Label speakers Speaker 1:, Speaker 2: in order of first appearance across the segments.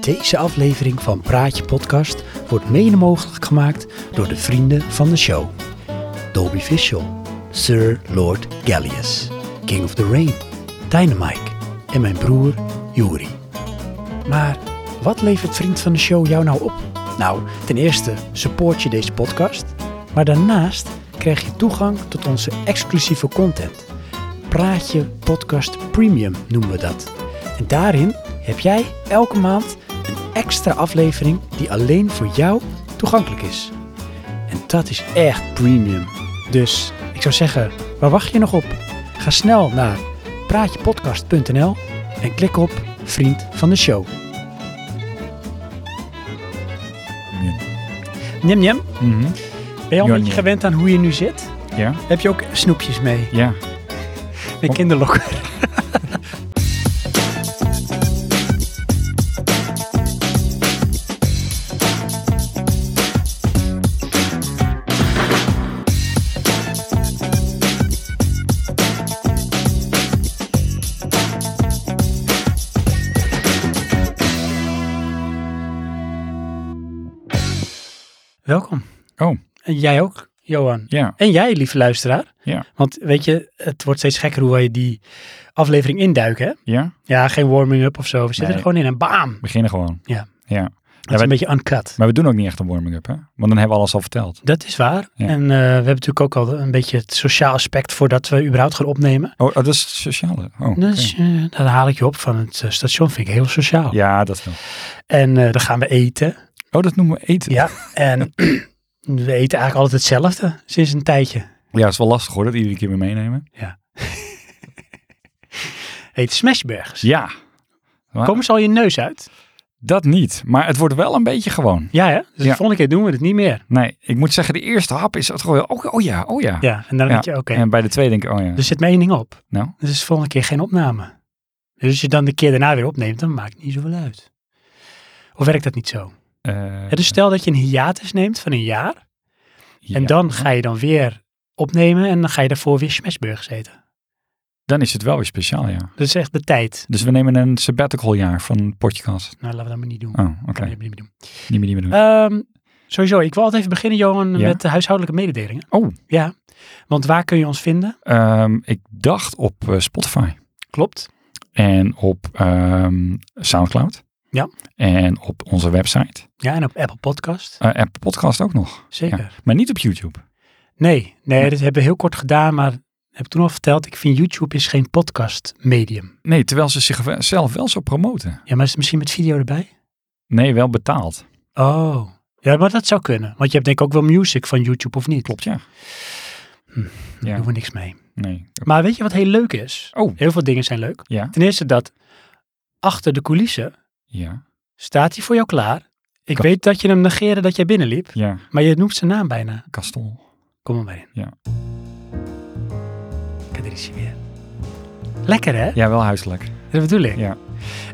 Speaker 1: Deze aflevering van Praatje Podcast wordt mede mogelijk gemaakt door de vrienden van de show. Dolby Visual, Sir Lord Gallius, King of the Rain, Dynamite en mijn broer Yuri. Maar wat levert Vriend van de Show jou nou op? Nou, ten eerste support je deze podcast, maar daarnaast krijg je toegang tot onze exclusieve content. Praatje Podcast Premium noemen we dat. En daarin heb jij elke maand een extra aflevering die alleen voor jou toegankelijk is. En dat is echt premium. Dus ik zou zeggen, waar wacht je nog op? Ga snel naar praatjepodcast.nl en klik op Vriend van de Show. Njem njem,
Speaker 2: Mhm.
Speaker 1: ben je al
Speaker 2: Ja,
Speaker 1: een beetje
Speaker 2: njem.
Speaker 1: gewend aan hoe je nu zit?
Speaker 2: Ja,
Speaker 1: Heb je ook snoepjes mee?
Speaker 2: ja.
Speaker 1: De kinderlok. Welkom.
Speaker 2: Oh.
Speaker 1: En jij ook, Johan.
Speaker 2: Ja,
Speaker 1: En jij, lieve luisteraar.
Speaker 2: Ja.
Speaker 1: Want weet je, het wordt steeds gekker hoe wij die aflevering induiken. Hè?
Speaker 2: ja.
Speaker 1: Ja, geen warming-up of zo. We zitten
Speaker 2: Nee.
Speaker 1: er gewoon in en baam.
Speaker 2: We beginnen gewoon.
Speaker 1: Ja.
Speaker 2: ja.
Speaker 1: Dat is
Speaker 2: wij-
Speaker 1: een beetje uncut.
Speaker 2: Maar we doen ook niet echt een warming-up, hè? Want dan hebben we alles al verteld.
Speaker 1: Dat is waar.
Speaker 2: Ja.
Speaker 1: En eh, we hebben natuurlijk ook al een beetje het sociaal aspect voordat we überhaupt gaan opnemen.
Speaker 2: Oh, oh, dat is het sociale. Oh, oké.
Speaker 1: Dus eh, daar haal ik je op van het eh, station. Vind ik heel sociaal.
Speaker 2: Ja, dat wel.
Speaker 1: En eh, dan gaan we eten.
Speaker 2: Oh, dat noemen we eten.
Speaker 1: Ja. En we eten eigenlijk altijd hetzelfde sinds een tijdje.
Speaker 2: Ja, dat is wel lastig hoor, dat iedere keer weer meenemen.
Speaker 1: Eet smashburgers.
Speaker 2: Ja, Ja.
Speaker 1: Komen ze al je neus uit?
Speaker 2: dat niet. Maar het wordt wel een beetje gewoon.
Speaker 1: Ja, hè? Dus de
Speaker 2: Ja.
Speaker 1: volgende keer doen we het niet meer.
Speaker 2: Nee, ik moet zeggen, de eerste hap is het gewoon, oh, oh ja, oh ja.
Speaker 1: Ja, en dan
Speaker 2: Ja.
Speaker 1: denk je, oké, Dus
Speaker 2: En bij de tweede denk ik, oh ja.
Speaker 1: Er zit mijn één ding op.
Speaker 2: Nou?
Speaker 1: Dus is de volgende keer geen opname. Dus als je dan de keer daarna weer opneemt, dan maakt het niet zoveel uit. Of werkt dat niet zo?
Speaker 2: Eh,
Speaker 1: Ja, dus stel dat je een hiatus neemt van een jaar. En
Speaker 2: ja.
Speaker 1: dan ga je dan weer opnemen en dan ga je daarvoor weer smashburgers eten.
Speaker 2: Dan is het wel weer speciaal, ja.
Speaker 1: Dat is echt de tijd.
Speaker 2: Dus we nemen een sabbatical jaar van podcast.
Speaker 1: Nou, laten we dat maar niet doen.
Speaker 2: Oh, oké.
Speaker 1: Laten we dat maar niet doen.
Speaker 2: Niet meer, niet meer doen.
Speaker 1: Ehm, sowieso, ik wil altijd even beginnen, Johan,
Speaker 2: Ja?
Speaker 1: met de huishoudelijke mededelingen.
Speaker 2: Oh.
Speaker 1: Ja, want waar kun je ons vinden?
Speaker 2: Ehm, ik dacht op eh, Spotify.
Speaker 1: Klopt.
Speaker 2: en op ehm, Soundcloud.
Speaker 1: Ja.
Speaker 2: En op onze website.
Speaker 1: Ja, en op Apple Podcast.
Speaker 2: Eh, en podcast ook nog.
Speaker 1: Zeker.
Speaker 2: Maar niet op YouTube.
Speaker 1: Nee, nee, dat hebben we heel kort gedaan, maar heb ik toen al verteld, ik vind YouTube is geen podcast medium.
Speaker 2: Nee, terwijl ze zichzelf wel zo promoten.
Speaker 1: Ja, maar is het misschien met video erbij?
Speaker 2: Nee, wel betaald.
Speaker 1: Oh, ja, maar dat zou kunnen. Want je hebt denk ik ook wel music van YouTube of niet?
Speaker 2: Klopt, ja.
Speaker 1: Daar
Speaker 2: Hm. Ja.
Speaker 1: doen we niks mee.
Speaker 2: Nee.
Speaker 1: Maar weet je wat heel leuk is?
Speaker 2: Oh,
Speaker 1: Heel veel dingen zijn leuk.
Speaker 2: ja.
Speaker 1: Ten eerste dat achter de coulissen
Speaker 2: Ja.
Speaker 1: staat hij voor jou klaar. Ik
Speaker 2: Kan-
Speaker 1: weet dat je hem negeerde dat jij binnenliep,
Speaker 2: Ja.
Speaker 1: maar je noemt zijn naam bijna.
Speaker 2: Kastel.
Speaker 1: Kom er maar in.
Speaker 2: Ja.
Speaker 1: Kijk, daar is hij weer. Lekker hè?
Speaker 2: Ja, wel huiselijk.
Speaker 1: Dat bedoel ik.
Speaker 2: Ja.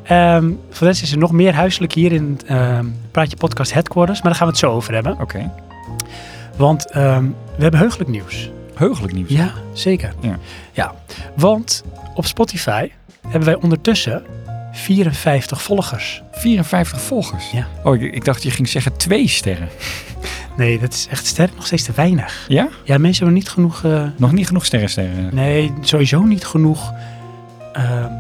Speaker 1: Ehm, voor de rest is er nog meer huiselijk hier in het ehm, Praatje Podcast Headquarters. Maar daar gaan we het zo over hebben.
Speaker 2: Oké.
Speaker 1: Want ehm, we hebben heugelijk nieuws.
Speaker 2: Heugelijk nieuws.
Speaker 1: Ja, zeker.
Speaker 2: Ja.
Speaker 1: ja. Want op Spotify hebben wij ondertussen 54 volgers.
Speaker 2: 54 volgers.
Speaker 1: Ja.
Speaker 2: Oh, ik, ik dacht je ging zeggen twee sterren.
Speaker 1: Nee, dat is echt sterk nog steeds te weinig.
Speaker 2: Ja?
Speaker 1: Ja, mensen hebben niet genoeg... eh,
Speaker 2: Nog niet genoeg sterren, sterren.
Speaker 1: nee, sowieso niet genoeg... ehm,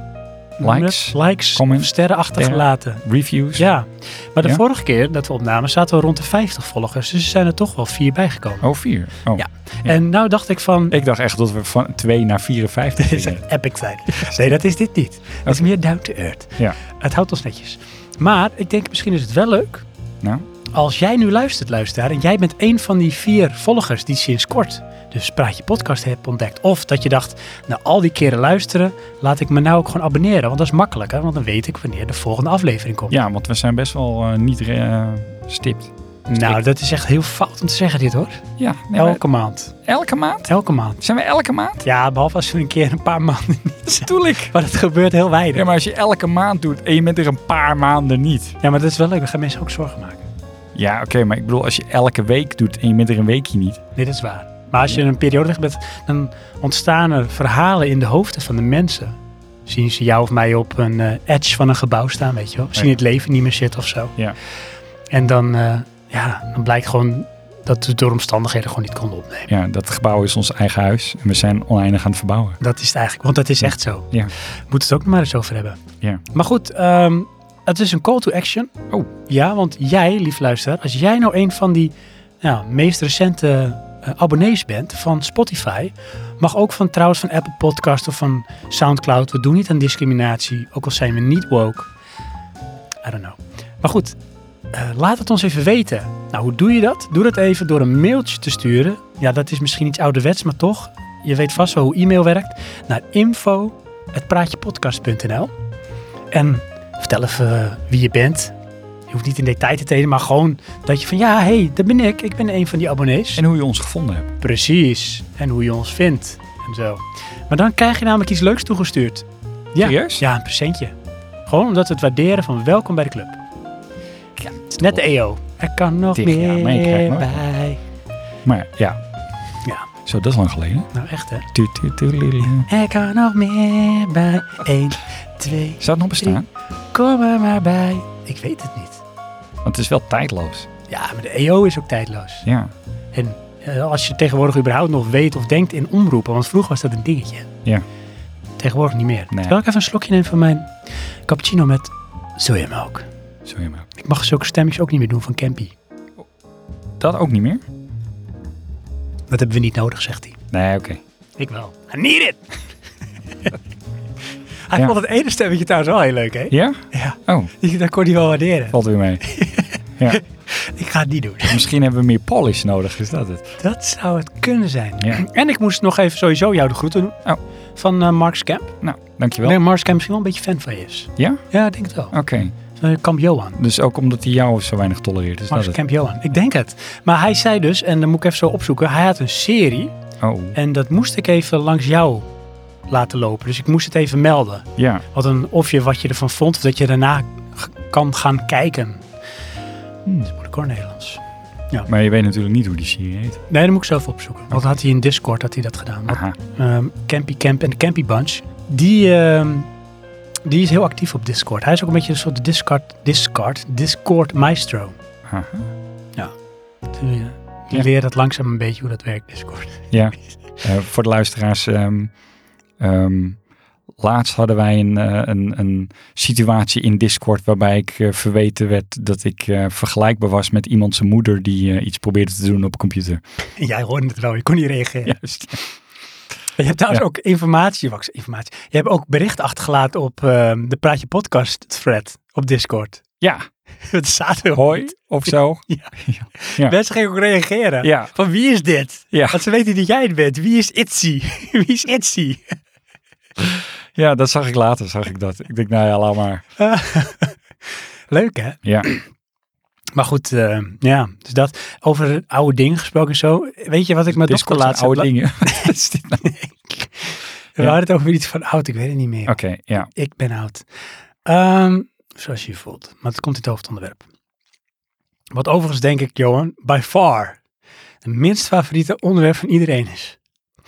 Speaker 2: Likes,
Speaker 1: likes
Speaker 2: comments,
Speaker 1: of sterren achtergelaten.
Speaker 2: Reviews.
Speaker 1: Ja, maar de
Speaker 2: Ja?
Speaker 1: vorige keer dat we opnamen zaten we rond de 50 volgers. Dus er zijn er toch wel vier bijgekomen.
Speaker 2: Oh, vier. Oh.
Speaker 1: Ja. En nou dacht ik van,
Speaker 2: Ik dacht echt dat we van 2 naar 54
Speaker 1: dit is
Speaker 2: gingen.
Speaker 1: echt epic zijn. Nee, dat is dit niet. Het is meer down to earth.
Speaker 2: Ja.
Speaker 1: Het houdt ons netjes. Maar ik denk misschien is het wel leuk
Speaker 2: Nou?
Speaker 1: als jij nu luistert, luisteraar. En jij bent een van die vier volgers die sinds kort dus Praatje Podcast hebt ontdekt. Of dat je dacht, na al die keren luisteren, laat ik me nou ook gewoon abonneren. Want dat is makkelijk, hè? want dan weet ik wanneer de volgende aflevering komt.
Speaker 2: Ja, want we zijn best wel eh, niet eh, stipt.
Speaker 1: Nou, dat is echt heel fout om te zeggen dit hoor.
Speaker 2: Ja, nee, maar
Speaker 1: Elke maand.
Speaker 2: elke maand?
Speaker 1: Elke maand.
Speaker 2: Zijn we elke maand?
Speaker 1: Ja, behalve als we een keer een paar maanden niet zijn.
Speaker 2: Bedoel ik.
Speaker 1: Maar dat gebeurt heel weinig.
Speaker 2: Ja, maar als je elke maand doet en je bent er een paar maanden niet.
Speaker 1: dat is wel leuk. Dan gaan mensen ook zorgen maken.
Speaker 2: Ja, oké, maar ik bedoel, als je elke week doet en je bent er een weekje niet.
Speaker 1: Nee, dat is waar. Maar als je in een periode weg bent, dan ontstaan er verhalen in de hoofden van de mensen. zien ze jou of mij op een eh, edge van een gebouw staan, weet je wel. Zien
Speaker 2: Ja.
Speaker 1: het leven niet meer zitten of zo.
Speaker 2: Ja.
Speaker 1: En dan, eh, ja, dan blijkt gewoon dat we het door omstandigheden gewoon niet konden opnemen.
Speaker 2: Ja, dat gebouw is ons eigen huis en we zijn oneindig aan het verbouwen.
Speaker 1: Dat is het eigenlijk, want dat is echt zo.
Speaker 2: Ja.
Speaker 1: Moet het ook nog maar eens over hebben.
Speaker 2: Ja.
Speaker 1: Maar goed, ehm, het is een call to action.
Speaker 2: Oh.
Speaker 1: Ja, want jij, lief luisteraar, als jij nou een van die nou, meest recente eh, abonnees bent van Spotify, mag ook van trouwens van Apple Podcast of van Soundcloud. We doen niet aan discriminatie, ook al zijn we niet woke. I don't know. Maar goed, eh, laat het ons even weten. Nou, hoe doe je dat? Doe dat even door een mailtje te sturen. Ja, dat is misschien iets ouderwets, maar toch. Je weet vast wel hoe e-mail werkt. Naar info.praatjepodcast.nl En vertel even eh, wie je bent. Je hoeft niet in detail te treden, maar gewoon dat je van... Ja, hé, hey, dat ben ik. Ik ben een van die abonnees.
Speaker 2: En hoe je ons gevonden hebt.
Speaker 1: Precies. En hoe je ons vindt. En zo. Maar dan krijg je namelijk iets leuks toegestuurd. Ja.
Speaker 2: Serieus?
Speaker 1: Ja, een presentje. Gewoon omdat we het waarderen van welkom bij de club. Het is net de EO. Er kan nog
Speaker 2: Tig
Speaker 1: meer
Speaker 2: jaar, maar je krijgt nog
Speaker 1: bij.
Speaker 2: Maar ja,
Speaker 1: Ja,
Speaker 2: zo, dat is lang geleden.
Speaker 1: nou echt hè.
Speaker 2: Tu- tu- tu- li- li.
Speaker 1: Er kan nog meer bij. 1, 2,
Speaker 2: Zou het nog bestaan?
Speaker 1: kom er maar bij. Ik weet het niet.
Speaker 2: Want het is wel tijdloos.
Speaker 1: Ja, maar de EO is ook tijdloos.
Speaker 2: Ja,
Speaker 1: En eh, als je tegenwoordig überhaupt nog weet of denkt in omroepen, want vroeger was dat een dingetje.
Speaker 2: Ja.
Speaker 1: Tegenwoordig niet meer.
Speaker 2: Nee.
Speaker 1: Terwijl ik even een slokje neem van mijn cappuccino met sojamelk.
Speaker 2: zo je maar.
Speaker 1: Ik mag zulke stemmetjes ook niet meer doen van Campy.
Speaker 2: Dat ook niet meer?
Speaker 1: Dat hebben we niet nodig, zegt hij.
Speaker 2: Nee, oké.
Speaker 1: Ik wel. I need it! hij
Speaker 2: Ja.
Speaker 1: vond het ene stemmetje trouwens wel heel leuk, hè?
Speaker 2: Ja?
Speaker 1: Ja.
Speaker 2: Oh,
Speaker 1: Die- Dat kon hij wel waarderen.
Speaker 2: valt weer mee. ja.
Speaker 1: Ik ga het niet doen.
Speaker 2: Misschien hebben we meer polish nodig, is dat het?
Speaker 1: Dat zou het kunnen zijn.
Speaker 2: Ja.
Speaker 1: En ik moest nog even sowieso jou de groeten doen.
Speaker 2: Oh.
Speaker 1: Van eh Mark Scamp.
Speaker 2: Nou, dankjewel.
Speaker 1: Nee, Mark Scamp misschien wel een beetje fan van je is.
Speaker 2: Ja?
Speaker 1: Ja, ik denk het wel.
Speaker 2: Oké.
Speaker 1: Eh, Kamp Johan.
Speaker 2: Dus ook omdat hij jou zo weinig tolereert, is
Speaker 1: Max
Speaker 2: dat het?
Speaker 1: Camp Johan. Ik denk het. Maar hij zei dus, en dan moet ik even zo opzoeken, hij had een serie
Speaker 2: Oh,
Speaker 1: en dat moest ik even langs jou laten lopen. Dus ik moest het even melden.
Speaker 2: ja.
Speaker 1: Wat een, of je wat je ervan vond, of dat je daarna g- kan gaan kijken.
Speaker 2: Hm.
Speaker 1: Dat moet ik hoor, Nederlands.
Speaker 2: Maar je weet natuurlijk niet hoe die serie heet.
Speaker 1: Nee, dat moet ik zelf opzoeken. Want had hij in Discord had hij dat gedaan. Want,
Speaker 2: Aha.
Speaker 1: ehm, Campy Camp en de Campy Bunch. Die, ehm, die is heel actief op Discord. Hij is ook een beetje een soort Discord, Discord, Discord maestro.
Speaker 2: Aha.
Speaker 1: Die, eh, die
Speaker 2: Ja.
Speaker 1: leert dat langzaam een beetje hoe dat werkt, Discord.
Speaker 2: Ja, Eh, voor de luisteraars. ehm, ehm, laatst hadden wij een, eh, een, een situatie in Discord waarbij ik eh, verweten werd dat ik eh, vergelijkbaar was met iemand zijn moeder die eh, iets probeerde te doen op een computer.
Speaker 1: En jij hoorde het wel, je kon niet reageren.
Speaker 2: Juist.
Speaker 1: Je hebt trouwens
Speaker 2: Ja.
Speaker 1: ook informatie, wax, informatie. Je hebt ook bericht achtergelaten op ehm, de Praatje Podcast thread op Discord.
Speaker 2: Ja,
Speaker 1: Het staat er
Speaker 2: hoi of zo. ja.
Speaker 1: Mensen gingen ook reageren.
Speaker 2: Ja,
Speaker 1: Van wie is dit?
Speaker 2: ja.
Speaker 1: Want ze weten dat jij het bent. Wie is Itzy? wie is Itzy?
Speaker 2: ja, dat zag ik later, zag ik dat. Ik denk, nou ja, laat maar.
Speaker 1: Leuk hè?
Speaker 2: Ja,
Speaker 1: Maar goed, ehm, ja. Dus dat over oude dingen gesproken en zo. Weet je wat ik met Dr.
Speaker 2: Discord zijn
Speaker 1: laatst
Speaker 2: oude
Speaker 1: heb-
Speaker 2: dingen. Wat is dit nou?
Speaker 1: We
Speaker 2: Ja.
Speaker 1: hadden het over iets van oud. Ik weet het niet meer.
Speaker 2: Oké, ja.
Speaker 1: Ik ben oud. Ehm, zoals je je voelt. Maar het komt in het hoofdonderwerp. Wat overigens denk ik, Johan, by far het minst favoriete onderwerp van iedereen is.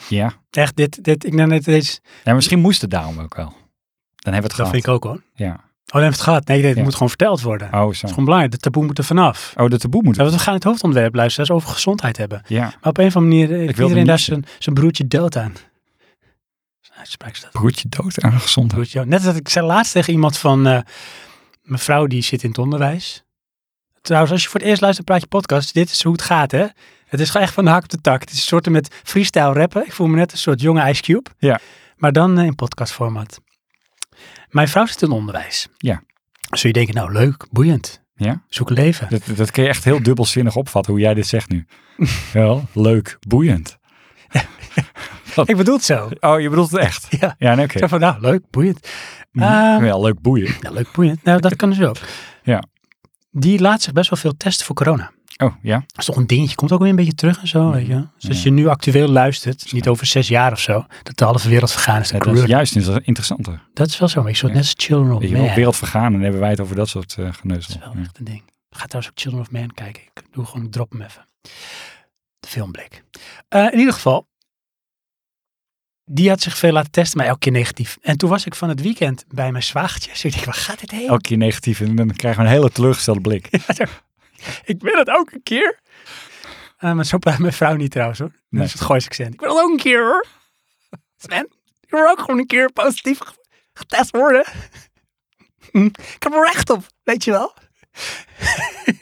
Speaker 2: ja.
Speaker 1: Echt, dit, dit ik neem net deze.
Speaker 2: En misschien moest het daarom ook wel. Dan hebben we het
Speaker 1: Dat
Speaker 2: gehad.
Speaker 1: vind ik ook hoor.
Speaker 2: Ja.
Speaker 1: Oh, dan hebben we het gehad. Nee, dit
Speaker 2: Ja.
Speaker 1: moet gewoon verteld worden. Het
Speaker 2: Oh, zo.
Speaker 1: is gewoon belangrijk. De taboe moet er vanaf.
Speaker 2: Oh, de taboe moet.
Speaker 1: Ja, want we gaan het hoofdonderwerp luisteren over gezondheid hebben.
Speaker 2: Ja.
Speaker 1: Maar op een of andere manier heeft
Speaker 2: wilde
Speaker 1: iedereen daar
Speaker 2: niet-
Speaker 1: zijn, zijn broertje dood aan. Zijn uitspraak staat.
Speaker 2: Broertje dood aan gezondheid.
Speaker 1: Goed, joh. Net als ik zei laatst tegen iemand van eh, mijn vrouw die zit in het onderwijs. Trouwens, als je voor het eerst luistert praat je podcast, dit is hoe het gaat, hè? Het is echt van de hak op de tak. Het is een soort met freestyle rappen. Ik voel me net een soort jonge Ice Cube.
Speaker 2: Ja.
Speaker 1: Maar dan eh, in podcastformat. Mijn vrouw zit in het onderwijs.
Speaker 2: Ja.
Speaker 1: Dus je denken, nou leuk, boeiend.
Speaker 2: Ja.
Speaker 1: Zoek leven.
Speaker 2: Dat, dat kun je echt heel dubbelzinnig opvatten hoe jij dit zegt nu. Wel, leuk, boeiend.
Speaker 1: Ik bedoel het zo.
Speaker 2: Oh, je bedoelt het echt?
Speaker 1: Ja.
Speaker 2: Ja, nee, oké.
Speaker 1: Zo van, nou leuk, boeiend.
Speaker 2: Mhm.
Speaker 1: Ehm,
Speaker 2: Wel, leuk, boeiend.
Speaker 1: ja, leuk, boeiend. Nou, dat kan dus ook.
Speaker 2: Ja.
Speaker 1: Die laat zich best wel veel testen voor corona.
Speaker 2: Oh, ja.
Speaker 1: Dat is toch een dingetje. Komt ook weer een beetje terug en zo. Weet je? Dus als je nu actueel luistert, niet over zes jaar of zo, dat de halve wereld vergaan is.
Speaker 2: Ja,
Speaker 1: naar
Speaker 2: dat is
Speaker 1: corona.
Speaker 2: juist inter- interessanter.
Speaker 1: dat is wel zo. Maar ik soort net als Children of
Speaker 2: Weet je,
Speaker 1: Oh, Man.
Speaker 2: op wereld vergaan en hebben wij het over dat soort eh,
Speaker 1: dat is
Speaker 2: geneuzel.
Speaker 1: wel
Speaker 2: Ja.
Speaker 1: echt een ding. Ga trouwens ook Children of Man kijken. Ik doe gewoon, ik drop hem even. De filmblik. Eh, in ieder geval, die had zich veel laten testen, maar elke keer negatief. En toen was ik van het weekend bij mijn zwagertje. Dus ik dacht, waar gaat dit heen?
Speaker 2: Elke keer negatief en dan krijgen we een hele teleurgestelde blik.
Speaker 1: Ik ben het ook een keer. Eh, maar zo praat mijn vrouw niet trouwens hoor.
Speaker 2: Nee.
Speaker 1: Dus het Goois accent. Ik ben al ook een keer hoor. Sven, ik wil ook gewoon een keer positief ge- getest worden. Hm, Ik heb er recht op, weet je wel.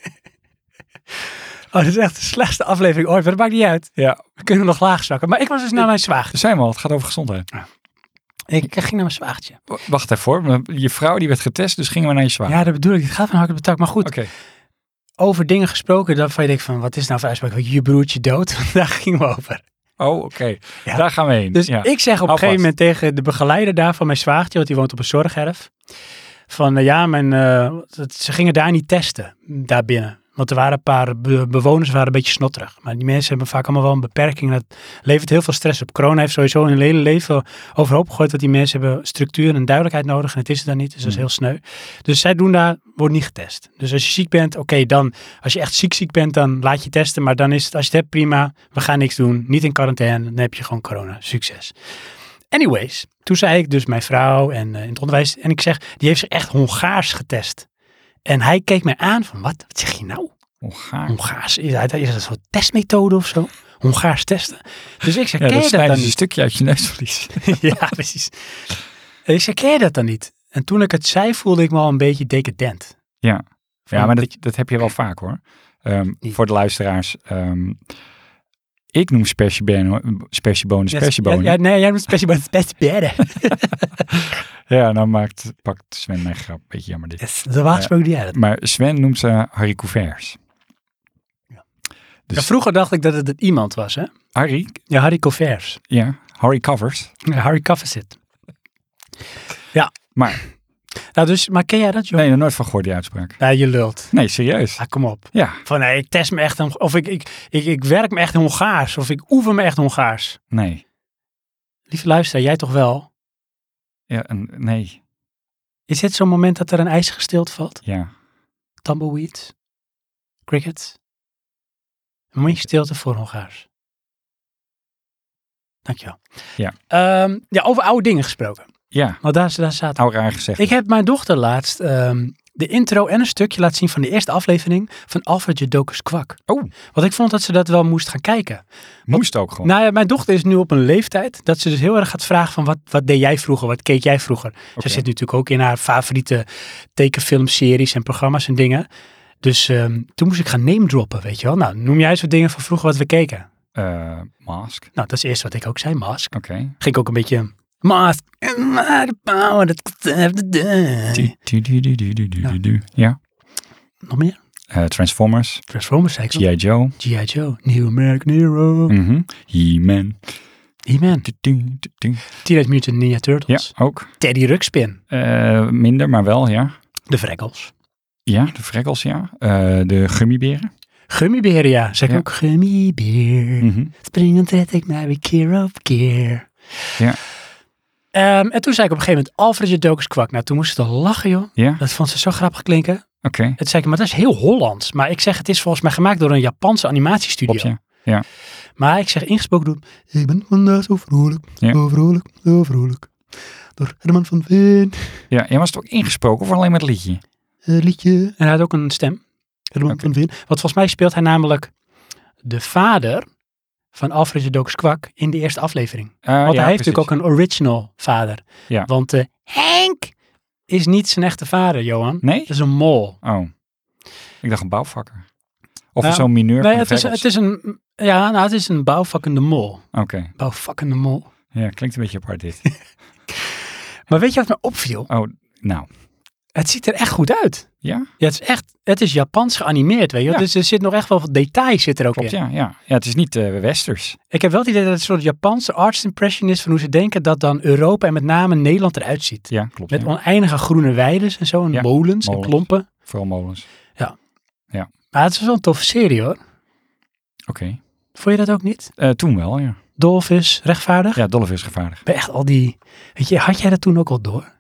Speaker 1: oh, dit is echt de slechtste aflevering ooit. Maar dat maakt niet uit.
Speaker 2: Ja,
Speaker 1: We kunnen nog laag zakken. Maar ik was dus naar mijn zwaagje.
Speaker 2: daar zijn we al. Het gaat over gezondheid.
Speaker 1: Ik ging naar mijn zwaagje.
Speaker 2: W- Wacht even hoor. Je vrouw die werd getest, dus gingen we naar je zwager.
Speaker 1: Ja, dat bedoel ik. Het gaat van hak op de tak. Maar goed,
Speaker 2: Oké.
Speaker 1: over dingen gesproken. Daarvan je denkt van, wat is nou voor uitspraak? Je broertje dood. Daar gingen we over.
Speaker 2: Oh, oké.
Speaker 1: Ja.
Speaker 2: Daar gaan we heen.
Speaker 1: Dus
Speaker 2: ja.
Speaker 1: ik zeg op een
Speaker 2: Hou
Speaker 1: gegeven
Speaker 2: vast.
Speaker 1: moment tegen de begeleider daar van mijn zwaagtje, want die woont op een zorgerf. Van eh, ja, mijn, eh, dat- ze gingen daar niet testen, daar binnen. Want er waren een paar be- bewoners waren een beetje snotterig. Maar die mensen hebben vaak allemaal wel een beperking. Dat levert heel veel stress op. Corona heeft sowieso hun hele leven overhoop gegooid. Want die mensen hebben structuur en duidelijkheid nodig. En het is er dan niet. Dus dat is
Speaker 2: Mm.
Speaker 1: heel sneu. Dus zij doen daar, wordt niet getest. Dus als je ziek bent, oké, dan. Als je echt ziek ziek bent, dan laat je testen. Maar dan is het, als je het hebt, prima. We gaan niks doen. Niet in quarantaine. Dan heb je gewoon corona. Succes. Anyways, toen zei ik dus mijn vrouw en eh, in het onderwijs. En ik zeg, die heeft zich echt Hongaars getest. En hij keek mij aan van, wat, wat zeg je nou?
Speaker 2: Hongaar.
Speaker 1: Hongaars? Is dat, is dat zo'n testmethode of zo? Hongaars testen? Dus ik zeg,
Speaker 2: Ja,
Speaker 1: ken
Speaker 2: dat
Speaker 1: je dat
Speaker 2: snijden
Speaker 1: dan
Speaker 2: ze een
Speaker 1: niet?
Speaker 2: stukje uit je neusverlies.
Speaker 1: ja, precies. En ik zeg, ken je dat dan niet? En toen ik het zei, voelde ik me al een beetje decadent.
Speaker 2: Ja.
Speaker 1: Van,
Speaker 2: Ja, maar dat, dat heb je wel vaak hoor. Ehm,
Speaker 1: Niet.
Speaker 2: voor de luisteraars. ehm, ik noem spersiebonen spersiebonen
Speaker 1: Ja,
Speaker 2: spersiebonen.
Speaker 1: Ja,
Speaker 2: Ja,
Speaker 1: ja, nee, jij noemt spersiebonen spersiebonen.
Speaker 2: nou maakt, pakt Sven mijn grap. Beetje jammer dit.
Speaker 1: Yes, de waagspreuk die jij dat.
Speaker 2: Maar Sven noemt ze haricots.
Speaker 1: Ja.
Speaker 2: Dus
Speaker 1: Ja, vroeger dacht ik dat het een iemand was, hè?
Speaker 2: Harry,
Speaker 1: Ja, Harry Covers.
Speaker 2: ja, Harry Covers.
Speaker 1: Ja, Harry Coversit.
Speaker 2: Maar
Speaker 1: Nou, dus, maar ken jij dat, joh?
Speaker 2: nee, nog nooit van gehoord die uitspraak.
Speaker 1: Ja, je lult.
Speaker 2: Nee, serieus.
Speaker 1: Ah, kom op.
Speaker 2: Ja,
Speaker 1: Van, nee, ik test me echt, een- of ik, ik, ik, ik werk me echt Hongaars, of ik oefen me echt Hongaars.
Speaker 2: nee.
Speaker 1: Lieve luisteraar, jij toch wel?
Speaker 2: Ja, een, nee.
Speaker 1: Is dit zo'n moment dat er een ijs gestild valt?
Speaker 2: Ja.
Speaker 1: Tumbleweed? Cricket? Een momentje stilte voor Hongaars. Dankjewel.
Speaker 2: Ja.
Speaker 1: Ehm, ja, over oude dingen gesproken.
Speaker 2: Ja,
Speaker 1: Want daar, daar zaten
Speaker 2: nou raar gezegd.
Speaker 1: Ik heb mijn dochter laatst ehm, de intro en een stukje laten zien van de eerste aflevering van Alfred Jodokus Kwak.
Speaker 2: Oh.
Speaker 1: Want ik vond dat ze dat wel moest gaan kijken.
Speaker 2: Moest ook gewoon.
Speaker 1: Nou ja, mijn dochter is nu op een leeftijd dat ze dus heel erg gaat vragen van wat, wat deed jij vroeger, wat keek jij vroeger. Ze
Speaker 2: Oké.
Speaker 1: zit nu natuurlijk ook in haar favoriete tekenfilmseries en programma's en dingen. Dus ehm, toen moest ik gaan name droppen, weet je wel. Nou, noem jij eens wat dingen van vroeger wat we keken.
Speaker 2: Eh, mask. Oké.
Speaker 1: Nou, dat is eerst wat ik ook zei, Mask. Ging ik ook een beetje... Mask, my power,
Speaker 2: Du- du- du- du- du- du- du-
Speaker 1: Ja.
Speaker 2: du. Ja.
Speaker 1: Nog meer?
Speaker 2: Eh, Transformers,
Speaker 1: Transformers, zei ik al.
Speaker 2: G.I. Joe,
Speaker 1: G.I. Joe, New American Hero,
Speaker 2: mhm. He-Man,
Speaker 1: He-Man,
Speaker 2: Du- du- du- du.
Speaker 1: Teenage Mutant Ninja
Speaker 2: ja,
Speaker 1: Turtles,
Speaker 2: ook.
Speaker 1: Teddy Ruxpin,
Speaker 2: Eh, minder, maar wel, ja.
Speaker 1: de Vrekkels,
Speaker 2: Ja, de freckles, ja. Eh, de gummiberen.
Speaker 1: Gummiberen, ja, zeg ik
Speaker 2: Ja.
Speaker 1: ook Gummibeer,
Speaker 2: Mhm.
Speaker 1: springend red ik mij weer keer op keer.
Speaker 2: Ja.
Speaker 1: Ehm, en toen zei ik op een gegeven moment Alfred Jodokus kwak. Nou, toen moest ze toch lachen, joh.
Speaker 2: Ja, oké.
Speaker 1: Dat vond ze zo grappig klinken. Het zei ik, maar dat is heel Hollands. Maar ik zeg, het is volgens mij gemaakt door een Japanse animatiestudio.
Speaker 2: Klopt, ja.
Speaker 1: Maar ik zeg ingesproken doen. Ik ben vandaag zo vrolijk,
Speaker 2: Ja.
Speaker 1: zo vrolijk, zo vrolijk. Door Herman van Veen.
Speaker 2: Ja, jij was het ook ingesproken of alleen met het liedje?
Speaker 1: eh, liedje. En hij had ook een stem. Herman
Speaker 2: Oké.
Speaker 1: van Veen. Want volgens mij speelt hij namelijk de vader van Alfred de Dokus Kwak in de eerste aflevering.
Speaker 2: Eh,
Speaker 1: Want
Speaker 2: ja,
Speaker 1: hij heeft
Speaker 2: precies.
Speaker 1: natuurlijk ook een original vader.
Speaker 2: Ja.
Speaker 1: Want eh, Henk is niet zijn echte vader, Johan.
Speaker 2: Nee?
Speaker 1: Dat is een mol.
Speaker 2: Oh. Ik dacht een bouwvakker. Of
Speaker 1: Nou,
Speaker 2: zo'n
Speaker 1: Nee,
Speaker 2: mineur van de
Speaker 1: het is,
Speaker 2: Freckles.
Speaker 1: het is een... Ja, nou, het is een bouwvakkende mol.
Speaker 2: Oké.
Speaker 1: Bouwvakkende mol.
Speaker 2: Ja, klinkt een beetje apart dit.
Speaker 1: Maar weet je wat me opviel?
Speaker 2: Oh, nou.
Speaker 1: Het ziet er echt goed uit.
Speaker 2: Ja,
Speaker 1: Ja, het is echt... Het is Japans geanimeerd, weet je wel.
Speaker 2: Ja.
Speaker 1: Dus er zit nog echt wel wat detail zit er ook in.
Speaker 2: klopt, ja. Ja, ja het is niet eh, westers.
Speaker 1: Ik heb wel het idee dat het een soort Japanse arts impression is van hoe ze denken dat dan Europa en met name Nederland eruit ziet.
Speaker 2: Ja, klopt.
Speaker 1: Met
Speaker 2: ja.
Speaker 1: oneindige groene weides en zo, en
Speaker 2: Ja,
Speaker 1: molens,
Speaker 2: molens.
Speaker 1: en klompen.
Speaker 2: Vooral molens.
Speaker 1: Maar het is wel een toffe serie hoor.
Speaker 2: Oké.
Speaker 1: Vond je dat ook niet?
Speaker 2: Eh, toen wel, ja.
Speaker 1: Dolf is rechtvaardig.
Speaker 2: Ja, Dolph is gevaarlijk.
Speaker 1: Bij echt al die... Weet je, had jij dat toen ook al door?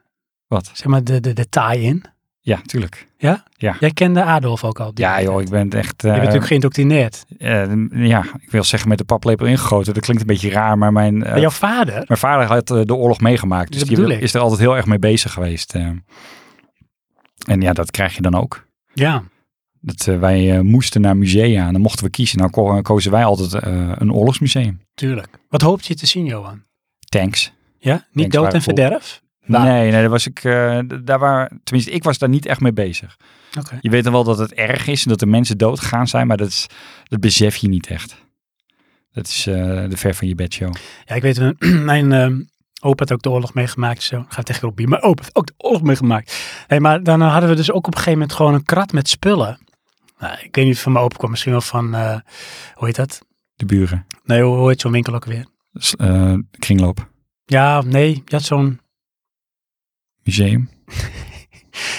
Speaker 2: Wat?
Speaker 1: Zeg maar de, de, de tie-in.
Speaker 2: Ja, tuurlijk.
Speaker 1: Ja?
Speaker 2: Ja.
Speaker 1: Jij kende Adolf ook al. op die
Speaker 2: Ja
Speaker 1: leeftijd.
Speaker 2: joh, ik ben echt...
Speaker 1: Je
Speaker 2: eh,
Speaker 1: bent natuurlijk geïndoctrineerd.
Speaker 2: eh, ja, ik wil zeggen met de paplepel ingegoten. Dat klinkt een beetje raar, maar mijn, eh,
Speaker 1: Maar jouw vader,
Speaker 2: mijn vader had eh, de oorlog meegemaakt. Dus
Speaker 1: Dat
Speaker 2: die
Speaker 1: bedoel
Speaker 2: wil-
Speaker 1: ik.
Speaker 2: is er altijd heel erg mee bezig geweest. eh. En ja, dat krijg je dan ook.
Speaker 1: ja,
Speaker 2: Dat, eh, wij eh, moesten naar musea en dan mochten we kiezen. Nou ko- kozen wij altijd eh, een oorlogsmuseum.
Speaker 1: tuurlijk. Wat hoopt je te zien, Johan?
Speaker 2: Tanks.
Speaker 1: Ja? Niet
Speaker 2: Tanks
Speaker 1: dood
Speaker 2: waren
Speaker 1: en
Speaker 2: cool.
Speaker 1: verderf? Nou.
Speaker 2: Nee, nee, daar was ik, eh, d- daar waren, tenminste, ik was daar niet echt mee bezig.
Speaker 1: Oké.
Speaker 2: Je weet dan wel dat het erg is en dat er mensen doodgegaan zijn, maar dat, is, dat besef je niet echt. Dat is eh, de ver van je bed show.
Speaker 1: Ja, ik weet, mijn- mijn ehm, opa had ook de oorlog meegemaakt. Zo, gaat tegen op bier. Mijn opa heeft ook de oorlog meegemaakt. Hey, maar dan eh, hadden we dus ook op een gegeven moment gewoon een krat met spullen. Nou, ik weet niet of het van mijn opa kwam, misschien wel van, eh, hoe heet dat?
Speaker 2: De buren.
Speaker 1: Nee, hoe hoe heet zo'n winkel ook weer?
Speaker 2: S- eh, kringloop.
Speaker 1: Ja, nee, je had zo'n,
Speaker 2: Museum.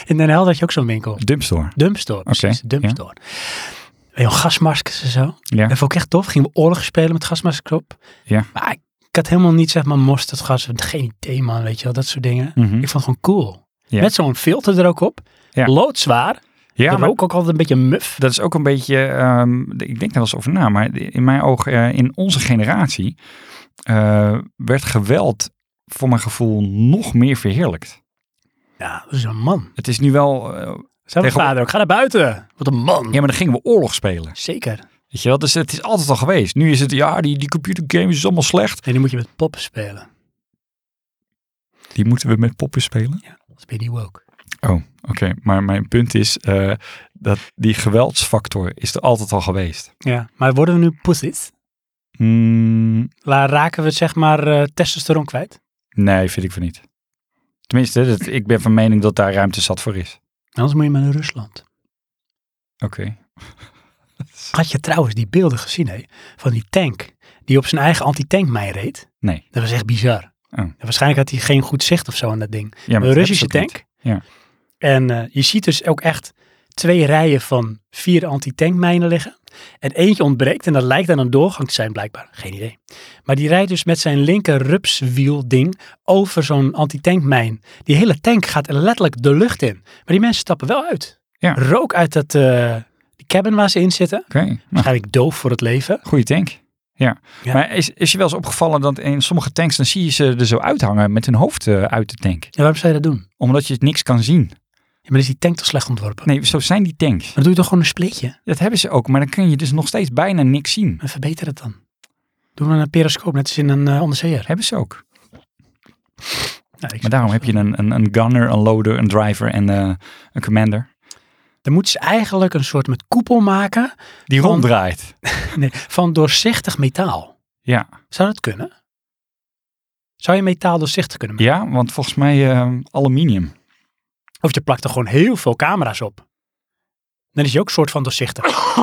Speaker 1: in Den Helder had je ook zo'n winkel.
Speaker 2: Dumpstore.
Speaker 1: Dumpstore, precies.
Speaker 2: ja.
Speaker 1: Dumpstore. Weet je wel, gasmaskers en zo.
Speaker 2: Ja.
Speaker 1: Dat vond ik echt tof. Gingen we oorlog spelen met gasmaskers op.
Speaker 2: Ja.
Speaker 1: Maar ik, ik had helemaal niet, zeg maar, mosterdgas. Geen idee, man, weet je wel. Dat soort dingen.
Speaker 2: Mhm.
Speaker 1: Ik vond het gewoon cool.
Speaker 2: Ja.
Speaker 1: Met zo'n filter er ook op.
Speaker 2: Ja.
Speaker 1: Loodzwaar.
Speaker 2: Ja,
Speaker 1: Ja,
Speaker 2: maar
Speaker 1: ook, ook altijd een beetje muf.
Speaker 2: dat is ook een beetje, ehm, ik denk daar wel eens over na, maar in mijn oog, eh, in onze generatie eh, werd geweld voor mijn gevoel nog meer verheerlijkt.
Speaker 1: Ja, dat is een man.
Speaker 2: Het is nu wel, eh,
Speaker 1: Zijn
Speaker 2: Tegenover-
Speaker 1: vader ook. Ga naar buiten. Wat een man.
Speaker 2: ja maar dan gingen we oorlog spelen.
Speaker 1: Zeker.
Speaker 2: Weet je wel, dus het is altijd al geweest. Nu is het, ja, die, die computergames is allemaal slecht.
Speaker 1: En die moet je met poppen spelen.
Speaker 2: Die moeten we met poppen spelen.
Speaker 1: Dat ben je niet woke.
Speaker 2: Oké, maar mijn punt is eh, dat die geweldsfactor is er altijd al geweest.
Speaker 1: Ja, maar worden we nu pussies?
Speaker 2: Hmm,
Speaker 1: La, raken we zeg maar eh, testosteron kwijt?
Speaker 2: nee, vind ik van niet. Tenminste, dat, ik ben van mening dat daar ruimte zat voor is.
Speaker 1: Anders moet je maar naar Rusland.
Speaker 2: Oké.
Speaker 1: Had je trouwens die beelden gezien, hè? Van die tank die op zijn eigen anti-tankmijn reed?
Speaker 2: Nee.
Speaker 1: Dat was echt bizar.
Speaker 2: Oh.
Speaker 1: En waarschijnlijk had hij geen goed zicht of zo aan dat ding.
Speaker 2: Ja, maar
Speaker 1: een
Speaker 2: dat
Speaker 1: Russische
Speaker 2: hebben ze
Speaker 1: tank.
Speaker 2: ook niet.
Speaker 1: En eh, je ziet dus ook echt twee rijen van vier anti-tankmijnen liggen. En eentje ontbreekt en dat lijkt dan een doorgang te zijn blijkbaar. Geen idee. Maar die rijdt dus met zijn linker rupswiel ding over zo'n anti-tankmijn. Die hele tank gaat letterlijk de lucht in. Maar die mensen stappen wel uit.
Speaker 2: Ja.
Speaker 1: Rook uit dat, eh, die cabin waar ze in zitten.
Speaker 2: Oké, nou,
Speaker 1: Waarschijnlijk doof voor het leven.
Speaker 2: goede tank. Ja.
Speaker 1: Ja.
Speaker 2: maar is, is je wel eens opgevallen dat in sommige tanks, dan zie je ze er zo uithangen met hun hoofd eh, uit de tank.
Speaker 1: Ja, waarom zou je dat doen?
Speaker 2: Omdat je niks kan zien.
Speaker 1: Ja, maar is die tank toch slecht ontworpen?
Speaker 2: Nee, zo zijn die tanks.
Speaker 1: Dan doe je toch gewoon een splitje?
Speaker 2: Dat hebben ze ook, maar dan kun je dus nog steeds bijna niks zien.
Speaker 1: En verbeter het dan. Doe dan een periscoop, net als in een eh, onderzeeër.
Speaker 2: Hebben ze ook.
Speaker 1: Nou, ik-
Speaker 2: Maar daarom heb je een, een, een gunner, een loader, een driver en eh, een commander.
Speaker 1: Dan moeten ze eigenlijk een soort met koepel maken
Speaker 2: Die
Speaker 1: Van-
Speaker 2: ronddraait.
Speaker 1: nee, van doorzichtig metaal.
Speaker 2: Ja.
Speaker 1: Zou dat kunnen? Zou je metaal doorzichtig kunnen maken?
Speaker 2: ja, want volgens mij eh, aluminium.
Speaker 1: Of je plakt er gewoon heel veel camera's op. Dan is je ook een soort van doorzichtig.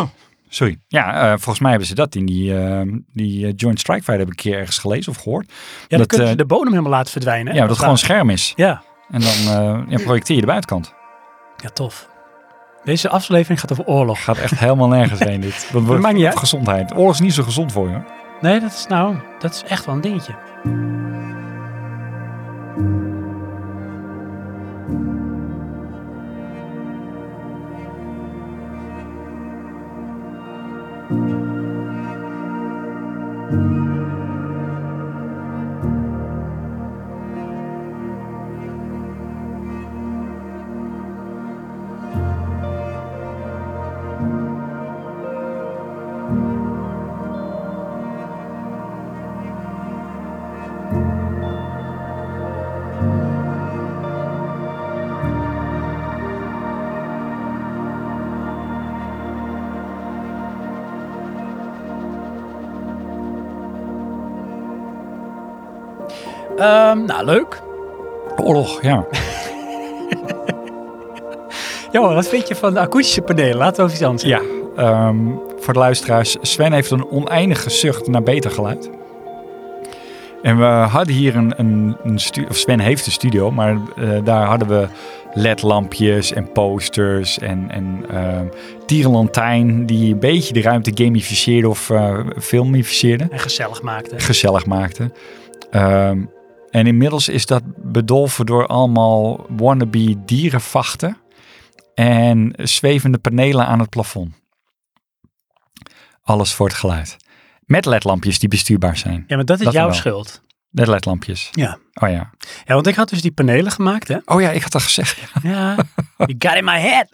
Speaker 2: Sorry. Ja, eh, volgens mij hebben ze dat in die, eh, die eh, Joint Strike Fighter heb ik een keer ergens gelezen of gehoord.
Speaker 1: Ja, dan
Speaker 2: Dat,
Speaker 1: kunnen ze
Speaker 2: eh,
Speaker 1: de bodem helemaal laten verdwijnen.
Speaker 2: Ja, dat het gewoon een scherm is.
Speaker 1: Ja.
Speaker 2: En dan eh, ja, projecteer je de buitenkant.
Speaker 1: ja, tof. Deze aflevering gaat over oorlog.
Speaker 2: Gaat echt helemaal nergens heen dit. Dat wordt
Speaker 1: maakt niet uit.
Speaker 2: gezondheid. Oorlog is niet zo gezond voor je.
Speaker 1: Nee, dat is nou, dat is echt wel een dingetje. Ehm, nou, leuk.
Speaker 2: Oorlog, ja.
Speaker 1: Johan, wat vind je van de akoestische panelen? Laten we over iets anders
Speaker 2: ja. ehm, voor de luisteraars, Sven heeft een oneindige zucht naar beter geluid. En we hadden hier een, een, een studio, of Sven heeft een studio, maar eh, daar hadden we ledlampjes en posters en, en ehm, tierenlantijn die een beetje de ruimte gamificeerde of eh, filmificeerde.
Speaker 1: En gezellig maakte.
Speaker 2: gezellig maakte. Ehm, en inmiddels is dat bedolven door allemaal wannabe dierenvachten. en zwevende panelen aan het plafond. Alles voor het geluid. Met ledlampjes die bestuurbaar zijn.
Speaker 1: Ja, maar dat is
Speaker 2: Dat
Speaker 1: jouw
Speaker 2: wel.
Speaker 1: schuld.
Speaker 2: Met ledlampjes.
Speaker 1: Ja.
Speaker 2: Oh ja.
Speaker 1: ja, want ik had dus die panelen gemaakt, hè?
Speaker 2: Oh ja, ik had al gezegd. Ja.
Speaker 1: Ja, you got in my head.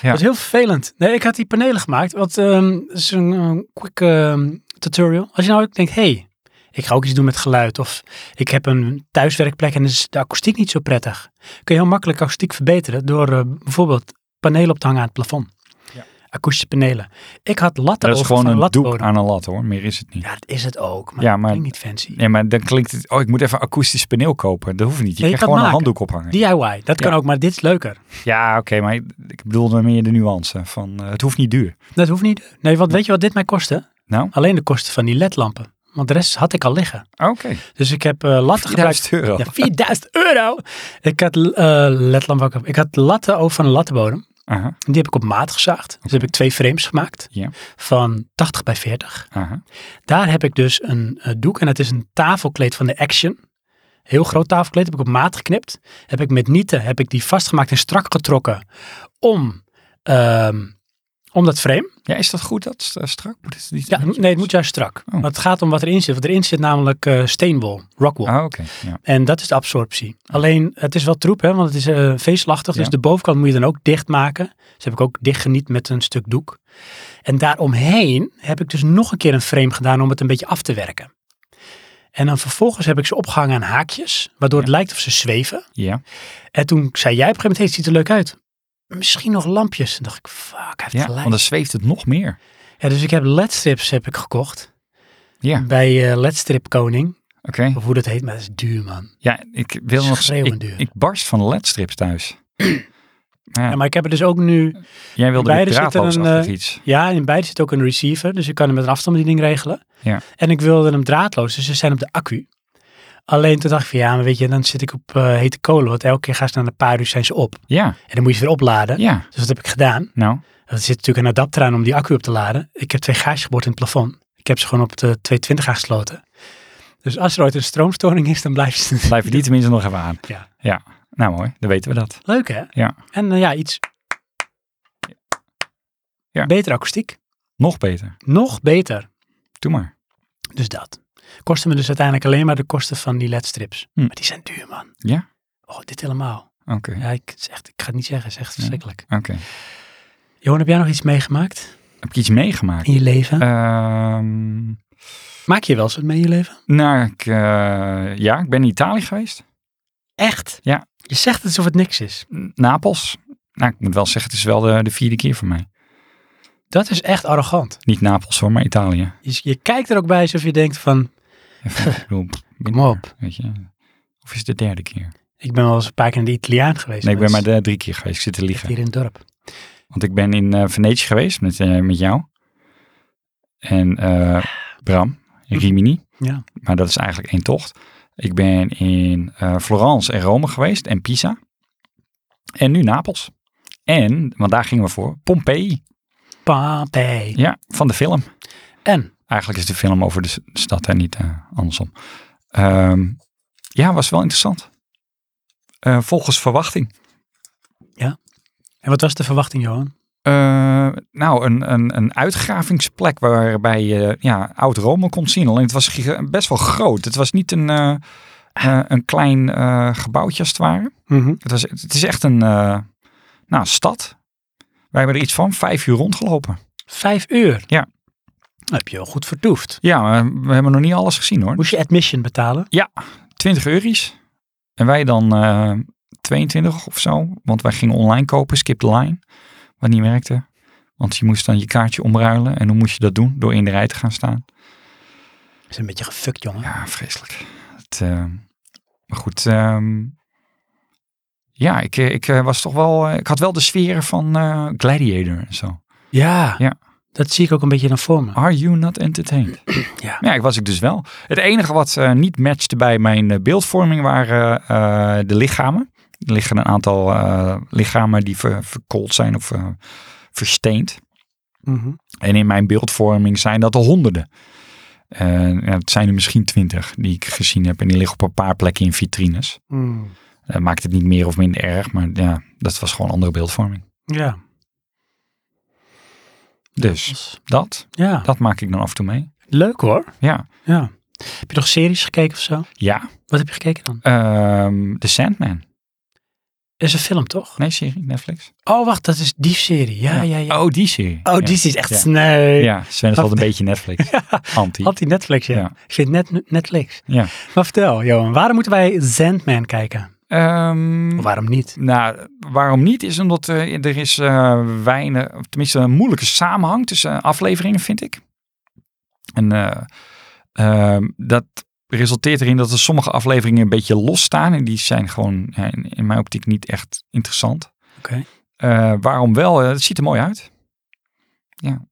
Speaker 2: Ja.
Speaker 1: Dat is heel vervelend. Nee, ik had die panelen gemaakt, want ehm, het is een eh, quick ehm, tutorial. Als je nou ook denkt, hey, ik ga ook iets doen met geluid of ik heb een thuiswerkplek en is de akoestiek niet zo prettig. Kun je heel makkelijk akoestiek verbeteren door eh, bijvoorbeeld panelen op te hangen aan het plafond.
Speaker 2: Ja.
Speaker 1: Akoestische panelen. Ik had latten
Speaker 2: Dat is
Speaker 1: over
Speaker 2: gewoon
Speaker 1: van
Speaker 2: een doek
Speaker 1: lattenbodem.
Speaker 2: aan een lat hoor. Meer is het niet.
Speaker 1: Ja, dat is het ook, maar,
Speaker 2: Ja,
Speaker 1: ja,
Speaker 2: maar-
Speaker 1: klinkt niet fancy.
Speaker 2: Ja, maar dan klinkt het... Oh, ik moet even een akoestisch paneel kopen. Dat hoeft niet. Je
Speaker 1: Ja, je
Speaker 2: kan
Speaker 1: kan
Speaker 2: gewoon een
Speaker 1: maken.
Speaker 2: handdoek ophangen.
Speaker 1: DIY, dat kan ook, maar dit is leuker.
Speaker 2: Ja, oké. maar ik- ik bedoelde meer de nuance. Van, eh, het hoeft niet duur.
Speaker 1: Dat hoeft niet. Nee, want weet je wat dit mij kostte?
Speaker 2: Nou?
Speaker 1: Alleen de kosten van die ledlampen. Want de rest had ik al liggen.
Speaker 2: Oké.
Speaker 1: Dus ik heb eh, latten gebruikt.
Speaker 2: 1000 euro.
Speaker 1: Ja, 4000 euro! Ik had eh ledlamp ook. Ik had latten over van een lattenbodem.
Speaker 2: Aha,
Speaker 1: En Die heb ik op maat gezaagd. Dus heb ik twee frames gemaakt.
Speaker 2: Ja.
Speaker 1: Van 80 bij 40.
Speaker 2: aha.
Speaker 1: Daar heb ik dus een eh, doek. En dat is een tafelkleed van de Action. Heel groot tafelkleed. Heb ik op maat geknipt. Heb ik met nieten heb ik die vastgemaakt en strak getrokken. Om, ehm, om dat frame.
Speaker 2: Ja, is dat goed? Dat st- strak? Moet het niet
Speaker 1: Ja, nee, het moet juist strak.
Speaker 2: Oh.
Speaker 1: Want het gaat om wat erin zit. Wat erin zit namelijk eh steenwol, rockwol.
Speaker 2: Ah, oké. Ja.
Speaker 1: En dat is de absorptie. Alleen, het is wel troep, hè, want het is eh, veeslachtig.
Speaker 2: Ja.
Speaker 1: Dus de bovenkant moet je dan ook dicht maken. Dus heb ik ook dicht geniet met een stuk doek. En daaromheen heb ik dus nog een keer een frame gedaan om het een beetje af te werken. En dan vervolgens heb ik ze opgehangen aan haakjes, waardoor het lijkt of ze zweven.
Speaker 2: ja.
Speaker 1: En toen zei jij op een gegeven moment, hey, het ziet er leuk uit. Misschien nog lampjes. En dacht ik, fuck, hij heeft
Speaker 2: ja
Speaker 1: gelijk.
Speaker 2: want dan zweeft het nog meer.
Speaker 1: Ja, dus ik heb ledstrips heb ik gekocht
Speaker 2: Ja, oké.
Speaker 1: bij eh Ledstrip Koning. Of hoe dat heet, maar dat is duur, man.
Speaker 2: Ja, ik wil nog...
Speaker 1: Schreeuwend
Speaker 2: Ik,
Speaker 1: duur.
Speaker 2: ik barst van ledstrips thuis. Ja,
Speaker 1: Ja, maar ik heb er dus ook nu...
Speaker 2: Jij wilde weer
Speaker 1: beide zitten
Speaker 2: draadloos
Speaker 1: een,
Speaker 2: achter
Speaker 1: eh,
Speaker 2: iets.
Speaker 1: Ja, in beide zit ook een receiver, dus ik kan hem met een afstandsbediening regelen.
Speaker 2: Ja.
Speaker 1: En ik wilde hem draadloos, dus ze zijn op de accu. Alleen toen dacht ik van, ja, maar weet je, dan zit ik op eh, hete kolen, want elke keer gaan ze na een paar uur dus zijn ze op.
Speaker 2: Ja,
Speaker 1: En dan moet je ze weer opladen.
Speaker 2: ja.
Speaker 1: Dus dat heb ik gedaan.
Speaker 2: Nou,
Speaker 1: Er zit natuurlijk een adapter aan om die accu op te laden. Ik heb twee gaatjes geboord in het plafond. Ik heb ze gewoon op de 220 aangesloten. Dus als er ooit een stroomstoring is, dan blijft ze
Speaker 2: blijven die tenminste nog even aan.
Speaker 1: Ja.
Speaker 2: Ja. Nou mooi, dan weten we dat.
Speaker 1: Leuk hè?
Speaker 2: Ja.
Speaker 1: En eh, ja, iets.
Speaker 2: Ja.
Speaker 1: Beter akoestiek.
Speaker 2: Nog beter.
Speaker 1: Nog beter.
Speaker 2: Doe maar.
Speaker 1: Dus dat. Kosten me dus uiteindelijk alleen maar de kosten van die ledstrips.
Speaker 2: Hm.
Speaker 1: Maar die zijn duur, man.
Speaker 2: Ja?
Speaker 1: Oh, dit helemaal.
Speaker 2: Oké.
Speaker 1: Ja, ik, het is echt, ik ga het niet zeggen. Het is echt verschrikkelijk.
Speaker 2: Oké.
Speaker 1: Johan, heb jij nog iets meegemaakt
Speaker 2: Heb ik iets meegemaakt?
Speaker 1: in je
Speaker 2: Eh.
Speaker 1: leven?
Speaker 2: Ehm,
Speaker 1: Maak je wel eens wat mee in je leven?
Speaker 2: nou, ik, eh, ja, ik ben in Italië geweest.
Speaker 1: Echt?
Speaker 2: Ja.
Speaker 1: Je zegt het alsof het niks is.
Speaker 2: Napels. Nou, ik moet wel zeggen, het is wel de, de vierde keer voor mij.
Speaker 1: Dat is echt arrogant.
Speaker 2: Niet Napels hoor, maar Italië.
Speaker 1: Je, je kijkt er ook bij alsof je denkt van,
Speaker 2: Even, ik bedoel, pff,
Speaker 1: kom op.
Speaker 2: Weet je. Of is het de derde keer?
Speaker 1: Ik ben wel eens een paar keer in de Italiaan geweest.
Speaker 2: Nee, ik ben
Speaker 1: dat
Speaker 2: maar
Speaker 1: is
Speaker 2: de drie keer geweest. Ik zit te
Speaker 1: echt
Speaker 2: liegen.
Speaker 1: hier in het dorp.
Speaker 2: Want ik ben in eh Venetië geweest met, eh, met jou. En eh, Bram in Rimini.
Speaker 1: Ja.
Speaker 2: Maar dat is eigenlijk één tocht. Ik ben in eh, Florence en Rome geweest en Pisa. En nu Napels. En, want daar gingen we voor, Pompeii.
Speaker 1: Pompeii.
Speaker 2: Ja, van de film.
Speaker 1: En?
Speaker 2: Eigenlijk is de film over de s- stad en niet eh, andersom. Ehm, ja, was wel interessant. Eh, volgens verwachting.
Speaker 1: En wat was de verwachting, Johan?
Speaker 2: Eh, nou, een, een, een uitgravingsplek waarbij je ja, oud-Rome kon zien. Alleen het was giga- best wel groot. Het was niet een, eh, eh, een klein eh, gebouwtje als het ware. Het, was, het is echt een eh, nou, stad. Wij hebben er iets van vijf uur rondgelopen.
Speaker 1: Vijf uur.
Speaker 2: Ja.
Speaker 1: Dan heb je wel goed vertoefd.
Speaker 2: Ja, maar we hebben nog niet alles gezien hoor.
Speaker 1: Moest je admission betalen?
Speaker 2: 20 euro's. En wij dan eh 22 of zo. Want wij gingen online kopen, skip the line. Wat niet werkte. Want je moest dan je kaartje omruilen. En hoe moest je dat doen? Door in de rij te gaan staan.
Speaker 1: Dat is een beetje gefukt, jongen.
Speaker 2: Ja, vreselijk. Het, eh, maar goed, ehm, ja, ik, eh, ik eh, was toch wel. eh, Ik had wel de sfeer van eh, Gladiator en zo.
Speaker 1: Ja.
Speaker 2: Ja. Ah.
Speaker 1: Dat zie ik ook een beetje dan voor me.
Speaker 2: Are you not entertained?
Speaker 1: Ja.
Speaker 2: ja, ik was ik dus wel. Het enige wat eh, niet matchte bij mijn eh, beeldvorming waren eh, de lichamen. Er liggen een aantal eh, lichamen die ver, verkoold zijn of eh, versteend.
Speaker 1: Mhm.
Speaker 2: En in mijn beeldvorming zijn dat er honderden. Eh, ja, het zijn er misschien twintig die ik gezien heb. En die liggen op een paar plekken in vitrines.
Speaker 1: Mm.
Speaker 2: Eh, maakt het niet meer of minder erg. Maar ja, dat was gewoon andere beeldvorming.
Speaker 1: Ja.
Speaker 2: Dus dat,
Speaker 1: Ja.
Speaker 2: dat maak ik dan af en toe mee.
Speaker 1: Leuk hoor.
Speaker 2: Ja,
Speaker 1: Ja. Heb je nog series gekeken of zo?
Speaker 2: ja.
Speaker 1: Wat heb je gekeken dan?
Speaker 2: Ehm The Sandman.
Speaker 1: Is een film toch?
Speaker 2: Nee, serie, Netflix.
Speaker 1: Oh, wacht, dat is die serie. Ja, ja, ja.
Speaker 2: Oh, die serie.
Speaker 1: Oh,
Speaker 2: Ja.
Speaker 1: die is echt
Speaker 2: Ja.
Speaker 1: sneu.
Speaker 2: Ja, Sven is altijd een beetje Netflix. Anti.
Speaker 1: Had die Netflix, ja.
Speaker 2: Ja.
Speaker 1: Ik vind net, Netflix.
Speaker 2: Ja.
Speaker 1: Maar vertel, Johan, waarom moeten wij Sandman kijken?
Speaker 2: Ehm,
Speaker 1: Of waarom niet?
Speaker 2: Nou, waarom niet? Is omdat eh, er is eh, weinig, of tenminste een moeilijke samenhang tussen eh, afleveringen, vind ik. En eh, ehm, dat resulteert erin dat er sommige afleveringen een beetje losstaan. En die zijn gewoon ja, in, in mijn optiek niet echt interessant.
Speaker 1: Oké.
Speaker 2: Eh, waarom wel? Eh, het ziet er mooi uit. Ja.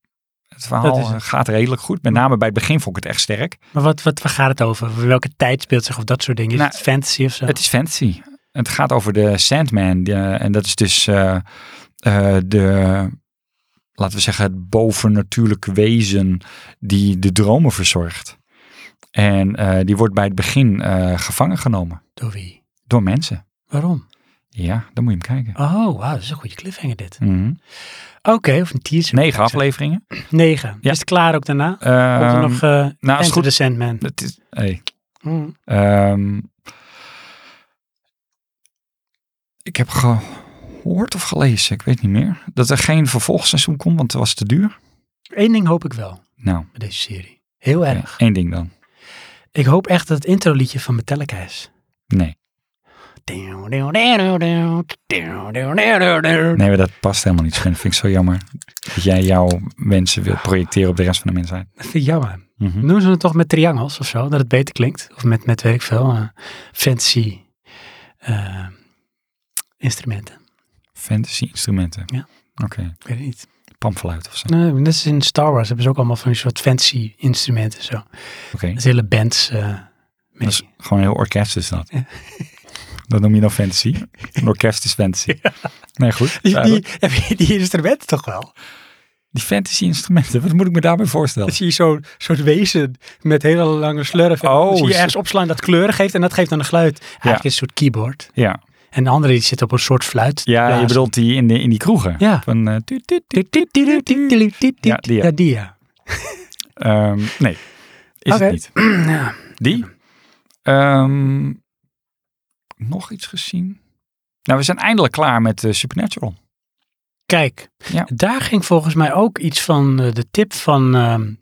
Speaker 2: Het verhaal
Speaker 1: Dat is het.
Speaker 2: eh, gaat redelijk goed. Met name bij het begin vond ik het echt sterk.
Speaker 1: Maar wat, wat, waar gaat het over? Welke tijd speelt zich of dat soort dingen? Is
Speaker 2: Nou,
Speaker 1: het fantasy of zo?
Speaker 2: Het is fantasy. Het gaat over de Sandman. die, eh, en dat is dus eh, eh, de, laten we zeggen, het bovennatuurlijke wezen die de dromen verzorgt. En eh, die wordt bij het begin eh, gevangen genomen
Speaker 1: Door wie?
Speaker 2: door mensen.
Speaker 1: Waarom?
Speaker 2: Ja, dan moet je hem kijken.
Speaker 1: Oh, wauw, dat is een goede cliffhanger dit.
Speaker 2: Mhm.
Speaker 1: Oké, of een teaser.
Speaker 2: Negen afleveringen.
Speaker 1: Negen.
Speaker 2: Ja.
Speaker 1: Is het klaar ook daarna? Komt er
Speaker 2: Ehm,
Speaker 1: nog eh
Speaker 2: nou, is
Speaker 1: Enter
Speaker 2: goed.
Speaker 1: the Sandman?
Speaker 2: Het is, hey,
Speaker 1: Hm.
Speaker 2: Ehm, ik heb gehoord of gelezen, ik weet niet meer, dat er geen vervolgseizoen komt, want het was te duur.
Speaker 1: Eén ding hoop ik wel
Speaker 2: Nou,
Speaker 1: met deze serie. Heel
Speaker 2: oké,
Speaker 1: erg.
Speaker 2: één ding dan.
Speaker 1: Ik hoop echt dat het introliedje van Metallica is.
Speaker 2: Nee, nee, maar dat past helemaal niet. Sven. vind ik zo jammer dat jij jouw wensen wilt projecteren op de rest van de mensheid.
Speaker 1: Dat vind ik jammer.
Speaker 2: Mhm.
Speaker 1: Noemen ze het toch met triangels of zo, dat het beter klinkt? Of met, met weet ik veel, eh, fancy eh, instrumenten.
Speaker 2: Fantasy instrumenten.
Speaker 1: Ja.
Speaker 2: Oké,
Speaker 1: Ik weet het niet.
Speaker 2: pamfluit of zo.
Speaker 1: Nee, net als in Star Wars hebben ze ook allemaal van die soort fancy instrumenten zo.
Speaker 2: Oké,
Speaker 1: Dat is hele bands eh mee.
Speaker 2: dat is gewoon een heel orkest is dat. Dat noem je dan fantasy? Een orkest is fantasy. Nee, goed.
Speaker 1: Die,
Speaker 2: duidelijk.
Speaker 1: die, heb je die instrumenten toch wel?
Speaker 2: Die fantasy instrumenten, wat moet ik me daarbij voorstellen?
Speaker 1: Dan zie je zo'n soort wezen met hele lange slurf. En
Speaker 2: Oh,
Speaker 1: dan zie je
Speaker 2: zo-
Speaker 1: ergens opslaan dat kleuren geeft en dat geeft dan een geluid. Eigenlijk is
Speaker 2: Ja.
Speaker 1: het een soort keyboard.
Speaker 2: Ja,
Speaker 1: En de andere die zit op een soort fluit. te
Speaker 2: ja je
Speaker 1: blazen.
Speaker 2: bedoelt die in, de, in die kroegen.
Speaker 1: Ja.
Speaker 2: Van, eh, tuut, tuut, tuut.
Speaker 1: Ja,
Speaker 2: Ja,
Speaker 1: die
Speaker 2: die,
Speaker 1: ja.
Speaker 2: ja. Ehm, nee, is
Speaker 1: Oké.
Speaker 2: het niet. Die. Ehm, nog iets gezien? Nou, we zijn eindelijk klaar met eh, Supernatural.
Speaker 1: Kijk,
Speaker 2: Ja.
Speaker 1: daar ging volgens mij ook iets van eh, de tip van ehm,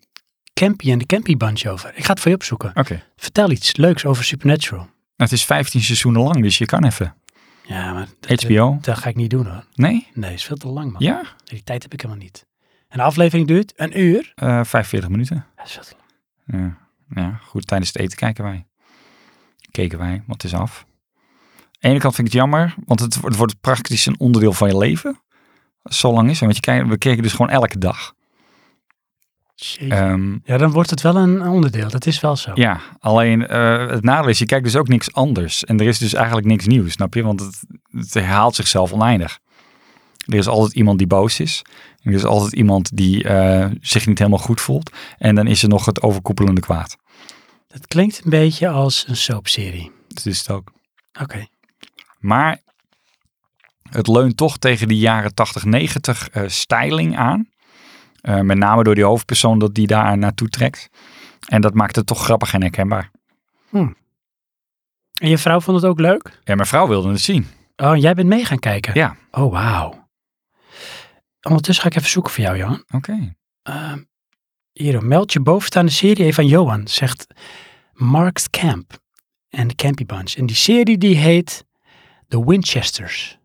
Speaker 1: Campy en de Campy Bunch over. Ik ga het voor je opzoeken.
Speaker 2: Oké.
Speaker 1: Vertel iets leuks over Supernatural.
Speaker 2: Nou, het is 15 seizoenen lang, dus je kan even.
Speaker 1: Ja, maar dat,
Speaker 2: HBO?
Speaker 1: dat ga ik niet doen hoor.
Speaker 2: Nee?
Speaker 1: Nee, is veel te lang man.
Speaker 2: Ja?
Speaker 1: Die tijd heb ik helemaal niet. Een aflevering duurt een uur.
Speaker 2: Eh 45 minuten.
Speaker 1: Dat is veel te lang.
Speaker 2: Ja. ja, goed. Tijdens het eten kijken wij. Keken wij, want het is af. Aan de ene kant vind ik het jammer, want het, wordt- het wordt praktisch een onderdeel van je leven. Zo lang is het. Want je kijkt, we keken dus gewoon elke dag.
Speaker 1: Jeetje.
Speaker 2: Ehm,
Speaker 1: Ja, dan wordt het wel een onderdeel. Dat is wel zo.
Speaker 2: Ja, alleen eh, het nadeel is, je kijkt dus ook niks anders. En er is dus eigenlijk niks nieuws, snap je? Want het, het herhaalt zichzelf oneindig. Er is altijd iemand die boos is. Er is altijd iemand die eh, zich niet helemaal goed voelt. En dan is er nog het overkoepelende kwaad.
Speaker 1: Dat klinkt een beetje als een soapserie.
Speaker 2: Dat Dus is het ook.
Speaker 1: Oké.
Speaker 2: Maar het leunt toch tegen die jaren 80-90 eh, styling aan. Eh, met name door die hoofdpersoon dat die daar naartoe trekt. En dat maakt het toch grappig en herkenbaar.
Speaker 1: En je vrouw vond het ook leuk?
Speaker 2: Ja, mijn vrouw wilde het zien.
Speaker 1: Oh, en jij bent mee gaan kijken?
Speaker 2: Ja.
Speaker 1: Oh, wauw. Ondertussen ga ik even zoeken voor jou, Johan.
Speaker 2: Oké.
Speaker 1: Ehm, hier, meld je bovenstaande serie even aan Johan, zegt Marks Camp en de Campy Bunch. En die serie die heet The Winchesters.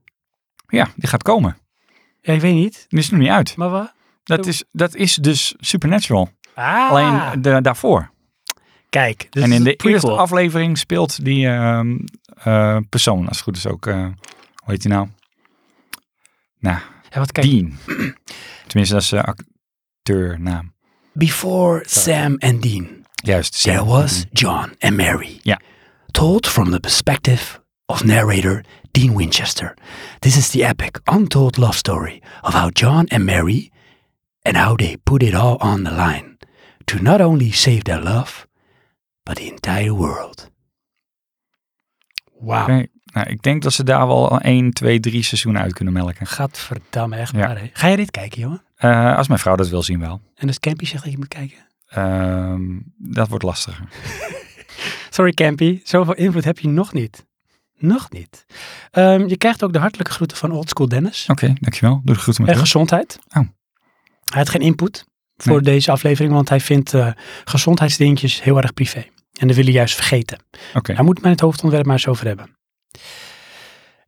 Speaker 2: Ja, die gaat komen.
Speaker 1: Ja, ik weet niet,
Speaker 2: Die is nog niet uit.
Speaker 1: maar wat?
Speaker 2: Dat is, dat is dus Supernatural.
Speaker 1: Ah,
Speaker 2: Alleen de, daarvoor.
Speaker 1: kijk. dit
Speaker 2: en
Speaker 1: is
Speaker 2: in de
Speaker 1: een prequel.
Speaker 2: eerste aflevering speelt die ehm, eh, persoon, als het goed is ook. eh, hoe heet die nou? Nou,
Speaker 1: Ja, wat kijk,
Speaker 2: Dean. Tenminste, dat is de acteurnaam.
Speaker 1: Before Sam and Dean,
Speaker 2: Juist. Sam.
Speaker 1: there was John and Mary.
Speaker 2: Ja.
Speaker 1: Told from the perspective of narrator Dean Winchester. This is the epic, untold love story of how John and Mary and how they put it all on the line to not only save their love, but the entire world. Wow.
Speaker 2: Oké, Nou, ik denk dat ze daar wel 1, 2, 3 seizoenen uit kunnen melken.
Speaker 1: Gadverdamme, echt
Speaker 2: Ja.
Speaker 1: maar. Hè. Ga je dit kijken, jongen?
Speaker 2: Eh, als mijn vrouw dat wil zien wel.
Speaker 1: En dus Campy zegt dat je moet kijken.
Speaker 2: Ehm, dat wordt lastiger.
Speaker 1: Sorry Campy, zoveel invloed heb je nog niet. Nog niet. Ehm, je krijgt ook de hartelijke groeten van Oldschool Dennis.
Speaker 2: Oké, dankjewel. Doe de groeten met
Speaker 1: En
Speaker 2: rust.
Speaker 1: gezondheid.
Speaker 2: Oh.
Speaker 1: Hij had geen input voor
Speaker 2: Nee.
Speaker 1: deze aflevering, want hij vindt eh, gezondheidsdingetjes heel erg privé. En dat wil hij juist vergeten.
Speaker 2: Oké,
Speaker 1: Hij moet het met het hoofdonderwerp maar eens over hebben.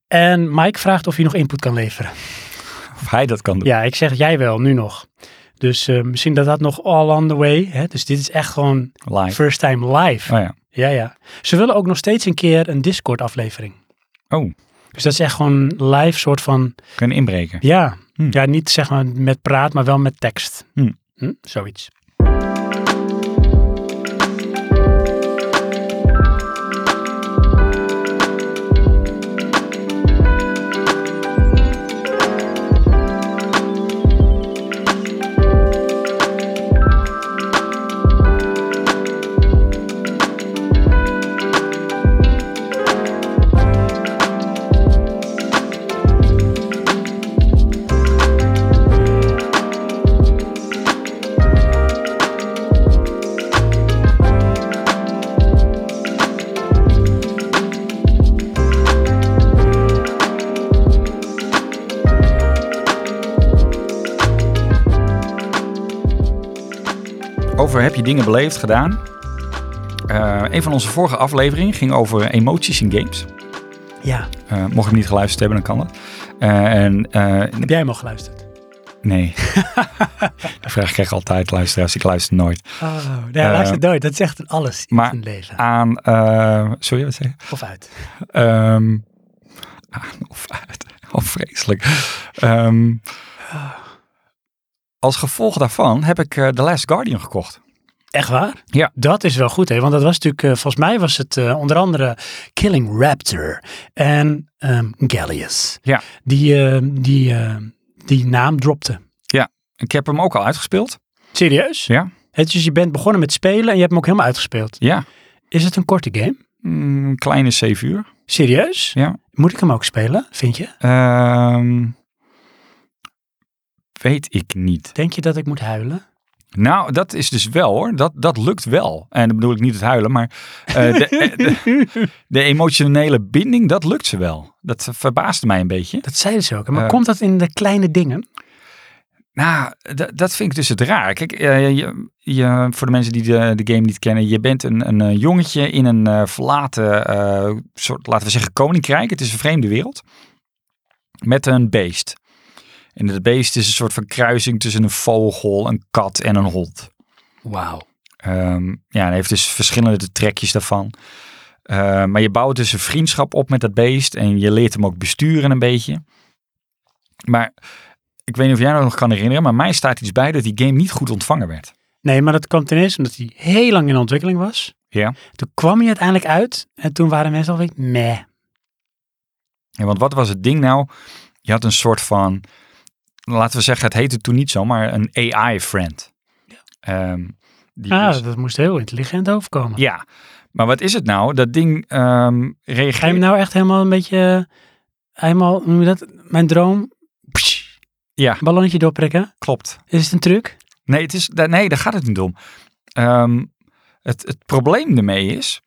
Speaker 1: En Mike vraagt of hij nog input kan leveren.
Speaker 2: of hij dat kan doen.
Speaker 1: Ja, ik zeg jij wel, nu nog. Dus eh, misschien dat dat nog all on the way. Hè? Dus dit is echt gewoon
Speaker 2: Live.
Speaker 1: first time live.
Speaker 2: Oh ja.
Speaker 1: Ja, ja. Ze willen ook nog steeds een keer een Discord aflevering.
Speaker 2: Oh,
Speaker 1: Dus dat is echt gewoon live soort van,
Speaker 2: kunnen inbreken.
Speaker 1: ja.
Speaker 2: Hmm.
Speaker 1: Ja, niet zeg maar met praat, maar wel met tekst.
Speaker 2: Hmm.
Speaker 1: Hm? Zoiets.
Speaker 2: Over heb je dingen beleefd gedaan. Eh, een van onze vorige afleveringen ging over emoties in games.
Speaker 1: Ja,
Speaker 2: Eh, mocht je hem niet geluisterd hebben, dan kan dat. Eh, en eh,
Speaker 1: heb jij hem al geluisterd?
Speaker 2: nee, de vraag krijg ik altijd luisteraars. Ik luister nooit.
Speaker 1: Oh, nee, luister nooit. Dat is echt alles in
Speaker 2: Eh, maar-
Speaker 1: zijn leven.
Speaker 2: Aan, eh sorry, wat zeg je?
Speaker 1: Of uit.
Speaker 2: Ehm, aan of uit. Al vreselijk. Ehm, als gevolg daarvan heb ik eh, The Last Guardian gekocht.
Speaker 1: Echt waar?
Speaker 2: Ja.
Speaker 1: Dat is wel goed, hè? Want dat was natuurlijk, eh, volgens mij was het eh, onder andere Killing Raptor en ehm Gallius.
Speaker 2: Ja.
Speaker 1: Die, eh, die, eh, die naam dropte.
Speaker 2: Ik heb hem ook al uitgespeeld.
Speaker 1: Serieus?
Speaker 2: Ja.
Speaker 1: Het, dus je bent begonnen met spelen en je hebt hem ook helemaal uitgespeeld.
Speaker 2: Ja,
Speaker 1: Is het een korte game?
Speaker 2: Mm, kleine 7 uur.
Speaker 1: Serieus?
Speaker 2: Ja.
Speaker 1: Moet ik hem ook spelen, vind je?
Speaker 2: Ehm, weet ik niet.
Speaker 1: Denk je dat ik moet huilen?
Speaker 2: Nou, dat is dus wel hoor. Dat, dat lukt wel. En dan bedoel ik niet het huilen, maar eh, de, eh, de- de emotionele binding, dat lukt ze wel. Dat verbaasde mij een beetje.
Speaker 1: Dat zeiden ze ook. hè? Maar
Speaker 2: Eh.
Speaker 1: komt dat in de kleine dingen?
Speaker 2: Nou, d- dat vind ik dus het raar. Kijk, eh, je, je, voor de mensen die de, de game niet kennen, je bent een, een eh, jongetje in een eh, verlaten, eh, soort, laten we zeggen, koninkrijk. Het is een vreemde wereld. Met een beest. En dat beest is een soort van kruising tussen een vogel, een kat en een hond.
Speaker 1: Wauw.
Speaker 2: Ehm, ja, en hij heeft dus verschillende trekjes daarvan. Ehm, maar je bouwt dus een vriendschap op met dat beest en je leert hem ook besturen een beetje. Maar ik weet niet of jij dat nog kan herinneren, maar mij staat iets bij dat die game niet goed ontvangen werd.
Speaker 1: Nee, maar dat kwam ten eerste omdat hij heel lang in ontwikkeling was.
Speaker 2: Ja.
Speaker 1: Toen kwam hij uiteindelijk uit en toen waren mensen alweer meh.
Speaker 2: Ja, want wat was het ding nou? Je had een soort van, laten we zeggen, het heette toen niet zo, maar een AI-friend. die
Speaker 1: Ah,
Speaker 2: dus-
Speaker 1: dat moest heel intelligent overkomen.
Speaker 2: ja, maar wat is het nou? Dat ding ehm
Speaker 1: Ga je
Speaker 2: reageert...
Speaker 1: hem nou echt helemaal een beetje, eh, helemaal, hoe noem je dat, mijn droom, Pssch.
Speaker 2: Ja.
Speaker 1: ballonnetje doorprikken?
Speaker 2: Klopt.
Speaker 1: Is het een truc?
Speaker 2: Nee, het is, da- nee daar gaat het niet om. Ehm, het, het probleem ermee is,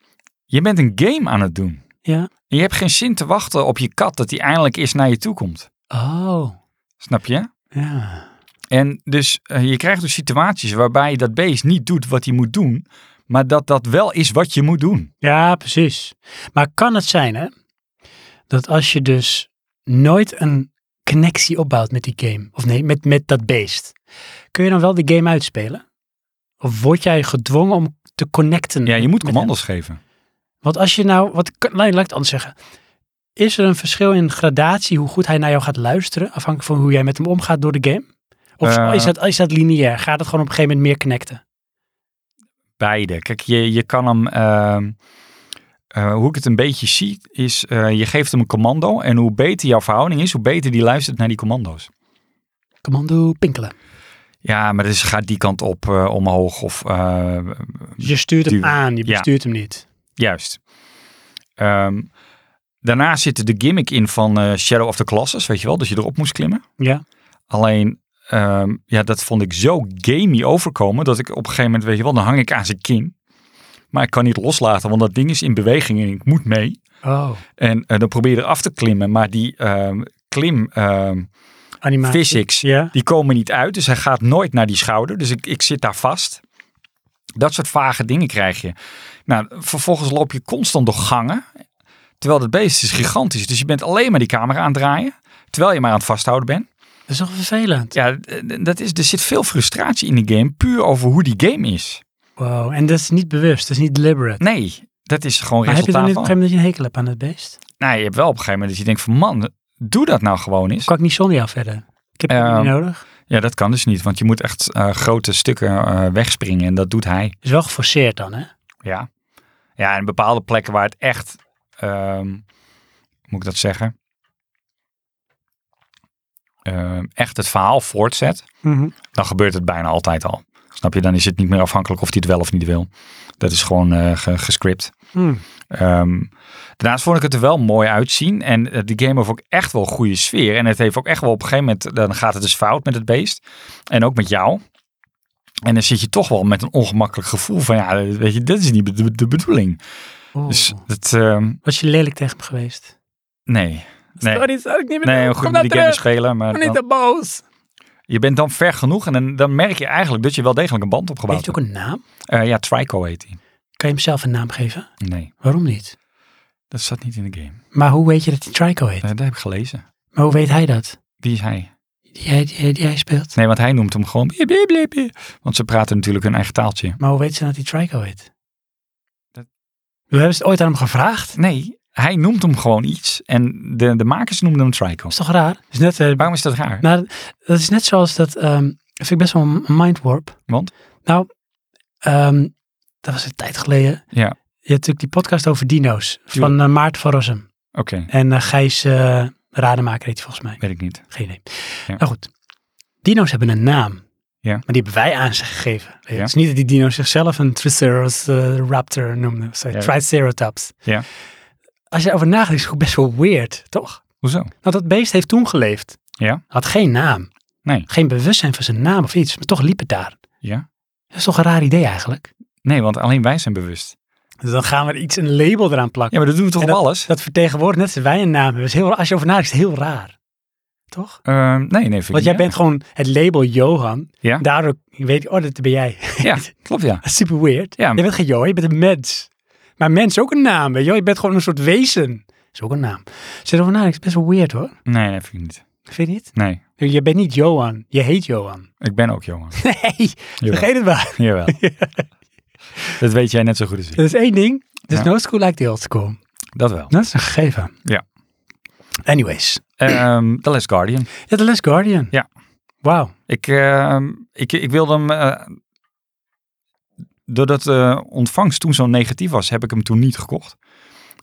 Speaker 2: je bent een game aan het doen.
Speaker 1: Ja.
Speaker 2: En je hebt geen zin te wachten op je kat dat die eindelijk eens naar je toe komt.
Speaker 1: Oh,
Speaker 2: Snap je?
Speaker 1: ja.
Speaker 2: En dus eh, je krijgt dus situaties waarbij dat beest niet doet wat hij moet doen, maar dat dat wel is wat je moet doen.
Speaker 1: Ja, precies. Maar kan het zijn, hè, dat als je dus nooit een connectie opbouwt met die game, of nee, met, met dat beest, kun je dan wel de game uitspelen? Of word jij gedwongen om te connecten?
Speaker 2: Ja, je moet
Speaker 1: met hem?
Speaker 2: commando's geven.
Speaker 1: Want als je nou, wat, kan- nee, laat ik het anders zeggen. Is er een verschil in gradatie hoe goed hij naar jou gaat luisteren, afhankelijk van hoe jij met hem omgaat door de game? Of
Speaker 2: Eh.
Speaker 1: is, dat, is dat lineair? Gaat het gewoon op een gegeven moment meer connecten?
Speaker 2: Beide. Kijk, je, je kan hem... ehm, eh, hoe ik het een beetje zie, is eh, je geeft hem een commando. En hoe beter jouw verhouding is, hoe beter die luistert naar die commando's.
Speaker 1: Commando pinkelen.
Speaker 2: Ja, maar dus gaat die kant op, eh, omhoog of eh,
Speaker 1: Je stuurt hem
Speaker 2: Duwen.
Speaker 1: aan, je
Speaker 2: Ja.
Speaker 1: bestuurt hem niet.
Speaker 2: juist. Ehm, Daarna zit de gimmick in van eh, Shadow of the Colossus, weet je wel, dat je erop moest klimmen.
Speaker 1: Ja.
Speaker 2: Alleen, ehm, ja, dat vond ik zo gamey overkomen dat ik op een gegeven moment, weet je wel, dan hang ik aan zijn kin. Maar ik kan niet loslaten, want dat ding is in beweging en ik moet mee.
Speaker 1: Oh,
Speaker 2: En eh, dan probeer je eraf te klimmen, maar die ehm, klim ehm,
Speaker 1: animatie.
Speaker 2: physics,
Speaker 1: Ja.
Speaker 2: die komen niet uit. Dus hij gaat nooit naar die schouder. Dus ik, ik zit daar vast. Dat soort vage dingen krijg je. Nou, vervolgens loop je constant door gangen. Terwijl dat beest is gigantisch. Dus je bent alleen maar die camera aan het draaien. Terwijl je maar aan het vasthouden bent.
Speaker 1: Dat is toch vervelend?
Speaker 2: Ja, d- dat is, er zit veel frustratie in die game. Puur over hoe die game is.
Speaker 1: Wow, en dat is niet bewust, dat is niet deliberate.
Speaker 2: Nee, dat is gewoon
Speaker 1: maar heb je dan niet
Speaker 2: resultaat
Speaker 1: op een
Speaker 2: van.
Speaker 1: gegeven moment dat je een hekel hebt aan het beest?
Speaker 2: Nou, je hebt wel op een gegeven moment dat je denkt van man, doe dat nou gewoon eens.
Speaker 1: Kan ik niet zonder jou verder? Ik heb je
Speaker 2: Ehm,
Speaker 1: niet nodig.
Speaker 2: Ja, dat kan dus niet. Want je moet echt eh, grote stukken eh, wegspringen. En dat doet hij.
Speaker 1: Is wel geforceerd dan, hè?
Speaker 2: Ja. Ja, en bepaalde plekken waar het echt, ehm, moet ik dat zeggen, Ehm, echt het verhaal voortzet,
Speaker 1: Mhm.
Speaker 2: dan gebeurt het bijna altijd al. Snap je? Dan is het niet meer afhankelijk of hij het wel of niet wil. Dat is gewoon eh, ge- gescript.
Speaker 1: Hmm.
Speaker 2: Ehm, daarnaast vond ik het er wel mooi uitzien. En eh, die game heeft ook echt wel een goede sfeer. En het heeft ook echt wel op een gegeven moment, dan gaat het dus fout met het beest. En ook met jou. En dan zit je toch wel met een ongemakkelijk gevoel van, ja, weet je, dit is niet de, de bedoeling.
Speaker 1: Oeh.
Speaker 2: Dus dat, ehm,
Speaker 1: Was je lelijk tegen hem geweest?
Speaker 2: nee. Nee,
Speaker 1: Sorry, dat zou ik niet meer
Speaker 2: nee
Speaker 1: doen.
Speaker 2: een goed
Speaker 1: Kom
Speaker 2: moet
Speaker 1: nou
Speaker 2: die game
Speaker 1: terug.
Speaker 2: spelen. Maar
Speaker 1: Ik ben niet
Speaker 2: dan-
Speaker 1: te boos.
Speaker 2: je bent dan ver genoeg en dan, dan merk je eigenlijk dat je wel degelijk een band opgebouwd
Speaker 1: Heeft hij
Speaker 2: hebt.
Speaker 1: ook een naam?
Speaker 2: Eh, ja, Trico heet hij.
Speaker 1: Kan je hem zelf een naam geven?
Speaker 2: Nee,
Speaker 1: Waarom niet?
Speaker 2: dat zat niet in de game.
Speaker 1: Maar hoe weet je dat hij Trico heet?
Speaker 2: Eh, dat heb ik gelezen.
Speaker 1: Maar hoe weet hij dat?
Speaker 2: Wie is hij?
Speaker 1: Die hij, die hij- die hij speelt.
Speaker 2: Nee, want hij noemt hem gewoon. bie, bie, bie, bie. Want ze praten natuurlijk hun eigen taaltje.
Speaker 1: Maar hoe weet ze dat hij Trico heet?
Speaker 2: Dat-
Speaker 1: We hebben het ooit aan hem gevraagd. Dat
Speaker 2: Nee, hij noemt hem gewoon iets. En de, de makers noemden hem Trico.
Speaker 1: is toch raar? Dat is net, eh,
Speaker 2: Waarom is dat raar?
Speaker 1: nou, dat is net zoals dat... ehm dat vind ik best wel een mindwarp.
Speaker 2: Want?
Speaker 1: Nou, ehm, dat was een tijd geleden.
Speaker 2: Ja, oké.
Speaker 1: Je hebt natuurlijk die podcast over dino's. Van
Speaker 2: Tuurlijk.
Speaker 1: eh, Maarten van Rossum. En eh, Gijs eh, Rademaker heet hij volgens mij.
Speaker 2: Weet ik niet.
Speaker 1: Geen idee.
Speaker 2: Ja.
Speaker 1: Nou goed. Dino's hebben een naam.
Speaker 2: Ja.
Speaker 1: Maar die hebben wij aan ze gegeven. Weet je,
Speaker 2: Ja.
Speaker 1: Het is niet dat die dino's zichzelf een Triceratops eh, raptor noemden. Sorry,
Speaker 2: Ja.
Speaker 1: Triceratops.
Speaker 2: Ja.
Speaker 1: Als je daarover nadenkt, is het ook best wel weird, toch?
Speaker 2: Hoezo?
Speaker 1: Nou, dat beest heeft toen geleefd.
Speaker 2: Ja.
Speaker 1: Had geen naam.
Speaker 2: Nee.
Speaker 1: Geen bewustzijn van zijn naam of iets. Maar toch liep het daar.
Speaker 2: Ja.
Speaker 1: Dat is toch een raar idee eigenlijk?
Speaker 2: Nee, want alleen wij zijn bewust.
Speaker 1: Dus dan gaan we er iets, een label eraan plakken.
Speaker 2: Ja, maar dat doen we toch
Speaker 1: En
Speaker 2: op alles?
Speaker 1: Dat vertegenwoordigt net als wij een naam hebben. Is heel, als je over nadenkt, is het heel raar. Toch?
Speaker 2: Ehm, nee, nee, vind ik
Speaker 1: Want
Speaker 2: niet
Speaker 1: jij
Speaker 2: erg.
Speaker 1: bent gewoon het label Johan.
Speaker 2: Ja.
Speaker 1: Daardoor weet ik, oh, dat ben jij.
Speaker 2: Ja, klopt ja.
Speaker 1: Dat is super weird.
Speaker 2: Ja.
Speaker 1: Je bent geen Johan, je bent een mens. Maar mens is ook een naam, weet je wel. Je bent gewoon een soort wezen. Dat is ook een naam. Zit erover nadenkt, is best wel weird hoor.
Speaker 2: Nee, dat vind ik niet.
Speaker 1: Vind je niet?
Speaker 2: Nee,
Speaker 1: Je bent niet Johan, je heet Johan.
Speaker 2: ik ben ook Johan.
Speaker 1: Nee,
Speaker 2: Jawel.
Speaker 1: vergeet het maar.
Speaker 2: Jawel. Dat weet jij net zo goed als ik.
Speaker 1: Dat is één ding. Dus
Speaker 2: Ja.
Speaker 1: no school like the old school.
Speaker 2: Dat wel.
Speaker 1: Dat is een gegeven.
Speaker 2: Ja.
Speaker 1: Anyways.
Speaker 2: Ehm The Last Guardian.
Speaker 1: Ja, The Last Guardian.
Speaker 2: Ja.
Speaker 1: Wauw.
Speaker 2: Ik, ehm, ik, ik wilde hem... eh, doordat de ontvangst toen zo negatief was, heb ik hem toen niet gekocht.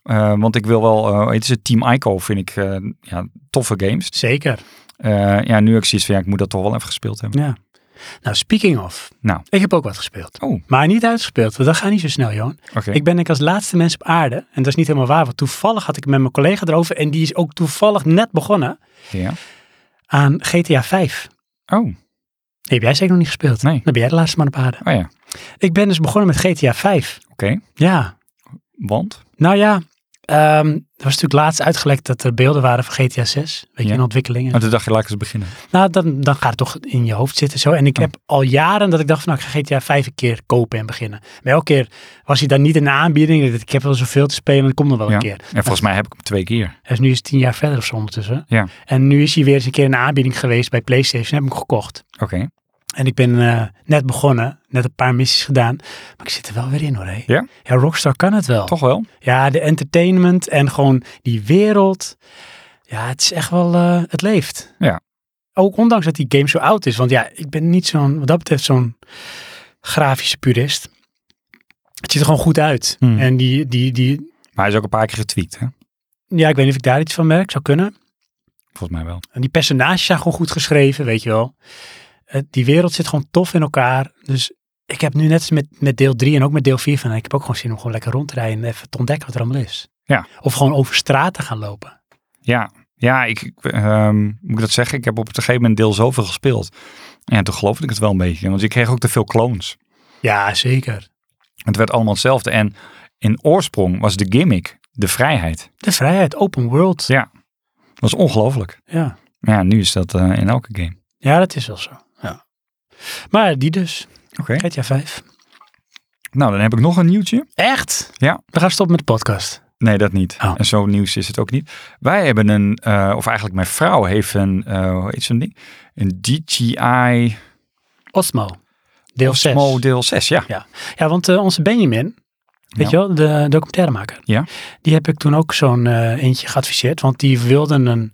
Speaker 2: Eh, want ik wil wel... eh, het is het Team Ico, vind ik eh, ja, toffe games.
Speaker 1: Zeker.
Speaker 2: Eh, ja, nu heb ik zoiets van, ja, ik moet dat toch wel even gespeeld hebben.
Speaker 1: Ja. Nou, speaking of.
Speaker 2: Nou.
Speaker 1: Ik heb ook wat gespeeld.
Speaker 2: Oh.
Speaker 1: Maar niet uitgespeeld, want dat gaat niet zo snel, Johan.
Speaker 2: Oké.
Speaker 1: Ik ben ik als laatste mens op aarde. En dat is niet helemaal waar, want toevallig had ik met mijn collega erover. En die is ook toevallig net begonnen
Speaker 2: Ja.
Speaker 1: aan GTA 5.
Speaker 2: Oh,
Speaker 1: Die heb jij zeker nog niet gespeeld.
Speaker 2: Nee.
Speaker 1: Dan ben jij de laatste man op aarde.
Speaker 2: oh ja. Oké.
Speaker 1: Ik ben dus begonnen met GTA 5. Ja.
Speaker 2: Want?
Speaker 1: Nou ja. ehm, er was natuurlijk laatst uitgelekt dat er beelden waren van GTA 6. Weet je,
Speaker 2: Ja.
Speaker 1: in ontwikkeling. en
Speaker 2: Maar toen dacht je, laat ik eens beginnen.
Speaker 1: Nou, dan, dan gaat het toch in je hoofd zitten zo. En ik
Speaker 2: Ja.
Speaker 1: heb al jaren dat ik dacht van, nou, ik ga GTA 5 een keer kopen en beginnen. Maar elke keer was hij dan niet in de aanbieding. Ik dacht, Ik heb wel zoveel te spelen, dat komt nog wel
Speaker 2: Ja.
Speaker 1: een keer.
Speaker 2: En volgens mij heb ik hem twee keer.
Speaker 1: Dus nu is het tien jaar verder of zo ondertussen.
Speaker 2: Ja.
Speaker 1: En nu is hij weer eens een keer in de aanbieding geweest bij PlayStation. Heb ik hem gekocht.
Speaker 2: Oké.
Speaker 1: En ik ben eh, net begonnen, net een paar missies gedaan. Maar ik zit er wel weer in hoor. Hé.
Speaker 2: Ja?
Speaker 1: ja, Rockstar kan het wel.
Speaker 2: Toch wel?
Speaker 1: Ja, de entertainment en gewoon die wereld. Ja, het is echt wel, eh, het leeft.
Speaker 2: Ja.
Speaker 1: Ook ondanks dat die game zo oud is. Want ja, ik ben niet zo'n, wat dat betreft, zo'n grafische purist. Het ziet er gewoon goed uit.
Speaker 2: Hmm.
Speaker 1: En die, die, die,
Speaker 2: Maar hij is ook een paar keer getweakt, hè?
Speaker 1: ja, ik weet niet of ik daar iets van merk, zou kunnen.
Speaker 2: Volgens mij wel.
Speaker 1: En die personages zijn gewoon goed geschreven, weet je wel. Het- die wereld zit gewoon tof in elkaar. Dus ik heb nu net als met, met deel 3 en ook met deel 4 van, ik heb ook gewoon zin om gewoon lekker rond te rijden en even te ontdekken wat er allemaal is.
Speaker 2: Ja.
Speaker 1: Of gewoon over straten gaan lopen.
Speaker 2: Ja, ja ik, ik, ehm, moet ik dat zeggen? Ik heb op een gegeven moment deel zoveel gespeeld. En toen geloofde ik het wel een beetje. Want ik kreeg ook te veel clones.
Speaker 1: Ja, zeker.
Speaker 2: Het werd allemaal hetzelfde. En in oorsprong was de gimmick de vrijheid.
Speaker 1: De vrijheid, open world.
Speaker 2: Ja. Dat was ongelooflijk.
Speaker 1: Ja,
Speaker 2: Maar ja, nu is dat eh, in elke game.
Speaker 1: ja dat is wel zo. Ja. Maar die dus,
Speaker 2: Oké.
Speaker 1: GTA 5.
Speaker 2: Nou, dan heb ik nog een nieuwtje.
Speaker 1: Echt?
Speaker 2: Ja.
Speaker 1: We gaan stoppen met de podcast.
Speaker 2: Nee, dat niet.
Speaker 1: Oh.
Speaker 2: En zo nieuws is het ook niet. Wij hebben een, eh, of eigenlijk mijn vrouw heeft een, eh, hoe heet zo'n ding? Een DJI
Speaker 1: Osmo, deel 6.
Speaker 2: Osmo deel 6, ja.
Speaker 1: Ja, want eh, onze Benjamin, weet je wel, de documentairemaker.
Speaker 2: Ja.
Speaker 1: Die heb ik toen ook zo'n eh, eentje geadviseerd. Want die wilde een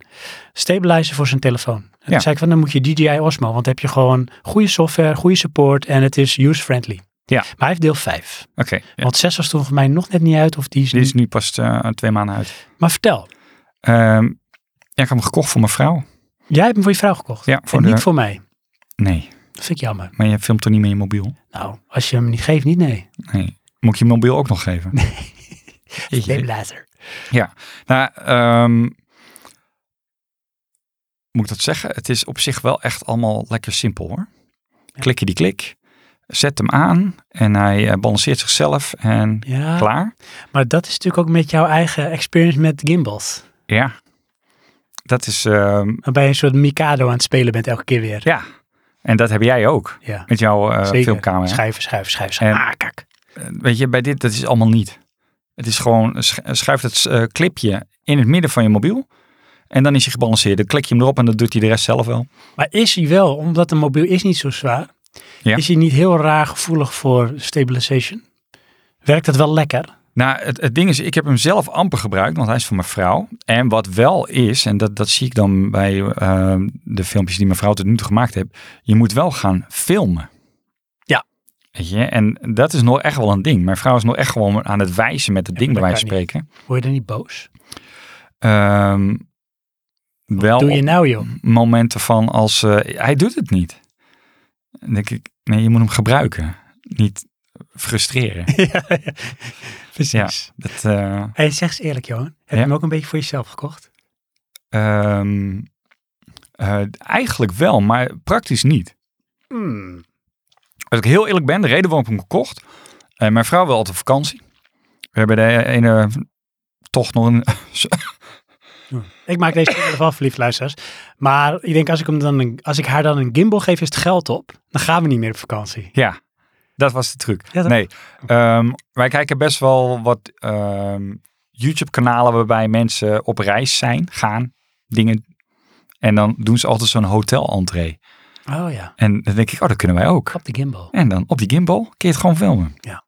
Speaker 1: stabilizer voor zijn telefoon. En
Speaker 2: Ja.
Speaker 1: toen zei ik van, dan moet je DJI Osmo. Want dan heb je gewoon goede software, goede support en het is user-friendly.
Speaker 2: Ja.
Speaker 1: Maar hij heeft deel 5.
Speaker 2: Oké. Ja.
Speaker 1: Want 6 was toen voor mij nog net niet uit. Of die is
Speaker 2: Die is
Speaker 1: niet.
Speaker 2: nu pas eh, twee maanden uit.
Speaker 1: Maar vertel,
Speaker 2: Ehm, ja, ik heb hem gekocht voor mijn vrouw.
Speaker 1: jij hebt hem voor je vrouw gekocht.
Speaker 2: Ja, voor
Speaker 1: en
Speaker 2: de-
Speaker 1: niet voor mij.
Speaker 2: Nee,
Speaker 1: Dat vind ik jammer.
Speaker 2: maar je filmt toch niet met je mobiel?
Speaker 1: Nou, als je hem niet geeft, niet nee.
Speaker 2: Nee. Moet ik je mobiel ook nog geven? Jeetje.
Speaker 1: Stabilizer.
Speaker 2: Nou, ehm, moet ik dat zeggen? Het is op zich wel echt allemaal lekker simpel hoor. Klik je die klik, zet hem aan en hij eh, balanceert zichzelf en
Speaker 1: Ja,
Speaker 2: klaar.
Speaker 1: maar dat is natuurlijk ook met jouw eigen experience met gimbals.
Speaker 2: Ja, dat is, ehm,
Speaker 1: Waarbij je een soort Mikado aan het spelen bent elke keer weer.
Speaker 2: ja. En dat heb jij ook
Speaker 1: Ja,
Speaker 2: met jouw eh,
Speaker 1: zeker.
Speaker 2: filmcamera.
Speaker 1: Schuiven, schuiven, schuiven.
Speaker 2: En-
Speaker 1: schuiven. ah, kak.
Speaker 2: Eh, Weet je, bij dit, dat is allemaal niet. Het is gewoon, sch- schuif dat eh, clipje in het midden van je mobiel. En dan is hij gebalanceerd. Dan klik je hem erop en dan doet hij de rest zelf wel.
Speaker 1: Maar is hij wel, omdat een mobiel is niet zo zwaar,
Speaker 2: Ja.
Speaker 1: is hij niet heel raar gevoelig voor stabilization? Werkt dat wel lekker?
Speaker 2: Nou, het, het ding is, ik heb hem zelf amper gebruikt, want hij is van mijn vrouw. En wat wel is, en dat, dat zie ik dan bij eh, de filmpjes die mijn vrouw tot nu toe gemaakt heeft, je moet wel gaan filmen.
Speaker 1: Ja.
Speaker 2: Weet je, en dat is nog echt wel een ding. Mijn vrouw is nog echt gewoon aan het wijzen met het
Speaker 1: Ja,
Speaker 2: ding, bij
Speaker 1: maar
Speaker 2: wijze
Speaker 1: dat
Speaker 2: van
Speaker 1: kan
Speaker 2: spreken.
Speaker 1: Word je dan niet boos?
Speaker 2: Ehm, wel
Speaker 1: Doe je nou, joh.
Speaker 2: Mm. momenten van als eh, hij doet het niet. Dan denk ik, nee, je moet hem gebruiken. Niet frustreren.
Speaker 1: ja, ja. precies.
Speaker 2: dat, eh,
Speaker 1: Hey, zeg eens eerlijk, Johan. Heb je
Speaker 2: Ja.
Speaker 1: hem ook een beetje voor jezelf gekocht?
Speaker 2: ehm, eh, eigenlijk wel, maar praktisch niet. Als ik heel eerlijk ben, de reden waarom ik hem gekocht. eh, mijn vrouw wil altijd op vakantie. We hebben de ene toch nog een.
Speaker 1: Ik maak deze film wel verliefd, luisteraars. Maar ik denk, als ik, hem dan een- als ik haar dan een gimbal geef, is het geld op. Dan gaan we niet meer op vakantie.
Speaker 2: ja, dat was de truc.
Speaker 1: Ja, dat-
Speaker 2: nee, ehm, wij kijken best wel wat ehm, YouTube-kanalen waarbij mensen op reis zijn, gaan, dingen. En dan doen ze altijd zo'n hotel-entree.
Speaker 1: Oh ja,
Speaker 2: En dan denk ik, oh, dat kunnen wij ook.
Speaker 1: op de gimbal.
Speaker 2: En dan op die gimbal kun je het gewoon filmen.
Speaker 1: Ja.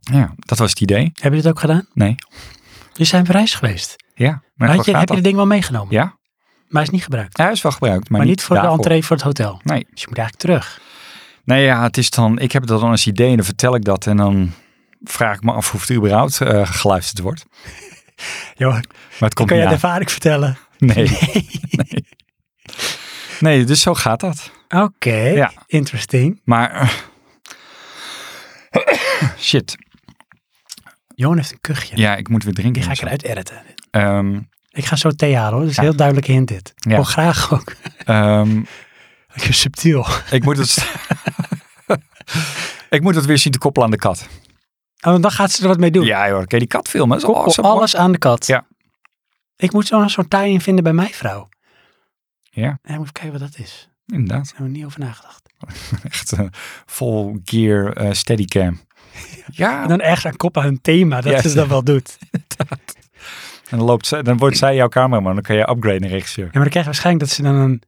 Speaker 2: Ja, dat was het idee.
Speaker 1: Heb je dit ook gedaan?
Speaker 2: Nee.
Speaker 1: Je zijn op reis geweest.
Speaker 2: Ja,
Speaker 1: Maar
Speaker 2: maar
Speaker 1: had je, heb je het ding wel meegenomen?
Speaker 2: Ja.
Speaker 1: Maar hij is niet gebruikt.
Speaker 2: Ja, hij is wel gebruikt, maar,
Speaker 1: maar niet voor de
Speaker 2: daarvoor.
Speaker 1: entree voor het hotel.
Speaker 2: Nee.
Speaker 1: Dus je moet eigenlijk terug.
Speaker 2: Nee, ja, het is dan, ik heb dat dan als idee en dan vertel ik dat en dan vraag ik me af of het überhaupt eh, geluisterd wordt.
Speaker 1: Johan,
Speaker 2: Maar het komt
Speaker 1: kan je
Speaker 2: niet
Speaker 1: de
Speaker 2: aan.
Speaker 1: ervaring vertellen?
Speaker 2: Nee. nee. Nee, dus zo gaat dat.
Speaker 1: Oké,
Speaker 2: Ja.
Speaker 1: interesting.
Speaker 2: Maar, eh, shit.
Speaker 1: Johan heeft een kuchje.
Speaker 2: Ja, ik moet weer drinken.
Speaker 1: Die ga
Speaker 2: en
Speaker 1: ik
Speaker 2: zo.
Speaker 1: eruit editen.
Speaker 2: Ehm,
Speaker 1: Ik ga zo thee halen hoor. Dat is
Speaker 2: Ja.
Speaker 1: een heel duidelijke hint dit.
Speaker 2: Ja.
Speaker 1: Oh, graag ook.
Speaker 2: ehm,
Speaker 1: Subtiel.
Speaker 2: ik moet het... ik moet het weer zien te koppelen aan de kat.
Speaker 1: Oh, dan gaat ze er wat mee doen.
Speaker 2: Ja hoor, oké, die kat filmen. Dat is
Speaker 1: Koppel
Speaker 2: awesome, hoor.
Speaker 1: alles aan de kat.
Speaker 2: Ja.
Speaker 1: Ik moet zo'n zo'n tie-in vinden bij mijn vrouw.
Speaker 2: Ja.
Speaker 1: En moet even kijken wat dat is.
Speaker 2: Inderdaad.
Speaker 1: Daar hebben we niet over nagedacht.
Speaker 2: Echt eh, vol gear eh steadycam. Ja,
Speaker 1: En dan echt aan koppelen aan een thema. Dat
Speaker 2: Ja.
Speaker 1: ze dat wel doet.
Speaker 2: En dan, loopt zij, dan wordt zij jouw cameraman. Dan kan je upgraden in regisseur.
Speaker 1: Ja, maar dan krijg je waarschijnlijk dat ze dan een,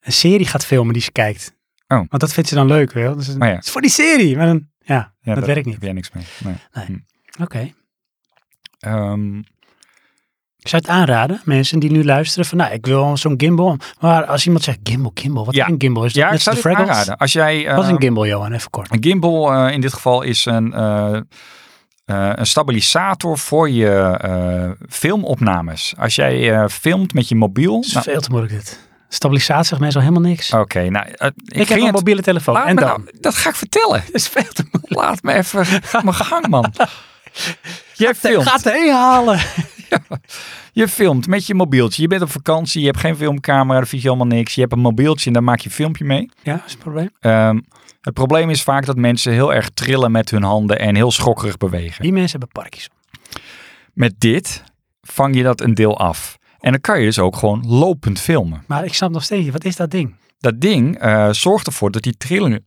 Speaker 1: een serie gaat filmen die ze kijkt.
Speaker 2: Oh.
Speaker 1: Want dat vindt ze dan leuk, wel. Dus het-
Speaker 2: Oh ja.
Speaker 1: Het is voor die serie. Maar dan, ja,
Speaker 2: Ja,
Speaker 1: dat, werkt niet.
Speaker 2: Heb jij niks mee. Nee.
Speaker 1: Oké.
Speaker 2: Ehm,
Speaker 1: Ik zou het aanraden, mensen die nu luisteren, van nou, ik wil zo'n gimbal. Maar als iemand zegt gimbal, gimbal, wat
Speaker 2: Ja.
Speaker 1: is een gimbal? Is dat
Speaker 2: ja,
Speaker 1: net
Speaker 2: ik zou
Speaker 1: als
Speaker 2: dit
Speaker 1: de Fraggles?
Speaker 2: aanraden. Als jij,
Speaker 1: Wat is
Speaker 2: ehm,
Speaker 1: een gimbal, Johan? Even kort.
Speaker 2: een gimbal eh, in dit geval is een, eh, eh, een stabilisator voor je eh, filmopnames. Als jij eh, filmt met je mobiel.
Speaker 1: Het is
Speaker 2: nou,
Speaker 1: veel te moeilijk dit. Stabilisatie zegt mensen al helemaal niks.
Speaker 2: Oké, nou, eh, ik,
Speaker 1: ik heb
Speaker 2: ging
Speaker 1: een
Speaker 2: het-
Speaker 1: mobiele telefoon.
Speaker 2: Laat
Speaker 1: en
Speaker 2: me
Speaker 1: dan?
Speaker 2: nou- dat ga ik vertellen.
Speaker 1: Het is veel te moeilijk.
Speaker 2: Laat me even mijn gang, man. Jij filmt.
Speaker 1: Gaat er halen.
Speaker 2: Je filmt met je mobieltje. Je bent op vakantie, je hebt geen filmcamera, daar vind je helemaal niks. Je hebt een mobieltje en daar maak je een filmpje mee.
Speaker 1: Ja, is het probleem.
Speaker 2: Ehm, het probleem is vaak dat mensen heel erg trillen met hun handen en heel schokkerig bewegen.
Speaker 1: Die mensen hebben Parkinson.
Speaker 2: Met dit vang je dat een deel af. En dan kan je dus ook gewoon lopend filmen.
Speaker 1: Maar ik snap nog steeds niet, wat is dat ding?
Speaker 2: Dat ding eh, zorgt ervoor dat die trillingen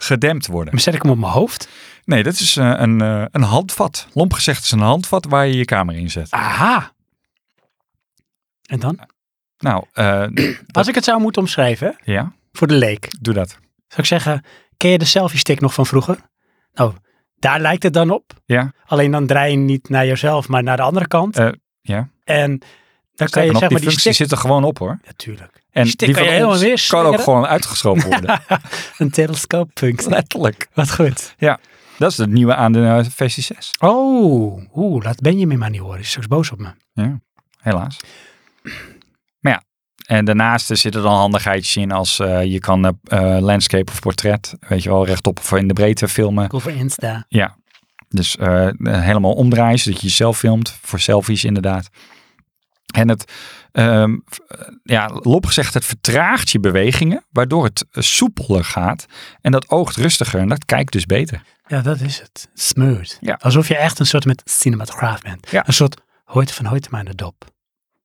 Speaker 2: gedempt worden.
Speaker 1: Maar zet ik hem op mijn hoofd?
Speaker 2: Nee, dat is eh, een, eh, een handvat. Lomp gezegd is een handvat waar je je camera in zet.
Speaker 1: Aha! En dan?
Speaker 2: Nou, eh,
Speaker 1: Als ik het zou moeten omschrijven, hè,
Speaker 2: ja,
Speaker 1: voor de leek,
Speaker 2: doe dat.
Speaker 1: zou ik zeggen, ken je de selfie stick nog van vroeger? Nou, daar lijkt het dan op.
Speaker 2: Ja,
Speaker 1: Alleen dan draai je niet naar jezelf, maar naar de andere kant.
Speaker 2: Eh, ja.
Speaker 1: En dan kan
Speaker 2: Sterker
Speaker 1: je
Speaker 2: nog,
Speaker 1: zeg maar
Speaker 2: die
Speaker 1: die
Speaker 2: functie
Speaker 1: stick...
Speaker 2: zit er gewoon op hoor.
Speaker 1: Natuurlijk.
Speaker 2: En
Speaker 1: Die stick
Speaker 2: die
Speaker 1: kan je
Speaker 2: van
Speaker 1: helemaal
Speaker 2: ons
Speaker 1: weer
Speaker 2: kan ook
Speaker 1: slingeren.
Speaker 2: gewoon uitgeschoven worden.
Speaker 1: Een telescoopfunctie.
Speaker 2: Letterlijk.
Speaker 1: Wat goed.
Speaker 2: Dat is het nieuwe aan de eh, versie 6.
Speaker 1: Oh, oeh, laat Benjamin maar niet horen. Hij is straks boos op me.
Speaker 2: Helaas. Maar ja, en daarnaast eh, zitten dan handigheidjes in als eh, je kan eh, eh, landscape of portret, weet je wel, rechtop of in de breedte filmen.
Speaker 1: Over Insta.
Speaker 2: Dus eh, eh, helemaal omdraaien, zodat je jezelf filmt. Voor selfies inderdaad. En het, ehm, v- eh, ja, lop gezegd, het vertraagt je bewegingen, waardoor het eh, soepeler gaat. En dat oogt rustiger en dat kijkt dus beter.
Speaker 1: Ja, dat is het. Smooth.
Speaker 2: Ja.
Speaker 1: Alsof je echt een soort met cinematograaf bent.
Speaker 2: Ja.
Speaker 1: Een soort hoort van hoort maar in de dop.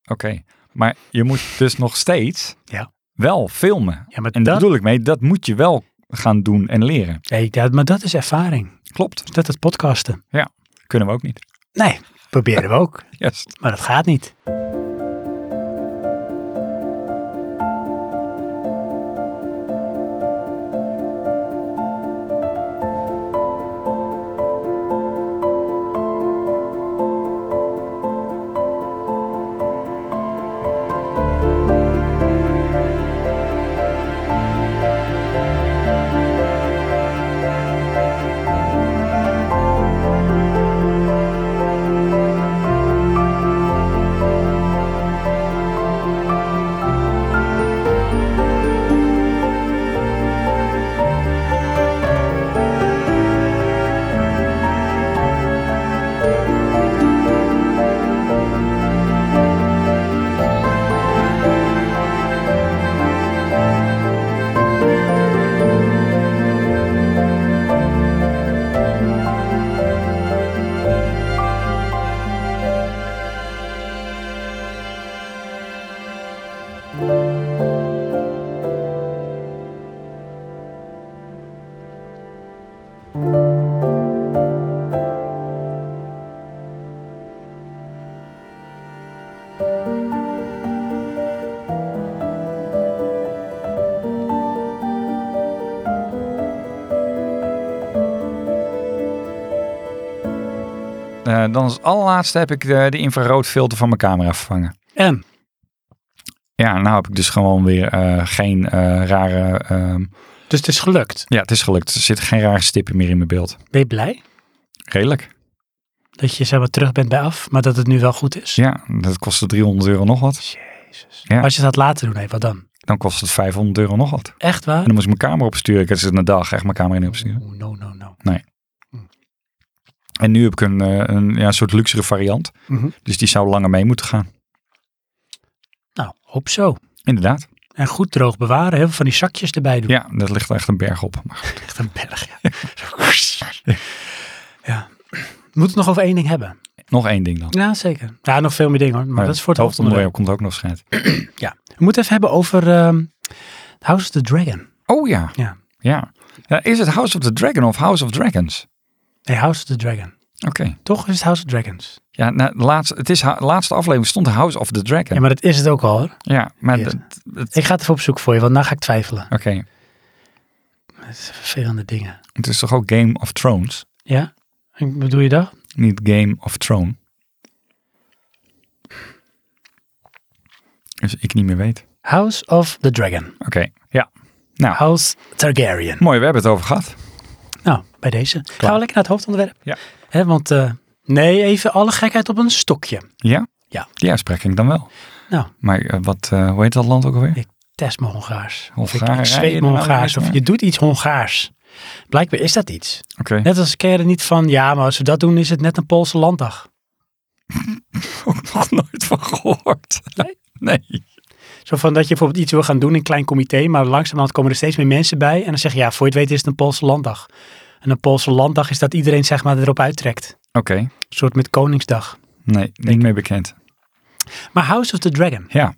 Speaker 2: Oké, maar je moet dus nog steeds
Speaker 1: Ja.
Speaker 2: wel filmen.
Speaker 1: Ja, maar
Speaker 2: En daar
Speaker 1: dat,
Speaker 2: bedoel ik mee, dat moet je wel gaan doen en leren.
Speaker 1: nee, dat, maar dat is ervaring.
Speaker 2: Klopt,
Speaker 1: Dus dat is podcasten.
Speaker 2: kunnen we ook niet.
Speaker 1: Nee, proberen we ook.
Speaker 2: Juist.
Speaker 1: Maar dat gaat niet.
Speaker 2: Eh, dan als allerlaatste heb ik eh, de, de infraroodfilter van mijn camera vervangen.
Speaker 1: En,
Speaker 2: Ja, nou heb ik dus gewoon weer eh, geen eh, rare... ehm,
Speaker 1: dus het is gelukt.
Speaker 2: ja, het is gelukt. Er zitten geen rare stippen meer in mijn beeld.
Speaker 1: Ben je blij
Speaker 2: Redelijk.
Speaker 1: dat je zeg maar terug bent bij af, maar dat het nu wel goed is?
Speaker 2: Ja, dat kostte 300 euro nog wat.
Speaker 1: Jezus.
Speaker 2: Ja.
Speaker 1: Maar als je dat later doen, nee, wat dan?
Speaker 2: Dan kost het 500 euro nog wat.
Speaker 1: Echt
Speaker 2: En
Speaker 1: waar?
Speaker 2: dan moest ik mijn camera opsturen. Ik had zitten een dag echt mijn camera in opsturen.
Speaker 1: Oeh, No, no, no.
Speaker 2: En nu heb ik een, eh, een ja, soort luxere variant.
Speaker 1: Mhm.
Speaker 2: Dus die zou langer mee moeten gaan.
Speaker 1: Nou, hoop zo.
Speaker 2: Inderdaad.
Speaker 1: En goed droog bewaren. Heel veel van die zakjes erbij doen.
Speaker 2: Ja, dat ligt er echt een berg op. Maar goed.
Speaker 1: Echt een berg, ja. ja. We moeten het nog over één ding hebben.
Speaker 2: nog één ding dan. Eh,
Speaker 1: Ja, zeker. Ja, nog veel meer dingen hoor. Maar dat is voor het hoofdonderwerp.
Speaker 2: hoofdonderwerp. komt ook nog schijnt.
Speaker 1: We moeten even hebben over ehm, House of the Dragon.
Speaker 2: Oh ja.
Speaker 1: Ja.
Speaker 2: ja. Ja, Is het House of the Dragon of House of Dragons?
Speaker 1: Nee, House of the Dragon.
Speaker 2: Oké.
Speaker 1: Toch is het House of Dragons.
Speaker 2: Ja, nou, de laatste, het is ha- laatste aflevering stond House of the Dragon.
Speaker 1: Ja, maar dat is het ook al hoor.
Speaker 2: Ja, maar
Speaker 1: Yes.
Speaker 2: dat- dat-
Speaker 1: Ik ga het even opzoeken voor je, want nou ga ik twijfelen.
Speaker 2: oké.
Speaker 1: Het is vervelende dingen.
Speaker 2: Het is toch ook Game of Thrones,
Speaker 1: Ja? En Bedoel je dat?
Speaker 2: niet Game of Throne. Dus ik niet meer weet.
Speaker 1: House of the Dragon.
Speaker 2: Oké, ja. Nou,
Speaker 1: House Targaryen.
Speaker 2: mooi, we hebben het over gehad.
Speaker 1: Nou, bij deze. Gaan we lekker naar het hoofdonderwerp.
Speaker 2: Ja.
Speaker 1: Hè, want eh, nee, even alle gekheid op een stokje.
Speaker 2: Ja?
Speaker 1: Ja.
Speaker 2: Die uitspraak ken ik dan wel.
Speaker 1: Nou.
Speaker 2: Maar eh, wat, eh, hoe heet dat land ook alweer?
Speaker 1: Ik test mijn Hongaars. Of ik,
Speaker 2: Hongarije
Speaker 1: ik zweet mijn
Speaker 2: nou
Speaker 1: Hongaars.
Speaker 2: weer,
Speaker 1: Of
Speaker 2: maar-
Speaker 1: je doet iets Hongaars. Blijkbaar is dat iets.
Speaker 2: Oké.
Speaker 1: Net als ik er niet van, ja, maar als we dat doen is het net een Poolse landdag.
Speaker 2: ook nog nooit van gehoord.
Speaker 1: Nee?
Speaker 2: Nee.
Speaker 1: Zo van dat je bijvoorbeeld iets wil gaan doen in een klein comité, maar langzamerhand komen er steeds meer mensen bij. En dan zeg je, ja, voor je het weet is het een Poolse landdag. En een Poolse landdag is dat iedereen zeg maar erop uittrekt.
Speaker 2: Oké.
Speaker 1: Een soort met Koningsdag.
Speaker 2: Nee, niet meer bekend.
Speaker 1: Maar House of the Dragon,
Speaker 2: Ja.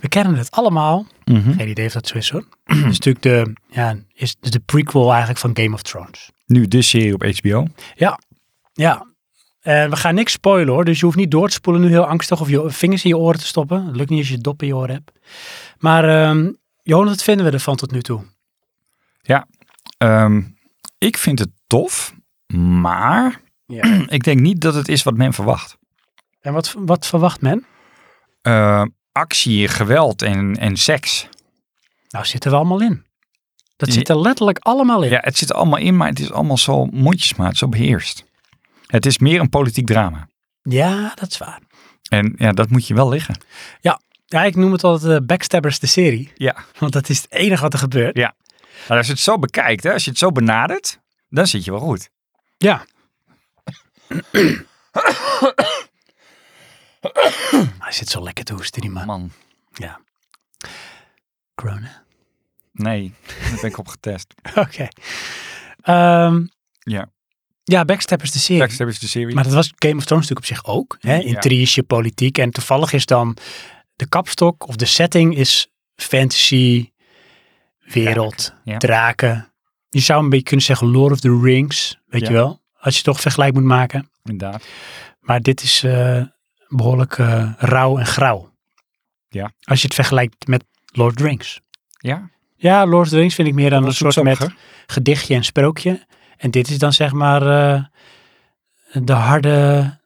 Speaker 1: we kennen het allemaal.
Speaker 2: Mhm.
Speaker 1: Geen idee of dat zo is hoor. Het is natuurlijk de, ja, is de prequel eigenlijk van Game of Thrones.
Speaker 2: Nu de serie op HBO.
Speaker 1: Ja, ja. En we gaan niks spoilen hoor, dus je hoeft niet door te spoelen nu heel angstig of je vingers in je oren te stoppen. Dat lukt niet als je het dop in je oren hebt. Maar ehm Johan, wat vinden we ervan tot nu toe?
Speaker 2: Ehm, ik vind het tof, maar
Speaker 1: Ja.
Speaker 2: ik denk niet dat het is wat men verwacht.
Speaker 1: En wat, wat verwacht men?
Speaker 2: Eh, actie, geweld en, en seks.
Speaker 1: Nou, zitten we allemaal in. Dat
Speaker 2: Ja.
Speaker 1: zit er letterlijk allemaal in.
Speaker 2: Ja, het zit er allemaal in, maar het is allemaal zo mondjesmaat, zo beheerst. Het is meer een politiek drama.
Speaker 1: Ja, dat is waar.
Speaker 2: En ja, dat moet je wel liggen.
Speaker 1: Ja, ik noem het altijd eh, Backstabbers de serie.
Speaker 2: Ja.
Speaker 1: Want dat is het enige wat er gebeurt.
Speaker 2: Ja. Maar als je het zo bekijkt, hè, als je het zo benadert, dan zit je wel goed.
Speaker 1: Ja. Hij zit zo lekker te hoesten, die man.
Speaker 2: Man,
Speaker 1: Corona.
Speaker 2: nee, daar ben ik op getest.
Speaker 1: Oké. Ehm,
Speaker 2: Ja.
Speaker 1: Ja, Backstabbers de serie.
Speaker 2: Backstab is de serie.
Speaker 1: Maar dat was Game of Thrones natuurlijk op zich ook. Hè? Intrige, politiek. En toevallig is dan de kapstok of de setting is fantasy, wereld,
Speaker 2: ja.
Speaker 1: draken. Je zou een beetje kunnen zeggen Lord of the Rings, weet
Speaker 2: Ja.
Speaker 1: je wel. Als je toch vergelijk moet maken.
Speaker 2: Inderdaad.
Speaker 1: Maar dit is eh, behoorlijk eh, rauw en grauw.
Speaker 2: Ja.
Speaker 1: Als je het vergelijkt met Lord of the Rings.
Speaker 2: Ja,
Speaker 1: Ja, Lord of the Rings vind ik meer dan een
Speaker 2: was
Speaker 1: soort met
Speaker 2: zoetsappig,
Speaker 1: gedichtje en sprookje. En dit is dan zeg maar eh, de harde,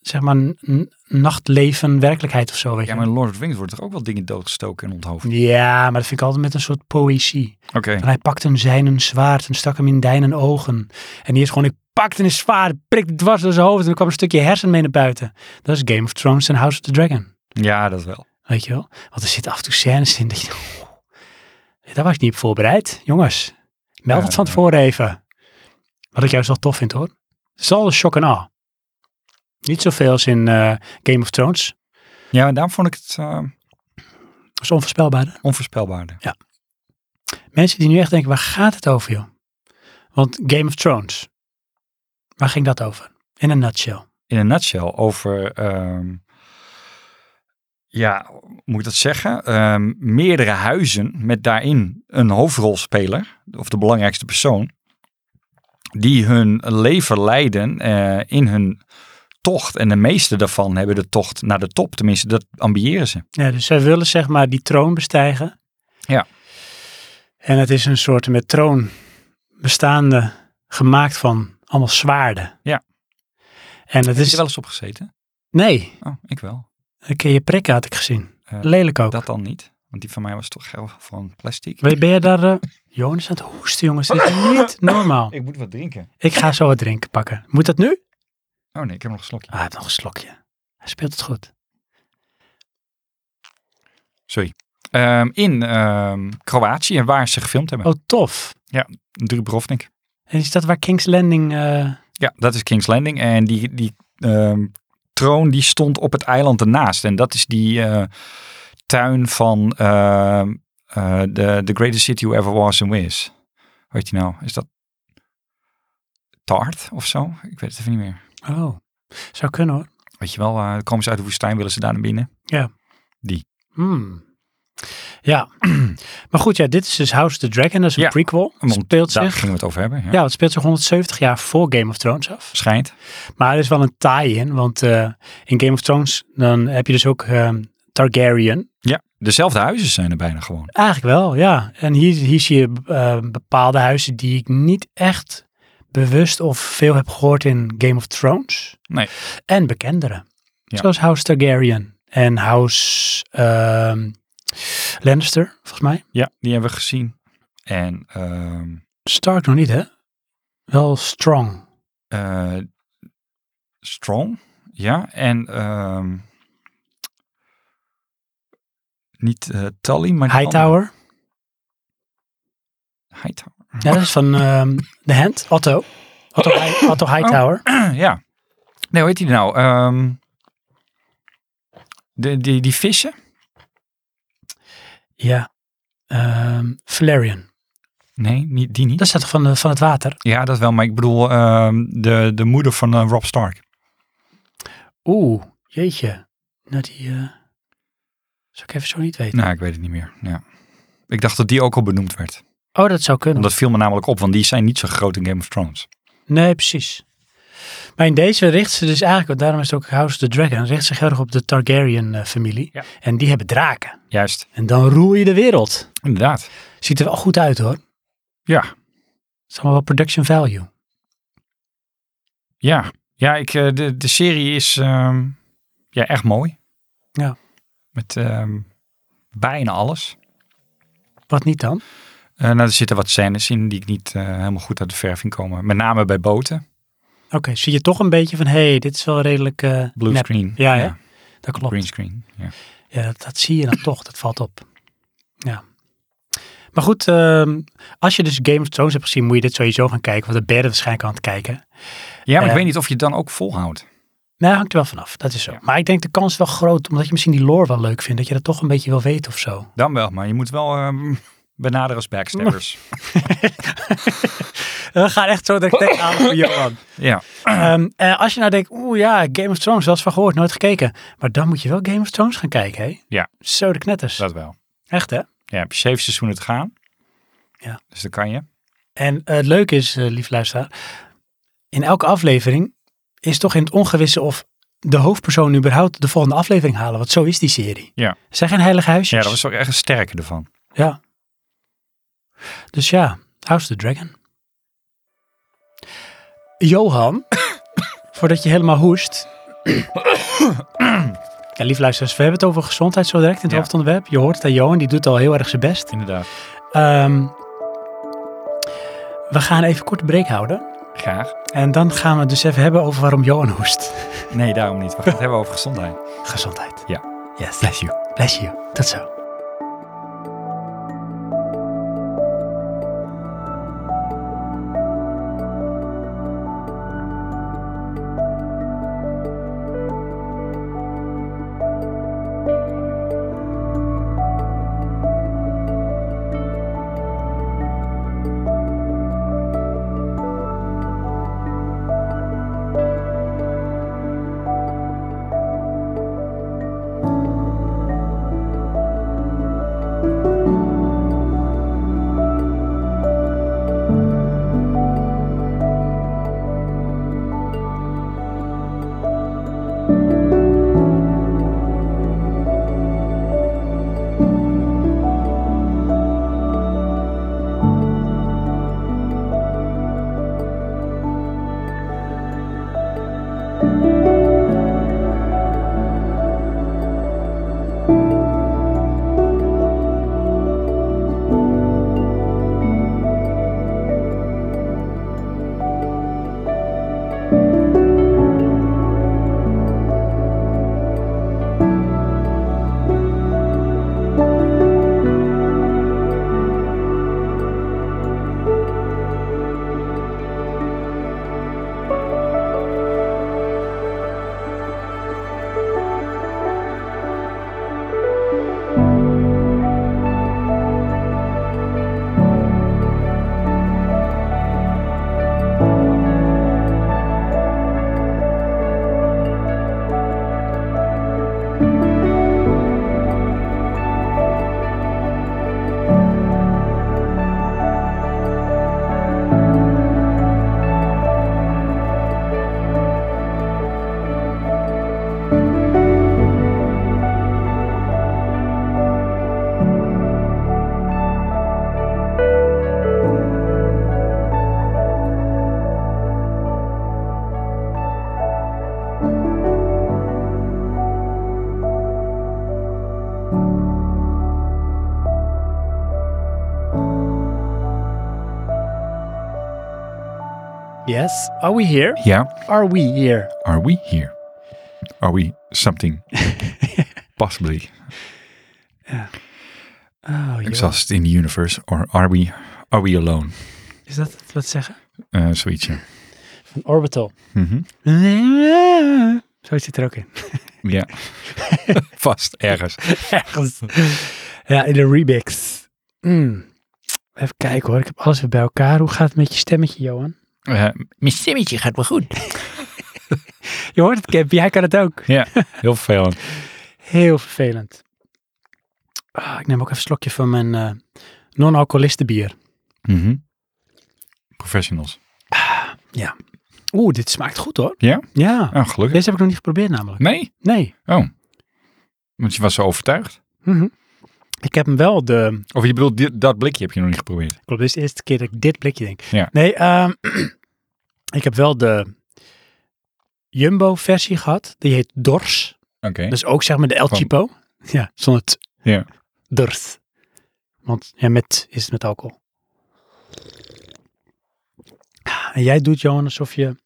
Speaker 1: zeg maar, n- nachtleven werkelijkheid of zo. Weet
Speaker 2: ja,
Speaker 1: je.
Speaker 2: maar in Lord of the Rings wordt toch ook wel dingen doodgestoken en onthoofd.
Speaker 1: ja, maar dat vind ik altijd met een soort poëzie.
Speaker 2: Oké.
Speaker 1: En hij pakte een zijnen zwaard en stak hem in dijnen ogen. En die is gewoon, ik pakte een zwaard, prikte dwars door zijn hoofd en er kwam een stukje hersen mee naar buiten. Dat is Game of Thrones en House of the Dragon.
Speaker 2: Ja, dat wel.
Speaker 1: Weet je wel? Want er zitten af en toe scènes in dat je... daar was ik niet op voorbereid. Jongens, meld het
Speaker 2: Ja,
Speaker 1: van
Speaker 2: ja.
Speaker 1: tevoren even. Wat ik juist wel tof vind hoor. Het is al een shock en awe. Niet zoveel als in eh, Game of Thrones.
Speaker 2: Ja, en daarom vond ik het eh,
Speaker 1: Dat is onvoorspelbaarder.
Speaker 2: onvoorspelbaarder.
Speaker 1: mensen die nu echt denken, waar gaat het over joh? Want Game of Thrones, waar ging dat over? In een nutshell.
Speaker 2: In een nutshell over, ehm, ja, hoe moet ik dat zeggen? Ehm, meerdere huizen met daarin een hoofdrolspeler, of de belangrijkste persoon, die hun leven leiden eh, in hun tocht. En de meeste daarvan hebben de tocht naar de top, tenminste, dat ambiëren ze.
Speaker 1: Ja, dus zij willen zeg maar die troon bestijgen.
Speaker 2: Ja.
Speaker 1: En het is een soort met troon bestaande, gemaakt van allemaal zwaarden.
Speaker 2: Ja.
Speaker 1: En het
Speaker 2: Is
Speaker 1: is...
Speaker 2: je wel eens opgezeten?
Speaker 1: Nee,
Speaker 2: Oh, ik wel.
Speaker 1: een keer je prikken had ik gezien.
Speaker 2: Eh,
Speaker 1: Lelijk ook.
Speaker 2: Dat dan niet, want die van mij was toch heel van plastic.
Speaker 1: Ben, ben je daar... eh, Jonas aan het hoesten jongens, dit is niet normaal.
Speaker 2: Ik moet wat drinken.
Speaker 1: Ik ga zo wat drinken pakken. Moet dat nu?
Speaker 2: Oh nee, ik heb nog een slokje.
Speaker 1: Ah, hij heeft nog een slokje. Hij speelt het goed.
Speaker 2: Sorry. Ehm, in ehm, Kroatië, waar ze gefilmd hebben.
Speaker 1: Oh, tof. Oh.
Speaker 2: Dubrovnik.
Speaker 1: En is dat waar King's Landing... eh,
Speaker 2: Ja, dat is King's Landing. En die, die ehm, troon die stond op het eiland ernaast. En dat is die eh, tuin van ehm, eh, the, the Greatest City Who Ever Was and Is. Hoe heet die nou? Is dat Tart of zo? Ik weet het even niet meer.
Speaker 1: Oh, zou kunnen hoor.
Speaker 2: Weet je wel, eh komen ze uit de woestijn, willen ze daar naar binnen?
Speaker 1: Hmm. Ja, maar goed, ja, dit is dus House of the Dragon, dat is een
Speaker 2: Ja,
Speaker 1: prequel. Het
Speaker 2: want
Speaker 1: speelt
Speaker 2: Daar
Speaker 1: zich,
Speaker 2: gingen we het over hebben. Ja.
Speaker 1: ja, het speelt zich 170 jaar voor Game of Thrones af.
Speaker 2: Schijnt.
Speaker 1: Maar er is wel een tie-in, want eh, in Game of Thrones dan heb je dus ook ehm, Targaryen.
Speaker 2: Ja, dezelfde huizen zijn er bijna gewoon.
Speaker 1: Eigenlijk wel, ja. En hier, hier zie je eh, bepaalde huizen die ik niet echt bewust of veel heb gehoord in Game of Thrones.
Speaker 2: Nee.
Speaker 1: En bekendere.
Speaker 2: Ja.
Speaker 1: Zoals House Targaryen en House ehm, Lannister, volgens mij.
Speaker 2: Ja, die hebben we gezien. En ehm,
Speaker 1: Stark nog niet, hè? Wel Strong.
Speaker 2: eh, Strong, ja. En ehm, niet eh, Tully, maar die
Speaker 1: Hightower.
Speaker 2: andere. Hightower.
Speaker 1: Ja, dat is van ehm The Hand. Otto. Otto, Hi- Otto Hightower.
Speaker 2: ja. Nee, hoe heet die nou? Ehm, De, die, die vissen?
Speaker 1: Ja. Ehm Valerian.
Speaker 2: Nee, niet, die niet.
Speaker 1: Dat is dat van, eh, van het water.
Speaker 2: Ja, dat wel. Maar ik bedoel ehm, de, de moeder van eh, Rob Stark.
Speaker 1: Oeh, jeetje. Nou, die eh zou ik even zo niet weten.
Speaker 2: Nou, ik weet het niet meer. Ja. Ik dacht dat die ook al benoemd werd.
Speaker 1: Oh, dat zou kunnen.
Speaker 2: Want dat viel me namelijk op, want die zijn niet zo groot in Game of Thrones.
Speaker 1: Nee, precies. Maar in deze richt ze dus eigenlijk, want daarom is het ook House of the Dragon, richt zich heel erg op de Targaryen-familie.
Speaker 2: Ja.
Speaker 1: En die hebben draken.
Speaker 2: Juist,
Speaker 1: En dan roer je de wereld.
Speaker 2: inderdaad.
Speaker 1: Ziet er wel goed uit hoor. Het
Speaker 2: Ja,
Speaker 1: is allemaal wel production value.
Speaker 2: ja. Ja, ik, eh, de, de serie is ehm, ja, echt mooi.
Speaker 1: Ja.
Speaker 2: Met ehm, bijna alles.
Speaker 1: Wat niet dan?
Speaker 2: Eh, nou, er zitten wat scènes in die ik niet eh, helemaal goed uit de verving komen. Met name bij boten.
Speaker 1: Oké, zie je toch een beetje van, hé, hey, dit is wel redelijk... eh,
Speaker 2: Blue
Speaker 1: nep.
Speaker 2: screen.
Speaker 1: Ja, hè? Dat klopt.
Speaker 2: Green screen. Ja.
Speaker 1: Ja, dat, dat zie je dan toch. Dat valt op. Ja. Maar goed, ehm, als je dus Game of Thrones hebt gezien, moet je dit sowieso gaan kijken. Want dat ben je er waarschijnlijk aan het kijken.
Speaker 2: ja, maar ik
Speaker 1: Eh.
Speaker 2: weet niet of je het dan ook volhoudt.
Speaker 1: Nou, hangt er wel vanaf. Dat is zo.
Speaker 2: Ja.
Speaker 1: Maar ik denk de kans is wel groot, omdat je misschien die lore wel leuk vindt. Dat je dat toch een beetje wil weten of zo.
Speaker 2: Dan wel, maar je moet wel ehm, benaderen als backstabbers.
Speaker 1: We gaan echt zo direct tegenaan voor Johan.
Speaker 2: ja.
Speaker 1: Ehm, eh, als je nou denkt, oeh ja, Game of Thrones, wel eens van gehoord, nooit gekeken. Maar dan moet je wel Game of Thrones gaan kijken, hè?
Speaker 2: Ja.
Speaker 1: Zo de knetters.
Speaker 2: dat wel.
Speaker 1: Echt, hè?
Speaker 2: Ja, heb je zeven seizoenen te gaan.
Speaker 1: Ja.
Speaker 2: Dus dat kan je.
Speaker 1: En eh, het leuke is, eh lief luisteraar, in elke aflevering is toch in het ongewisse of de hoofdpersoon überhaupt de volgende aflevering halen. Want zo is die serie.
Speaker 2: Ja.
Speaker 1: Er zijn geen heilige
Speaker 2: Ja,
Speaker 1: huisjes.
Speaker 2: dat was ook echt een sterke ervan.
Speaker 1: Ja. Dus ja, House of the Dragon. Johan, voordat je helemaal hoest. ja, lief luisteraars, we hebben het over gezondheid zo direct in het
Speaker 2: Ja.
Speaker 1: hoofdonderwerp. Je hoort het aan Johan, die doet al heel erg zijn best.
Speaker 2: Inderdaad.
Speaker 1: Ehm, we gaan even kort break houden.
Speaker 2: Graag.
Speaker 1: En dan gaan we het dus even hebben over waarom Johan hoest.
Speaker 2: Nee, daarom niet. We gaan het hebben over gezondheid.
Speaker 1: Gezondheid.
Speaker 2: Ja.
Speaker 1: Yes.
Speaker 2: Bless you.
Speaker 1: Bless you. Tot zo. Yes. Are we here?
Speaker 3: Yeah.
Speaker 1: Are we here?
Speaker 3: Are we here? Are we something? Possibly
Speaker 1: Oh, Johan.
Speaker 3: exist in the universe, or are we? Are we alone?
Speaker 1: Is dat het wat zeggen?
Speaker 2: Eh,
Speaker 3: Uh, zoiets. ja.
Speaker 1: Een orbital.
Speaker 3: Mhm.
Speaker 1: Zo zit het er ook in.
Speaker 2: Ja. Vast ergens.
Speaker 1: Ergens. Ja, in de remix. Mm. Even kijken hoor, ik heb alles weer bij elkaar. Hoe gaat het met je stemmetje, Johan?
Speaker 2: Eh, mijn stemmetje gaat wel goed.
Speaker 1: Je hoort het, Kemp. Jij kan het ook.
Speaker 2: Ja, heel vervelend.
Speaker 1: Heel vervelend. Ah, ik neem ook even een slokje van mijn eh, non-alcoholistenbier.
Speaker 2: Mhm. Professionals.
Speaker 1: Oeh, dit smaakt goed hoor.
Speaker 2: Ja? Hm.
Speaker 1: Ja.
Speaker 2: Oh, gelukkig.
Speaker 1: Deze heb ik nog niet geprobeerd namelijk.
Speaker 2: Nee?
Speaker 1: Nee.
Speaker 2: Want je was zo overtuigd.
Speaker 1: Mhm. Ik heb hem wel de...
Speaker 2: Of je bedoelt, dit- dat blikje heb je nog niet geprobeerd.
Speaker 1: Klopt, dit is de eerste keer dat ik dit blikje denk.
Speaker 2: Ja.
Speaker 1: Nee, ehm, ik heb wel de Jumbo-versie gehad. Die heet Dors.
Speaker 2: Oké.
Speaker 1: Dus ook zeg maar de El
Speaker 2: Van-
Speaker 1: Chipo. Ja, zonder het
Speaker 2: Ja.
Speaker 1: Dors. Want ja, met is het met alcohol. En jij doet, Johan, alsof je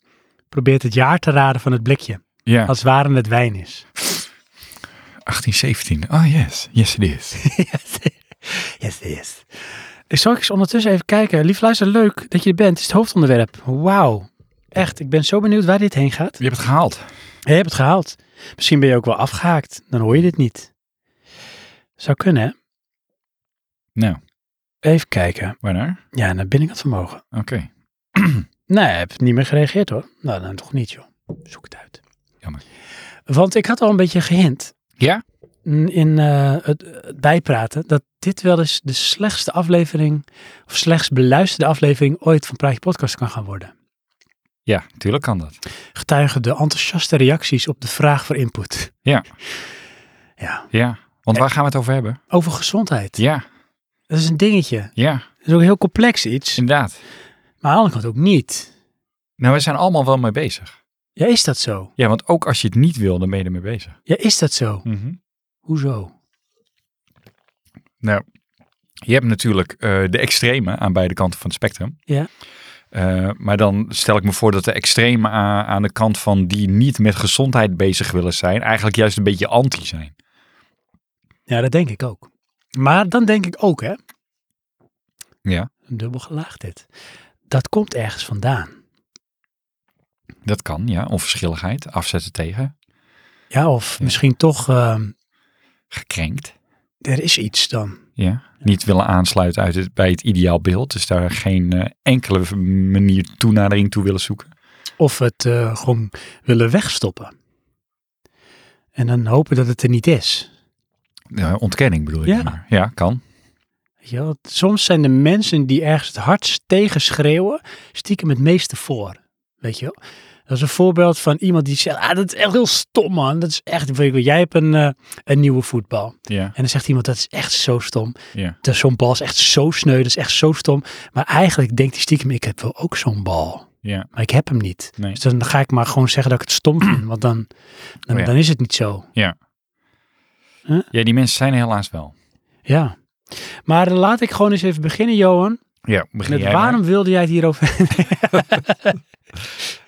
Speaker 1: probeert het jaar te raden van het blikje.
Speaker 2: Ja,
Speaker 1: Als waren het wijn is.
Speaker 2: 1817. Oh yes, yes it is.
Speaker 1: yes, yes, yes. Ik zal eens ondertussen even kijken. Lief luister, leuk dat je er bent. Het is het hoofdonderwerp. Wauw. Echt, ik ben zo benieuwd waar dit heen gaat.
Speaker 2: Je hebt het gehaald.
Speaker 1: Je hebt het gehaald. Misschien ben je ook wel afgehaakt. Dan hoor je dit niet. Zou kunnen, hè?
Speaker 2: Nou.
Speaker 1: Even kijken.
Speaker 2: Waarnaar?
Speaker 1: Ja, naar binnenkant vermogen.
Speaker 2: Oké.
Speaker 1: Nee, ik heb niet meer gereageerd hoor. Nou, dan toch niet joh. Zoek het uit.
Speaker 2: Jammer.
Speaker 1: Want ik had al een beetje gehint.
Speaker 2: Ja?
Speaker 1: In in, eh, het, het bijpraten. Dat dit wel eens de slechtste aflevering. Of slechts beluisterde aflevering ooit van Praatje Podcast kan gaan worden.
Speaker 2: Ja, tuurlijk kan dat.
Speaker 1: Getuigen de enthousiaste reacties op de vraag voor input.
Speaker 2: Ja.
Speaker 1: Ja.
Speaker 2: Ja. Want waar gaan we het over hebben?
Speaker 1: Over gezondheid.
Speaker 2: Ja,
Speaker 1: Dat is een dingetje.
Speaker 2: ja,
Speaker 1: Dat is ook een heel complex iets.
Speaker 2: inderdaad.
Speaker 1: Maar aan de andere kant ook niet.
Speaker 2: Nou, we zijn allemaal wel mee bezig.
Speaker 1: Ja, is dat zo?
Speaker 2: Ja, want ook als je het niet wil, dan ben je ermee bezig.
Speaker 1: Ja, is dat zo? Hoezo?
Speaker 2: Nou, je hebt natuurlijk eh, de extreme aan beide kanten van het spectrum.
Speaker 1: Ja.
Speaker 2: Eh, maar dan stel ik me voor dat de extreme aan, aan de kant van die niet met gezondheid bezig willen zijn, eigenlijk juist een beetje anti zijn.
Speaker 1: Ja, dat denk ik ook. Maar dan denk ik ook, hè?
Speaker 2: Ja.
Speaker 1: Dubbel gelaagd dit. Dat komt ergens vandaan.
Speaker 2: Dat kan, ja. Onverschilligheid, afzetten tegen,
Speaker 1: Ja, of
Speaker 2: Ja.
Speaker 1: misschien toch, ehm,
Speaker 2: gekrenkt.
Speaker 1: er is iets dan.
Speaker 2: Ja. Niet willen aansluiten uit het, bij het ideaalbeeld. Dus daar geen eh, enkele manier toenadering toe willen zoeken.
Speaker 1: Of het eh, gewoon willen wegstoppen. En dan hopen dat het er niet is.
Speaker 2: Ja, ontkenning bedoel ik.
Speaker 1: Ja.
Speaker 2: dan maar. ja kan.
Speaker 1: Weet je wel? Soms zijn de mensen die ergens het hardst tegen schreeuwen, stiekem het meeste voor. Weet je wel? Dat is een voorbeeld van iemand die zegt, ah, dat is echt heel stom man. Dat is echt, weet ik wel, jij hebt een, eh, een nieuwe voetbal.
Speaker 2: Ja.
Speaker 1: En dan zegt iemand, dat is echt zo stom.
Speaker 2: Ja.
Speaker 1: Dat Zo'n bal is echt zo sneu, dat is echt zo stom. Maar eigenlijk denkt hij stiekem, ik heb wel ook zo'n bal.
Speaker 2: Ja.
Speaker 1: Maar ik heb hem niet.
Speaker 2: Nee.
Speaker 1: Dus dan ga ik maar gewoon zeggen dat ik het stom vind, want dan, dan,
Speaker 2: Oh ja.
Speaker 1: dan is het niet zo.
Speaker 2: ja, die mensen zijn er helaas wel.
Speaker 1: Ja. Maar dan laat ik gewoon eens even beginnen, Johan.
Speaker 2: Ja, begin
Speaker 1: Met
Speaker 2: jij maar.
Speaker 1: waarom wilde jij het hierover?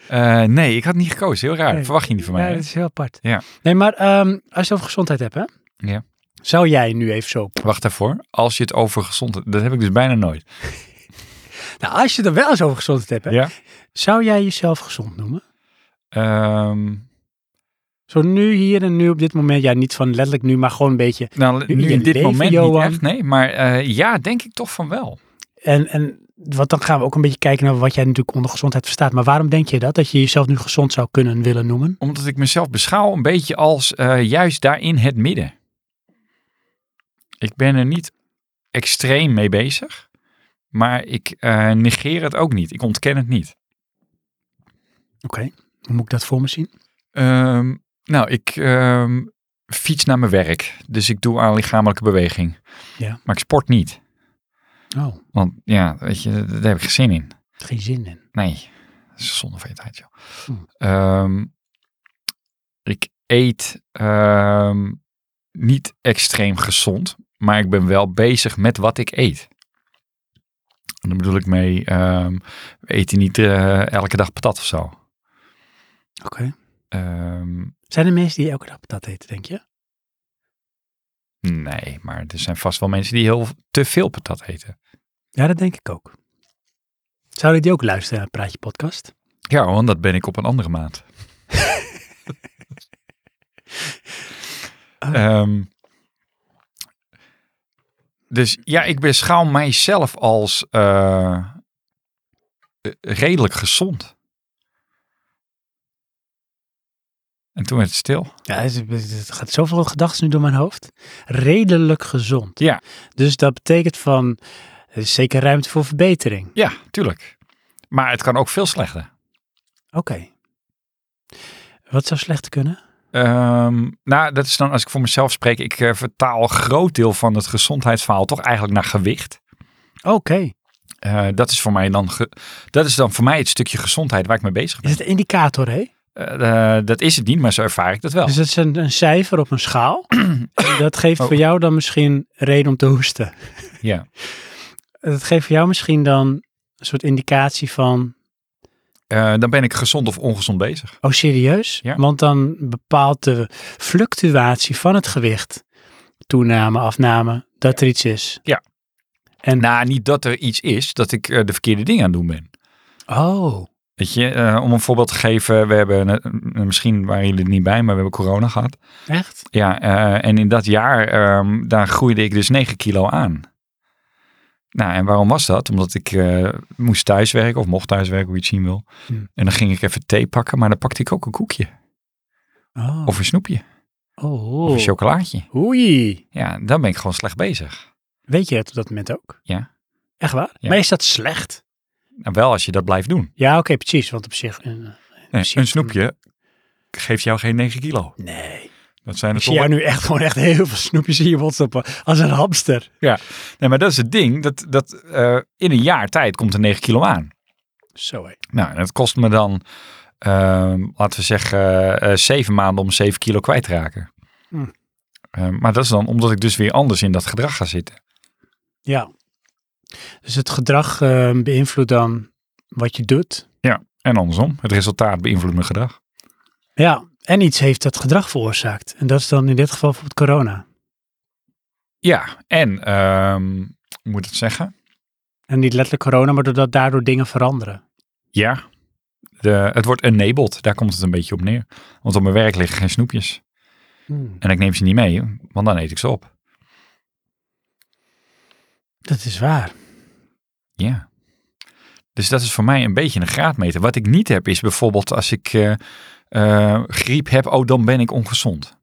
Speaker 2: Eh, nee, ik had niet gekozen. Heel raar.
Speaker 1: Nee.
Speaker 2: Verwacht je niet van mij.
Speaker 1: ja,
Speaker 2: hè?
Speaker 1: dat is heel apart.
Speaker 2: Ja.
Speaker 1: Nee, maar ehm, als je het over gezondheid hebt, hè?
Speaker 2: Ja.
Speaker 1: Zou jij nu even zo...
Speaker 2: Wacht daarvoor. Als je het over gezondheid... Dat heb ik dus bijna nooit.
Speaker 1: Nou, als je het er wel eens over gezondheid hebt, hè?
Speaker 2: Ja.
Speaker 1: Zou jij jezelf gezond noemen?
Speaker 2: Ehm,
Speaker 1: Zo nu, hier en nu, op dit moment. Ja, niet van letterlijk nu, maar gewoon een beetje
Speaker 2: nou,
Speaker 1: Nu
Speaker 2: nu,
Speaker 1: in je
Speaker 2: in dit
Speaker 1: leven,
Speaker 2: moment
Speaker 1: Johan.
Speaker 2: niet echt, nee. Maar eh, ja, denk ik toch van wel.
Speaker 1: En, en wat dan gaan we ook een beetje kijken naar wat jij natuurlijk onder gezondheid verstaat. Maar waarom denk je dat? Dat je jezelf nu gezond zou kunnen willen noemen?
Speaker 2: Omdat ik mezelf beschouw een beetje als eh, juist daarin het midden. Ik ben er niet extreem mee bezig. Maar ik eh, negeer het ook niet. Ik ontken het niet.
Speaker 1: Oké, hoe moet ik dat voor me zien?
Speaker 2: Ehm, nou, ik ehm, fiets naar mijn werk. Dus ik doe aan lichamelijke beweging.
Speaker 1: Ja.
Speaker 2: Maar ik sport niet.
Speaker 1: Oh,
Speaker 2: Want ja, weet je, daar heb ik geen zin in.
Speaker 1: geen zin in.
Speaker 2: Nee, dat is zonde van je tijd, joh.
Speaker 1: Hm.
Speaker 2: Ehm, ik eet ehm, niet extreem gezond, maar ik ben wel bezig met wat ik eet. En daar bedoel ik mee, ehm, we eten niet eh, elke dag patat of zo.
Speaker 1: Oké.
Speaker 2: Ehm,
Speaker 1: Zijn er mensen die elke dag patat eten, denk je?
Speaker 2: Nee, maar er zijn vast wel mensen die heel te veel patat eten.
Speaker 1: Ja, dat denk ik ook. Zouden die ook luisteren naar Praatje Podcast?
Speaker 2: Ja, want dat ben ik op een andere maand.
Speaker 3: Ehm,
Speaker 2: Dus ja, ik beschouw mijzelf als eh, eh, redelijk gezond. En toen werd het stil.
Speaker 1: Ja, het, is- het gaat zoveel gedachten nu door mijn hoofd. Redelijk gezond.
Speaker 2: Ja.
Speaker 1: Dus dat betekent van, er is zeker ruimte voor verbetering.
Speaker 2: Ja, tuurlijk. Maar het kan ook veel slechter.
Speaker 1: Oké. Wat zou slecht kunnen?
Speaker 2: Ehm, nou, dat is dan als ik voor mezelf spreek. Ik eh, vertaal een groot deel van het gezondheidsverhaal toch eigenlijk naar gewicht.
Speaker 1: Oké.
Speaker 2: Eh, dat, is voor mij dan ge- dat is dan voor mij het stukje gezondheid waar ik mee bezig ben.
Speaker 1: Is het een indicator, hè?
Speaker 2: Eh, eh, dat is het niet, maar zo ervaar ik dat wel.
Speaker 1: Dus dat is een, een cijfer op een schaal. En dat geeft
Speaker 2: Oh.
Speaker 1: voor jou dan misschien reden om te hoesten.
Speaker 2: Ja.
Speaker 1: Dat geeft voor jou misschien dan een soort indicatie van,
Speaker 2: Eh, dan ben ik gezond of ongezond bezig.
Speaker 1: oh serieus?
Speaker 2: Ja.
Speaker 1: Want dan bepaalt de fluctuatie van het gewicht, toename, afname, dat er iets is.
Speaker 2: Nou, niet dat er iets is dat ik eh, de verkeerde dingen aan het doen ben.
Speaker 1: Oh,
Speaker 2: Weet je, eh, om een voorbeeld te geven, we hebben, eh, misschien waren jullie er niet bij, maar we hebben corona gehad.
Speaker 1: echt?
Speaker 2: Ja, eh, en in dat jaar, ehm, daar groeide ik dus 9 kilo aan. Nou, en waarom was dat? Omdat ik eh, moest thuiswerken of mocht thuiswerken, hoe je het zien wil.
Speaker 1: Hmm.
Speaker 2: En dan ging ik even thee pakken, maar dan pakte ik ook een koekje.
Speaker 1: Oh,
Speaker 2: Of een snoepje.
Speaker 1: oh.
Speaker 2: Of een chocolaatje.
Speaker 1: Oei.
Speaker 2: Ja, dan ben ik gewoon slecht bezig.
Speaker 1: Weet je het op dat moment ook?
Speaker 2: Ja.
Speaker 1: Echt waar?
Speaker 2: Ja.
Speaker 1: Maar is dat slecht?
Speaker 2: Nou, wel als je dat blijft doen.
Speaker 1: Ja, oké, precies. Want op zich... eh,
Speaker 3: nee,
Speaker 1: Precies.
Speaker 3: een snoepje geeft jou geen 9 kilo.
Speaker 1: nee.
Speaker 3: Dat zijn
Speaker 1: Ik
Speaker 3: er
Speaker 1: zie
Speaker 3: toch
Speaker 1: jou nu echt gewoon echt heel veel snoepjes in je WhatsApp als een hamster.
Speaker 2: Nee, maar dat is het ding. Dat, dat, eh, in een jaar tijd komt er 9 kilo aan.
Speaker 1: Zo hé.
Speaker 2: Nou, en dat kost me dan, ehm, laten we zeggen, eh, eh, zeven maanden om zeven kilo kwijt te raken.
Speaker 1: Hm.
Speaker 2: Ehm, maar dat is dan omdat ik dus weer anders in dat gedrag ga zitten.
Speaker 1: Ja. Dus het gedrag eh, beïnvloedt dan wat je doet.
Speaker 2: En andersom, het resultaat beïnvloedt mijn gedrag.
Speaker 1: Ja, en iets heeft dat gedrag veroorzaakt. En dat is dan in dit geval bijvoorbeeld corona.
Speaker 2: Ja, en ehm, hoe moet ik het zeggen?
Speaker 1: En niet letterlijk corona, maar doordat daardoor dingen veranderen.
Speaker 2: Ja, de, het wordt enabled. Daar komt het een beetje op neer. Want op mijn werk liggen geen snoepjes. En ik neem ze niet mee, want dan eet ik ze op.
Speaker 1: Dat is waar.
Speaker 2: Ja. Dus dat is voor mij een beetje een graadmeter. Wat ik niet heb is bijvoorbeeld als ik eh, eh, griep heb, oh dan ben ik ongezond.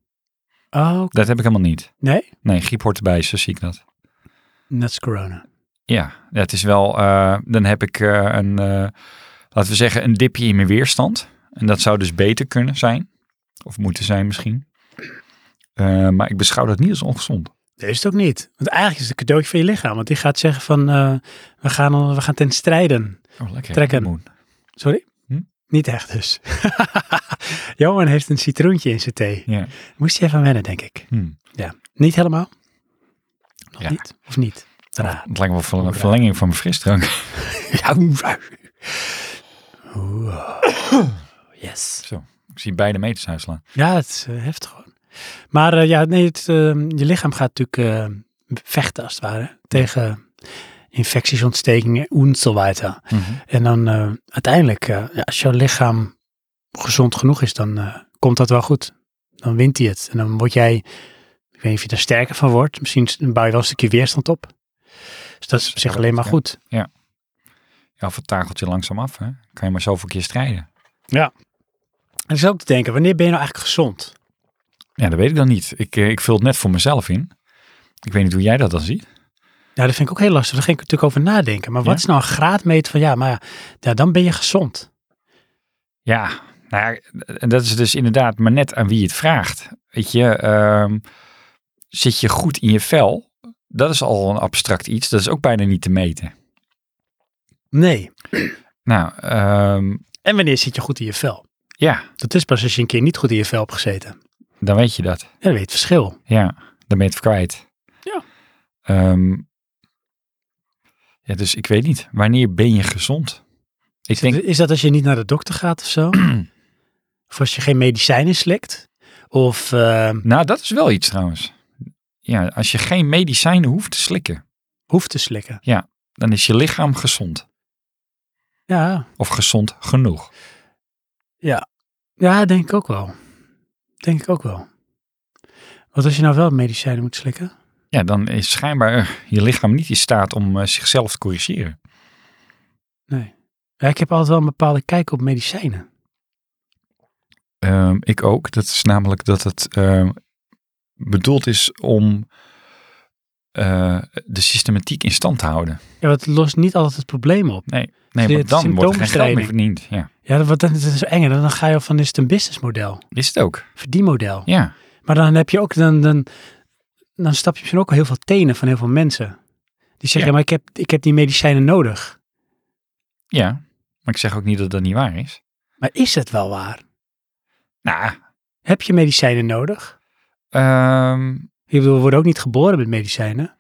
Speaker 1: Oh,
Speaker 2: Dat heb ik helemaal niet.
Speaker 1: nee?
Speaker 2: Nee, griep hoort erbij, zo zie ik dat.
Speaker 1: Dat is corona.
Speaker 2: Ja, ja, het is wel, eh, dan heb ik eh, een, eh, laten we zeggen, een dipje in mijn weerstand. En dat zou dus beter kunnen zijn. Of moeten zijn misschien. Eh, maar ik beschouw dat niet als ongezond.
Speaker 1: Dat is het ook niet. Want eigenlijk is het een cadeautje van je lichaam. Want die gaat zeggen van, eh, we, gaan, al- we gaan ten strijden.
Speaker 2: Oh, lekker.
Speaker 1: Trekken.
Speaker 2: Moon.
Speaker 1: Sorry?
Speaker 2: Hm?
Speaker 1: Niet echt dus. Johan heeft een citroentje in zijn thee.
Speaker 2: Ja.
Speaker 1: Moest je even aan wennen, denk ik.
Speaker 2: Hm.
Speaker 1: Niet helemaal? Nog
Speaker 2: Ja.
Speaker 1: niet? Of niet? Raar.
Speaker 2: Het lijkt wel ver- een verlenging van mijn frisdrank.
Speaker 1: Oeh. Yes.
Speaker 2: Ik zie beide meters uitslaan.
Speaker 1: Ja, het is eh, heftig gewoon. Maar eh, ja, nee, het, eh, je lichaam gaat natuurlijk eh, vechten als het ware. Tegen infecties, ontstekingen, enzovoort.
Speaker 2: Mhm.
Speaker 1: En dan eh, uiteindelijk, eh, ja, als jouw lichaam gezond genoeg is, dan eh, komt dat wel goed. Dan wint hij het. En dan word jij, ik weet niet of je daar sterker van wordt. Misschien bouw je wel een stukje weerstand op. Dus dat is op zich alleen maar goed.
Speaker 2: Ja, of het takelt je langzaam af. Hè? Kan je maar zoveel keer strijden.
Speaker 1: En ik zat ook te denken, wanneer ben je nou eigenlijk gezond?
Speaker 2: Ja, dat weet ik dan niet. Ik, eh, ik vul het net voor mezelf in. Ik weet niet hoe jij dat dan ziet.
Speaker 1: Ja, dat vind ik ook heel lastig. Daar ging ik natuurlijk over nadenken. Maar wat
Speaker 2: Ja?
Speaker 1: is nou een graadmeter van, ja, maar ja, ja, dan ben je gezond.
Speaker 2: Ja, nou ja, en dat is dus inderdaad maar net aan wie je het vraagt. Weet je, ehm, zit je goed in je vel? Dat is al een abstract iets. Dat is ook bijna niet te meten.
Speaker 1: Nee.
Speaker 2: Nou, ehm,
Speaker 1: En wanneer zit je goed in je vel?
Speaker 2: ja,
Speaker 1: Dat is pas als je een keer niet goed in je vel hebt gezeten. En
Speaker 2: dan weet je dat.
Speaker 1: dan weet je het verschil.
Speaker 2: Ja, dan ben je het kwijt.
Speaker 1: Ja.
Speaker 2: Ehm, ja, dus ik weet niet. Wanneer ben je gezond? Ik denk,
Speaker 1: Is dat als je niet naar de dokter gaat of zo? of als je geen medicijnen slikt? Of, eh,
Speaker 2: nou, dat is wel iets trouwens. Ja, als je geen medicijnen hoeft te slikken,
Speaker 1: hoeft te slikken.
Speaker 2: dan is je lichaam gezond.
Speaker 1: Ja,
Speaker 2: Of gezond genoeg.
Speaker 1: ja, denk ik ook wel. Denk ik ook wel. Wat als je nou wel medicijnen moet slikken?
Speaker 2: Ja, dan is schijnbaar eh, je lichaam niet in staat om eh, zichzelf te corrigeren.
Speaker 1: Nee. Ja, ik heb altijd wel een bepaalde kijk op medicijnen.
Speaker 3: Ehm, ik ook. Dat is namelijk dat het ehm, bedoeld is om eh, de systematiek in stand te houden.
Speaker 1: Ja, want het lost niet altijd het probleem op.
Speaker 2: Nee,
Speaker 1: Dus
Speaker 2: want
Speaker 1: dit is
Speaker 2: dan wordt er geen geld meer
Speaker 1: symptoombestrijding.
Speaker 2: verdiend. Ja.
Speaker 1: Ja, want dat dat is enger. Dan ga je al van, is het een businessmodel?
Speaker 2: Is het ook?
Speaker 1: Verdienmodel.
Speaker 2: Ja.
Speaker 1: Maar dan heb je ook, dan, dan, dan stap je misschien ook al heel veel tenen van heel veel mensen. Die zeggen,
Speaker 2: Ja.
Speaker 1: ja, maar ik heb, ik heb die medicijnen nodig.
Speaker 2: Ja. Maar ik zeg ook niet dat dat niet waar is.
Speaker 1: Maar is het wel waar?
Speaker 2: Nou,
Speaker 1: Heb je medicijnen nodig?
Speaker 2: ehm,
Speaker 1: Ik bedoel, we worden ook niet geboren met medicijnen,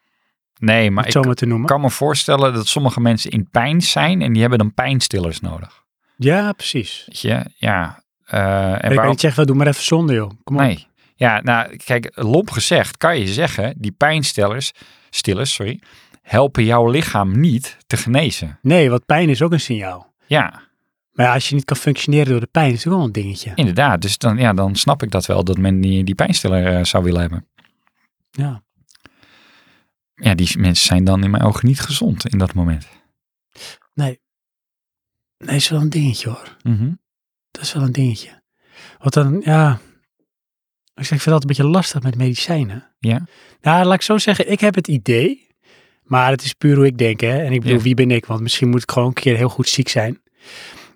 Speaker 2: nee,
Speaker 1: om
Speaker 2: maar
Speaker 1: het
Speaker 2: ik
Speaker 1: zo maar te noemen.
Speaker 2: kan me voorstellen dat sommige mensen in pijn zijn en die hebben dan pijnstillers nodig.
Speaker 1: Ja, precies.
Speaker 2: Weet je? Ja.
Speaker 1: En
Speaker 2: Eh, en
Speaker 1: ik kan
Speaker 2: waarom,
Speaker 1: niet zeggen, doe maar even zonder joh. Kom op.
Speaker 2: Nee. Ja, nou, kijk, lomp gezegd kan je zeggen, die pijnstellers, stillers, sorry, helpen jouw lichaam niet te genezen.
Speaker 1: nee, want pijn is ook een signaal.
Speaker 2: Ja,
Speaker 1: Maar ja, als je niet kan functioneren door de pijn, is het ook wel een dingetje.
Speaker 2: inderdaad. Dus dan, ja, dan snap ik dat wel, dat men die, die pijnstiller eh, zou willen hebben.
Speaker 1: Ja.
Speaker 2: Ja, die mensen zijn dan in mijn ogen niet gezond in dat moment.
Speaker 1: Nee, is wel een dingetje hoor.
Speaker 2: Mhm.
Speaker 1: Dat is wel een dingetje. Want dan, ja. Ik, zeg, ik vind het altijd een beetje lastig met medicijnen.
Speaker 2: Ja.
Speaker 1: Nou, laat ik zo zeggen, ik heb het idee. Maar het is puur hoe ik denk, hè. En ik bedoel,
Speaker 2: Ja.
Speaker 1: wie ben ik? Want misschien moet ik gewoon een keer heel goed ziek zijn.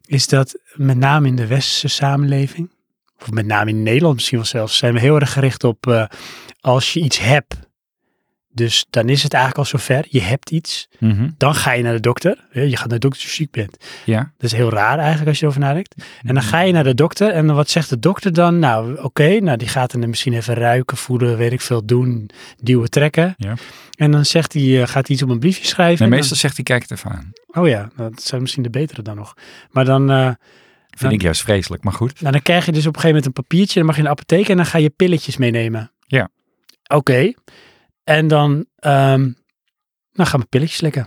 Speaker 1: Is dat met name in de westerse samenleving, of met name in Nederland misschien wel zelfs, zijn we heel erg gericht op eh, als je iets hebt. Dus dan is het eigenlijk al zover. Je hebt iets.
Speaker 2: Mhm.
Speaker 1: Dan ga je naar de dokter. hè, Je gaat naar de dokter als je ziek bent.
Speaker 2: Ja.
Speaker 1: Dat is heel raar eigenlijk als je erover nadenkt. En
Speaker 2: Mhm.
Speaker 1: dan ga je naar de dokter en dan wat zegt de dokter dan? Nou, oké, nou die gaat er misschien even ruiken, voelen, weet ik veel, doen, duwen, trekken.
Speaker 2: Ja.
Speaker 1: En dan zegt hij, eh, gaat hij iets op een briefje schrijven.
Speaker 2: Nee,
Speaker 1: en
Speaker 2: meestal zegt hij, kijk het even aan.
Speaker 1: dan- oh ja, dat zijn misschien de betere dan nog. Maar dan, eh,
Speaker 2: Vind
Speaker 1: Dan-
Speaker 2: ik juist vreselijk, maar goed.
Speaker 1: nou, dan krijg je dus op een gegeven moment een papiertje, dan mag je in de apotheek en dan ga je pilletjes meenemen.
Speaker 2: Ja.
Speaker 1: Oké. En dan, ehm, dan gaan we pilletjes slikken.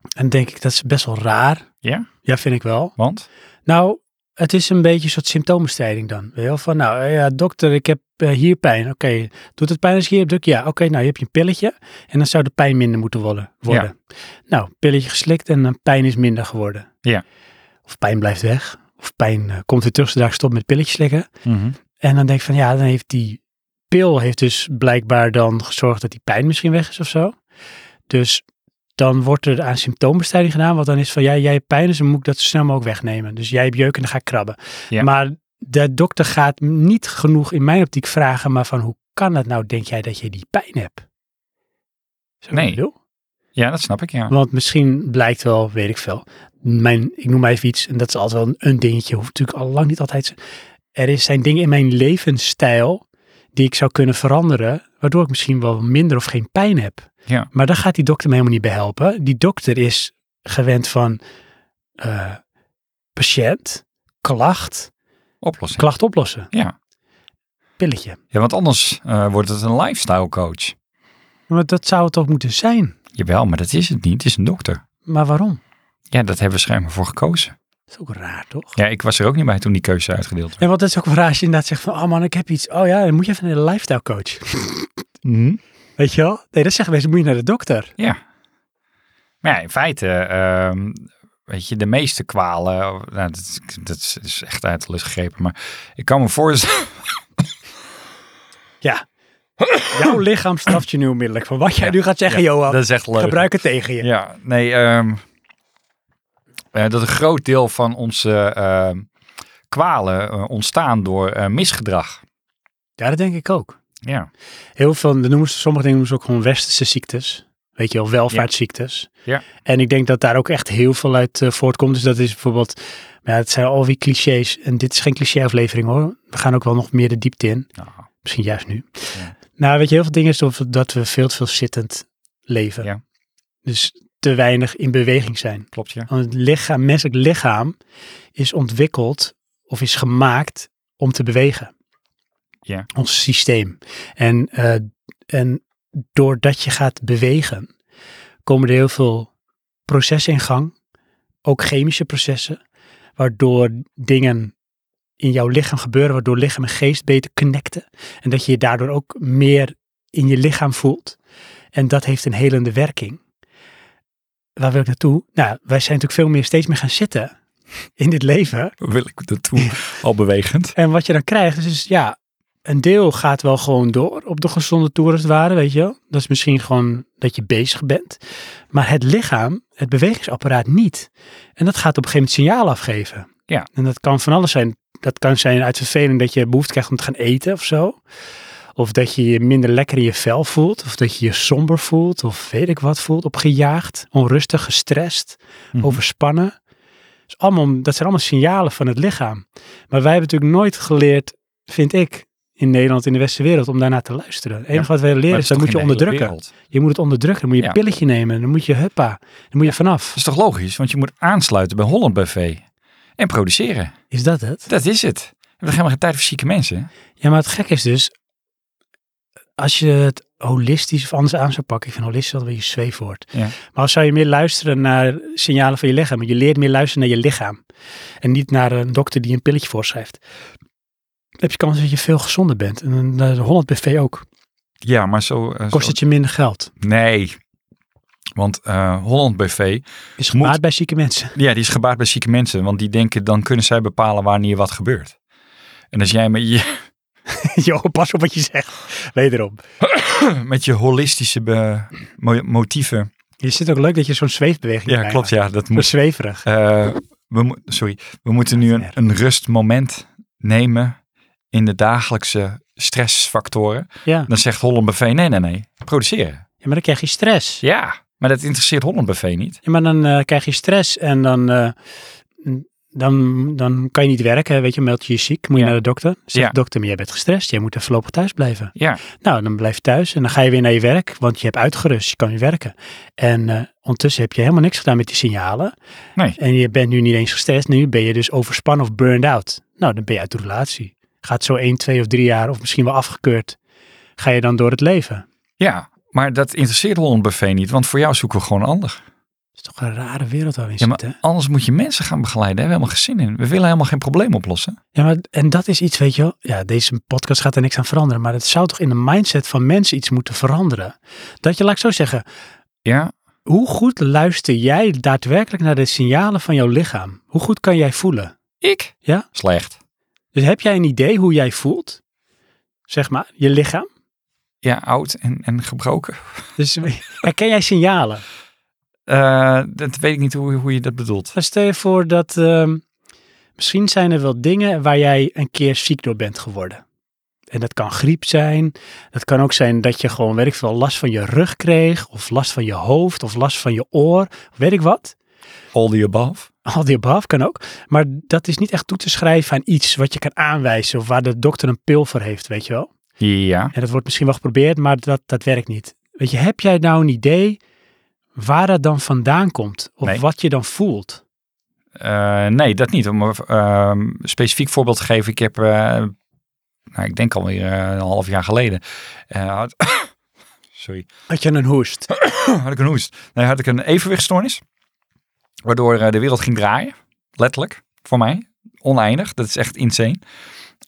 Speaker 1: En dan denk ik, dat is best wel raar.
Speaker 2: Ja?
Speaker 1: Ja, vind ik wel.
Speaker 2: Want?
Speaker 1: Nou, het is een beetje een soort symptoombestrijding dan. Weet je wel? Van, nou eh, ja, dokter, ik heb eh, hier pijn. Oké, doet het pijn als je hier hebt? druk? Ja, oké, nou, je hebt je een pilletje. En dan zou de pijn minder moeten worden. worden. Nou, pilletje geslikt en dan pijn is minder geworden.
Speaker 2: Ja.
Speaker 1: Of pijn blijft weg. Of pijn eh, komt weer terug zodra ik stop met pilletjes slikken.
Speaker 2: Mhm.
Speaker 1: En dan denk ik van, ja, dan heeft die pil heeft dus blijkbaar dan gezorgd dat die pijn misschien weg is of zo. Dus dan wordt er aan symptoombestrijding gedaan, want dan is van, ja, jij hebt pijn, dus dan moet ik dat zo snel mogelijk wegnemen. Dus jij hebt jeuk en dan ga ik krabben.
Speaker 2: Ja.
Speaker 1: Maar de dokter gaat niet genoeg in mijn optiek vragen, maar van, hoe kan het nou, denk jij, dat je die pijn hebt? Zo
Speaker 2: Nee.
Speaker 1: bedoel.
Speaker 2: Ja, dat snap ik, ja.
Speaker 1: Want misschien blijkt wel, weet ik veel. Mijn, ik noem maar even iets, en dat is altijd wel een, een dingetje. Hoeft natuurlijk al lang niet altijd. Er is, zijn dingen in mijn levensstijl die ik zou kunnen veranderen, waardoor ik misschien wel minder of geen pijn heb.
Speaker 2: Ja.
Speaker 1: Maar daar gaat die dokter me helemaal niet bij helpen. Die dokter is gewend van eh, patiënt, klacht,
Speaker 2: Oplossing.
Speaker 1: klacht oplossen.
Speaker 2: Ja.
Speaker 1: Pilletje.
Speaker 2: Ja, want anders eh, wordt het een lifestyle coach.
Speaker 1: Maar dat zou het toch moeten zijn?
Speaker 2: Jawel, maar dat is het niet. Het is een dokter.
Speaker 1: Maar waarom?
Speaker 2: Ja, dat hebben we schijnbaar voor gekozen.
Speaker 1: Dat is ook raar, toch?
Speaker 2: Ja, ik was er ook niet bij toen die keuze uitgedeeld werd.
Speaker 1: En wat is ook wel raar als je inderdaad zegt van, oh man, ik heb iets. Oh ja, dan moet je even naar de lifestyle coach. Mhm. Weet je wel? Nee, dat zeggen mensen, moet je naar de dokter.
Speaker 2: Maar ja, in feite, ehm, weet je, de meeste kwalen, nou, dat, is- dat is- is echt uit de lust gegrepen, maar ik kan me voorstellen,
Speaker 1: Ja. Jouw lichaam straft je nu onmiddellijk van wat jij nu gaat zeggen, Johan.
Speaker 2: dat is echt leuk.
Speaker 1: Gebruik het tegen je.
Speaker 2: Ja, nee, ehm, eh, dat een groot deel van onze ehm, kwalen eh, ontstaan door eh, misgedrag.
Speaker 1: Ja, dat denk ik ook.
Speaker 2: Ja,
Speaker 1: Heel veel, dat noemen ze, sommige dingen noemen ze ook gewoon westerse ziektes. Weet je wel, welvaartsziektes.
Speaker 2: Ja.
Speaker 1: En ik denk dat daar ook echt heel veel uit eh, voortkomt. Dus dat is bijvoorbeeld, maar ja, het zijn alweer clichés. En dit is geen cliché-aflevering hoor. We gaan ook wel nog meer de diepte in.
Speaker 2: nou,
Speaker 1: Misschien juist nu.
Speaker 2: Ja.
Speaker 1: Nou, weet je, heel veel dingen is dat we- dat we veel te veel zittend leven.
Speaker 2: Ja.
Speaker 1: Dus te weinig in beweging zijn.
Speaker 2: klopt ja.
Speaker 1: Want het lichaam, menselijk lichaam is ontwikkeld of is gemaakt om te bewegen.
Speaker 2: Ja.
Speaker 1: Ons systeem. En, eh, en doordat je gaat bewegen, komen er heel veel processen in gang. Ook chemische processen. Waardoor dingen in jouw lichaam gebeuren, waardoor lichaam en geest beter connecten. En dat je je daardoor ook meer in je lichaam voelt. En dat heeft een helende werking. Waar wil ik naartoe? Nou, wij zijn natuurlijk veel meer steeds meer gaan zitten in dit leven.
Speaker 2: Wil ik daartoe al bewegend?
Speaker 1: En wat je dan krijgt is, dus ja, een deel gaat wel gewoon door op de gezonde toer als het ware, weet je wel. Dat is misschien gewoon dat je bezig bent. Maar het lichaam, het bewegingsapparaat niet. En dat gaat op een gegeven moment signaal afgeven.
Speaker 2: Ja.
Speaker 1: En dat kan van alles zijn. Dat kan zijn uit verveling dat je behoefte krijgt om te gaan eten of zo. Of dat je je minder lekker in je vel voelt. Of dat je je somber voelt. Of weet ik wat voelt. Opgejaagd, onrustig, gestrest,
Speaker 2: Mhm.
Speaker 1: overspannen. Dus allemaal, dat zijn allemaal signalen van het lichaam. Maar wij hebben natuurlijk nooit geleerd, vind ik, in Nederland, in de westerse wereld, om daarnaar te luisteren. Het enige wat wij leren
Speaker 2: Maar
Speaker 1: is,
Speaker 2: dat
Speaker 1: dat
Speaker 2: is
Speaker 1: moet je
Speaker 2: toch in de hele
Speaker 1: onderdrukken.
Speaker 2: wereld?
Speaker 1: Je moet het onderdrukken. Dan moet je
Speaker 2: Ja.
Speaker 1: een pilletje nemen. Dan moet je huppa. Dan moet je vanaf.
Speaker 2: Dat is toch logisch? Want je moet aansluiten bij Holland Buffet. En produceren.
Speaker 1: Is dat het?
Speaker 2: Dat is het. We hebben helemaal geen tijd voor zieke mensen.
Speaker 1: Ja, maar het gek is dus, als je het holistisch of anders aan zou pakken, ik vind holistisch altijd een beetje een zweefwoord.
Speaker 2: Ja.
Speaker 1: Maar als zou je meer luisteren naar signalen van je lichaam, want je leert meer luisteren naar je lichaam en niet naar een dokter die een pilletje voorschrijft, dan heb je kans dat je veel gezonder bent. En een eh, Holland BV ook.
Speaker 2: Ja, maar zo... eh,
Speaker 1: Kost
Speaker 2: zo-
Speaker 1: het je minder geld.
Speaker 2: Nee. Want eh, Holland BV,
Speaker 1: Is
Speaker 2: Moet-
Speaker 1: gemaakt bij zieke mensen.
Speaker 2: ja, die is gebaat bij zieke mensen. Want die denken, dan kunnen zij bepalen wanneer wat gebeurt. En als jij met je,
Speaker 1: jo, pas op wat je zegt. Wederom.
Speaker 2: met je holistische be- mo- motieven...
Speaker 1: Je zit ook leuk dat je zo'n zweefbeweging
Speaker 2: Ja, klopt. Ja, dat
Speaker 1: Zo
Speaker 2: moet...
Speaker 1: zweverig.
Speaker 2: Eh, we mo- sorry, we moeten nu een, een rustmoment nemen in de dagelijkse stressfactoren.
Speaker 1: Ja.
Speaker 2: Dan zegt Holland Buffet, nee, nee, nee, produceren.
Speaker 1: ja, maar dan krijg je stress.
Speaker 2: Ja, maar dat interesseert Holland Buffet niet.
Speaker 1: Ja, maar dan eh, krijg je stress en dan, eh, n- dan, dan kan je niet werken. Weet je, meld je je ziek, moet je
Speaker 2: Ja.
Speaker 1: naar de dokter. Zegt
Speaker 2: Ja.
Speaker 1: de dokter, maar jij bent gestrest, jij moet er voorlopig thuis blijven.
Speaker 2: Ja,
Speaker 1: Nou, dan blijf je thuis en dan ga je weer naar je werk, want je hebt uitgerust, je kan weer werken. En eh, ondertussen heb je helemaal niks gedaan met die signalen.
Speaker 2: Nee.
Speaker 1: En je bent nu niet eens gestrest, nu ben je dus overspannen of burned out. Nou, dan ben je uit de relatie. Gaat zo 1, 2 of 3 jaar, of misschien wel afgekeurd, ga je dan door het leven.
Speaker 2: ja, maar dat interesseert Holland Buffet niet, want voor jou zoeken we gewoon ander.
Speaker 1: Dat is toch een rare wereld waar we in
Speaker 2: Ja,
Speaker 1: zitten.
Speaker 2: maar anders moet je mensen gaan begeleiden. Daar hebben we helemaal geen zin in. We willen helemaal geen probleem oplossen.
Speaker 1: Ja, maar en dat is iets, weet je wel. Ja, deze podcast gaat er niks aan veranderen. Maar het zou toch in de mindset van mensen iets moeten veranderen. Dat je, laat ik zo zeggen,
Speaker 2: Ja,
Speaker 1: hoe goed luister jij daadwerkelijk naar de signalen van jouw lichaam? Hoe goed kan jij voelen?
Speaker 2: ik?
Speaker 1: Ja?
Speaker 2: Slecht.
Speaker 1: Dus heb jij een idee hoe jij voelt? Zeg maar, je lichaam.
Speaker 2: Ja, oud en, en gebroken.
Speaker 1: Dus herken jij signalen?
Speaker 2: Eh, dat weet ik niet hoe, hoe je dat bedoelt.
Speaker 1: Maar stel je voor dat ehm, misschien zijn er wel dingen waar jij een keer ziek door bent geworden. En dat kan griep zijn. Dat kan ook zijn dat je gewoon, weet ik veel, last van je rug kreeg. Of last van je hoofd. Of last van je oor. Of weet ik wat.
Speaker 2: All the above.
Speaker 1: Al die above kan ook. Maar dat is niet echt toe te schrijven aan iets wat je kan aanwijzen. Of waar de dokter een pil voor heeft, weet je wel.
Speaker 2: Ja.
Speaker 1: En dat wordt misschien wel geprobeerd, maar dat, dat werkt niet. Weet je, heb jij nou een idee waar dat dan vandaan komt? Of
Speaker 2: Nee.
Speaker 1: wat je dan voelt?
Speaker 2: Eh, nee, dat niet. Om een ehm, specifiek voorbeeld te geven. Ik heb, eh, nou, ik denk alweer eh, een half jaar geleden. eh, had, sorry,
Speaker 1: Dat je een hoest.
Speaker 2: had ik een hoest. Nee, had ik een evenwichtstoornis. Waardoor eh, de wereld ging draaien. Letterlijk, voor mij. Oneindig, dat is echt insane.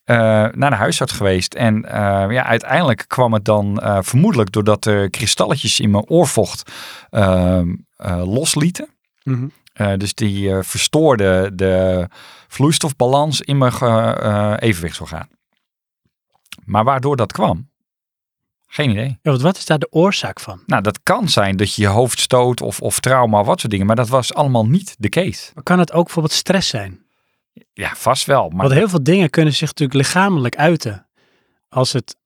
Speaker 2: Eh, naar de huisarts geweest. En eh, ja, uiteindelijk kwam het dan eh, vermoedelijk doordat er kristalletjes in mijn oorvocht ehm, eh, loslieten.
Speaker 1: Mhm.
Speaker 2: Eh, dus die eh, verstoorde de vloeistofbalans in mijn ge- eh, evenwichtsorgaan. Maar waardoor dat kwam? Geen idee.
Speaker 1: Ja, want wat is daar de oorzaak van?
Speaker 2: Nou, dat kan zijn dat je je hoofd stoot of, of trauma of wat soort dingen. Maar dat was allemaal niet de case.
Speaker 1: Maar Kan het ook bijvoorbeeld stress zijn?
Speaker 2: Ja, vast wel. Maar
Speaker 1: Want heel veel dingen kunnen zich natuurlijk lichamelijk uiten. Als het,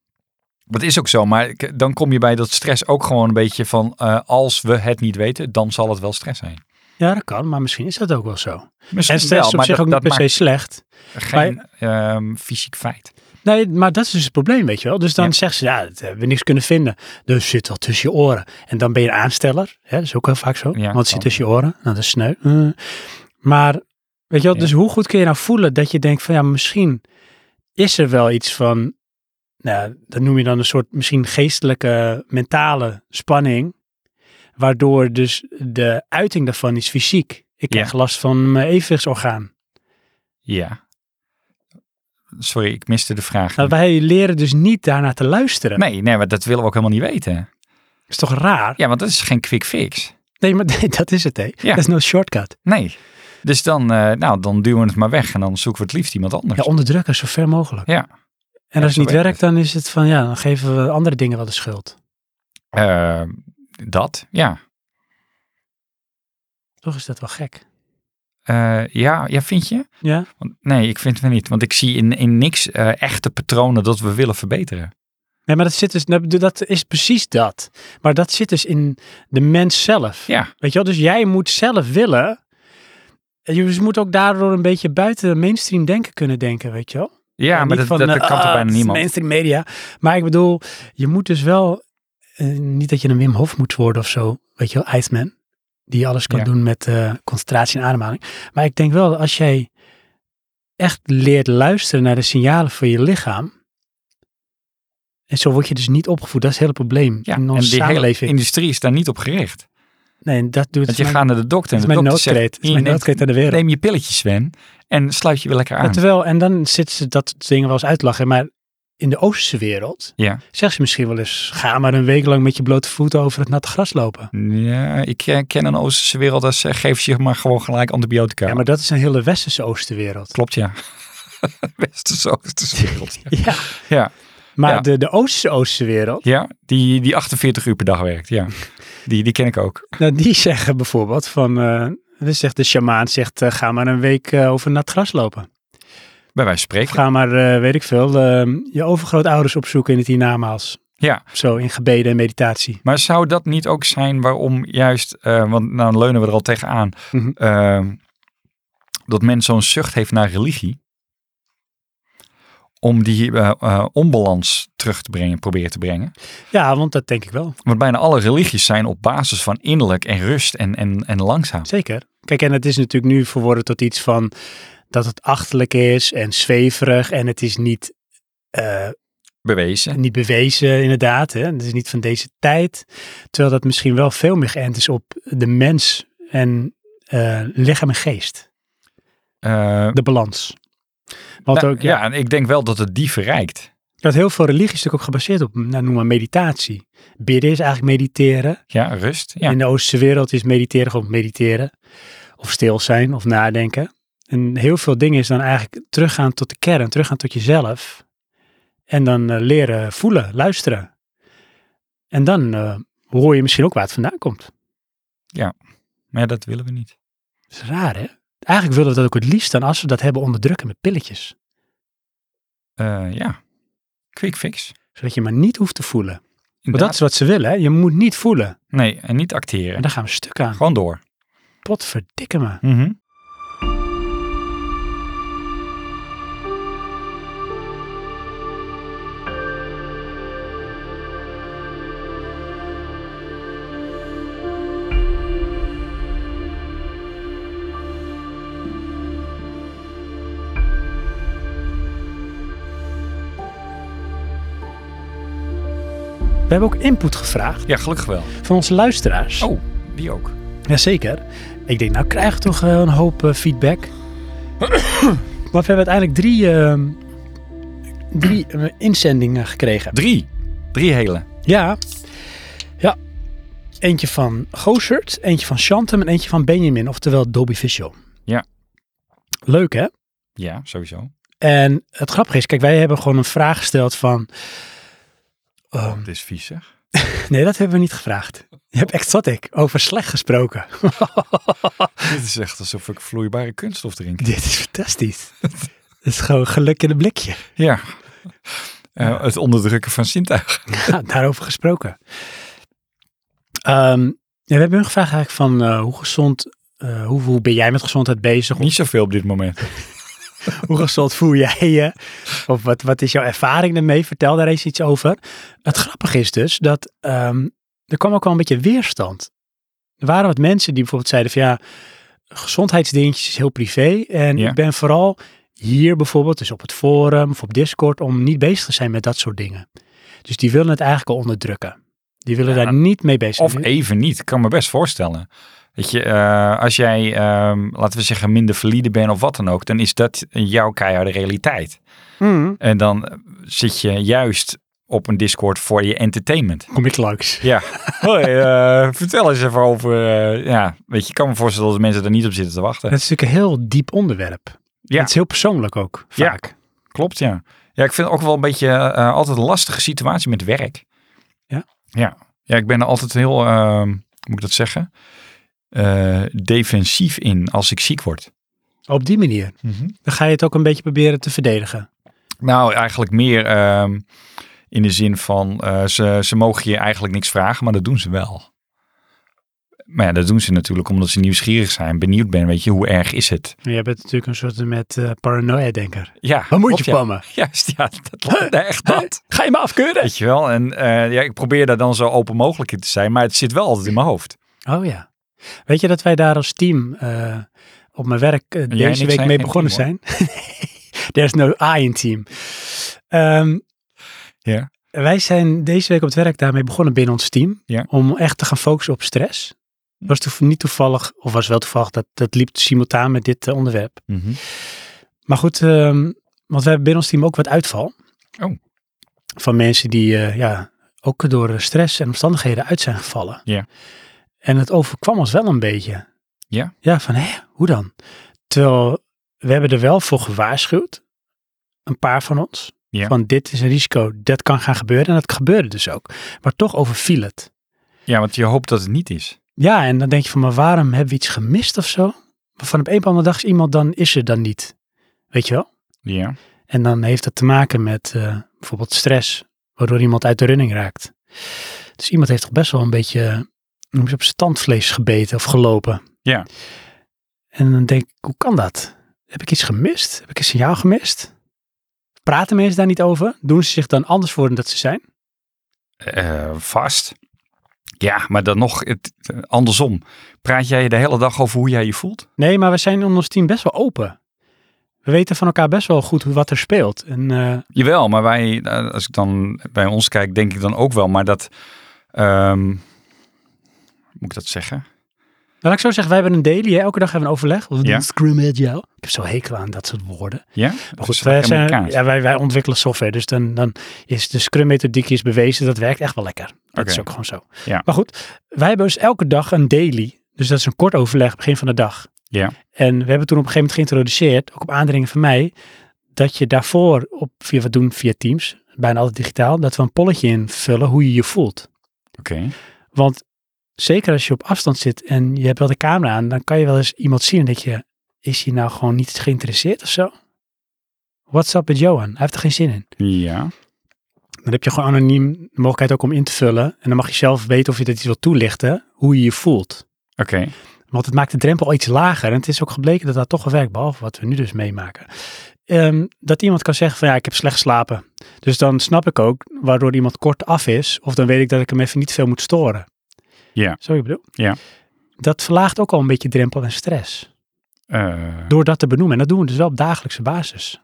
Speaker 2: dat is ook zo. Maar ik- dan kom je bij dat stress ook gewoon een beetje van... eh, als we het niet weten, dan zal het wel stress zijn.
Speaker 1: ja, dat kan, maar misschien is dat ook wel zo.
Speaker 2: Misschien
Speaker 1: En stress
Speaker 2: wel,
Speaker 1: is op
Speaker 2: maar
Speaker 1: zich
Speaker 2: dat-
Speaker 1: ook niet per
Speaker 2: dat
Speaker 1: se slecht.
Speaker 2: maakt geen ehm, fysiek feit.
Speaker 1: Nee, maar dat is dus het probleem, weet je wel. Dus dan
Speaker 2: Ja.
Speaker 1: zeggen ze, ja, dat hebben we niks kunnen vinden. Dus zit wel tussen je oren. En dan ben je een aansteller. Hè, dat is ook heel vaak zo.
Speaker 2: Ja,
Speaker 1: want het zit
Speaker 2: kan.
Speaker 1: tussen je oren. Nou, dat is sneu. Eh. Maar, weet je wel,
Speaker 2: Ja.
Speaker 1: dus hoe goed kun je nou voelen dat je denkt van, ja, misschien is er wel iets van, nou, dat noem je dan een soort misschien geestelijke, mentale spanning. Waardoor dus de uiting daarvan is fysiek. Ik
Speaker 2: Ja.
Speaker 1: krijg last van mijn evenwichtsorgaan.
Speaker 2: Ja. sorry, ik miste de vraag.
Speaker 1: Nou, wij leren dus niet daarnaar te luisteren.
Speaker 2: Nee, nee, maar dat willen we ook helemaal niet weten.
Speaker 1: is toch raar?
Speaker 2: Ja, want dat is geen quick fix.
Speaker 1: Nee, maar dat is het, hè?
Speaker 2: Ja.
Speaker 1: Dat is no shortcut.
Speaker 2: Nee. Dus dan, eh, nou, dan duwen we het maar weg en dan zoeken we het liefst iemand anders.
Speaker 1: Ja, onderdrukken zo ver mogelijk.
Speaker 2: Ja.
Speaker 1: En
Speaker 2: Ja,
Speaker 1: als
Speaker 2: zo
Speaker 1: het niet
Speaker 2: werkt
Speaker 1: werkt, dan is het van ja, dan geven we andere dingen wel de schuld.
Speaker 2: Eh, dat, ja.
Speaker 1: Toch is dat wel gek.
Speaker 2: Eh, ja. Ja, vind je?
Speaker 1: Ja?
Speaker 2: Want- nee, ik vind het niet. Want ik zie in, in niks eh, echte patronen dat we willen verbeteren.
Speaker 1: Nee, maar dat, zit dus, dat is precies dat. Maar dat zit dus in de mens zelf.
Speaker 2: Ja,
Speaker 1: Weet je wel? Dus jij moet zelf willen. En Je dus moet ook daardoor een beetje buiten de mainstream denken kunnen denken, weet je wel?
Speaker 2: ja maar dat,
Speaker 1: niet
Speaker 2: dat,
Speaker 1: van,
Speaker 2: dat
Speaker 1: eh, ah,
Speaker 2: kan toch
Speaker 1: het
Speaker 2: bijna
Speaker 1: is
Speaker 2: niemand.
Speaker 1: Mainstream media. Maar ik bedoel, je moet dus wel, eh, niet dat je een Wim Hof moet worden of zo, weet je wel, Iceman. Die alles kan
Speaker 2: Ja.
Speaker 1: doen met eh, concentratie en ademhaling. Maar ik denk wel, als jij echt leert luisteren naar de signalen van je lichaam. En zo word je dus niet opgevoed. Dat is het hele probleem
Speaker 2: Ja,
Speaker 1: in
Speaker 2: en
Speaker 1: onze
Speaker 2: die hele
Speaker 1: samenleving.
Speaker 2: industrie is daar niet op gericht.
Speaker 1: Nee, en dat doet
Speaker 2: Want
Speaker 1: het
Speaker 2: je
Speaker 1: mijn,
Speaker 2: gaat naar de dokter
Speaker 1: dat
Speaker 2: en
Speaker 1: is
Speaker 2: de
Speaker 1: mijn
Speaker 2: dokter zegt,
Speaker 1: noodkreet. Dat is
Speaker 2: "Hier,
Speaker 1: mijn
Speaker 2: neem-
Speaker 1: noodkreet aan de wereld.
Speaker 2: neem je pilletjes, Sven, en sluit je weer lekker
Speaker 1: Maar
Speaker 2: aan.
Speaker 1: terwijl, en dan zit ze dat soort dingen wel eens uitlachen. Maar in de Oosterse wereld
Speaker 2: Ja.
Speaker 1: zegt ze misschien wel eens: ga maar een week lang met je blote voeten over het natte gras lopen.
Speaker 2: Ja, ik eh, ken een Oosterse wereld, dat ze geef je maar gewoon gelijk antibiotica.
Speaker 1: Ja, maar dat is een hele Westerse Oosterwereld.
Speaker 2: Klopt, ja. Westerse Oosterse wereld. ja.
Speaker 1: Ja.
Speaker 2: Ja.
Speaker 1: Maar
Speaker 2: Ja.
Speaker 1: de, de Oosterse Oosterwereld,
Speaker 2: Ja, die, die 48 uur per dag werkt, ja. Die, die ken ik ook.
Speaker 1: nou, die zeggen bijvoorbeeld van. eh, dus zegt de shamaan zegt, eh, ga maar een week eh, over nat gras lopen.
Speaker 2: Bij wijze van
Speaker 1: Of
Speaker 2: spreken.
Speaker 1: ga maar, eh, weet ik veel, eh, je overgrootouders opzoeken in het hiernamaals.
Speaker 2: Ja.
Speaker 1: Zo, in gebeden en meditatie.
Speaker 2: Maar zou dat niet ook zijn waarom juist, eh, want nou leunen we er al tegenaan,
Speaker 1: Mhm.
Speaker 2: eh, dat men zo'n zucht heeft naar religie? Om die eh, eh, onbalans terug te brengen, proberen te brengen.
Speaker 1: Ja, want dat denk ik wel.
Speaker 2: Want bijna alle religies zijn op basis van innerlijk en rust en, en, en langzaam.
Speaker 1: Zeker. Kijk, en het is natuurlijk nu verworden tot iets van dat het achterlijk is en zweverig en het is niet, eh,
Speaker 2: Bewezen.
Speaker 1: niet bewezen inderdaad. Hè? Het is niet van deze tijd. Terwijl dat misschien wel veel meer geënt is op de mens en eh, lichaam en geest.
Speaker 2: Eh,
Speaker 1: De balans. Want
Speaker 2: nou,
Speaker 1: ook, ja,
Speaker 2: ja, en ik denk wel dat het die verrijkt.
Speaker 1: dat heel veel religies natuurlijk ook gebaseerd op, nou, noem maar meditatie. Bidden is eigenlijk mediteren.
Speaker 2: Ja, rust. Ja.
Speaker 1: In de Oosterse wereld is mediteren gewoon mediteren. Of stil zijn of nadenken. En heel veel dingen is dan eigenlijk teruggaan tot de kern, teruggaan tot jezelf. En dan eh, leren voelen, luisteren. En dan eh, hoor je misschien ook waar het vandaan komt.
Speaker 2: Maar ja, dat willen we niet.
Speaker 1: Dat is raar, hè? Eigenlijk willen we dat ook het liefst dan als we dat hebben onderdrukken met pilletjes.
Speaker 2: Eh, ja, quick fix.
Speaker 1: Zodat je maar niet hoeft te voelen. Want dat
Speaker 2: Inderdaad.
Speaker 1: is wat ze willen, hè? Je moet niet voelen.
Speaker 2: Nee, en niet acteren.
Speaker 1: En daar gaan we stuk aan.
Speaker 2: Gewoon door.
Speaker 1: Potverdikke me.
Speaker 2: Mhm.
Speaker 1: We hebben ook input gevraagd
Speaker 2: Ja, gelukkig wel.
Speaker 1: van onze luisteraars.
Speaker 2: Oh, die ook.
Speaker 1: Jazeker. Ik denk, nou krijg ik toch eh, een hoop eh, feedback. maar we hebben uiteindelijk drie, eh, drie eh, inzendingen gekregen.
Speaker 2: Drie. Drie hele.
Speaker 1: Ja. Ja. Eentje van Gozert, eentje van Chantem en eentje van Benjamin, oftewel Dobby Fischel.
Speaker 2: Ja.
Speaker 1: Leuk hè?
Speaker 2: Ja, sowieso.
Speaker 1: En het grappige is, kijk, wij hebben gewoon een vraag gesteld van... ehm,
Speaker 2: Het is vies, zeg.
Speaker 1: nee, dat hebben we niet gevraagd. Je hebt exotic over slecht gesproken.
Speaker 2: Dit is echt alsof ik vloeibare kunststof drink.
Speaker 1: Dit is fantastisch. Het is gewoon geluk in een blikje.
Speaker 2: Ja. Eh, het onderdrukken van zintuigen.
Speaker 1: Ja, daarover gesproken. Ehm, ja, we hebben hun gevraagd eigenlijk van eh, hoe gezond, eh, hoe, hoe ben jij met gezondheid bezig? Of
Speaker 2: Niet zoveel op dit moment.
Speaker 1: hoe gezond voel jij je? Of wat, wat is jouw ervaring daarmee? Vertel daar eens iets over. Het grappige is dus dat ehm, er kwam ook wel een beetje weerstand. Er waren wat mensen die bijvoorbeeld zeiden van ja, gezondheidsdingetjes is heel privé. En
Speaker 2: Ja.
Speaker 1: ik ben vooral hier bijvoorbeeld, dus op het forum of op Discord, om niet bezig te zijn met dat soort dingen. Dus die willen het eigenlijk al onderdrukken. Die willen
Speaker 2: Ja,
Speaker 1: daar niet mee bezig
Speaker 2: Of e-
Speaker 1: zijn.
Speaker 2: even niet. Ik kan me best voorstellen. Weet je, eh, als jij, ehm, laten we zeggen, minder valide bent of wat dan ook, dan is dat jouw keiharde realiteit. En dan eh, zit je juist op een Discord voor je entertainment.
Speaker 1: Kom ik langs.
Speaker 2: Ja, Hoi, eh, vertel eens even over, eh, ja, weet je, ik kan me voorstellen dat mensen daar niet op zitten te wachten.
Speaker 1: Dat is natuurlijk een heel diep onderwerp.
Speaker 2: Ja.
Speaker 1: Het is heel persoonlijk ook,
Speaker 2: Ja.
Speaker 1: vaak.
Speaker 2: Klopt, ja. Ja, ik vind het ook wel een beetje eh, altijd een lastige situatie met werk.
Speaker 1: Ja?
Speaker 2: Ja, ja ik ben er altijd heel, ehm, hoe moet ik dat zeggen, Eh, defensief in als ik ziek word.
Speaker 1: Op die manier. Dan ga je het ook een beetje proberen te verdedigen.
Speaker 2: Nou, eigenlijk meer ehm, in de zin van eh, ze, ze mogen je eigenlijk niks vragen, maar dat doen ze wel. Maar ja, dat doen ze natuurlijk omdat ze nieuwsgierig zijn, benieuwd ben, weet je, hoe erg is het?
Speaker 1: Je bent natuurlijk een soort met eh, paranoia-denker.
Speaker 2: Ja,
Speaker 1: Waar moet
Speaker 2: klopt,
Speaker 1: je
Speaker 2: ja.
Speaker 1: pammen?
Speaker 2: Juist, ja, dat, echt dat.
Speaker 1: Ga je me afkeuren?
Speaker 2: Weet je wel, en eh, ja, ik probeer daar dan zo open mogelijk in te zijn, maar het zit wel altijd in mijn hoofd.
Speaker 1: Oh ja. Weet je dat wij daar als team eh, op mijn werk eh,
Speaker 2: en
Speaker 1: deze
Speaker 2: ik
Speaker 1: week
Speaker 2: zijn
Speaker 1: mee
Speaker 2: geen
Speaker 1: begonnen
Speaker 2: team,
Speaker 1: zijn? There's no I in team. Ehm,
Speaker 2: Ja.
Speaker 1: Wij zijn deze week op het werk daarmee begonnen binnen ons team.
Speaker 2: Ja.
Speaker 1: Om echt te gaan focussen op stress. Was toef- niet toevallig, of was wel toevallig, dat, dat liep simultaan met dit eh, onderwerp. Maar goed, ehm, want we hebben binnen ons team ook wat uitval.
Speaker 2: Oh.
Speaker 1: Van mensen die eh, ja, ook door eh, stress en omstandigheden uit zijn gevallen.
Speaker 2: Ja.
Speaker 1: En het overkwam ons wel een beetje.
Speaker 2: Ja.
Speaker 1: Ja, van hé, hoe dan? Terwijl we hebben er wel voor gewaarschuwd, een paar van ons.
Speaker 2: Ja.
Speaker 1: Van dit is een risico, dat kan gaan gebeuren. En dat gebeurde dus ook. Maar toch overviel het.
Speaker 2: Ja, want je hoopt dat het niet is.
Speaker 1: Ja, en dan denk je van, maar waarom hebben we iets gemist of zo? Maar van op een of andere dag is iemand dan, is er dan niet. Weet je wel?
Speaker 2: Ja.
Speaker 1: En dan heeft dat te maken met eh, bijvoorbeeld stress, waardoor iemand uit de running raakt. Dus iemand heeft toch best wel een beetje eh, noem je het, op zijn tandvlees gebeten of gelopen.
Speaker 2: Ja.
Speaker 1: En dan denk ik, hoe kan dat? Heb ik iets gemist? Heb ik een signaal gemist? Praten mensen daar niet over? Doen ze zich dan anders voor dan dat ze zijn?
Speaker 2: Eh, vast. Ja, maar dan nog het, eh, andersom. Praat jij de hele dag over hoe jij je voelt?
Speaker 1: Nee, maar we zijn in ons team best wel open. We weten van elkaar best wel goed hoe- wat er speelt. En eh,
Speaker 2: Jawel, maar wij, eh, als ik dan bij ons kijk, denk ik dan ook wel. Maar dat, ehm, moet ik dat zeggen?
Speaker 1: Nou, laat ik zo zeggen, wij hebben een daily, hè? elke dag hebben we een overleg. We doen
Speaker 2: Ja.
Speaker 1: scrimmage, ja. Ik heb zo hekel aan dat soort woorden.
Speaker 2: Ja?
Speaker 1: Maar
Speaker 2: Dat
Speaker 1: goed,
Speaker 2: is
Speaker 1: wij, zijn,
Speaker 2: Amerikaans.
Speaker 1: ja, wij, wij ontwikkelen software, dus dan, dan is de Scrum methodiek is bewezen, dat werkt echt wel lekker. Dat
Speaker 2: Oké.
Speaker 1: is ook gewoon zo.
Speaker 2: Ja.
Speaker 1: Maar goed, wij hebben dus elke dag een daily, dus dat is een kort overleg, begin van de dag.
Speaker 2: Ja.
Speaker 1: En we hebben toen op een gegeven moment geïntroduceerd, ook op aandringen van mij, dat je daarvoor op, via wat doen via Teams, bijna altijd digitaal, dat we een polletje invullen hoe je je voelt.
Speaker 2: Oké.
Speaker 1: Want zeker als je op afstand zit en je hebt wel de camera aan, dan kan je wel eens iemand zien en denk je, is hij nou gewoon niet geïnteresseerd of zo? What's up met Johan? Hij heeft er geen zin in.
Speaker 2: Ja.
Speaker 1: Dan heb je gewoon anoniem de mogelijkheid ook om in te vullen. En dan mag je zelf weten of je dat iets wilt toelichten, hoe je je voelt.
Speaker 2: Oké.
Speaker 1: Want het maakt de drempel al iets lager. En het is ook gebleken dat dat toch wel werkt, behalve wat we nu dus meemaken. Ehm, dat iemand kan zeggen van ja, ik heb slecht geslapen. Dus dan snap ik ook waardoor iemand kort af is. Of dan weet ik dat ik hem even niet veel moet storen.
Speaker 2: Ja.
Speaker 1: Zo je bedoel?
Speaker 2: Ja.
Speaker 1: Dat verlaagt ook al een beetje drempel en stress.
Speaker 2: Eh,
Speaker 1: Door dat te benoemen. En dat doen we dus wel op dagelijkse basis.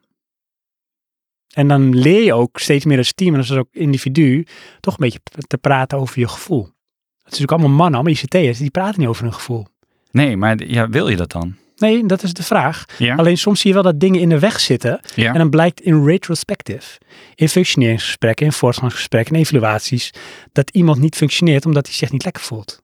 Speaker 1: En dan leer je ook steeds meer als team en als ook individu toch een beetje p- te praten over je gevoel. Het is natuurlijk allemaal mannen, allemaal ICT'ers, die praten niet over hun gevoel.
Speaker 2: nee, maar d- ja, wil je dat dan?
Speaker 1: Nee, dat is de vraag.
Speaker 2: Ja.
Speaker 1: Alleen soms zie je wel dat dingen in de weg zitten.
Speaker 2: Ja.
Speaker 1: En dan blijkt in retrospective, in functioneringsgesprekken, in voortgangsgesprekken, in evaluaties, dat iemand niet functioneert omdat hij zich niet lekker voelt.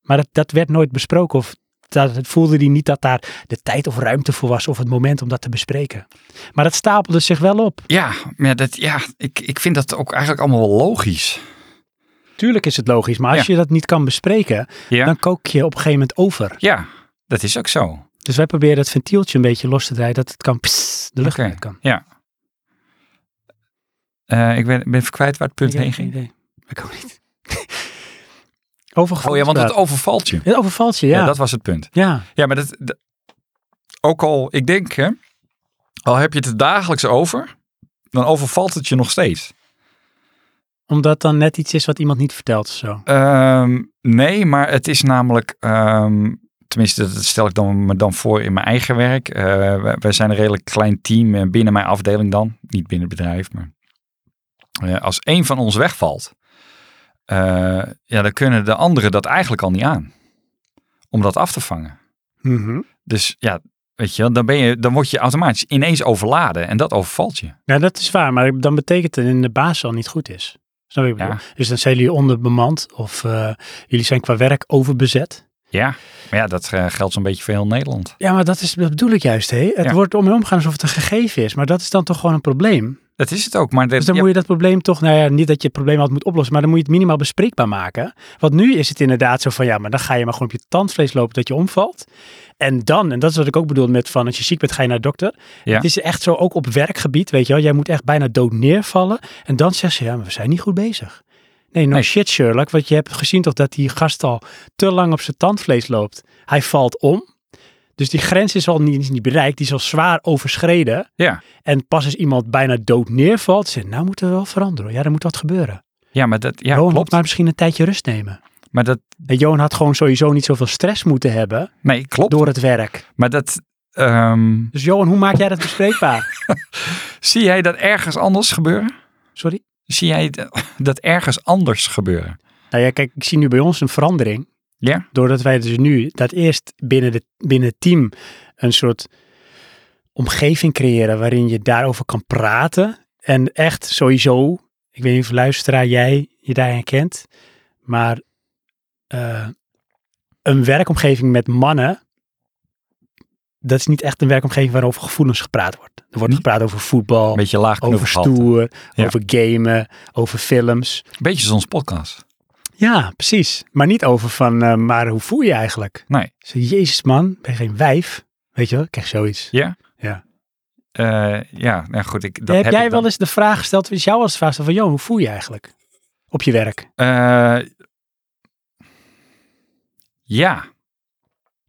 Speaker 1: Maar dat, dat werd nooit besproken of dat, het voelde hij niet dat daar de tijd of ruimte voor was of het moment om dat te bespreken. Maar dat stapelde zich wel op.
Speaker 2: Ja, maar dat, ja ik, ik vind dat ook eigenlijk allemaal wel logisch.
Speaker 1: Tuurlijk is het logisch, maar als je dat niet kan bespreken,
Speaker 2: Ja.
Speaker 1: dan kook je op een gegeven moment over.
Speaker 2: Ja, dat is ook zo.
Speaker 1: Dus wij proberen het ventieltje een beetje los te draaien, dat het kan pss, de lucht
Speaker 2: Oké.
Speaker 1: uit kan.
Speaker 2: Ja. Eh, ik ben, ben even kwijt waar het punt heen ging.
Speaker 1: Ik ook niet. Over
Speaker 2: Oh ja, want het overvalt je.
Speaker 1: Het overvalt je, ja.
Speaker 2: Ja.
Speaker 1: Ja,
Speaker 2: dat was het punt. Ja, maar dat, dat- ook al, ik denk, hè, al heb je het er dagelijks over, dan overvalt het je nog steeds.
Speaker 1: omdat dan net iets is wat iemand niet vertelt of zo.
Speaker 2: Ehm, nee, maar het is namelijk, ehm, tenminste, dat stel ik dan, me dan voor in mijn eigen werk. Eh, wij, wij zijn een redelijk klein team eh, binnen mijn afdeling dan, niet binnen het bedrijf, maar eh, als één van ons wegvalt, eh, ja, dan kunnen de anderen dat eigenlijk al niet aan. om dat af te vangen.
Speaker 1: Mhm.
Speaker 2: Dus ja, weet je, wel, dan, ben je, dan word je automatisch ineens overladen en dat overvalt je.
Speaker 1: Nou, dat is waar, maar dan betekent dat in de baas al niet goed is. Snap je wat ik
Speaker 2: Ja.
Speaker 1: bedoel? Dus dan zijn jullie onderbemand of eh, jullie zijn qua werk overbezet.
Speaker 2: Ja, maar ja, dat eh, geldt zo'n beetje voor heel Nederland.
Speaker 1: Ja, maar dat, is, dat bedoel ik juist. Hè? Het
Speaker 2: Ja.
Speaker 1: wordt om je omgaan alsof het een gegeven is, maar dat is dan toch gewoon een probleem.
Speaker 2: Dat is het ook, maar dat,
Speaker 1: Dus dan
Speaker 2: ja,
Speaker 1: moet je dat probleem toch, nou ja, niet dat je het probleem altijd moet oplossen, maar dan moet je het minimaal bespreekbaar maken. Want nu is het inderdaad zo van, ja, maar dan ga je maar gewoon op je tandvlees lopen dat je omvalt. En dan, en dat is wat ik ook bedoel met van, als je ziek bent, ga je naar de dokter.
Speaker 2: Ja.
Speaker 1: Het is echt zo, ook op werkgebied, weet je wel, jij moet echt bijna dood neervallen. En dan zeggen ze, ja, maar we zijn niet goed bezig. Nee, nou
Speaker 2: Nee.
Speaker 1: shit Sherlock, want je hebt gezien toch dat die gast al te lang op zijn tandvlees loopt. Hij valt om. Dus die grens is al niet, is niet bereikt, die is al zwaar overschreden.
Speaker 2: Ja.
Speaker 1: En pas als iemand bijna dood neervalt, zegt, nou moet er wel veranderen. hoor. Ja, er moet wat gebeuren.
Speaker 2: ja, maar dat ja,
Speaker 1: Johan had
Speaker 2: klopt.
Speaker 1: maar misschien een tijdje rust nemen.
Speaker 2: Maar dat,
Speaker 1: En Johan had gewoon sowieso niet zoveel stress moeten hebben
Speaker 2: nee, klopt.
Speaker 1: door het werk.
Speaker 2: Maar dat, ehm,
Speaker 1: Dus Johan, hoe maak jij dat bespreekbaar?
Speaker 2: zie jij dat ergens anders gebeuren?
Speaker 1: Sorry?
Speaker 2: Zie jij d- dat ergens anders gebeuren?
Speaker 1: Nou ja, kijk, ik zie nu bij ons een verandering.
Speaker 2: Ja.
Speaker 1: Doordat wij dus nu dat eerst binnen, de, binnen het team een soort omgeving creëren waarin je daarover kan praten. En echt sowieso, ik weet niet of luisteraar jij je daarin kent, maar eh, een werkomgeving met mannen, dat is niet echt een werkomgeving waarover gevoelens gepraat wordt. Er wordt
Speaker 2: Niet?
Speaker 1: gepraat over voetbal,
Speaker 2: Een Hm? beetje laag
Speaker 1: over
Speaker 2: knoopgehalte.
Speaker 1: stoer,
Speaker 2: Ja.
Speaker 1: over gamen, over films.
Speaker 2: Beetje zoals ons podcast.
Speaker 1: Ja, precies. Maar niet over van, eh, maar hoe voel je je eigenlijk?
Speaker 2: Nee.
Speaker 1: Zo, Jezus man, ben je geen wijf? Weet je wel, ik krijg zoiets.
Speaker 2: Eh, ja, nou goed. Ik, dat
Speaker 1: heb, jij
Speaker 2: ik dan.
Speaker 1: wel eens de vraag gesteld, is jou als de vraag gesteld van, joh, hoe voel je je eigenlijk? Op je werk.
Speaker 2: Eh, ja,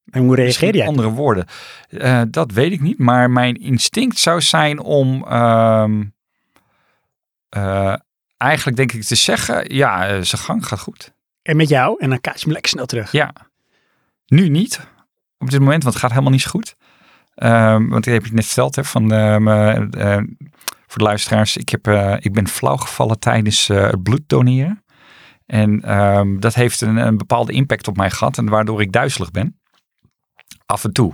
Speaker 1: En hoe reageer
Speaker 2: misschien
Speaker 1: jij?
Speaker 2: andere woorden. Eh, dat weet ik niet, maar mijn instinct zou zijn om ehm, eh, eigenlijk denk ik te zeggen, ja, eh, zijn gang gaat goed.
Speaker 1: En met jou? En dan kaats je me lekker snel terug.
Speaker 2: Ja. Nu niet. Op dit moment, want het gaat helemaal niet zo goed. Ehm, want ik heb je het net verteld, hè, van, ehm, eh, eh, voor de luisteraars. Ik, heb, eh, ik ben flauw gevallen tijdens eh, het bloed doneren. En ehm, dat heeft een, een bepaalde impact op mij gehad. En waardoor ik duizelig ben. Af en toe.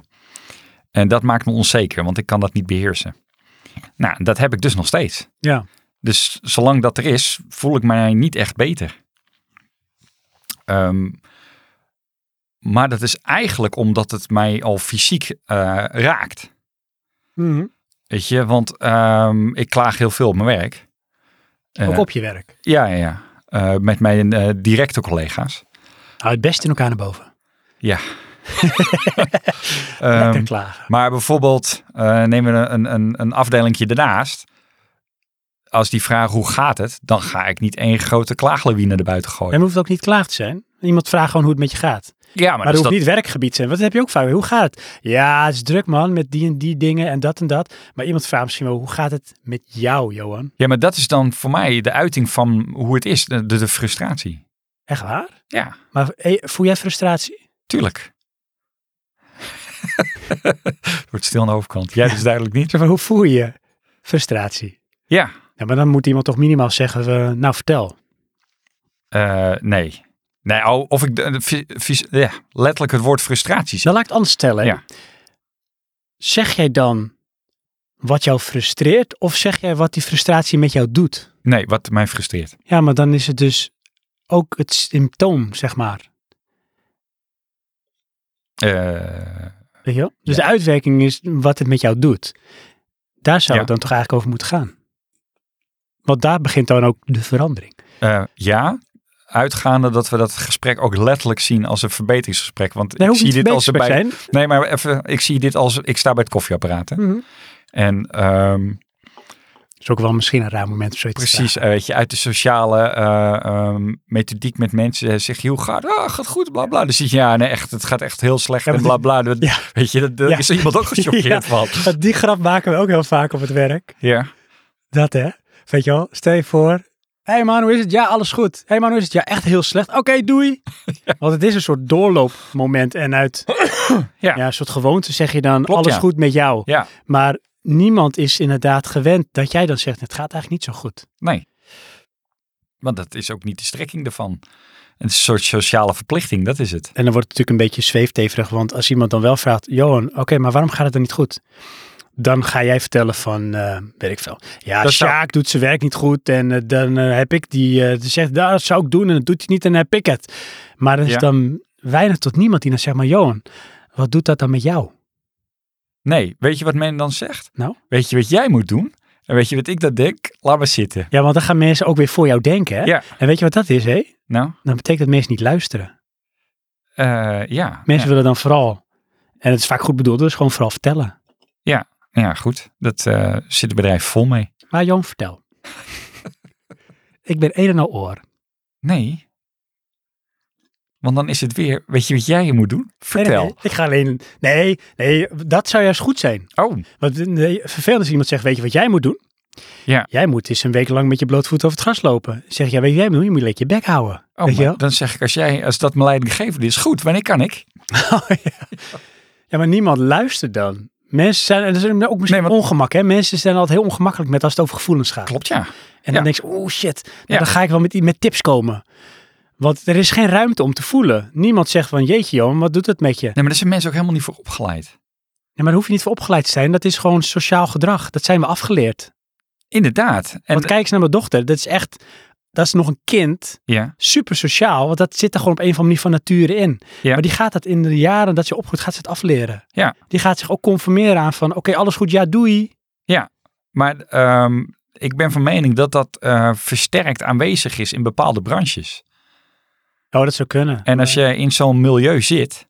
Speaker 2: En dat maakt me onzeker, want ik kan dat niet beheersen. Nou, dat heb ik dus nog steeds.
Speaker 1: Ja.
Speaker 2: Dus zolang dat er is, voel ik mij niet echt beter. Ehm, maar dat is eigenlijk omdat het mij al fysiek eh, raakt.
Speaker 1: Mhm.
Speaker 2: Weet je, want ehm, ik klaag heel veel op mijn werk. Eh,
Speaker 1: Ook op je werk.
Speaker 2: Ja, ja, ja. Eh, met mijn eh, directe collega's.
Speaker 1: Hou het best in elkaar naar boven.
Speaker 2: Ehm,
Speaker 1: lekker klagen.
Speaker 2: Maar bijvoorbeeld, eh nemen we een, een, een afdelingje ernaast. Als die vragen hoe gaat het, dan ga ik niet één grote klaaglawine erbuiten
Speaker 1: En
Speaker 2: gooien.
Speaker 1: we hoeft ook niet klaag te zijn. Iemand vraagt gewoon hoe het met je gaat.
Speaker 2: Ja, maar,
Speaker 1: Maar
Speaker 2: dus
Speaker 1: dat
Speaker 2: dat,
Speaker 1: hoeft niet werkgebied te zijn. Want dat heb je ook vaak. Hoe gaat het? Ja, het is druk man, met die en die dingen en dat en dat. Maar iemand vraagt misschien wel, hoe gaat het met jou, Johan?
Speaker 2: Ja, maar dat is dan voor mij de uiting van hoe het is, de, de, de frustratie.
Speaker 1: Echt waar?
Speaker 2: Ja,
Speaker 1: Maar eh, voel jij frustratie?
Speaker 2: tuurlijk. Het wordt stil aan de overkant. Jij dus duidelijk niet.
Speaker 1: Zo van, hoe voel je frustratie?
Speaker 2: Ja,
Speaker 1: Ja, maar dan moet iemand toch minimaal zeggen, eh, nou vertel.
Speaker 2: eh, nee. Nee, oh, of ik de- de fys- fys- ja, letterlijk het woord frustratie zeg.
Speaker 1: Dan laat ik het anders stellen.
Speaker 2: Ja.
Speaker 1: Zeg jij dan wat jou frustreert of zeg jij wat die frustratie met jou doet?
Speaker 2: Nee, wat mij frustreert.
Speaker 1: Ja, maar dan is het dus ook het symptoom, zeg maar.
Speaker 2: Eh,
Speaker 1: Weet je wel? Dus de uitwerking is wat het met jou doet. Daar zou
Speaker 2: Ja.
Speaker 1: het dan toch eigenlijk over moeten gaan. Want daar begint dan ook de verandering.
Speaker 2: eh, ja, uitgaande dat we dat gesprek ook letterlijk zien als een verbeteringsgesprek. Want
Speaker 1: Daar
Speaker 2: ik
Speaker 1: hoeft
Speaker 2: zie
Speaker 1: niet
Speaker 2: dit als
Speaker 1: bezig
Speaker 2: erbij.
Speaker 1: zijn.
Speaker 2: Nee, maar even, ik zie dit als ik sta bij het koffieapparaat. hè.
Speaker 1: Mhm.
Speaker 2: En ehm,
Speaker 1: is ook wel misschien een raar moment om zoiets te
Speaker 2: Precies, eh, weet je, uit de sociale eh, ehm, methodiek met mensen eh, zeg je hoe gaat het? Ah, gaat goed, bla bla. Dan zie je, ja, nee, echt, het gaat echt heel slecht
Speaker 1: Ja,
Speaker 2: en bla
Speaker 1: maar-
Speaker 2: bla. Dat-
Speaker 1: Ja.
Speaker 2: Weet je, dat- daar
Speaker 1: Ja.
Speaker 2: is iemand ook
Speaker 1: Ja.
Speaker 2: gechoqueerd van.
Speaker 1: vragen. Die grap maken we ook heel vaak op het werk.
Speaker 2: Ja,
Speaker 1: Dat hè. Weet je wel, stel je voor. Hé hey man, hoe is het? Ja, alles goed. Hé hey man, hoe is het? Ja, echt heel slecht. Oké, doei. Want het is een soort doorloopmoment. En uit ja.
Speaker 2: Ja.
Speaker 1: een soort gewoonte zeg je dan,
Speaker 2: Klopt,
Speaker 1: alles
Speaker 2: ja.
Speaker 1: goed met jou.
Speaker 2: ja,
Speaker 1: Maar niemand is inderdaad gewend dat jij dan zegt, het gaat eigenlijk niet zo goed.
Speaker 2: nee. Want dat is ook niet de strekking ervan. Een soort sociale verplichting, dat is het.
Speaker 1: En dan wordt het natuurlijk een beetje zweefteverig, want als iemand dan wel vraagt, Johan, oké, maar waarom gaat het dan niet goed? Dan ga jij vertellen van, eh, weet ik veel. Ja,
Speaker 2: Dat zou-
Speaker 1: Sjaak doet zijn werk niet goed en eh, dan eh, heb ik die, eh, die zegt, "Nou, dat zou ik doen en dat doet hij niet en dan heb ik het. Maar er is
Speaker 2: Ja.
Speaker 1: dan weinig tot niemand die dan zegt, maar Johan, wat doet dat dan met jou?
Speaker 2: Nee, weet je wat men dan zegt?
Speaker 1: Nou?
Speaker 2: Weet je wat jij moet doen? En weet je wat ik dat denk? Laat maar zitten.
Speaker 1: Ja, want dan gaan mensen ook weer voor jou denken. Hè?
Speaker 2: Ja.
Speaker 1: En weet je wat dat is, hè?
Speaker 2: Nou,
Speaker 1: Dan betekent dat mensen niet luisteren.
Speaker 2: eh, ja.
Speaker 1: Mensen willen dan vooral, en het is vaak goed bedoeld, dus gewoon vooral vertellen.
Speaker 2: ja. ja, goed. Dat eh, zit het bedrijf vol mee.
Speaker 1: Maar Johan, vertel. ik ben een en al oor.
Speaker 2: Nee. Want dan is het weer, weet je wat jij moet doen?
Speaker 1: Nee,
Speaker 2: Vertel.
Speaker 1: nee, nee, ik ga alleen. Nee, nee, dat zou juist goed zijn.
Speaker 2: Oh,
Speaker 1: Want nee, vervelend is iemand zegt: Weet je wat jij moet doen?
Speaker 2: Ja.
Speaker 1: Jij moet eens een week lang met je bloot voet over het gras lopen. Zeg ja, weet je wat jij moet doen? Je moet lekker je bek houden.
Speaker 2: oh
Speaker 1: weet je
Speaker 2: maar
Speaker 1: wel?
Speaker 2: dan zeg ik, als, jij, als dat mijn leidinggevende is, goed, wanneer kan ik?
Speaker 1: Ja, maar niemand luistert dan. Mensen zijn, en dat is ook misschien
Speaker 2: Nee, want-
Speaker 1: ongemak, hè? Mensen zijn altijd heel ongemakkelijk met als het over gevoelens gaat.
Speaker 2: Klopt, ja.
Speaker 1: En dan
Speaker 2: ja.
Speaker 1: denk je, oh shit, nou,
Speaker 2: Ja.
Speaker 1: dan ga ik wel met, met tips komen. Want er is geen ruimte om te voelen. Niemand zegt van, jeetje joh, wat doet het met je?
Speaker 2: Nee, maar daar zijn mensen ook helemaal niet voor opgeleid.
Speaker 1: Ja, maar daar hoef je niet voor opgeleid te zijn. Dat is gewoon sociaal gedrag. Dat zijn we afgeleerd.
Speaker 2: Inderdaad. En,
Speaker 1: want kijk eens naar mijn dochter. Dat is echt, dat is nog een kind.
Speaker 2: ja,
Speaker 1: Super sociaal, want dat zit er gewoon op een of andere manier van nature in.
Speaker 2: Ja.
Speaker 1: Maar die gaat dat in de jaren dat ze opgroeit, gaat ze het afleren.
Speaker 2: Ja.
Speaker 1: Die gaat zich ook conformeren aan van, oké, alles goed, ja, doei.
Speaker 2: maar ehm, ik ben van mening dat dat eh, versterkt aanwezig is in bepaalde branches.
Speaker 1: Oh, dat zou kunnen.
Speaker 2: En als je in zo'n milieu zit,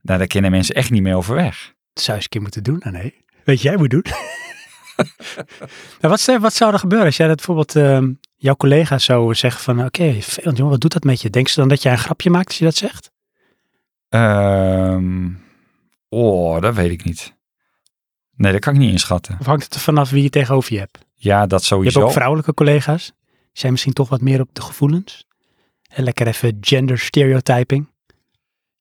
Speaker 2: nou, daar kennen mensen echt niet meer over weg.
Speaker 1: Dat zou je eens een keer moeten doen, dan nee. Weet je, jij moet doen. nou, wat, zou- wat zou er gebeuren als jij dat bijvoorbeeld ehm, jouw collega zou zeggen van, oké, vervelend jongen, wat doet dat met je? Denk ze dan dat jij een grapje maakt als je dat zegt?
Speaker 2: Ehm, oh, dat weet ik niet. Nee, dat kan ik niet inschatten.
Speaker 1: Of hangt het er vanaf wie je tegenover je hebt?
Speaker 2: Ja, dat
Speaker 1: Je hebt
Speaker 2: sowieso.
Speaker 1: ook vrouwelijke collega's. Die Zijn misschien toch wat meer op de gevoelens. En lekker even gender stereotyping.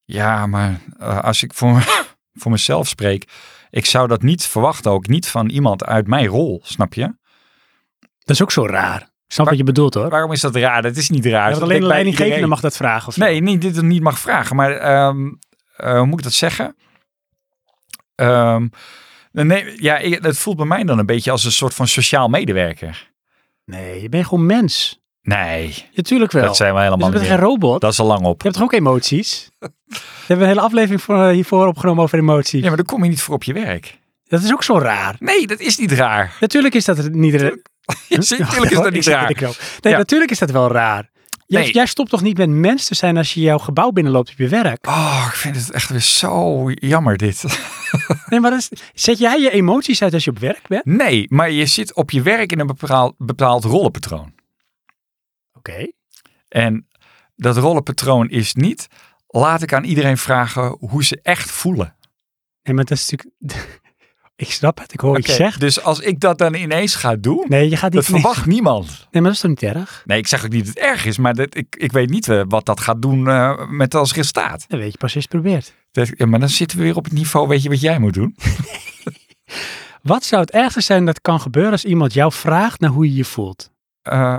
Speaker 2: Ja, maar eh, als ik voor, voor mezelf spreek, ik zou dat niet verwachten, ook niet van iemand uit mijn rol, snap je?
Speaker 1: Dat is ook zo raar. Ik Snap
Speaker 2: Maar-
Speaker 1: wat je bedoelt hoor.
Speaker 2: Waarom is dat raar? Dat is niet raar.
Speaker 1: Ja,
Speaker 2: Dat
Speaker 1: want alleen
Speaker 2: ligt
Speaker 1: de
Speaker 2: bij
Speaker 1: leidinggevende
Speaker 2: iedereen.
Speaker 1: mag dat vragen. Of zo.
Speaker 2: Nee, niet, dit niet mag vragen, maar ehm, eh, hoe moet ik dat zeggen? Ehm, nee, ja, ik- het voelt bij mij dan een beetje als een soort van sociaal medewerker.
Speaker 1: nee, je bent gewoon mens.
Speaker 2: Nee,
Speaker 1: Natuurlijk wel.
Speaker 2: dat zijn we
Speaker 1: dus
Speaker 2: helemaal
Speaker 1: je bent
Speaker 2: niet.
Speaker 1: geen robot.
Speaker 2: Dat is al lang op.
Speaker 1: Je hebt toch ook emoties? We hebben een hele aflevering voor, eh, hiervoor opgenomen over emoties.
Speaker 2: Ja, maar dan kom je niet voor op je werk.
Speaker 1: Dat is ook zo raar.
Speaker 2: Nee, dat is niet raar.
Speaker 1: Natuurlijk is dat het niet... ra-
Speaker 2: Ja, zie, Natuurlijk is
Speaker 1: Oh,
Speaker 2: dat
Speaker 1: ik
Speaker 2: niet
Speaker 1: zit met
Speaker 2: raar.
Speaker 1: de knoop. Nee,
Speaker 2: Ja.
Speaker 1: natuurlijk is dat wel raar. Jij,
Speaker 2: Nee.
Speaker 1: jij stopt toch niet met mens te zijn als je jouw gebouw binnenloopt op je werk?
Speaker 2: Oh, ik vind het echt weer zo jammer dit.
Speaker 1: Nee, maar dat is- zet jij je emoties uit als je op werk bent?
Speaker 2: Nee, maar je zit op je werk in een bepaald, bepaald rollenpatroon.
Speaker 1: Oké.
Speaker 2: En dat rollenpatroon is niet, laat ik aan iedereen vragen hoe ze echt voelen.
Speaker 1: Nee, maar dat is natuurlijk... ik snap het, ik hoor wat je
Speaker 2: Oké,
Speaker 1: zegt.
Speaker 2: Dus als ik dat dan ineens ga doen,
Speaker 1: Nee, je gaat niet...
Speaker 2: dat verwacht niemand.
Speaker 1: Nee, maar dat is toch niet erg?
Speaker 2: Nee, ik zeg ook niet dat het erg is, maar dat, ik, ik weet niet eh, wat dat gaat doen eh, met als resultaat.
Speaker 1: Dat weet je pas eens probeert.
Speaker 2: Dat, ja, maar dan zitten we weer op het niveau, weet je wat jij moet doen?
Speaker 1: Wat zou het ergste zijn dat kan gebeuren als iemand jou vraagt naar hoe je je voelt?
Speaker 2: Eh,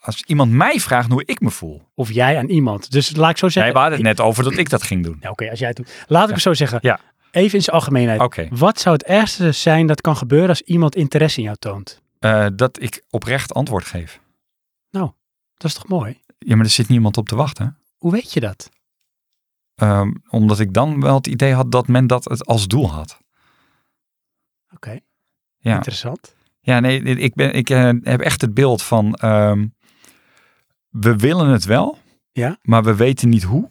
Speaker 2: als iemand mij vraagt hoe ik me voel.
Speaker 1: Of jij aan iemand. Dus laat ik zo
Speaker 2: Nee,
Speaker 1: zeggen...
Speaker 2: we hadden het net over dat ik dat ging doen.
Speaker 1: Nou, Oké, als jij het doet. Laat ik het zo zeggen.
Speaker 2: Ja.
Speaker 1: Even in zijn algemeenheid.
Speaker 2: Oké,
Speaker 1: Wat zou het ergste zijn dat kan gebeuren als iemand interesse in jou toont?
Speaker 2: eh, dat ik oprecht antwoord geef.
Speaker 1: Dat is toch mooi?
Speaker 2: Ja, maar er zit niemand op te wachten.
Speaker 1: Hoe weet je dat?
Speaker 2: Ehm, omdat ik dan wel het idee had dat men dat het als doel had.
Speaker 1: Oké,
Speaker 2: Ja.
Speaker 1: interessant.
Speaker 2: Ja, nee, ik, ben, ik eh, heb echt het beeld van... ehm, we willen het wel,
Speaker 1: Ja.
Speaker 2: maar we weten niet hoe.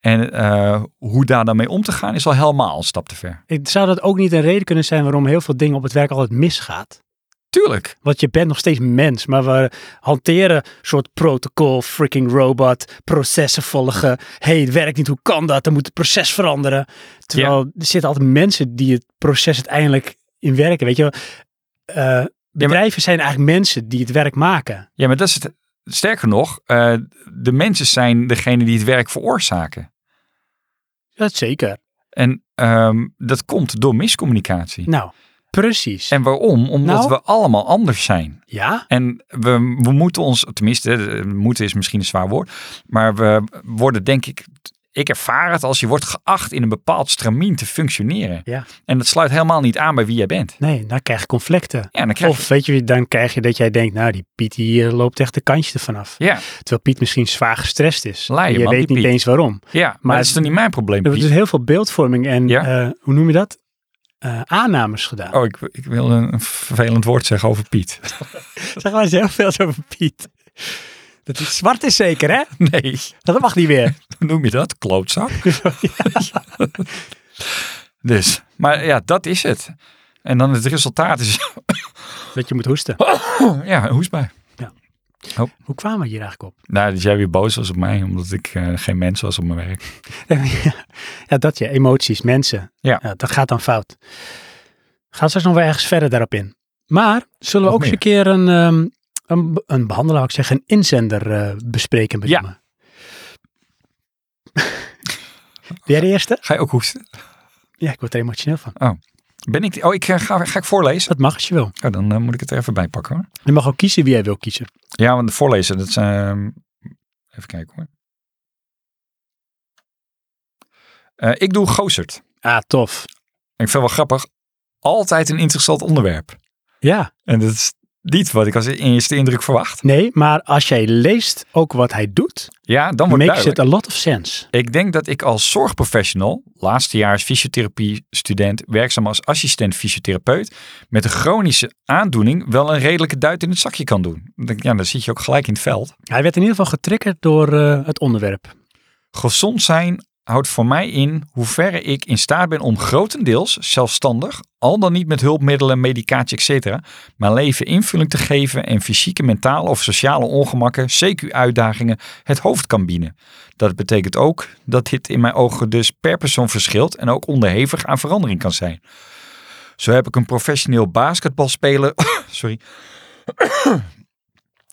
Speaker 2: En eh, hoe daar dan mee om te gaan is al helemaal een stap te ver.
Speaker 1: Ik, zou dat ook niet een reden kunnen zijn waarom heel veel dingen op het werk altijd misgaat?
Speaker 2: Tuurlijk.
Speaker 1: Want je bent nog steeds mens, maar we hanteren soort protocol, freaking robot, processen volgen. hey, het werkt niet, hoe kan dat? Dan moet het proces veranderen. Terwijl er zitten altijd mensen die het proces uiteindelijk in werken. Weet je, wel. Eh, bedrijven zijn eigenlijk mensen die het werk maken.
Speaker 2: Ja, maar dat is het. Sterker nog, eh, de mensen zijn degene die het werk veroorzaken.
Speaker 1: Dat zeker.
Speaker 2: En ehm, dat komt door miscommunicatie.
Speaker 1: Nou, Precies.
Speaker 2: En waarom? Omdat
Speaker 1: Nou.
Speaker 2: we allemaal anders zijn.
Speaker 1: ja?
Speaker 2: En we, we moeten ons, tenminste, eh, moeten is misschien een zwaar woord, maar we worden denk ik, ik ervaar het als je wordt geacht in een bepaald stramien te functioneren.
Speaker 1: Ja.
Speaker 2: En dat sluit helemaal niet aan bij wie jij bent.
Speaker 1: Nee, dan krijg je conflicten.
Speaker 2: Ja, dan krijg
Speaker 1: Of weet je, dan krijg je dat jij denkt, nou die Piet die eh, loopt echt de kantje ervan af.
Speaker 2: je, ja,
Speaker 1: Terwijl Piet misschien zwaar gestrest is.
Speaker 2: Laai je
Speaker 1: En je
Speaker 2: man,
Speaker 1: weet
Speaker 2: die
Speaker 1: niet
Speaker 2: Piet.
Speaker 1: eens waarom.
Speaker 2: ja, maar,
Speaker 1: Maar-
Speaker 2: dat is dan niet mijn probleem.
Speaker 1: Er wordt
Speaker 2: Piet.
Speaker 1: dus heel veel beeldvorming en
Speaker 2: Ja.
Speaker 1: eh, hoe noem je dat? Eh, aannames gedaan.
Speaker 2: Oh, ik, ik wilde een vervelend woord zeggen over Piet.
Speaker 1: Zeg maar eens heel veel over Piet. Dat hij zwart is zeker, hè?
Speaker 2: Nee,
Speaker 1: Dat mag niet meer.
Speaker 2: hoe noem je dat? Klootzak. dus, maar ja, dat is het. En dan het resultaat is,
Speaker 1: Dat je moet hoesten.
Speaker 2: Oh. ja, hoes bij.
Speaker 1: Hoe kwamen we hier eigenlijk op?
Speaker 2: Nou, dat jij weer boos was op mij, omdat ik eh, geen mens was op mijn werk.
Speaker 1: ja, dat je emoties, mensen.
Speaker 2: Ja.
Speaker 1: dat gaat dan fout. We Gaan straks nog wel ergens verder daarop in. Maar zullen we
Speaker 2: Nog
Speaker 1: ook eens een keer een, ehm, een, be- een behandelaar, wou ik zeggen, een inzender eh, bespreken met
Speaker 2: Ja.
Speaker 1: Jij de eerste?
Speaker 2: Ga je ook hoesten?
Speaker 1: Ja, ik word er emotioneel van.
Speaker 2: Ben ik, oh, ik eh, ga, ga ik voorlezen?
Speaker 1: Dat mag als je wil.
Speaker 2: Oh, dan eh, moet ik het er even bij pakken hoor.
Speaker 1: Je mag ook kiezen wie jij wil kiezen.
Speaker 2: Ja, want voorlezen, dat is... eh, even kijken hoor. Eh, ik doe Gozert.
Speaker 1: Ah, tof.
Speaker 2: Ik vind het wel grappig. Altijd een interessant onderwerp.
Speaker 1: Ja.
Speaker 2: En dat is niet wat ik als eerste indruk verwacht.
Speaker 1: Nee, maar als jij leest ook wat hij doet,
Speaker 2: Ja, dan wordt
Speaker 1: makes
Speaker 2: duidelijk.
Speaker 1: it a lot of sense.
Speaker 2: Ik denk dat ik als zorgprofessional, laatstejaars fysiotherapie-student, werkzaam als assistent fysiotherapeut, met een chronische aandoening wel een redelijke duit in het zakje kan doen. Dan denk ik, Ja, dan zit je ook gelijk in het veld.
Speaker 1: Hij werd in ieder geval getriggerd door eh, het onderwerp.
Speaker 2: Gezond zijn houdt voor mij in hoeverre ik in staat ben om grotendeels zelfstandig, al dan niet met hulpmiddelen, medicatie, etc., mijn leven invulling te geven en fysieke, mentale of sociale ongemakken, CQ-uitdagingen, het hoofd kan bieden. Dat betekent ook dat dit in mijn ogen dus per persoon verschilt en ook onderhevig aan verandering kan zijn. Zo heb ik een professioneel basketbalspeler, sorry,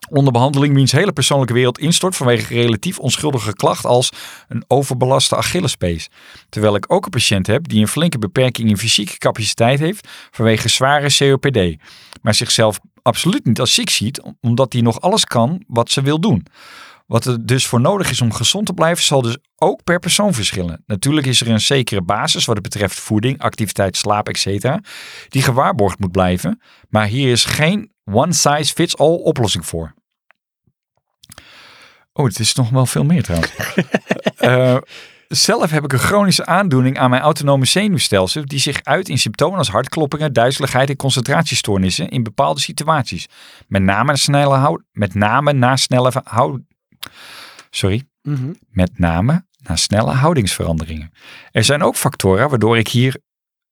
Speaker 2: onder behandeling wiens hele persoonlijke wereld instort vanwege relatief onschuldige klacht als een overbelaste Achillespees. Terwijl ik ook een patiënt heb die een flinke beperking in fysieke capaciteit heeft vanwege zware COPD, maar zichzelf absoluut niet als ziek ziet omdat hij nog alles kan wat ze wil doen. Wat er dus voor nodig is om gezond te blijven, zal dus ook per persoon verschillen. Natuurlijk is er een zekere basis wat het betreft voeding, activiteit, slaap, etc. die gewaarborgd moet blijven. Maar hier is geen one size fits all oplossing voor. Oh, het is nog wel veel meer trouwens. Eh, zelf heb ik een chronische aandoening aan mijn autonome zenuwstelsel die zich uit in symptomen als hartkloppingen, duizeligheid en concentratiestoornissen in bepaalde situaties. Met name na snelle houd, met name na snelle houd, sorry,
Speaker 1: Mhm.
Speaker 2: met name na snelle houdingsveranderingen. Er zijn ook factoren waardoor ik hier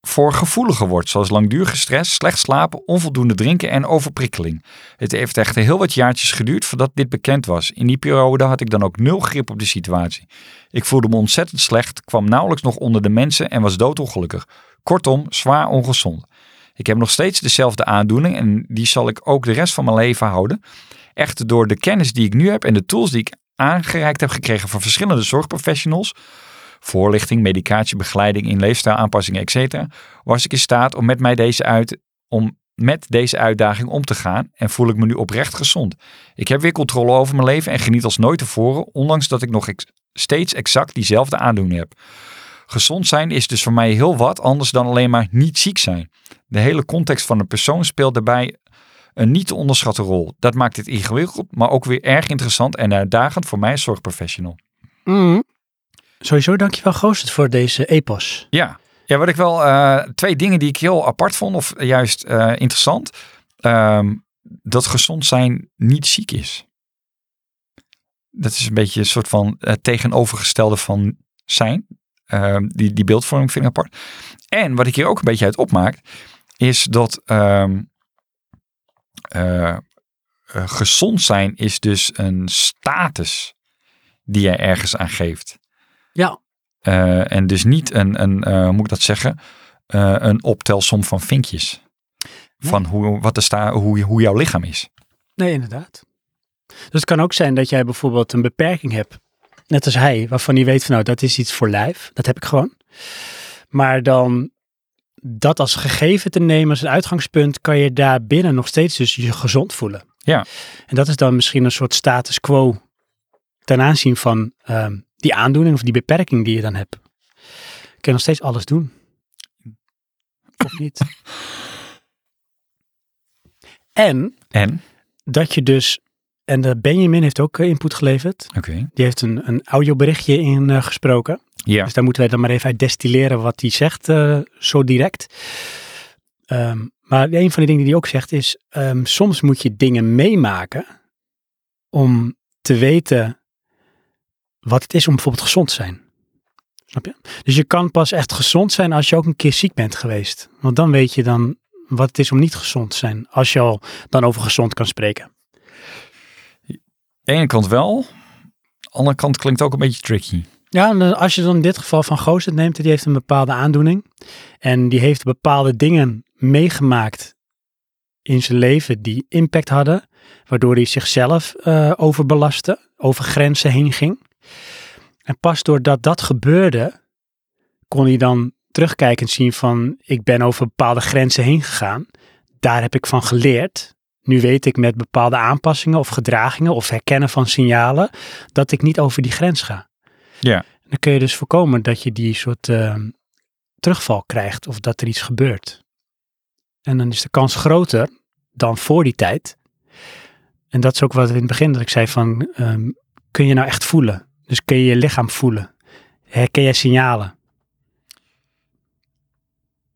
Speaker 2: voor gevoeliger word, zoals langdurige stress, slecht slapen, onvoldoende drinken en overprikkeling. Het heeft echt heel wat jaartjes geduurd voordat dit bekend was. In die periode had ik dan ook nul grip op de situatie. Ik voelde me ontzettend slecht, kwam nauwelijks nog onder de mensen en was doodongelukkig. Kortom, zwaar ongezond. Ik heb nog steeds dezelfde aandoening en die zal ik ook de rest van mijn leven houden. Echter door de kennis die ik nu heb en de tools die ik aangereikt heb gekregen van verschillende zorgprofessionals, voorlichting, medicatie, begeleiding in leefstijlaanpassingen, etc., was ik in staat om met, mij deze uit, om met deze uitdaging om te gaan en voel ik me nu oprecht gezond. Ik heb weer controle over mijn leven en geniet als nooit tevoren, ondanks dat ik nog ex- steeds exact diezelfde aandoening heb. Gezond zijn is dus voor mij heel wat anders dan alleen maar niet ziek zijn. De hele context van een persoon speelt daarbij een niet te onderschatte rol. Dat maakt het ingewikkeld, maar ook weer erg interessant en uitdagend voor mij als zorgprofessional.
Speaker 1: Mhm. Sowieso dankjewel Goosert voor deze epos.
Speaker 2: Ja, ja wat ik wel, eh, twee dingen die ik heel apart vond, of juist eh, interessant, Ehm, dat gezond zijn niet ziek is. Dat is een beetje een soort van eh, tegenovergestelde van zijn. Ehm, die, die beeldvorming vind ik apart. En wat ik hier ook een beetje uit opmaak, is dat ehm, eh, eh, gezond zijn is dus een status die jij ergens aan geeft.
Speaker 1: Ja.
Speaker 2: Eh, en dus niet een, een eh, hoe moet ik dat zeggen, Eh, een optelsom van vinkjes. Van hoe, wat er sta, hoe, je- hoe jouw lichaam is.
Speaker 1: Nee, inderdaad. Dus het kan ook zijn dat jij bijvoorbeeld een beperking hebt. Net als hij, waarvan hij weet van nou, dat is iets voor lijf. Dat heb ik gewoon. Maar dan dat als gegeven te nemen als een uitgangspunt, kan je daarbinnen nog steeds dus je gezond voelen.
Speaker 2: Ja.
Speaker 1: En dat is dan misschien een soort status quo ten aanzien van ehm, die aandoening of die beperking die je dan hebt. Kun je nog steeds alles doen. Of niet? En
Speaker 2: En?
Speaker 1: dat je dus, en de Benjamin heeft ook eh, input geleverd.
Speaker 2: Oké.
Speaker 1: Die heeft een, een audioberichtje ingesproken.
Speaker 2: Ja.
Speaker 1: Dus daar moeten wij dan maar even uit destilleren wat hij zegt, eh, zo direct. Ehm, maar een van de dingen die hij ook zegt is, ehm, soms moet je dingen meemaken om te weten wat het is om bijvoorbeeld gezond te zijn. Snap je? Dus je kan pas echt gezond zijn als je ook een keer ziek bent geweest. Want dan weet je dan wat het is om niet gezond te zijn. Als je al dan over gezond kan spreken.
Speaker 2: De ene kant wel. De andere kant klinkt ook een beetje tricky.
Speaker 1: Ja, en dan- als je dan in dit geval van Gooset neemt, die heeft een bepaalde aandoening. En die heeft bepaalde dingen meegemaakt in zijn leven die impact hadden. Waardoor hij zichzelf eh, overbelastte, over grenzen heen ging. En pas doordat dat gebeurde, kon hij dan terugkijkend zien van ik ben over bepaalde grenzen heen gegaan. Daar heb ik van geleerd. Nu weet ik met bepaalde aanpassingen of gedragingen of herkennen van signalen dat ik niet over die grens ga. Dan kun je dus voorkomen dat je die soort eh, terugval krijgt of dat er iets gebeurt. En dan is de kans groter dan voor die tijd. En dat is ook wat in het begin dat ik zei van, ehm, kun je nou echt voelen? Dus kun je je lichaam voelen? Herken je signalen?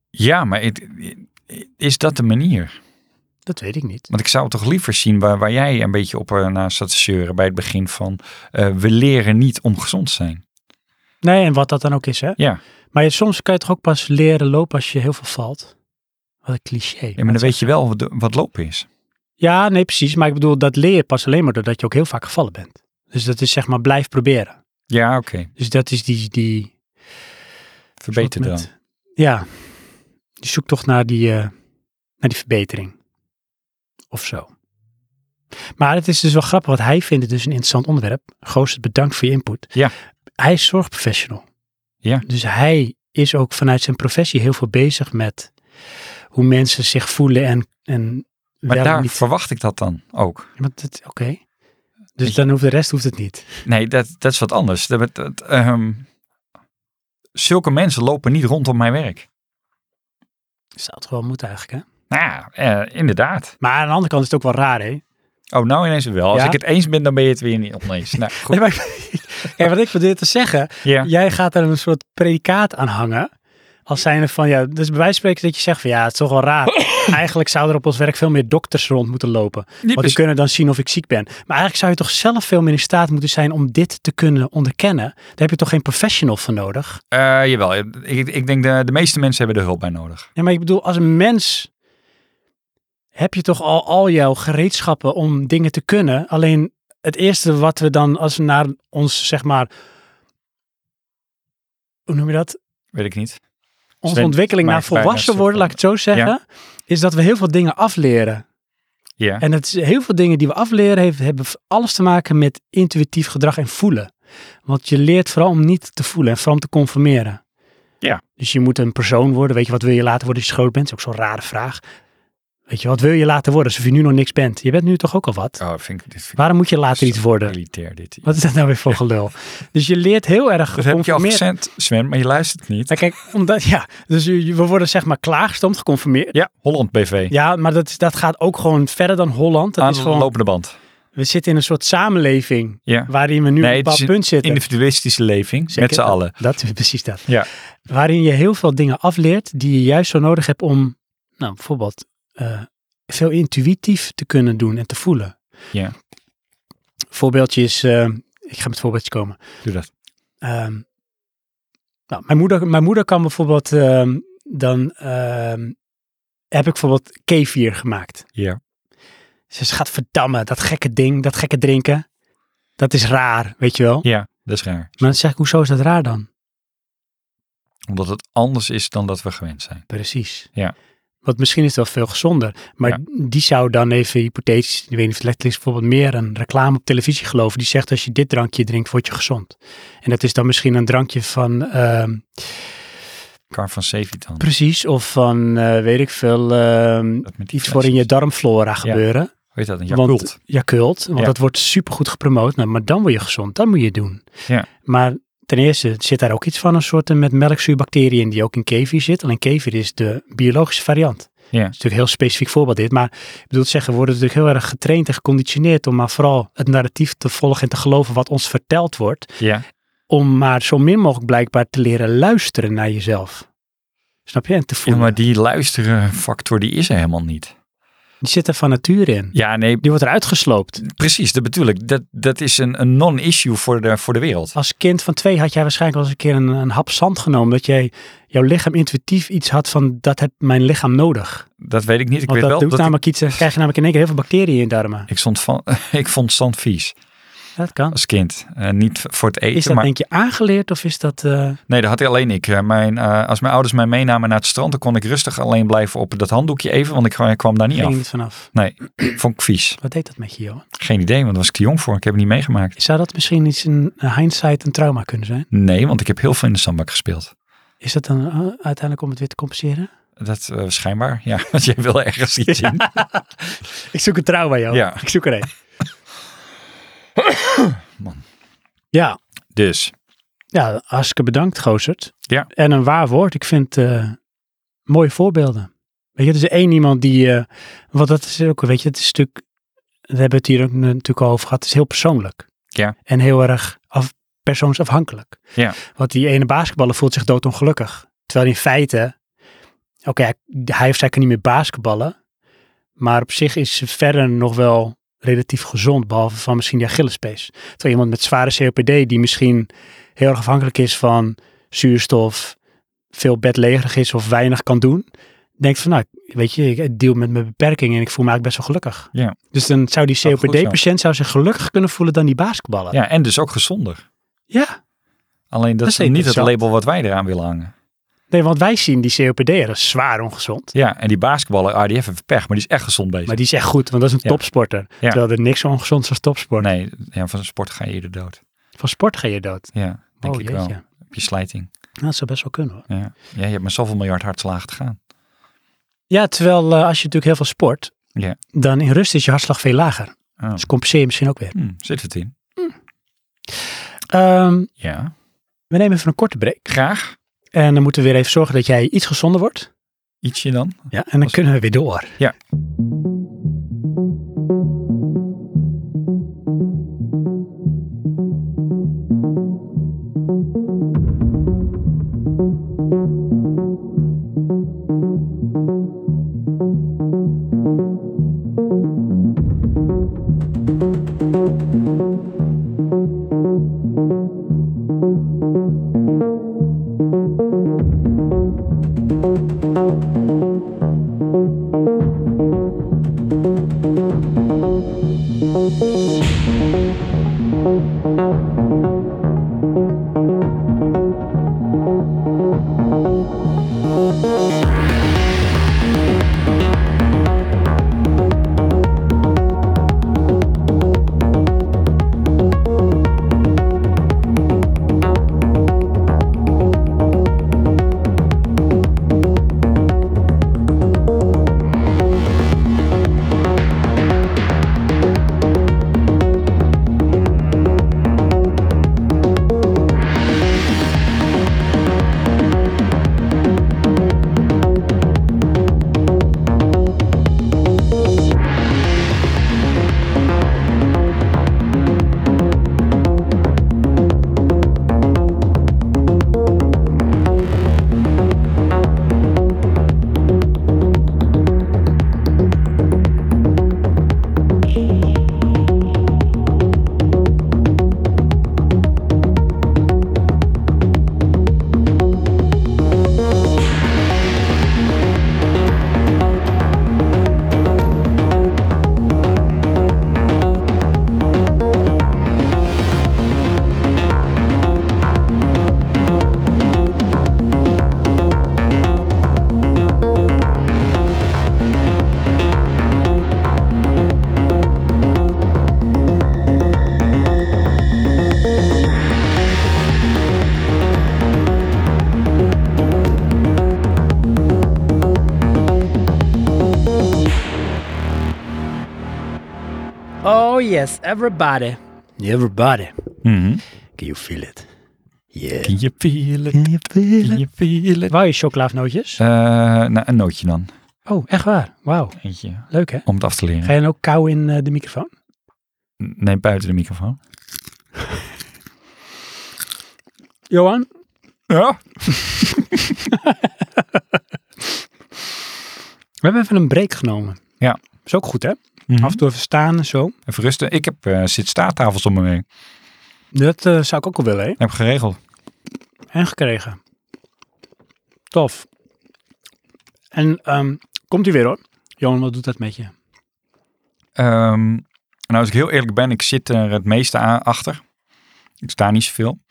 Speaker 2: Ja, maar het- is dat de manier?
Speaker 1: Dat weet ik niet.
Speaker 2: Want ik zou toch liever zien waar, waar jij een beetje op eh, naar zat te zeuren bij het begin van eh, we leren niet om gezond te zijn.
Speaker 1: Nee, en wat dat dan ook is, hè?
Speaker 2: Ja.
Speaker 1: Maar je, soms kan je toch ook pas leren lopen als je heel veel valt? Wat een cliché.
Speaker 2: Ja, maar dan weet je wel wat, wat lopen is.
Speaker 1: Ja, nee, precies. Maar ik bedoel, dat leer je pas alleen maar doordat je ook heel vaak gevallen bent. Dus dat is zeg maar, blijf proberen.
Speaker 2: Ja, oké.
Speaker 1: Dus dat is die, die
Speaker 2: Verbeter
Speaker 1: soort
Speaker 2: dan.
Speaker 1: met- Ja, die zoektocht naar die, eh, naar die verbetering. Of zo. Maar het is dus wel grappig, want hij vindt het dus een interessant onderwerp. Goos, bedankt voor je input.
Speaker 2: Ja.
Speaker 1: Hij is zorgprofessional.
Speaker 2: Ja.
Speaker 1: Dus hij is ook vanuit zijn professie heel veel bezig met hoe mensen zich voelen en, en
Speaker 2: Maar
Speaker 1: wel en
Speaker 2: daar
Speaker 1: niet.
Speaker 2: verwacht ik dat dan ook.
Speaker 1: Want het- Oké. Dus dan hoeft de rest hoeft het niet.
Speaker 2: Nee, dat, dat is wat anders. Dat, dat, ehm, zulke mensen lopen niet rondom mijn werk.
Speaker 1: Zou het gewoon moeten eigenlijk, hè?
Speaker 2: Nou ja, eh, inderdaad.
Speaker 1: Maar aan de andere kant is het ook wel raar, hè?
Speaker 2: Oh, nou ineens wel. Als
Speaker 1: Ja?
Speaker 2: ik het eens ben, dan ben je het weer niet oneens. Nou, goed.
Speaker 1: Nee, maar ik- Kijk, wat ik probeer te zeggen,
Speaker 2: Ja.
Speaker 1: jij gaat er een soort predicaat aan hangen. Als zijnde van, ja, dus bij wijze van spreken dat je zegt van, ja, het is toch wel raar. eigenlijk zouden er op ons werk veel meer dokters rond moeten lopen. Want die
Speaker 2: precies.
Speaker 1: kunnen dan zien of ik ziek ben. Maar eigenlijk zou je toch zelf veel meer in staat moeten zijn om dit te kunnen onderkennen. Daar heb je toch geen professional voor nodig?
Speaker 2: Eh, jawel, ik, ik denk eh, de, de meeste mensen hebben er hulp bij nodig.
Speaker 1: Ja, maar ik bedoel, als een mens heb je toch al, al jouw gereedschappen om dingen te kunnen. Alleen het eerste wat we dan, als we naar ons, zeg maar, hoe noem je dat?
Speaker 2: Weet ik niet.
Speaker 1: Onze
Speaker 2: Sven,
Speaker 1: ontwikkeling
Speaker 2: maar
Speaker 1: naar
Speaker 2: ik bijna
Speaker 1: volwassen
Speaker 2: een soort
Speaker 1: worden, laat ik het zo zeggen, is dat we heel veel dingen afleren.
Speaker 2: Ja.
Speaker 1: En het is heel veel dingen die we afleren heeft, hebben alles te maken met intuïtief gedrag en voelen. Want je leert vooral om niet te voelen en vooral om te conformeren.
Speaker 2: Ja.
Speaker 1: Dus je moet een persoon worden. Weet je, wat wil je later worden als je groot bent? Dat is ook zo'n rare vraag. Weet je, wat wil je later worden alsof je nu nog niks bent? Je bent nu toch ook al wat?
Speaker 2: Oh, vind ik, dit vind ik
Speaker 1: Waarom moet je later
Speaker 2: Zo
Speaker 1: iets worden?
Speaker 2: elitair dit.
Speaker 1: Wat is dat nou weer voor gelul? Dus je leert heel erg
Speaker 2: Dat heb je al
Speaker 1: geconformeerd
Speaker 2: gezend, Sven, maar je luistert niet.
Speaker 1: Maar kijk, omdat, ja, dus je- je- we worden zeg maar klaargestoomd, geconformeerd.
Speaker 2: Ja, Holland BV.
Speaker 1: Ja, maar dat, dat gaat ook gewoon verder dan Holland. Dat
Speaker 2: Aan
Speaker 1: is
Speaker 2: de
Speaker 1: gewoon,
Speaker 2: lopende band.
Speaker 1: we zitten in een soort samenleving
Speaker 2: Ja.
Speaker 1: waarin we nu op
Speaker 2: Nee,
Speaker 1: een
Speaker 2: het
Speaker 1: bepaald
Speaker 2: is een
Speaker 1: punt zitten.
Speaker 2: Individualistische leving,
Speaker 1: Zeker,
Speaker 2: met z'n
Speaker 1: dat-
Speaker 2: allen.
Speaker 1: Dat is precies dat.
Speaker 2: Ja.
Speaker 1: Waarin je heel veel dingen afleert die je juist zo nodig hebt om, nou bijvoorbeeld, eh, veel intuïtief te kunnen doen en te voelen.
Speaker 2: Ja.
Speaker 1: Voorbeeldje is, eh, ik ga met voorbeeldjes komen.
Speaker 2: Doe dat.
Speaker 1: Ehm, nou, mijn, moeder, mijn moeder kan bijvoorbeeld ehm, dan ehm, heb ik bijvoorbeeld kefir gemaakt.
Speaker 2: Ja.
Speaker 1: Ze gaat verdammen, dat gekke ding, dat gekke drinken. Dat is raar, weet je wel.
Speaker 2: Ja, dat is raar.
Speaker 1: Maar dan zeg ik, hoezo is dat raar dan?
Speaker 2: Omdat het anders is dan dat we gewend zijn.
Speaker 1: Precies.
Speaker 2: Ja.
Speaker 1: Want misschien is het wel veel gezonder. Maar
Speaker 2: Ja.
Speaker 1: die zou dan even hypothetisch, ik weet niet of het letterlijk is, bijvoorbeeld meer een reclame op televisie geloven. Die zegt als je dit drankje drinkt, word je gezond. En dat is dan misschien een drankje van, ehm,
Speaker 2: Car van Sevitan.
Speaker 1: Precies, of van eh, weet ik veel, ehm,
Speaker 2: Dat met die
Speaker 1: iets voor in je
Speaker 2: flesjes.
Speaker 1: darmflora gebeuren.
Speaker 2: Hoe heet dat? Een
Speaker 1: Want,
Speaker 2: Yakult.
Speaker 1: Yakult, want
Speaker 2: Ja.
Speaker 1: dat wordt supergoed gepromoot. Nou, maar dan word je gezond, dan moet je het doen.
Speaker 2: Ja.
Speaker 1: Maar ten eerste zit daar ook iets van een soort eh, met melkzuurbacteriën in die ook in kefir zit. Alleen kefir is de biologische variant. Dat is
Speaker 2: Ja.
Speaker 1: natuurlijk een heel specifiek voorbeeld dit. Maar ik bedoel te zeggen, we worden natuurlijk heel erg getraind en geconditioneerd om maar vooral het narratief te volgen en te geloven wat ons verteld wordt.
Speaker 2: Ja.
Speaker 1: Om maar zo min mogelijk blijkbaar te leren luisteren naar jezelf. Snap je? En te
Speaker 2: ja,
Speaker 1: voelen.
Speaker 2: maar die luisteren factor die is er helemaal niet.
Speaker 1: Die zit er van nature in.
Speaker 2: Ja, nee,
Speaker 1: Die wordt eruit gesloopt.
Speaker 2: precies. Dat bedoel ik. Dat, dat is een, een non-issue voor de, voor de wereld.
Speaker 1: Als kind van twee had jij waarschijnlijk wel eens een keer een, een hap zand genomen. Dat jij jouw lichaam intuïtief iets had van dat heb mijn lichaam nodig.
Speaker 2: Dat weet ik niet. Ik
Speaker 1: Want
Speaker 2: weet
Speaker 1: dat
Speaker 2: wel
Speaker 1: doet
Speaker 2: dat ik,
Speaker 1: namelijk iets. Dan krijg je namelijk in één keer heel veel bacteriën in je darmen.
Speaker 2: ik, stond van, ik vond zand vies
Speaker 1: Dat kan.
Speaker 2: als kind. Eh, niet voor het eten,
Speaker 1: Is dat
Speaker 2: maar
Speaker 1: denk je aangeleerd of is dat... eh,
Speaker 2: Nee, dat had alleen ik. Eh, Mijn, eh, als mijn ouders mij meenamen naar het strand, dan kon ik rustig alleen blijven op dat handdoekje even, want ik kwam- kwam daar niet
Speaker 1: ging
Speaker 2: af.
Speaker 1: niet vanaf.
Speaker 2: Nee, vond ik vies.
Speaker 1: Wat deed dat met je, Johan?
Speaker 2: Geen idee, want daar was ik te jong voor. Ik heb het niet meegemaakt.
Speaker 1: Zou dat misschien iets in hindsight een trauma kunnen zijn?
Speaker 2: Nee, want ik heb heel veel in de zandbak gespeeld.
Speaker 1: Is dat dan eh, uiteindelijk om het weer te compenseren?
Speaker 2: Dat eh, schijnbaar, ja. Want jij wil ergens iets zien.
Speaker 1: Ik zoek een trauma, Johan.
Speaker 2: Ja.
Speaker 1: Ik zoek er een.
Speaker 2: Man.
Speaker 1: Ja,
Speaker 2: Dus,
Speaker 1: ja, hartstikke bedankt, Gozert.
Speaker 2: Ja.
Speaker 1: En een waar woord. Ik vind eh, mooie voorbeelden. Weet je, er is één iemand die, eh want dat is ook, weet je, het is een stuk, we hebben het hier ook natuurlijk al over gehad, het is heel persoonlijk.
Speaker 2: Ja.
Speaker 1: En heel erg af, persoonsafhankelijk.
Speaker 2: Ja.
Speaker 1: Want die ene basketballer voelt zich doodongelukkig. Terwijl in feite, oké, hij, hij of zij kan niet meer basketballen, maar op zich is ze verder nog wel relatief gezond, behalve van misschien die Achillespees. Terwijl iemand met zware COPD, die misschien heel erg afhankelijk is van zuurstof, veel bedlegerig is of weinig kan doen, denkt van nou, ik- weet je, ik deal met mijn beperkingen en ik voel me eigenlijk best wel gelukkig.
Speaker 2: Ja.
Speaker 1: Dus dan zou die
Speaker 2: Dat is goed zo.
Speaker 1: COPD-patiënt zou zich gelukkiger kunnen voelen dan die basketballer.
Speaker 2: ja, en dus ook gezonder.
Speaker 1: Ja.
Speaker 2: Alleen dat,
Speaker 1: Dat is
Speaker 2: is niet het
Speaker 1: interessant.
Speaker 2: label wat wij eraan willen hangen.
Speaker 1: Nee, want wij zien die COPD'er als zwaar ongezond.
Speaker 2: Ja, en die basketballer, ah, die heeft even pech, maar die is echt gezond bezig.
Speaker 1: Maar die is echt goed, want dat is een
Speaker 2: Ja.
Speaker 1: topsporter. Terwijl er niks zo ongezond is als topsport.
Speaker 2: Nee, ja, van sport ga je eerder dood.
Speaker 1: Van sport ga je dood.
Speaker 2: Ja, denk
Speaker 1: oh
Speaker 2: ik
Speaker 1: jeetje.
Speaker 2: wel. Heb je slijting.
Speaker 1: Nou, dat zou best wel kunnen hoor.
Speaker 2: Ja. ja, je hebt maar zoveel miljard hartslagen te gaan.
Speaker 1: Ja, terwijl eh, als je natuurlijk heel veel sport,
Speaker 2: Ja.
Speaker 1: dan in rust is je hartslag veel lager.
Speaker 2: Oh.
Speaker 1: Dus compenseer je misschien ook weer.
Speaker 2: Hmm, zit het in?
Speaker 1: Ehm,
Speaker 2: Ja.
Speaker 1: we nemen even een korte break.
Speaker 2: Graag.
Speaker 1: En dan moeten we weer even zorgen dat jij iets gezonder wordt.
Speaker 2: Ietsje dan.
Speaker 1: Ja, en dan
Speaker 2: Als-
Speaker 1: kunnen we weer door.
Speaker 2: Ja.
Speaker 1: Oh yes, everybody. Everybody.
Speaker 2: Mhm.
Speaker 1: Can you feel it? Yeah.
Speaker 2: Can you feel it?
Speaker 1: Can you feel
Speaker 2: Can you feel it?
Speaker 1: Wou je chocolaafnootjes?
Speaker 2: Eh, nou, een nootje dan.
Speaker 1: Oh, echt waar? Wauw.
Speaker 2: Eentje.
Speaker 1: Leuk hè?
Speaker 2: Om het af te leren.
Speaker 1: Ga je dan ook kou in eh, de microfoon?
Speaker 2: Nee, buiten de microfoon.
Speaker 1: Johan?
Speaker 2: Ja.
Speaker 1: We hebben even een break genomen.
Speaker 2: Ja.
Speaker 1: Is ook goed hè? Af en
Speaker 2: Mhm.
Speaker 1: toe even staan en zo.
Speaker 2: Even rusten. Ik heb eh zit-staattafels om me heen.
Speaker 1: Dat eh, zou ik ook wel willen hè?
Speaker 2: Heb geregeld.
Speaker 1: En gekregen. Tof. En ehm, komt ie weer hoor. Johan, wat doet dat met je?
Speaker 2: Ehm, nou, als ik heel eerlijk ben, ik zit er het meeste a- achter. Ik sta niet zoveel.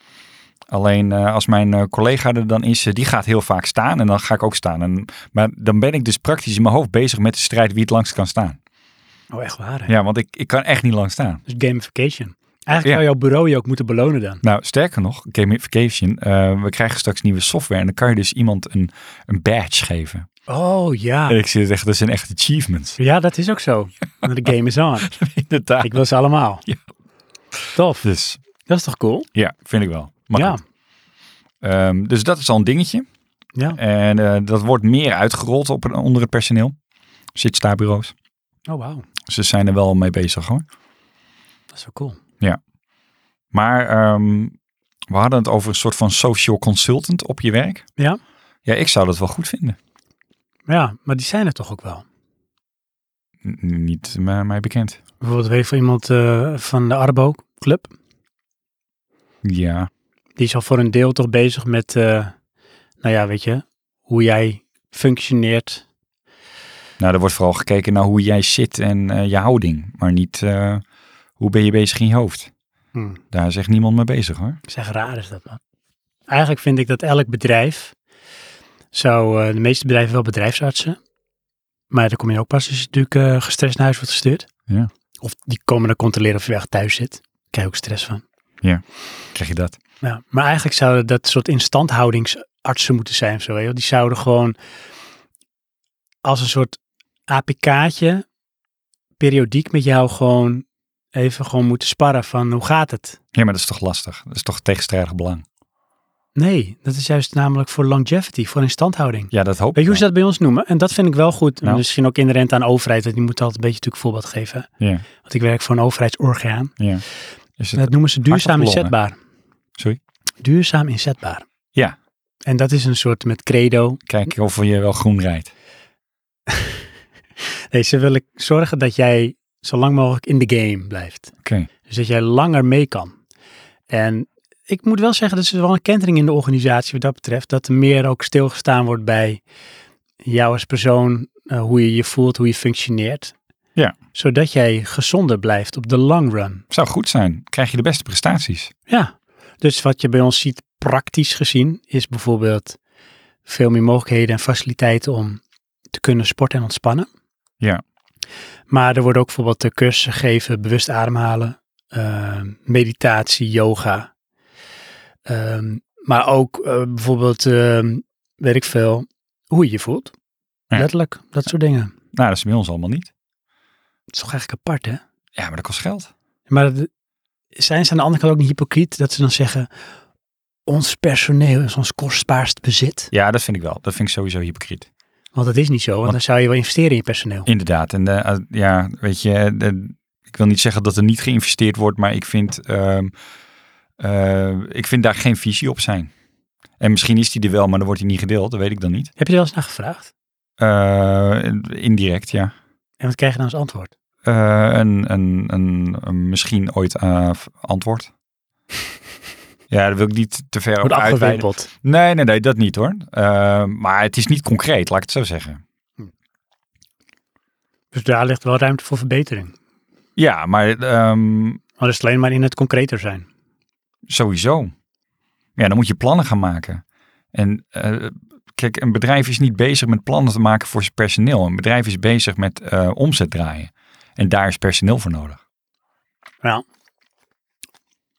Speaker 2: Alleen eh, als mijn eh, collega er dan is, eh, die gaat heel vaak staan en dan ga ik ook staan. En, maar dan ben ik dus praktisch in mijn hoofd bezig met de strijd wie het langst kan staan.
Speaker 1: Oh, echt waar hè?
Speaker 2: Ja, want ik, ik kan echt niet lang staan.
Speaker 1: Dus gamification. Eigenlijk zou
Speaker 2: Ja.
Speaker 1: jouw bureau je ook moeten belonen dan.
Speaker 2: Nou, sterker nog, gamification, eh, we krijgen straks nieuwe software en dan kan je dus iemand een, een badge geven.
Speaker 1: Oh
Speaker 2: En
Speaker 1: ja.
Speaker 2: ik zit echt, dat zijn echt achievements.
Speaker 1: Ja, dat is ook zo. Maar de game is on.
Speaker 2: Inderdaad.
Speaker 1: Ik wil ze allemaal.
Speaker 2: Ja.
Speaker 1: Tof.
Speaker 2: Dus
Speaker 1: Dat is toch cool?
Speaker 2: ja, vind ik wel. Maar
Speaker 1: ja.
Speaker 2: goed. Ehm, dus dat is al een dingetje.
Speaker 1: Ja.
Speaker 2: En eh, dat wordt meer uitgerold op, onder het personeel. Zit staarbureaus.
Speaker 1: Oh, wauw.
Speaker 2: Dus Ze zijn er wel mee bezig hoor.
Speaker 1: Dat is wel cool.
Speaker 2: Maar ehm, we hadden het over een soort van social consultant op je werk.
Speaker 1: Ja.
Speaker 2: Ja, ik zou dat wel goed vinden.
Speaker 1: Ja, maar die zijn er toch ook wel.
Speaker 2: N- niet eh, mij bekend.
Speaker 1: Bijvoorbeeld weet ik van iemand eh, van de Arbo Club.
Speaker 2: Ja.
Speaker 1: Die is al voor een deel toch bezig met, eh, nou ja, weet je, hoe jij functioneert.
Speaker 2: Nou, er wordt vooral gekeken naar hoe jij zit en eh, je houding. Maar niet eh, hoe ben je bezig in je hoofd.
Speaker 1: Hm.
Speaker 2: Daar is echt niemand mee bezig hoor.
Speaker 1: Ik zeg, raar is dat man. Eigenlijk vind ik dat elk bedrijf, zou, eh, de meeste bedrijven wel bedrijfsartsen. Maar dan kom je ook pas als je natuurlijk eh, gestrest naar huis wordt gestuurd.
Speaker 2: Ja.
Speaker 1: Of die komen dan controleren of je echt thuis zit. Daar krijg je ook stress van.
Speaker 2: Krijg je dat?
Speaker 1: Ja, maar eigenlijk zouden dat soort instandhoudingsartsen moeten zijn of zo. hè. Die zouden gewoon als een soort APK'tje periodiek met jou gewoon even gewoon moeten sparren van hoe gaat het?
Speaker 2: Ja, maar dat is toch lastig. Dat is toch tegenstrijdig belang.
Speaker 1: Nee, dat is juist namelijk voor longevity, voor instandhouding.
Speaker 2: Ja, dat hoop ik.
Speaker 1: Weet je hoe
Speaker 2: wel.
Speaker 1: ze dat bij ons noemen? En dat vind ik wel goed.
Speaker 2: Nou.
Speaker 1: Misschien ook inherent aan de overheid, want die moet altijd een beetje natuurlijk voorbeeld geven.
Speaker 2: Ja.
Speaker 1: Want ik werk voor een overheidsorgaan.
Speaker 2: Ja. Is
Speaker 1: Dat noemen ze duurzaam
Speaker 2: Hart op longen.
Speaker 1: inzetbaar.
Speaker 2: Sorry?
Speaker 1: Duurzaam inzetbaar.
Speaker 2: Ja.
Speaker 1: En dat is een soort met credo,
Speaker 2: Kijk of je wel groen rijdt.
Speaker 1: Nee, ze willen zorgen dat jij zo lang mogelijk in de game blijft.
Speaker 2: Oké.
Speaker 1: Dus dat jij langer mee kan. En ik moet wel zeggen, dat is wel een kentering in de organisatie wat dat betreft. Dat er meer ook stilgestaan wordt bij jou als persoon, eh, hoe je je voelt, hoe je functioneert.
Speaker 2: Ja.
Speaker 1: Zodat jij gezonder blijft op de long run.
Speaker 2: Zou goed zijn. Krijg je de beste prestaties.
Speaker 1: Ja. Dus wat je bij ons ziet, praktisch gezien, is bijvoorbeeld veel meer mogelijkheden en faciliteiten om te kunnen sporten en ontspannen.
Speaker 2: Ja.
Speaker 1: Maar er worden ook bijvoorbeeld eh, cursussen gegeven, bewust ademhalen, eh, meditatie, yoga. Ehm, maar ook eh, bijvoorbeeld, ehm, weet ik veel, hoe je je voelt.
Speaker 2: Ja.
Speaker 1: Letterlijk, dat soort dingen.
Speaker 2: Nou, dat is bij ons allemaal niet.
Speaker 1: Dat is toch eigenlijk apart, hè?
Speaker 2: Ja, maar dat kost geld.
Speaker 1: Maar dat- zijn ze aan de andere kant ook niet hypocriet dat ze dan zeggen, ons personeel is ons kostbaarst bezit?
Speaker 2: Ja, dat vind ik wel. Dat vind ik sowieso hypocriet.
Speaker 1: Want dat is niet zo, want,
Speaker 2: Want-
Speaker 1: dan zou je wel investeren in je personeel.
Speaker 2: Inderdaad. En eh, eh, ja, weet je, eh, ik wil niet zeggen dat er niet geïnvesteerd wordt, maar ik vind, ehm, eh, ik vind daar geen visie op zijn. En misschien is die er wel, maar dan wordt die niet gedeeld. Dat weet ik dan niet.
Speaker 1: Heb je er wel eens naar gevraagd?
Speaker 2: Eh, indirect, ja.
Speaker 1: En wat krijg je dan als antwoord?
Speaker 2: Eh, een, een, een, een misschien ooit eh, antwoord. ja, daar wil ik niet te ver op
Speaker 1: Wordt
Speaker 2: uitweiden.
Speaker 1: afgewimpeld.
Speaker 2: Nee, nee, nee, dat niet hoor. Eh, maar het is niet concreet, laat ik het zo zeggen.
Speaker 1: Dus daar ligt wel ruimte voor verbetering.
Speaker 2: Ja, maar ehm,
Speaker 1: Maar dat is alleen maar in het concreter zijn.
Speaker 2: sowieso. Ja, dan moet je plannen gaan maken. En eh, kijk, een bedrijf is niet bezig met plannen te maken voor zijn personeel. Een bedrijf is bezig met eh, omzet draaien. En daar is personeel voor nodig.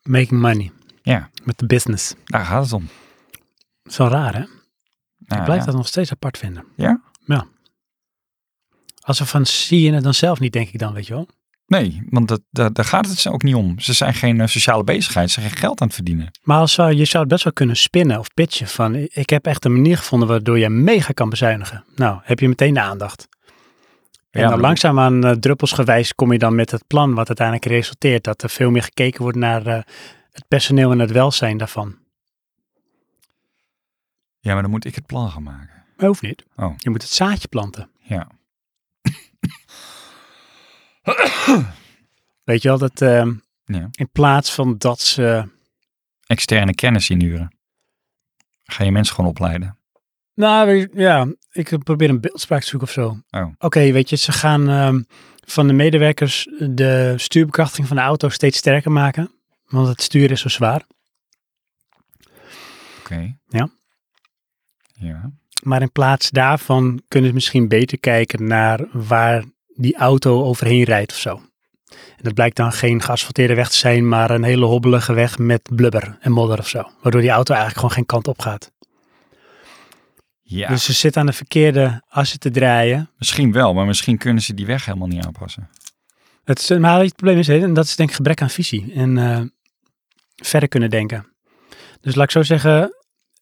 Speaker 1: Making money.
Speaker 2: Ja.
Speaker 1: Met de business.
Speaker 2: Daar gaat het om.
Speaker 1: Dat is wel raar, hè?
Speaker 2: Nou,
Speaker 1: ik blijf
Speaker 2: ja.
Speaker 1: dat nog steeds apart vinden.
Speaker 2: Ja?
Speaker 1: Ja. Als we van zie je het dan zelf niet, denk ik dan, weet je wel.
Speaker 2: Nee, want dat, daar- daar gaat het ze ook niet om. Ze zijn geen eh, sociale bezigheid, ze zijn geen geld aan het verdienen.
Speaker 1: Maar als zou, je zou het best wel kunnen spinnen of pitchen van ik heb echt een manier gevonden waardoor je mega kan bezuinigen. Nou, heb je meteen de aandacht. En
Speaker 2: Ja,
Speaker 1: dan
Speaker 2: maar-
Speaker 1: langzaamaan eh, druppelsgewijs kom je dan met het plan wat uiteindelijk resulteert. Dat er veel meer gekeken wordt naar eh, het personeel en het welzijn daarvan.
Speaker 2: Ja, maar dan moet ik het plan gaan maken.
Speaker 1: Maar hoeft niet.
Speaker 2: Oh.
Speaker 1: Je moet het zaadje planten.
Speaker 2: Ja.
Speaker 1: Weet je wel, dat eh,
Speaker 2: Ja.
Speaker 1: in plaats van dat ze...
Speaker 2: Externe kennis inhuren. Ga je mensen gewoon opleiden.
Speaker 1: Nou, weet je- ja, ik probeer een beeldspraak te zoeken of zo.
Speaker 2: Oh.
Speaker 1: Oké, weet je, ze gaan ehm, van de medewerkers de stuurbekrachtiging van de auto steeds sterker maken. Want het stuur is zo zwaar.
Speaker 2: Oké.
Speaker 1: Ja.
Speaker 2: Ja.
Speaker 1: Maar in plaats daarvan kunnen ze misschien beter kijken naar waar die auto overheen rijdt of zo. En dat blijkt dan geen geasfalteerde weg te zijn, maar een hele hobbelige weg met blubber en modder of zo. Waardoor die auto eigenlijk gewoon geen kant op gaat.
Speaker 2: Ja,
Speaker 1: Dus ze zit aan de verkeerde assen te draaien.
Speaker 2: misschien wel, maar misschien kunnen ze die weg helemaal niet aanpassen.
Speaker 1: Het, is- maar het probleem is, hè, en dat is denk ik gebrek aan visie en eh, verder kunnen denken. Dus laat ik zo zeggen,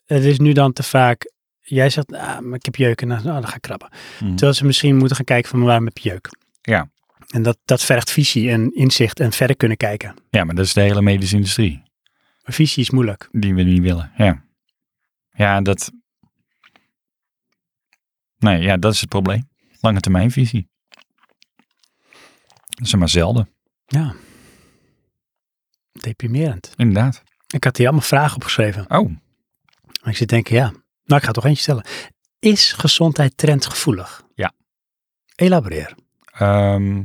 Speaker 1: het is nu dan te vaak, jij zegt, ah, maar ik heb jeuken, nou, nou, dan ga ik krabben.
Speaker 2: Mhm.
Speaker 1: Terwijl ze misschien moeten gaan kijken van waarom heb je jeuk.
Speaker 2: Ja.
Speaker 1: En dat, dat vergt visie en inzicht en verder kunnen kijken.
Speaker 2: Ja, maar dat is de hele medische industrie.
Speaker 1: Maar visie is moeilijk.
Speaker 2: Die we niet willen. Ja. Ja, dat. Nee, ja, dat is het probleem. Lange termijnvisie. Dat is er maar zelden.
Speaker 1: Ja. Deprimerend.
Speaker 2: Inderdaad.
Speaker 1: Ik had hier allemaal vragen opgeschreven.
Speaker 2: Oh,
Speaker 1: Maar ik zit te denken, ja, nou ik ga toch eentje stellen. Is gezondheid trendgevoelig?
Speaker 2: Ja.
Speaker 1: Elaboreer.
Speaker 2: Ehm,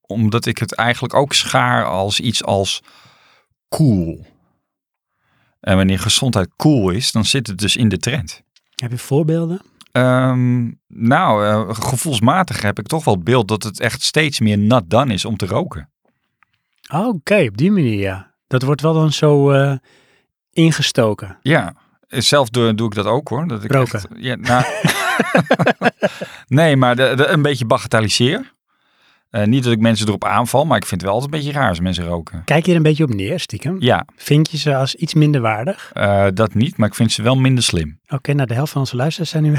Speaker 2: omdat ik het eigenlijk ook schaar als iets als cool. En wanneer gezondheid cool is, dan zit het dus in de trend.
Speaker 1: Heb je voorbeelden?
Speaker 2: Ehm, nou, eh, gevoelsmatig heb ik toch wel het beeld dat het echt steeds meer nat dan is om te roken.
Speaker 1: Oh, Oké, op die manier ja. Dat wordt wel dan zo eh, ingestoken.
Speaker 2: Ja, zelf doe, doe ik dat ook hoor. Dat ik
Speaker 1: Roken.
Speaker 2: echt- ja, nou, nee, maar de, de- een beetje bagatelliseer. Eh, niet dat ik mensen erop aanval, maar ik vind het wel altijd een beetje raar als mensen roken.
Speaker 1: Kijk je er een beetje op neer, stiekem?
Speaker 2: Ja,
Speaker 1: Vind je ze als iets minder waardig?
Speaker 2: Eh, dat niet, maar ik vind ze wel minder slim.
Speaker 1: Oké, nou de helft van onze luisteraars zijn nu...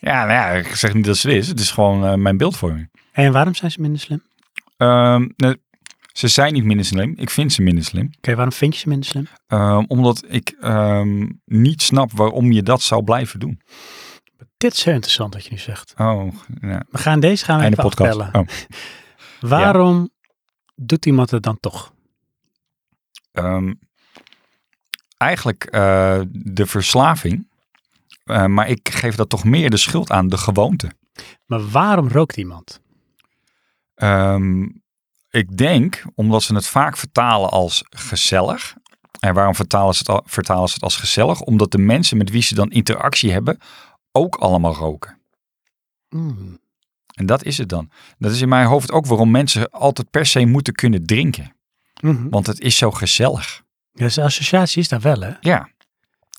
Speaker 2: Ja, nou ja, ik zeg niet dat ze is. Het is gewoon eh, mijn beeldvorming.
Speaker 1: en waarom zijn ze minder slim?
Speaker 2: Ehm, nee, ze zijn niet minder slim. Ik vind ze minder slim.
Speaker 1: Oké, waarom vind je ze minder slim?
Speaker 2: Ehm, omdat ik ehm, niet snap waarom je dat zou blijven doen.
Speaker 1: Dit is heel interessant wat je nu zegt.
Speaker 2: Oh, ja.
Speaker 1: We gaan deze gaan we
Speaker 2: Einde
Speaker 1: even
Speaker 2: podcast.
Speaker 1: afbellen.
Speaker 2: Oh.
Speaker 1: Waarom doet iemand het dan toch?
Speaker 2: Ehm, eigenlijk eh, de verslaving. Eh, maar ik geef dat toch meer de schuld aan de gewoonte.
Speaker 1: Maar waarom rookt iemand?
Speaker 2: Ehm, ik denk omdat ze het vaak vertalen als gezellig. En waarom vertalen ze, het al- vertalen ze het als gezellig? Omdat de mensen met wie ze dan interactie hebben ook allemaal roken. Hmm.
Speaker 1: Mm.
Speaker 2: En dat is het dan. Dat is in mijn hoofd ook waarom mensen altijd per se moeten kunnen drinken.
Speaker 1: Mhm.
Speaker 2: Want het is zo gezellig.
Speaker 1: Ja, dus de associatie is daar wel, hè?
Speaker 2: Ja.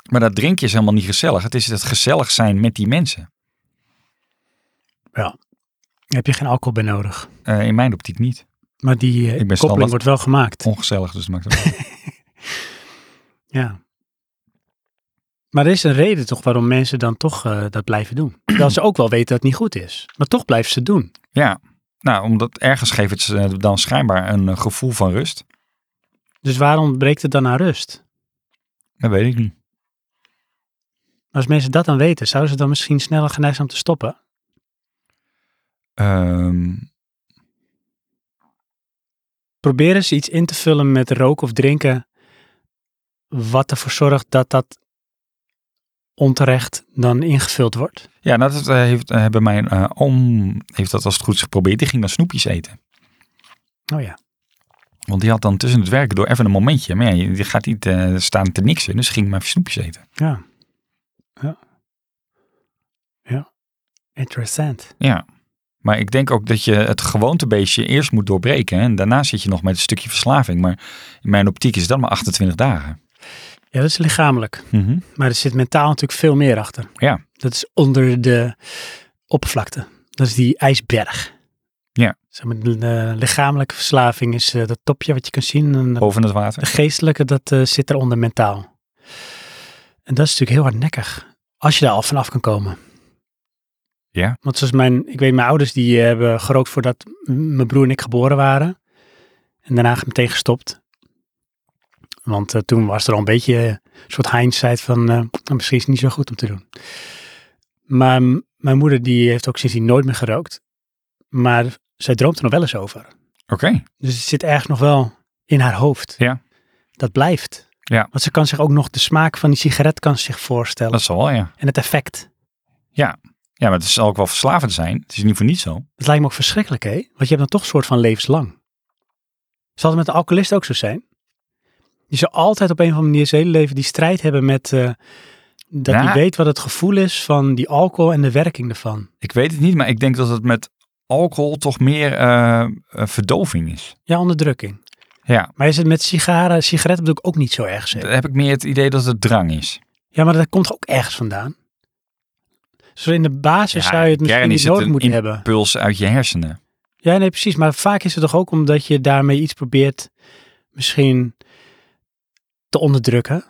Speaker 2: Maar dat drinken is helemaal niet gezellig. Het is het gezellig zijn met die mensen.
Speaker 1: Daar heb je geen alcohol bij nodig.
Speaker 2: Eh, in mijn optiek niet.
Speaker 1: Maar die eh,
Speaker 2: ben
Speaker 1: koppeling
Speaker 2: standaard.
Speaker 1: wordt wel gemaakt.
Speaker 2: Ongezellig, dus het maakt het uit.
Speaker 1: Ja. Maar er is een reden toch waarom mensen dan toch eh, dat blijven doen. Terwijl ze ook wel weten dat het niet goed is. Maar toch blijven ze het doen.
Speaker 2: Ja. Nou, omdat ergens geeft het ze dan schijnbaar een eh, gevoel van rust.
Speaker 1: Dus waarom breekt het dan aan rust?
Speaker 2: Dat weet ik niet.
Speaker 1: Als mensen dat dan weten, zouden ze dan misschien sneller geneigd zijn om te stoppen?
Speaker 2: Ehm,
Speaker 1: Probeer eens iets in te vullen met roken of drinken. Wat ervoor zorgt dat dat onterecht dan ingevuld wordt.
Speaker 2: ja, nou, dat eh, heeft, eh, hebben mijn eh, oom heeft dat als het goed is geprobeerd. Die ging dan snoepjes eten.
Speaker 1: Oh ja.
Speaker 2: Want die had dan tussen het werken door even een momentje. Maar ja, die gaat niet eh, staan te niksen. Dus ging maar even snoepjes eten.
Speaker 1: Ja. Ja. Ja. Interessant.
Speaker 2: Ja. Maar ik denk ook dat je het gewoontebeestje eerst moet doorbreken. hè. En daarna zit je nog met een stukje verslaving. Maar in mijn optiek is dat maar 28 dagen.
Speaker 1: Ja, dat is lichamelijk.
Speaker 2: Mhm.
Speaker 1: Maar er zit mentaal natuurlijk veel meer achter.
Speaker 2: Ja.
Speaker 1: Dat is onder de oppervlakte. Dat is die ijsberg.
Speaker 2: Ja.
Speaker 1: Zeg maar, de eh, lichamelijke verslaving is eh, dat topje wat je kunt zien. En de,
Speaker 2: boven het water.
Speaker 1: de geestelijke, dat eh, zit eronder mentaal. En dat is natuurlijk heel hardnekkig. Als je daar al vanaf kan komen.
Speaker 2: Ja.
Speaker 1: Want zoals mijn, ik weet mijn ouders, die eh, hebben gerookt voordat m- mijn broer en ik geboren waren. En daarna meteen gestopt. Want eh, toen was er al een beetje eh, een soort hindsight van, eh, misschien is het niet zo goed om te doen. Maar m- mijn moeder die heeft ook sindsdien nooit meer gerookt. Maar zij droomt er nog wel eens over.
Speaker 2: Oké.
Speaker 1: Dus het zit ergens nog wel in haar hoofd.
Speaker 2: Ja.
Speaker 1: Dat blijft.
Speaker 2: Ja.
Speaker 1: Want ze kan zich ook nog de smaak van die sigaret kan ze zich voorstellen.
Speaker 2: Dat zal wel, ja.
Speaker 1: En het effect.
Speaker 2: Ja, maar het zal ook wel verslavend zijn. Het is in ieder geval niet zo.
Speaker 1: Dat lijkt me ook verschrikkelijk, hè? Want je hebt dan toch een soort van levenslang. Zal het met de alcoholist ook zo zijn? Je zal altijd op een of andere manier zijn hele leven die strijd hebben met... eh, dat
Speaker 2: Ja.
Speaker 1: hij weet wat het gevoel is van die alcohol en de werking ervan.
Speaker 2: Ik weet het niet, maar ik denk dat het met alcohol toch meer eh, eh, verdoving is.
Speaker 1: Ja, onderdrukking.
Speaker 2: Ja.
Speaker 1: Maar is het met sigaren, sigaretten bedoel ik ook niet zo erg zeker?
Speaker 2: Dan heb ik meer het idee dat het drang is.
Speaker 1: Ja, maar dat komt ook ergens vandaan. Zo in de basis
Speaker 2: Ja,
Speaker 1: zou je het
Speaker 2: in de
Speaker 1: misschien
Speaker 2: kern
Speaker 1: niet
Speaker 2: is het
Speaker 1: nodig
Speaker 2: een
Speaker 1: moeten
Speaker 2: in-
Speaker 1: hebben.
Speaker 2: Puls uit je hersenen.
Speaker 1: Ja, nee, precies. Maar vaak is het toch ook omdat je daarmee iets probeert misschien te onderdrukken.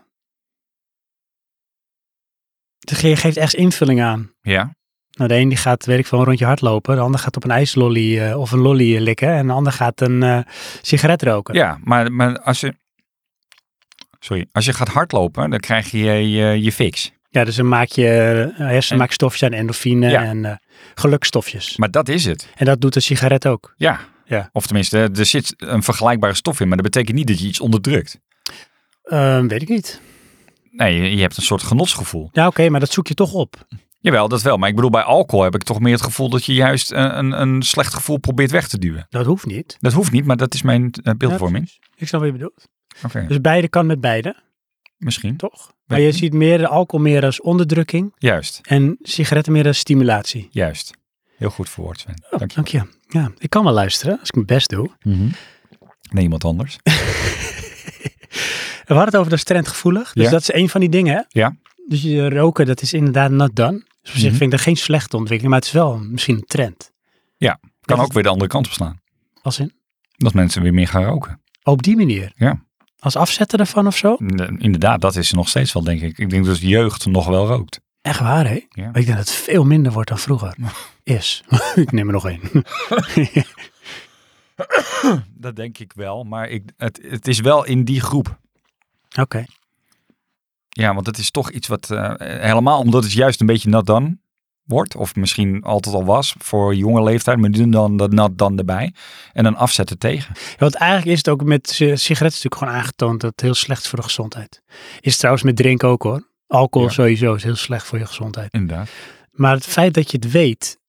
Speaker 1: Dus Je geeft echt invulling aan.
Speaker 2: Ja.
Speaker 1: Nou, de een die gaat, weet ik veel, een rondje hardlopen. De ander gaat op een ijslolly eh, of een lolly eh, likken. En de ander gaat een eh, sigaret roken.
Speaker 2: Ja, maar, maar als je... Sorry. Als je gaat hardlopen, dan krijg je je, je fix.
Speaker 1: Ja, dus dan maak je eh, hersenen
Speaker 2: En-
Speaker 1: maken stofjes aan endorfine
Speaker 2: Ja.
Speaker 1: en eh, gelukstofjes.
Speaker 2: Maar dat is het.
Speaker 1: En dat doet een sigaret ook.
Speaker 2: Ja.
Speaker 1: Ja.
Speaker 2: Of tenminste, eh, er zit een vergelijkbare stof in, maar dat betekent niet dat je iets onderdrukt.
Speaker 1: Ehm, weet ik niet.
Speaker 2: Nee, je- je hebt een soort genotsgevoel.
Speaker 1: Ja, oké, maar dat zoek je toch op.
Speaker 2: Jawel, dat wel. Maar ik bedoel, bij alcohol heb ik toch meer het gevoel dat je juist een, een, een slecht gevoel probeert weg te duwen.
Speaker 1: Dat hoeft niet.
Speaker 2: Dat hoeft niet, maar dat is mijn eh, beeldvorming.
Speaker 1: Ik snap wat je bedoelt.
Speaker 2: Oké,
Speaker 1: Dus beide kan met beide,
Speaker 2: misschien.
Speaker 1: toch? Maar je
Speaker 2: Weet-
Speaker 1: ziet meer de alcohol meer als onderdrukking
Speaker 2: Juist,
Speaker 1: en sigaretten meer als stimulatie. Oh,
Speaker 2: juist. Heel goed verwoord, Sven. Dank je.
Speaker 1: Dank je. Ja, ik kan wel luisteren als ik mijn best doe.
Speaker 2: Nee, iemand anders.
Speaker 1: We hadden het over dat is trendgevoelig. Dus
Speaker 2: Ja.
Speaker 1: dat is een van die dingen. hè?
Speaker 2: Ja.
Speaker 1: Dus je roken, dat is inderdaad not done. Dus op zich
Speaker 2: Mhm.
Speaker 1: vind ik dat geen slechte ontwikkeling, maar het is wel misschien een trend.
Speaker 2: Kan ook weer de andere kant op slaan.
Speaker 1: Als in,
Speaker 2: Dat mensen weer meer gaan roken.
Speaker 1: op die manier.
Speaker 2: Ja.
Speaker 1: Als afzetten daarvan of zo.
Speaker 2: Nee, Inderdaad, dat is er nog steeds wel, denk ik. Ik denk dat de jeugd nog wel rookt.
Speaker 1: Echt waar, hè?
Speaker 2: Ja.
Speaker 1: Maar ik denk dat het veel minder wordt dan vroeger. Is. ik neem er nog één.
Speaker 2: Dat denk ik wel, maar ik, het, het is wel in die groep.
Speaker 1: Oké.
Speaker 2: Ja, want het is toch iets wat eh, helemaal omdat het juist een beetje nat dan wordt, of misschien altijd al was voor jonge leeftijd, maar doen dan dat nat dan erbij en dan afzetten tegen.
Speaker 1: Ja, want eigenlijk is het ook met si- sigaretten natuurlijk gewoon aangetoond dat het heel slecht is voor de gezondheid. Is trouwens met drinken ook hoor. Alcohol
Speaker 2: Ja.
Speaker 1: sowieso is heel slecht voor je gezondheid.
Speaker 2: Inderdaad.
Speaker 1: Maar het feit dat je het weet,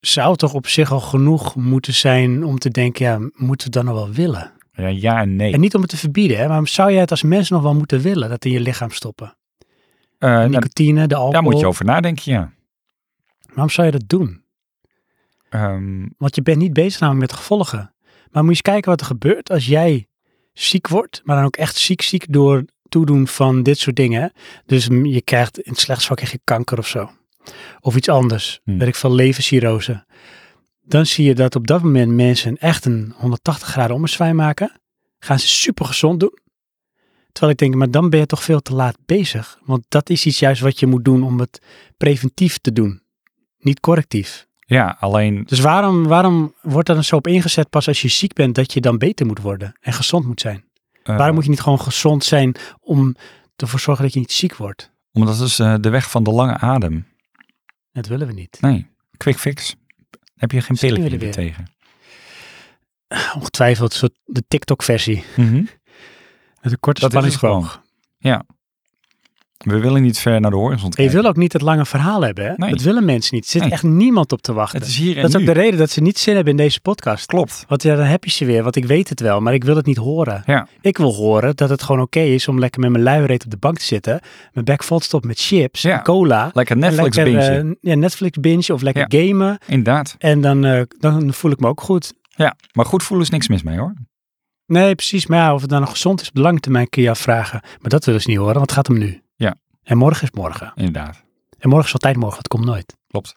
Speaker 1: zou toch op zich al genoeg moeten zijn om te denken, ja, moeten we dat nog wel willen?
Speaker 2: Ja, ja en nee.
Speaker 1: En niet om het te verbieden, hè, maar zou jij het als mens nog wel moeten willen, dat in je lichaam stoppen?
Speaker 2: Eh, nou,
Speaker 1: Nicotine, de alcohol.
Speaker 2: daar moet je over nadenken, ja.
Speaker 1: Waarom zou je dat doen?
Speaker 2: Ehm,
Speaker 1: Want je bent niet bezig namelijk met gevolgen. Maar moet je eens kijken wat er gebeurt als jij ziek wordt, maar dan ook echt ziek ziek door het toedoen van dit soort dingen. hè. Dus mm, je krijgt in het slechtst geval krijg je kanker of zo. Of iets anders.
Speaker 2: Hmm.
Speaker 1: Weet ik veel, levercirrose. Dan zie je dat op dat moment mensen echt een 180 graden ommezwaai maken. Gaan ze super gezond doen. Terwijl ik denk, maar dan ben je toch veel te laat bezig. Want dat is iets juist wat je moet doen om het preventief te doen. Niet correctief.
Speaker 2: ja, alleen
Speaker 1: Dus waarom, waarom wordt er dan zo op ingezet pas als je ziek bent dat je dan beter moet worden en gezond moet zijn?
Speaker 2: eh,
Speaker 1: waarom moet je niet gewoon gezond zijn om ervoor te zorgen dat je niet ziek wordt?
Speaker 2: omdat het is eh, de weg van de lange adem.
Speaker 1: Dat willen we niet.
Speaker 2: Nee, quick fix. Heb je geen
Speaker 1: Zijn we
Speaker 2: pilletje
Speaker 1: er weer.
Speaker 2: tegen?
Speaker 1: Nou, Ongetwijfeld zo de TikTok-versie.
Speaker 2: Mhm.
Speaker 1: Met een korte
Speaker 2: Dat is het
Speaker 1: spanningsboog.
Speaker 2: We willen niet ver naar de horizon
Speaker 1: En Je
Speaker 2: kijken.
Speaker 1: wil ook niet het lange verhaal hebben. Hè?
Speaker 2: Nee.
Speaker 1: Dat willen mensen niet. Er zit
Speaker 2: Nee.
Speaker 1: echt niemand op te wachten.
Speaker 2: Het is hier en
Speaker 1: dat is
Speaker 2: nu.
Speaker 1: ook de reden dat ze niet zin hebben in deze podcast.
Speaker 2: Klopt.
Speaker 1: Want ja, dan heb je ze weer. Want ik weet het wel, maar ik wil het niet horen.
Speaker 2: Ja.
Speaker 1: Ik wil horen dat het gewoon oké is om lekker met mijn luiereet op de bank te zitten. Mijn bek vol te stoppen met chips,
Speaker 2: Ja.
Speaker 1: en cola.
Speaker 2: Lekker Netflix
Speaker 1: lekker,
Speaker 2: bingen.
Speaker 1: eh, ja, Netflix binge of lekker gamen.
Speaker 2: Inderdaad.
Speaker 1: En dan, eh, dan voel ik me ook goed.
Speaker 2: Ja, maar goed voelen is niks mis mee hoor.
Speaker 1: Nee, precies. Maar ja, of het dan nog gezond is, op de lange termijn kun je je afvragen. Maar dat willen ze niet horen, want het gaat om nu.
Speaker 2: Ja.
Speaker 1: En morgen is morgen.
Speaker 2: Inderdaad.
Speaker 1: En morgen is altijd morgen, het komt nooit.
Speaker 2: Klopt.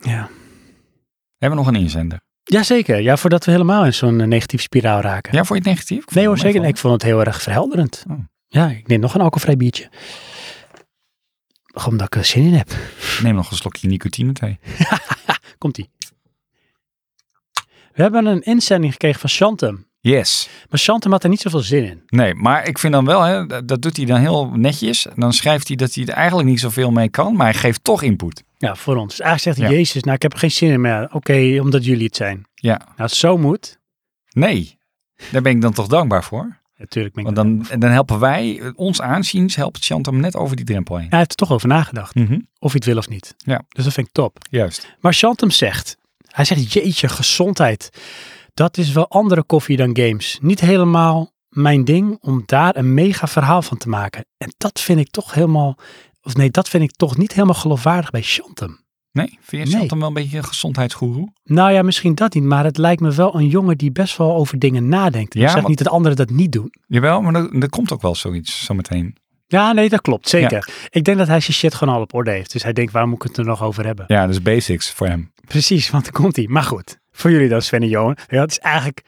Speaker 1: Ja.
Speaker 2: hebben nog een inzender.
Speaker 1: Jazeker, ja, voordat we helemaal in zo'n eh, negatieve spiraal raken.
Speaker 2: Ja, vond je het negatief? Ik vond
Speaker 1: Nee hoor,
Speaker 2: het
Speaker 1: zeker.
Speaker 2: meevallen.
Speaker 1: niet. Ik vond het heel erg verhelderend.
Speaker 2: Oh.
Speaker 1: Ja, ik neem nog een alcoholvrij biertje. Gewoon omdat ik er zin in heb.
Speaker 2: Neem nog een slokje nicotine thee.
Speaker 1: Komt-ie. We hebben een inzending gekregen van Chantem.
Speaker 2: Yes.
Speaker 1: Maar Chantem had er niet zoveel zin in.
Speaker 2: Nee, maar ik vind dan wel, hè, dat- dat doet hij dan heel netjes. Dan schrijft hij dat hij er eigenlijk niet zoveel mee kan, maar hij geeft toch input.
Speaker 1: Ja, voor ons. Dus eigenlijk zegt hij,
Speaker 2: Ja.
Speaker 1: Jezus, nou ik heb er geen zin in meer. Oké, omdat jullie het zijn.
Speaker 2: Ja.
Speaker 1: Nou, als het zo moet.
Speaker 2: Nee, daar ben ik dan toch dankbaar voor.
Speaker 1: Natuurlijk ben ik
Speaker 2: Want dan, dan helpen wij, ons aanziens helpt Chantam net over die drempel heen.
Speaker 1: Hij heeft er toch over nagedacht.
Speaker 2: Mhm,
Speaker 1: Of hij het wil of niet.
Speaker 2: Ja.
Speaker 1: Dus dat vind ik top.
Speaker 2: Juist.
Speaker 1: Maar Chantem zegt, hij zegt, jeetje, gezondheid. Dat is wel andere koffie dan games. Niet helemaal mijn ding om daar een mega verhaal van te maken. En dat vind ik toch helemaal, of nee, dat vind ik toch niet helemaal geloofwaardig bij Chantem.
Speaker 2: Nee, vind je
Speaker 1: Nee.
Speaker 2: Chantam wel een beetje een gezondheidsgoeroe?
Speaker 1: Nou ja, misschien dat niet, maar het lijkt me wel een jongen die best wel over dingen nadenkt.
Speaker 2: Ja,
Speaker 1: ik zeg
Speaker 2: maar-
Speaker 1: niet dat anderen dat niet doen.
Speaker 2: Jawel, maar er, er komt ook wel zoiets zometeen.
Speaker 1: Ja, nee, dat klopt, zeker. Ik denk dat hij zijn shit gewoon al op orde heeft. Dus hij denkt, waar moet ik het er nog over hebben?
Speaker 2: Ja, dus basics voor hem.
Speaker 1: Precies, want dan komt hij. Maar goed, voor jullie dan Sven en Johan. Ja, het is eigenlijk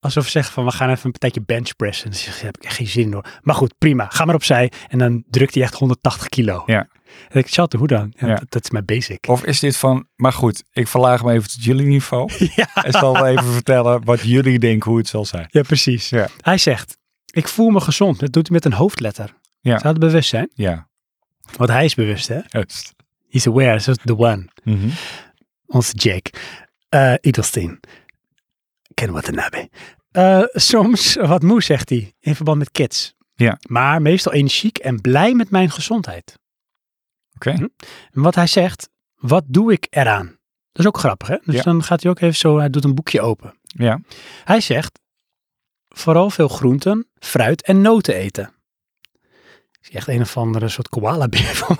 Speaker 1: alsof ze zeggen van we gaan even een tijdje benchpressen. Dan zeg ik, daar heb ik echt geen zin in hoor. Maar goed, prima. Ga maar opzij. En dan drukt hij echt 180 kilo.
Speaker 2: Ja.
Speaker 1: En ik chatte, hoe dan? Ja,
Speaker 2: Ja.
Speaker 1: Dat, dat is mijn basic.
Speaker 2: Of is dit van, maar goed, ik verlaag me even tot jullie niveau.
Speaker 1: Ja.
Speaker 2: En zal wel even vertellen wat jullie denken hoe het zal zijn.
Speaker 1: Ja, precies.
Speaker 2: Ja.
Speaker 1: Hij zegt, ik voel me gezond. Dat doet hij met een hoofdletter.
Speaker 2: Ja.
Speaker 1: Zou het bewust zijn?
Speaker 2: Ja,
Speaker 1: Want hij is bewust, hè?
Speaker 2: juist.
Speaker 1: He's aware, so the one.
Speaker 2: Mhm.
Speaker 1: Onze Jake. Eh Idelstein. Ken wat een nabe. Eh, soms wat moe, zegt hij, in verband met kids.
Speaker 2: Ja.
Speaker 1: Maar meestal energiek en blij met mijn gezondheid. Hm?
Speaker 2: Oké.
Speaker 1: En wat hij zegt, wat doe ik eraan? Dat is ook grappig, hè? Dus
Speaker 2: Ja.
Speaker 1: dan gaat hij ook even zo, hij doet een boekje open.
Speaker 2: Ja.
Speaker 1: Hij zegt, vooral veel groenten, fruit en noten eten. Ik zie echt een of andere soort koala-beer van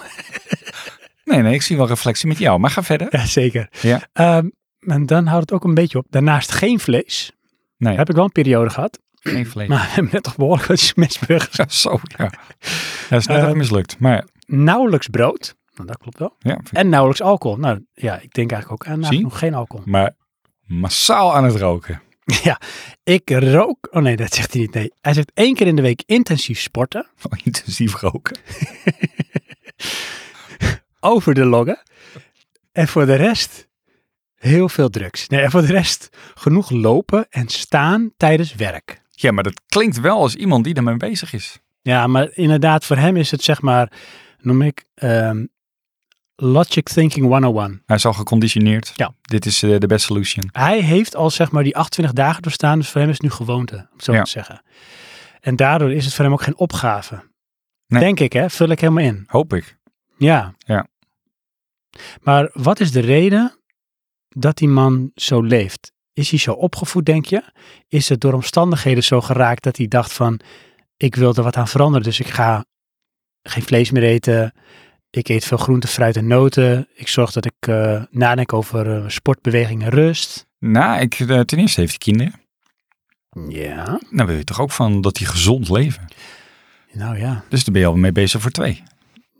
Speaker 2: Nee, nee, ik zie wel reflectie met jou, maar ga verder.
Speaker 1: Ja, zeker.
Speaker 2: Ja.
Speaker 1: Ehm, en dan houdt het ook een beetje op. Daarnaast geen vlees.
Speaker 2: Nee.
Speaker 1: Heb ik wel een periode gehad.
Speaker 2: Geen vlees.
Speaker 1: Maar we hebben net toch behoorlijk wat smashburgers.
Speaker 2: Ja, Zo, ja. Dat is net
Speaker 1: Eh,
Speaker 2: even mislukt. Maar
Speaker 1: Nauwelijks brood. Nou, dat klopt wel.
Speaker 2: ja, vind ik-
Speaker 1: En nauwelijks alcohol. Nou ja, ik denk eigenlijk ook aan
Speaker 2: Zie?
Speaker 1: nog geen alcohol.
Speaker 2: maar massaal aan het roken.
Speaker 1: Ja, ik rook. Oh nee, dat zegt hij niet. Nee. Hij zegt één keer in de week intensief sporten.
Speaker 2: Van intensief roken.
Speaker 1: Over de loggen. En voor de rest heel veel drugs. Nee, en voor de rest genoeg lopen en staan tijdens werk.
Speaker 2: Ja, maar dat klinkt wel als iemand die daarmee bezig is.
Speaker 1: Ja, maar inderdaad, voor hem is het zeg maar, noem ik, ehm, Logic Thinking 101.
Speaker 2: Hij is al geconditioneerd.
Speaker 1: Ja.
Speaker 2: Dit is eh, de best solution.
Speaker 1: Hij heeft al zeg maar die 28 dagen doorstaan, dus voor hem is het nu gewoonte, om het zo
Speaker 2: Ja.
Speaker 1: te zeggen. En daardoor is het voor hem ook geen opgave.
Speaker 2: Nee.
Speaker 1: Denk ik, hè? Vul ik helemaal in.
Speaker 2: Hoop ik.
Speaker 1: Ja.
Speaker 2: Ja.
Speaker 1: Maar wat is de reden dat die man zo leeft? Is hij zo opgevoed, denk je? Is het door omstandigheden zo geraakt dat hij dacht van, ik wil er wat aan veranderen, dus ik ga geen vlees meer eten. Ik eet veel groente, fruit en noten. Ik zorg dat ik eh, nadenk over eh, sportbeweging en rust.
Speaker 2: Nou, ik, eh, ten eerste heeft hij kinderen.
Speaker 1: Ja.
Speaker 2: Nou wil je toch ook van dat die gezond leven.
Speaker 1: Nou ja.
Speaker 2: Dus daar ben je al mee bezig voor twee.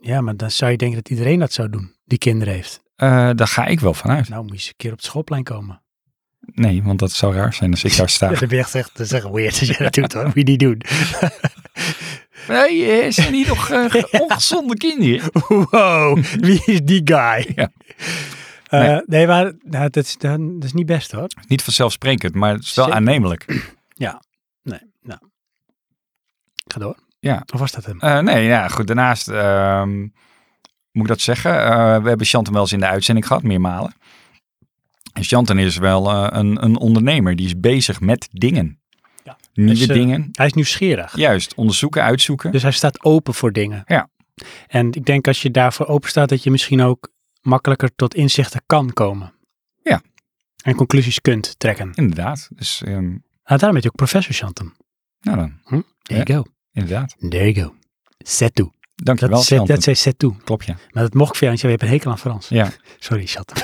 Speaker 1: Ja, maar dan zou je denken dat iedereen dat zou doen, die kinderen heeft.
Speaker 2: Eh, daar ga ik wel van uit.
Speaker 1: Nou, moet je eens een keer op het schoolplein komen.
Speaker 2: Nee, want dat zou raar zijn als ik daar sta.
Speaker 1: Ja, dat ben je echt echt- dat is echt weird als je dat doet hoor. Moet je niet doen.
Speaker 2: Nee, eh, zijn hier nog eh, ge- ongezonde kinderen?
Speaker 1: Wow, wie is die guy? Eh,
Speaker 2: Ja. Nee.
Speaker 1: nee. maar nou, dat, is, dat is niet best hoor.
Speaker 2: Niet vanzelfsprekend, maar het is wel
Speaker 1: Zeker.
Speaker 2: aannemelijk.
Speaker 1: Nee, nou. Ga door.
Speaker 2: Ja.
Speaker 1: Of was dat hem?
Speaker 2: Eh, nee, ja, goed. Daarnaast ehm, moet ik dat zeggen. eh, we hebben Chanten wel eens in de uitzending gehad, meermalen. En Chanten is wel eh, een, een ondernemer. Die is bezig met dingen.
Speaker 1: Ja.
Speaker 2: Nieuwe
Speaker 1: Dus, eh,
Speaker 2: dingen.
Speaker 1: Hij is nieuwsgierig.
Speaker 2: Juist, onderzoeken, uitzoeken.
Speaker 1: Dus hij staat open voor dingen.
Speaker 2: Ja.
Speaker 1: En ik denk als je daarvoor open staat, dat je misschien ook makkelijker tot inzichten kan komen.
Speaker 2: Ja.
Speaker 1: En conclusies kunt trekken.
Speaker 2: Inderdaad. Dus, ehm,
Speaker 1: Nou, daarom heet je ook professor Chantem.
Speaker 2: nou dan,
Speaker 1: There you go.
Speaker 2: inderdaad.
Speaker 1: There you go. Set toe.
Speaker 2: Dankjewel,
Speaker 1: Dat, zei-
Speaker 2: Chanten.
Speaker 1: dat zei set toe.
Speaker 2: Klopt, ja.
Speaker 1: Maar dat mocht ik van jou, want je hebt een hekel aan Frans.
Speaker 2: Ja.
Speaker 1: Sorry, chat.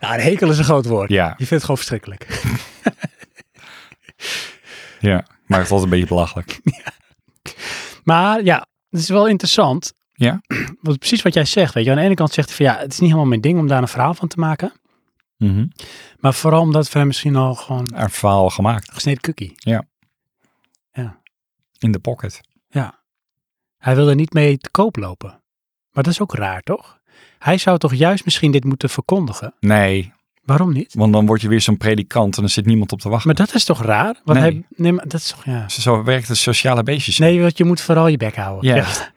Speaker 1: ja, een hekel is een groot woord.
Speaker 2: Ja,
Speaker 1: Je vindt het gewoon verschrikkelijk.
Speaker 2: ja. Maar het was een beetje belachelijk.
Speaker 1: Maar ja, het is wel interessant
Speaker 2: Ja.
Speaker 1: Want precies wat jij zegt, weet je. Aan de ene kant zegt hij van ja, het is niet helemaal mijn ding om daar een verhaal van te maken.
Speaker 2: Mhm.
Speaker 1: Maar vooral omdat we misschien al gewoon
Speaker 2: Een verhaal gemaakt.
Speaker 1: gesneden cookie.
Speaker 2: In de pocket.
Speaker 1: Hij wil er niet mee te koop lopen. Maar dat is ook raar, toch? Hij zou toch juist misschien dit moeten verkondigen?
Speaker 2: Nee,
Speaker 1: Waarom niet?
Speaker 2: want dan word je weer zo'n predikant en er zit niemand op te wachten.
Speaker 1: Maar dat is toch raar? Want
Speaker 2: Nee.
Speaker 1: hij, nee, maar dat is toch ja.
Speaker 2: Zo werkt het sociale beestjes.
Speaker 1: Nee, want je moet vooral je bek houden.
Speaker 2: Ja.
Speaker 1: Echt.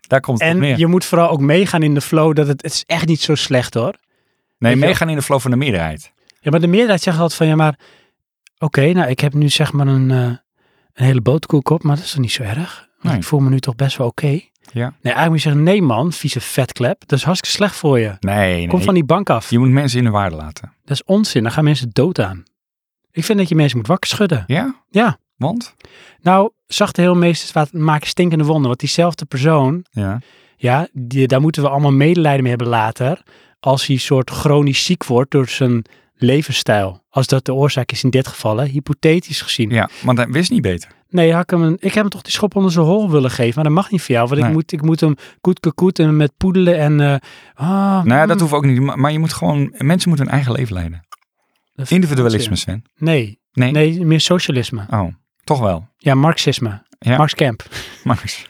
Speaker 2: Daar komt het op
Speaker 1: En
Speaker 2: neer.
Speaker 1: je moet vooral ook meegaan in de flow. Dat het, het is echt niet zo slecht hoor.
Speaker 2: Nee,
Speaker 1: Weet je-
Speaker 2: meegaan in de flow van de meerderheid.
Speaker 1: Ja, maar de meerderheid zegt altijd van ja, maar oké, nou ik heb nu zeg maar een, eh, een hele boterkoek op, maar dat is toch niet zo erg? Want
Speaker 2: Nee.
Speaker 1: ik voel me nu toch best wel oké.
Speaker 2: Ja.
Speaker 1: Nee, eigenlijk moet je zeggen, nee man, vieze vetklep, dat is hartstikke slecht voor je.
Speaker 2: Nee, nee.
Speaker 1: Kom van die bank af.
Speaker 2: Je moet mensen in de waarde laten.
Speaker 1: Dat is onzin, dan gaan mensen dood aan. Ik vind dat je mensen moet wakker schudden.
Speaker 2: Ja?
Speaker 1: Ja.
Speaker 2: Want?
Speaker 1: Nou, zachte heelmeesters wa- maken stinkende wonden, want diezelfde persoon,
Speaker 2: Ja.
Speaker 1: ja, die, daar moeten we allemaal medelijden mee hebben later, als hij soort chronisch ziek wordt door zijn levensstijl. Als dat de oorzaak is in dit geval, hè, hypothetisch gezien.
Speaker 2: Ja, want hij wist niet beter.
Speaker 1: Nee, had ik, hem een- ik heb hem toch die schop onder zijn hol willen geven. Maar dat mag niet voor jou. Want ik,
Speaker 2: Nee.
Speaker 1: moet, ik moet hem koet koet en met poedelen en... eh, ah,
Speaker 2: Nou, ja, dat
Speaker 1: mm,
Speaker 2: hoeft ook niet. Maar maar je moet gewoon... Mensen moeten hun eigen leven leiden.
Speaker 1: dat vind ik
Speaker 2: Individualisme,
Speaker 1: onzin.
Speaker 2: Sven.
Speaker 1: Nee.
Speaker 2: Nee?
Speaker 1: nee. meer socialisme.
Speaker 2: Oh, toch wel.
Speaker 1: Ja, marxisme.
Speaker 2: Ja.
Speaker 1: Marx Kemp.
Speaker 2: Max.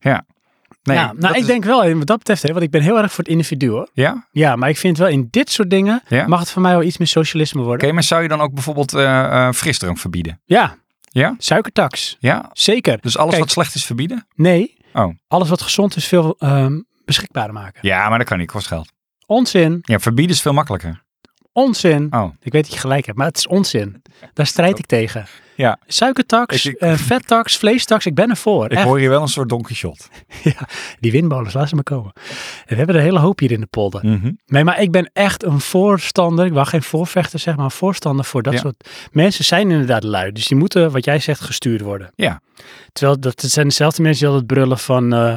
Speaker 2: ja. Nee,
Speaker 1: ja,
Speaker 2: dat
Speaker 1: nou, ik
Speaker 2: is-
Speaker 1: denk wel, wat dat betreft, hè, want ik ben heel erg voor het individu hoor.
Speaker 2: Ja? Oké,
Speaker 1: Ja, maar ik vind wel in dit soort dingen
Speaker 2: Ja?
Speaker 1: mag het voor mij wel iets meer socialisme worden.
Speaker 2: maar zou je dan ook bijvoorbeeld eh, eh, frisdrank verbieden?
Speaker 1: Ja.
Speaker 2: Ja?
Speaker 1: Suikertax.
Speaker 2: Ja?
Speaker 1: Zeker.
Speaker 2: Dus alles
Speaker 1: Kijk.
Speaker 2: wat slecht is verbieden?
Speaker 1: Nee.
Speaker 2: Oh.
Speaker 1: Alles wat gezond is, veel ehm, beschikbaarder maken.
Speaker 2: Ja, maar dat kan niet. Kost geld.
Speaker 1: Onzin.
Speaker 2: Ja, verbieden is veel makkelijker.
Speaker 1: Onzin.
Speaker 2: Oh.
Speaker 1: Ik weet dat je gelijk hebt, maar het is onzin. Daar strijd ik tegen.
Speaker 2: Ja.
Speaker 1: Suikertax,
Speaker 2: Ik- ik-
Speaker 1: eh, vettax, vleestax, ik ben ervoor.
Speaker 2: Ik
Speaker 1: Echt.
Speaker 2: hoor hier wel een soort donkey shot.
Speaker 1: Die windmolens, laat ze maar komen. En we hebben er een hele hoop hier in de polder.
Speaker 2: Mhm.
Speaker 1: Nee, maar ik ben echt een voorstander. Ik wou geen voorvechter zeg maar een voorstander voor dat
Speaker 2: Ja.
Speaker 1: soort... Mensen zijn inderdaad lui, dus die moeten, wat jij zegt, gestuurd worden.
Speaker 2: Ja.
Speaker 1: Terwijl dat het zijn dezelfde mensen die altijd brullen van... eh,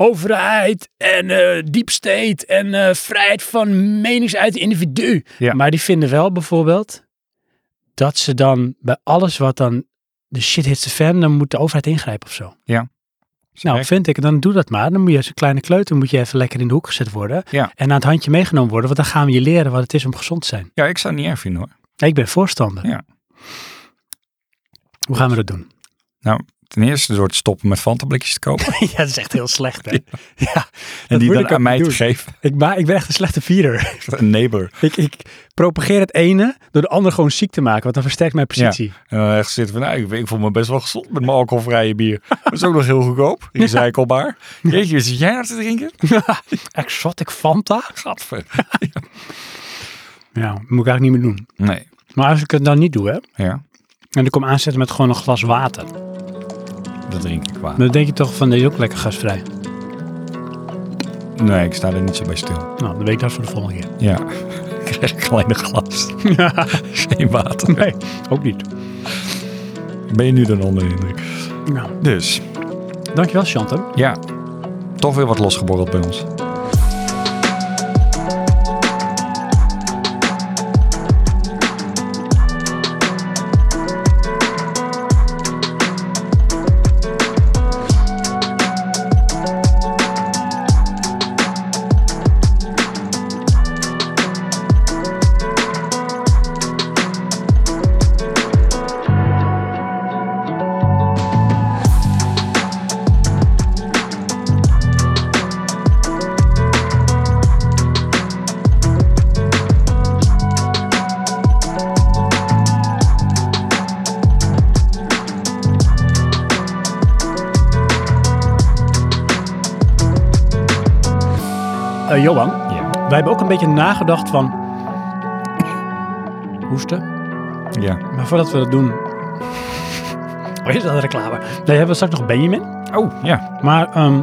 Speaker 1: Overheid en eh deep state en eh, vrijheid van meningsuiting individu.
Speaker 2: Ja.
Speaker 1: Maar die vinden wel bijvoorbeeld dat ze dan bij alles wat dan de shit hits the fan, dan moet de overheid ingrijpen of zo. Nou, vind ik, dan doe dat maar. Dan moet je als een kleine kleuter moet je even lekker in de hoek gezet worden.
Speaker 2: Ja.
Speaker 1: En aan het handje meegenomen worden, want dan gaan we je leren wat het is om gezond te zijn.
Speaker 2: Ja, ik zou het niet erg vinden hoor.
Speaker 1: Nee, ik ben voorstander.
Speaker 2: Ja.
Speaker 1: Hoe gaan we dat doen?
Speaker 2: Nou, Ten eerste door te stoppen met fantablikjes te kopen.
Speaker 1: ja, dat is echt heel slecht, hè? Ja,
Speaker 2: en
Speaker 1: dat
Speaker 2: die
Speaker 1: moet ik
Speaker 2: dan
Speaker 1: ook
Speaker 2: aan mij te
Speaker 1: doen.
Speaker 2: geven.
Speaker 1: Ik, maar ik ben echt een slechte vierder.
Speaker 2: Een neighbor.
Speaker 1: ik, ik propageer het ene door de ander gewoon ziek te maken, want dan versterkt mijn positie.
Speaker 2: En dan echt zitten van, nou, ik, ik voel me best wel gezond met mijn alcoholvrije bier. Dat is ook nog heel goedkoop. Die zei ik al maar. Jeetje, wat zit jij nou te drinken?
Speaker 1: Exotic Fanta?
Speaker 2: Gadver.
Speaker 1: Ja, dat moet ik eigenlijk niet meer doen.
Speaker 2: Nee.
Speaker 1: Maar als ik het dan niet doe, hè,
Speaker 2: Ja,
Speaker 1: en ik kom aanzetten met gewoon een glas water,
Speaker 2: dat drink ik wel.
Speaker 1: dan denk je toch van, deze is ook lekker gasvrij.
Speaker 2: Nee, ik sta er niet zo bij stil.
Speaker 1: Nou, dan weet ik dat voor de volgende keer.
Speaker 2: Ja. Ik krijg alleen een glas. Geen water.
Speaker 1: Nee, ook niet.
Speaker 2: Ben je nu dan onder de indruk?
Speaker 1: Nou,
Speaker 2: Dus,
Speaker 1: dankjewel Chantem.
Speaker 2: ja. Toch weer wat losgeborreld bij ons.
Speaker 1: Eh, Johan,
Speaker 2: Ja.
Speaker 1: wij hebben ook een beetje nagedacht van... Hoesten.
Speaker 2: Ja.
Speaker 1: Maar voordat we dat doen... Oh, is dat een reclame? Nee, hebben we straks nog Benjamin.
Speaker 2: Oh, ja.
Speaker 1: Maar ehm,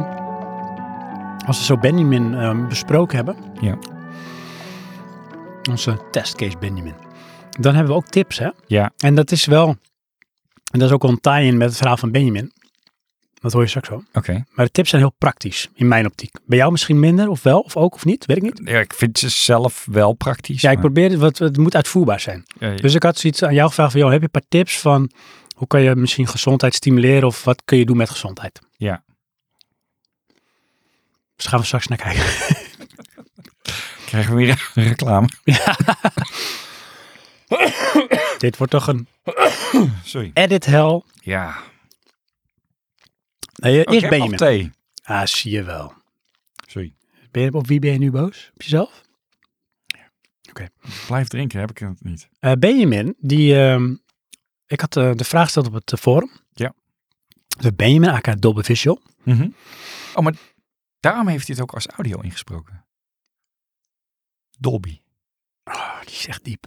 Speaker 1: als we zo Benjamin ehm, besproken hebben...
Speaker 2: Ja.
Speaker 1: Onze testcase Benjamin. Dan hebben we ook tips, hè?
Speaker 2: Ja.
Speaker 1: En dat is wel... En dat is ook wel een tie-in met het verhaal van Benjamin. Dat hoor je straks wel.
Speaker 2: Oké.
Speaker 1: Maar de tips zijn heel praktisch, in mijn optiek. Bij jou misschien minder, of wel, of ook, of niet, weet ik niet.
Speaker 2: Ja, ik vind ze zelf wel praktisch.
Speaker 1: Dus Ja, ik
Speaker 2: maar-
Speaker 1: probeer, wat, het moet uitvoerbaar zijn.
Speaker 2: Eh,
Speaker 1: Dus ik had zoiets aan jou gevraagd van, joh, heb je een paar tips van hoe kan je misschien gezondheid stimuleren of wat kun je doen met gezondheid?
Speaker 2: Ja.
Speaker 1: Dus gaan we straks naar kijken.
Speaker 2: Krijgen we weer een reclame?
Speaker 1: Dit wordt toch een
Speaker 2: Sorry.
Speaker 1: edit hell.
Speaker 2: Ja.
Speaker 1: Nee, eh, eerst
Speaker 2: Oké,
Speaker 1: Benjamin.
Speaker 2: of thee.
Speaker 1: Ah, zie je wel.
Speaker 2: Sorry.
Speaker 1: Ben je, op wie ben je nu boos? Op jezelf?
Speaker 2: Blijf drinken, heb ik het niet.
Speaker 1: Eh, Benjamin, die... ehm, ik had eh, de vraag gesteld op het eh, forum.
Speaker 2: Ja.
Speaker 1: De Benjamin, aka Double Visual.
Speaker 2: Oh, maar daarom heeft hij het ook als audio ingesproken. Dolby.
Speaker 1: Oh, die is echt diep.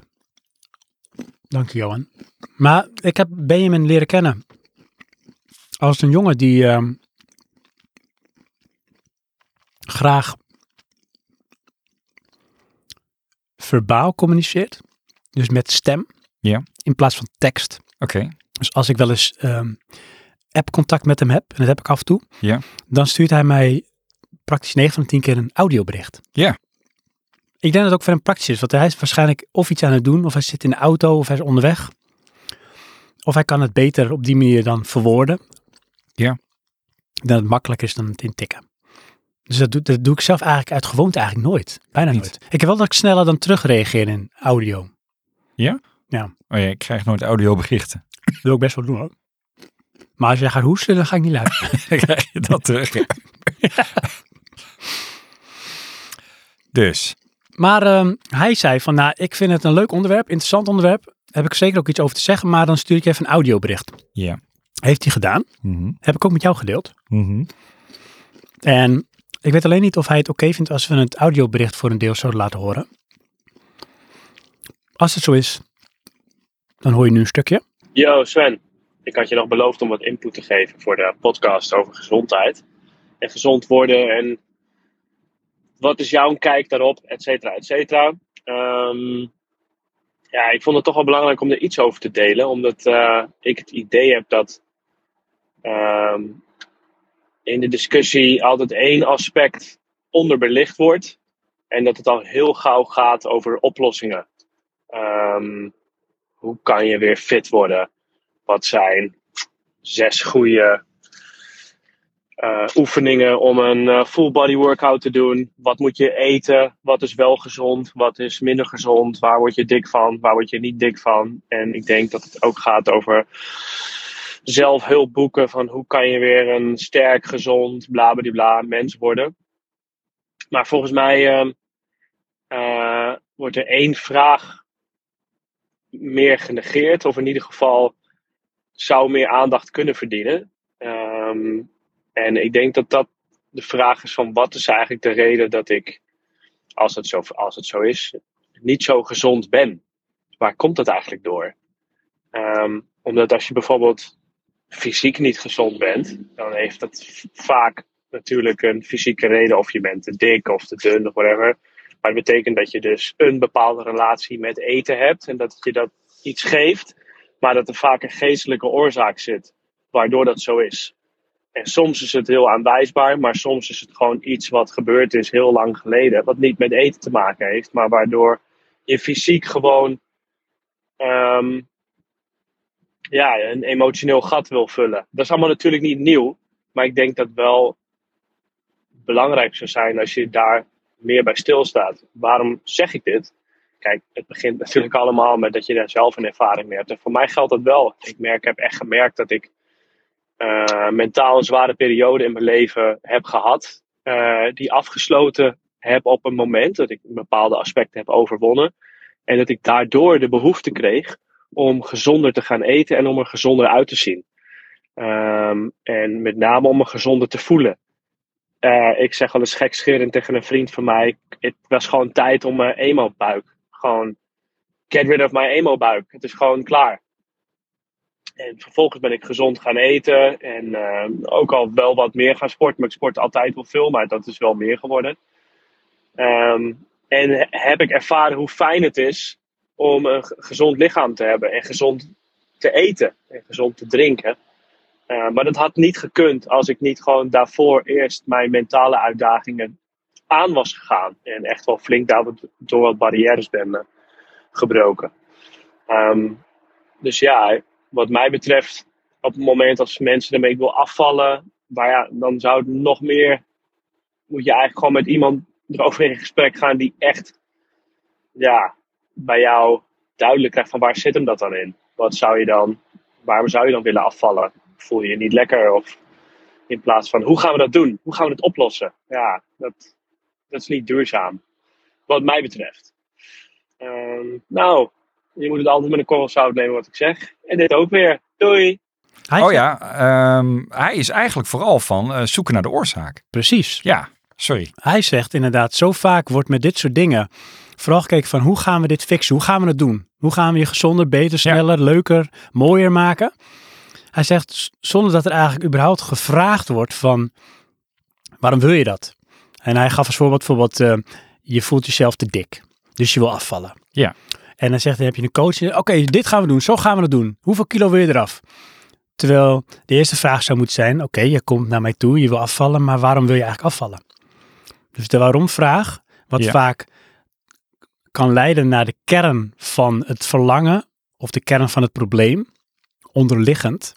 Speaker 1: Dank je, Johan. Maar ik heb Benjamin leren kennen. Als een jongen die ehm, graag verbaal communiceert. Dus met stem.
Speaker 2: Ja.
Speaker 1: In plaats van tekst.
Speaker 2: Oké.
Speaker 1: Dus als ik wel eens ehm app-contact met hem heb, en dat heb ik af en toe,
Speaker 2: Ja.
Speaker 1: dan stuurt hij mij praktisch 9 van de 10 keer een audiobericht.
Speaker 2: Ja.
Speaker 1: Ik denk dat het ook voor hem praktisch is, want hij is waarschijnlijk of iets aan het doen, of hij zit in de auto, of hij is onderweg. Of hij kan het beter op die manier dan verwoorden.
Speaker 2: Ja.
Speaker 1: Dan het makkelijk is dan het intikken. Dus dat doe, dat doe ik zelf eigenlijk uit gewoonte eigenlijk nooit. Bijna
Speaker 2: Niet.
Speaker 1: nooit. Ik heb wel dat ik sneller dan terugreageer in audio.
Speaker 2: Oh ja, ik krijg nooit audioberichten.
Speaker 1: Dat wil ik best wel doen hoor. Maar als jij gaat hoesten, dan ga ik niet luisteren.
Speaker 2: Dan krijg je dat terug. Dus.
Speaker 1: Maar ehm, hij zei van, nou, ik vind het een leuk onderwerp, interessant onderwerp. Heb ik zeker ook iets over te zeggen, maar dan stuur ik je even een audiobericht.
Speaker 2: Ja.
Speaker 1: Heeft hij gedaan.
Speaker 2: Mhm.
Speaker 1: Heb ik ook met jou gedeeld.
Speaker 2: Oh
Speaker 1: En ik weet alleen niet of hij het oké vindt als we het audiobericht voor een deel zouden laten horen. Als het zo is, dan hoor je nu een stukje.
Speaker 4: Yo Sven, ik had je nog beloofd om wat input te geven voor de podcast over gezondheid. En gezond worden en wat is jouw kijk daarop, et cetera, et cetera. Ehm, ja, ik vond het toch wel belangrijk om er iets over te delen. Omdat eh, ik het idee heb dat ehm, in de discussie altijd één aspect onderbelicht wordt. En dat het al heel gauw gaat over oplossingen. Ehm hoe kan je weer fit worden? Wat zijn zes goede eh, oefeningen om een eh, full body workout te doen? Wat moet je eten? Wat is wel gezond? Wat is minder gezond? Waar word je dik van? Waar word je niet dik van? En ik denk dat het ook gaat over zelfhulpboeken van hoe kan je weer een sterk, gezond, bla bla bla mens worden. Maar volgens mij ehm, eh, wordt er één vraag meer genegeerd. Of in ieder geval zou meer aandacht kunnen verdienen. Ehm, en ik denk dat dat de vraag is van wat is eigenlijk de reden dat ik, als het zo, als het zo is, niet zo gezond ben. Waar komt dat eigenlijk door? Ehm, omdat als je bijvoorbeeld fysiek niet gezond bent, dan heeft dat v- vaak natuurlijk een fysieke reden. Of je bent te dik of te dun of whatever. Maar dat betekent dat je dus een bepaalde relatie met eten hebt en dat je dat iets geeft, maar dat er vaak een geestelijke oorzaak zit waardoor dat zo is. En soms is het heel aanwijsbaar, maar soms is het gewoon iets wat gebeurd is heel lang geleden, wat niet met eten te maken heeft, maar waardoor je fysiek gewoon ehm, ja, een emotioneel gat wil vullen. Dat is allemaal natuurlijk niet nieuw, maar ik denk dat wel belangrijk zou zijn als je daar meer bij stilstaat. Waarom zeg ik dit? Kijk, het begint natuurlijk allemaal met dat je daar zelf een ervaring mee hebt. En voor mij geldt dat wel. Ik merk, heb echt gemerkt dat ik eh, mentaal een zware periode in mijn leven heb gehad. eh, die afgesloten heb op een moment dat ik bepaalde aspecten heb overwonnen. En dat ik daardoor de behoefte kreeg om gezonder te gaan eten en om er gezonder uit te zien. Ehm, en met name om me gezonder te voelen. Eh, ik zeg al eens gekscherend tegen een vriend van mij. Het was gewoon tijd om mijn emo-buik. Gewoon, get rid of my emo-buik. Het is gewoon klaar. En vervolgens ben ik gezond gaan eten. En eh, ook al wel wat meer gaan sporten. Maar ik sport altijd wel veel, maar dat is wel meer geworden. Ehm, en he- heb ik ervaren hoe fijn het is om een ge- gezond lichaam te hebben. En gezond te eten. En gezond te drinken. Eh, maar dat had niet gekund als ik niet gewoon daarvoor eerst mijn mentale uitdagingen aan was gegaan. En echt wel flink daar wat- door wat barrières ben eh, gebroken. Ehm, dus ja, wat mij betreft, op het moment als mensen ermee ik wil afvallen, maar ja, dan zou het nog meer moet je eigenlijk gewoon met iemand erover in gesprek gaan die echt ja, bij jou duidelijk krijgt van waar zit hem dat dan in? Wat zou je dan, waarom zou je dan willen afvallen? Voel je je niet lekker? Of in plaats van hoe gaan we dat doen? Hoe gaan we het oplossen? Ja, dat, dat is niet duurzaam. Wat mij betreft. Ehm, nou, je moet het altijd met een korrel zout nemen wat ik zeg. En dit ook weer. Doei!
Speaker 1: Hij
Speaker 2: Oh
Speaker 1: zegt-
Speaker 2: ja, ehm, hij is eigenlijk vooral van eh, zoeken naar de oorzaak.
Speaker 1: Precies.
Speaker 2: Ja, sorry.
Speaker 1: Hij zegt inderdaad, zo vaak wordt met dit soort dingen vooral gekeken van hoe gaan we dit fixen? Hoe gaan we het doen? Hoe gaan we je gezonder, beter, sneller, leuker, mooier maken? Hij zegt, s- zonder dat er eigenlijk überhaupt gevraagd wordt van waarom wil je dat? En hij gaf als voorbeeld, bijvoorbeeld, eh, je voelt jezelf te dik, dus je wil afvallen.
Speaker 2: Ja.
Speaker 1: En dan zegt hij, heb je een coach? die zegt, Oké, dit gaan we doen, zo gaan we het doen. Hoeveel kilo wil je eraf? Terwijl de eerste vraag zou moeten zijn, oké, je komt naar mij toe, je wil afvallen, maar waarom wil je eigenlijk afvallen? Dus de waarom-vraag, wat
Speaker 2: Ja.
Speaker 1: vaak kan leiden naar de kern van het verlangen of de kern van het probleem, onderliggend.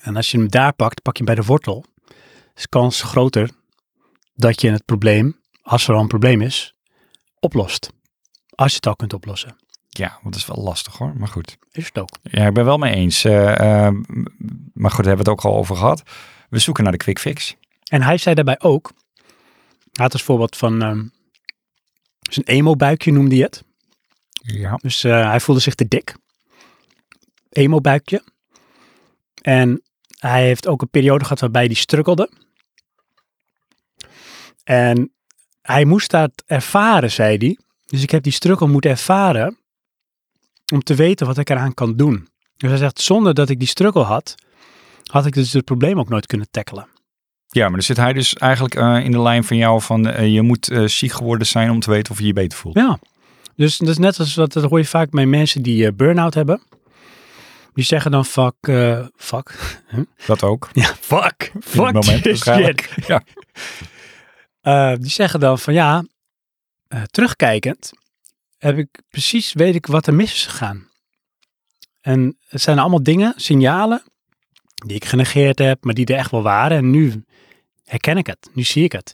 Speaker 1: En als je hem daar pakt, pak je hem bij de wortel, is de kans groter dat je het probleem, als er al een probleem is, oplost. Als je het al kunt oplossen.
Speaker 2: Ja, want dat is wel lastig hoor, maar goed.
Speaker 1: Is het ook.
Speaker 2: Ja, ik ben wel mee eens. Eh, eh, maar goed, daar hebben we het ook al over gehad. We zoeken naar de quick fix.
Speaker 1: En hij zei daarbij ook, hij had als voorbeeld van ehm, zijn emo-buikje noemde hij het.
Speaker 2: Ja.
Speaker 1: Dus eh, hij voelde zich te dik. Emo-buikje. En hij heeft ook een periode gehad waarbij hij strukkelde. En hij moest dat ervaren, zei hij. Dus ik heb die struggle moeten ervaren om te weten wat ik eraan kan doen. Dus hij zegt, zonder dat ik die struggle had, had ik dus het probleem ook nooit kunnen tackelen.
Speaker 2: ja, maar dan zit hij dus eigenlijk eh, in de lijn van jou van eh, je moet eh, ziek geworden zijn om te weten of je je beter voelt.
Speaker 1: Ja, dus dat is net als wat dat hoor je vaak bij mensen die eh, burn-out hebben. Die zeggen dan, fuck, eh, fuck,
Speaker 2: Dat ook.
Speaker 1: Ja, fuck. Fuck
Speaker 2: moment
Speaker 1: this
Speaker 2: waarschijnlijk.
Speaker 1: shit.
Speaker 2: Ja.
Speaker 1: Eh, die zeggen dan van ja, eh, terugkijkend heb ik precies, weet ik wat er mis is gegaan. En het zijn allemaal dingen, signalen, die ik genegeerd heb, maar die er echt wel waren. En nu herken ik het, nu zie ik het.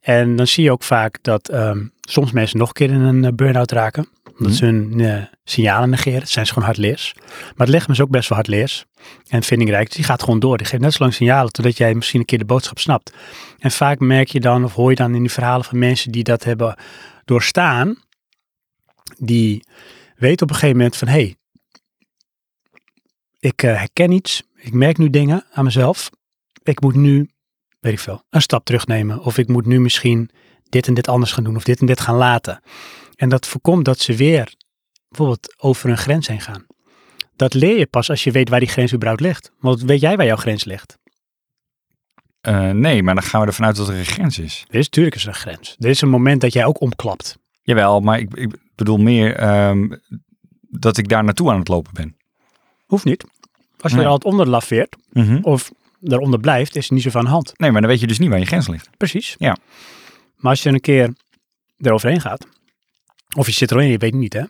Speaker 1: En dan zie je ook vaak dat ehm, soms mensen nog een keer in een eh, burn-out raken. Omdat
Speaker 2: Mhm.
Speaker 1: ze hun eh, signalen negeren. Het zijn ze gewoon hardleers. Maar het lichaam is ook best wel hardleers. En vindingrijk, dus die gaat gewoon door. Die geeft net zo lang signalen totdat jij misschien een keer de boodschap snapt. En vaak merk je dan, of hoor je dan in die verhalen van mensen die dat hebben doorstaan. Die weten op een gegeven moment van, hé, hey, ik eh, herken iets. Ik merk nu dingen aan mezelf. Ik moet nu, weet ik veel, een stap terugnemen. Of ik moet nu misschien dit en dit anders gaan doen. Of dit en dit gaan laten. En dat voorkomt dat ze weer bijvoorbeeld over een grens heen gaan. Dat leer je pas als je weet waar die grens überhaupt ligt. Want weet jij waar jouw grens ligt?
Speaker 2: Eh, nee, maar dan gaan we ervan uit dat er een grens is.
Speaker 1: Er is natuurlijk eens een grens. Er is een moment dat jij ook omklapt.
Speaker 2: Jawel, maar ik, ik bedoel meer ehm, dat ik daar naartoe aan het lopen ben.
Speaker 1: Hoeft niet. Als je
Speaker 2: Nee.
Speaker 1: er altijd onder laveert
Speaker 2: Mhm.
Speaker 1: of daaronder blijft, is het niet zo van de hand.
Speaker 2: Nee, maar dan weet je dus niet waar je grens ligt.
Speaker 1: Precies.
Speaker 2: Ja.
Speaker 1: Maar als je een keer eroverheen gaat, of je zit erin, je weet het niet hè,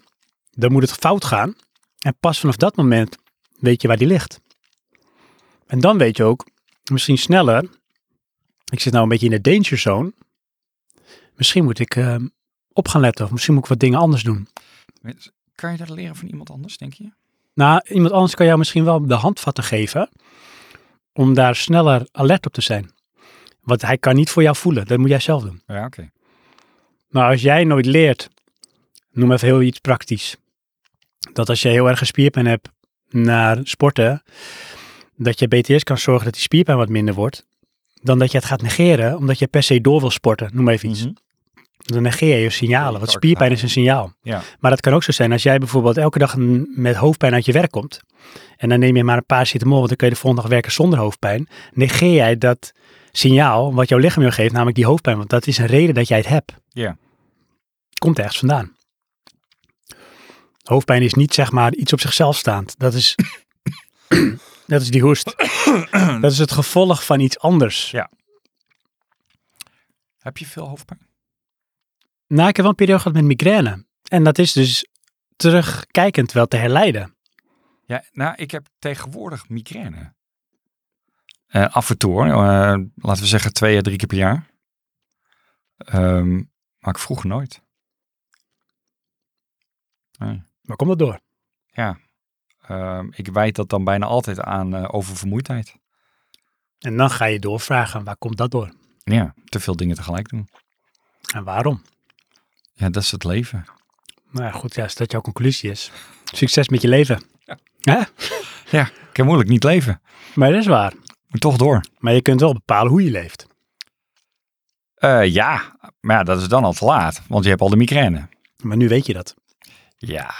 Speaker 1: dan moet het fout gaan. En pas vanaf dat moment weet je waar die ligt. En dan weet je ook, misschien sneller, ik zit nou een beetje in de danger zone. Misschien moet ik eh, op gaan letten of misschien moet ik wat dingen anders doen.
Speaker 2: Kan je dat leren van iemand anders, denk je?
Speaker 1: Nou, iemand anders kan jou misschien wel de handvatten geven om daar sneller alert op te zijn. Want hij kan niet voor jou voelen, dat moet jij zelf doen.
Speaker 2: Ja, oké.
Speaker 1: Maar als jij nooit leert, noem even heel iets praktisch. Dat als je heel erg een spierpijn hebt naar sporten, dat je BTS kan zorgen dat die spierpijn wat minder wordt, dan dat je het gaat negeren omdat je per se door wil sporten, noem even iets.
Speaker 2: Mhm.
Speaker 1: Dan negeer je je signalen, want spierpijn is een signaal.
Speaker 2: Ja.
Speaker 1: Maar dat kan ook zo zijn als jij bijvoorbeeld elke dag m- met hoofdpijn uit je werk komt. En dan neem je maar een paar citamol, want dan kun je de volgende dag werken zonder hoofdpijn. Negeer jij dat signaal wat jouw lichaam jou geeft, namelijk die hoofdpijn. Want dat is een reden dat jij het hebt.
Speaker 2: Ja.
Speaker 1: Komt ergens vandaan. Hoofdpijn is niet zeg maar iets op zichzelf staand. Dat is, dat is die hoest. dat is het gevolg van iets anders.
Speaker 2: Ja. Heb je veel hoofdpijn?
Speaker 1: Nou, ik heb wel een periode gehad met migraine. En dat is dus terugkijkend wel te herleiden.
Speaker 2: Ja, nou, ik heb tegenwoordig migraine. Eh, af en toe, hoor. Eh, laten we zeggen twee à drie keer per jaar. Ehm, maar ik vroeg nooit. Nee.
Speaker 1: Maar kom dat door.
Speaker 2: Ehm, ik wijd dat dan bijna altijd aan eh, oververmoeidheid.
Speaker 1: En dan ga je doorvragen, waar komt dat door?
Speaker 2: Ja, te veel dingen tegelijk doen.
Speaker 1: En waarom?
Speaker 2: Ja, dat is het leven.
Speaker 1: Nou ja, goed, ja, als dat jouw conclusie is. Succes met je leven. Hè?
Speaker 2: Ik kan moeilijk niet leven.
Speaker 1: Maar dat is waar.
Speaker 2: Moet toch door.
Speaker 1: Maar je kunt wel bepalen hoe je leeft.
Speaker 2: Eh, ja, maar ja, dat is dan al te laat, want je hebt al de migraine.
Speaker 1: Maar nu weet je dat.
Speaker 2: Ja,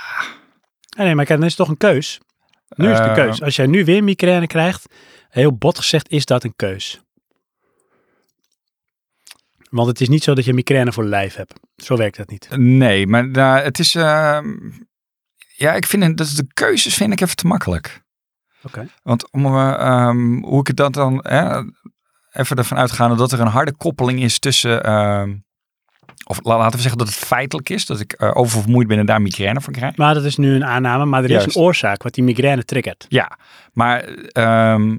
Speaker 1: Ah, nee, maar kijk, dan is het toch een keus. Nu is het een
Speaker 2: Eh,
Speaker 1: keus. Als jij nu weer migraine krijgt, heel bot gezegd, is dat een keus. Want het is niet zo dat je migraine voor lijf hebt. Zo werkt dat niet.
Speaker 2: nee, maar nou, het is... ehm, ja, ik vind het- dat de keuzes vind ik even te makkelijk.
Speaker 1: Oké.
Speaker 2: Want om, eh, ehm, hoe ik het dat dan... eh, even ervan uitgaande dat er een harde koppeling is tussen... ehm, of la- laten we zeggen dat het feitelijk is, dat ik eh, oververmoeid ben en daar migraine van krijg.
Speaker 1: Maar dat is nu een aanname, maar er is
Speaker 2: Juist.
Speaker 1: een oorzaak wat die migraine triggert.
Speaker 2: Ja, maar ehm,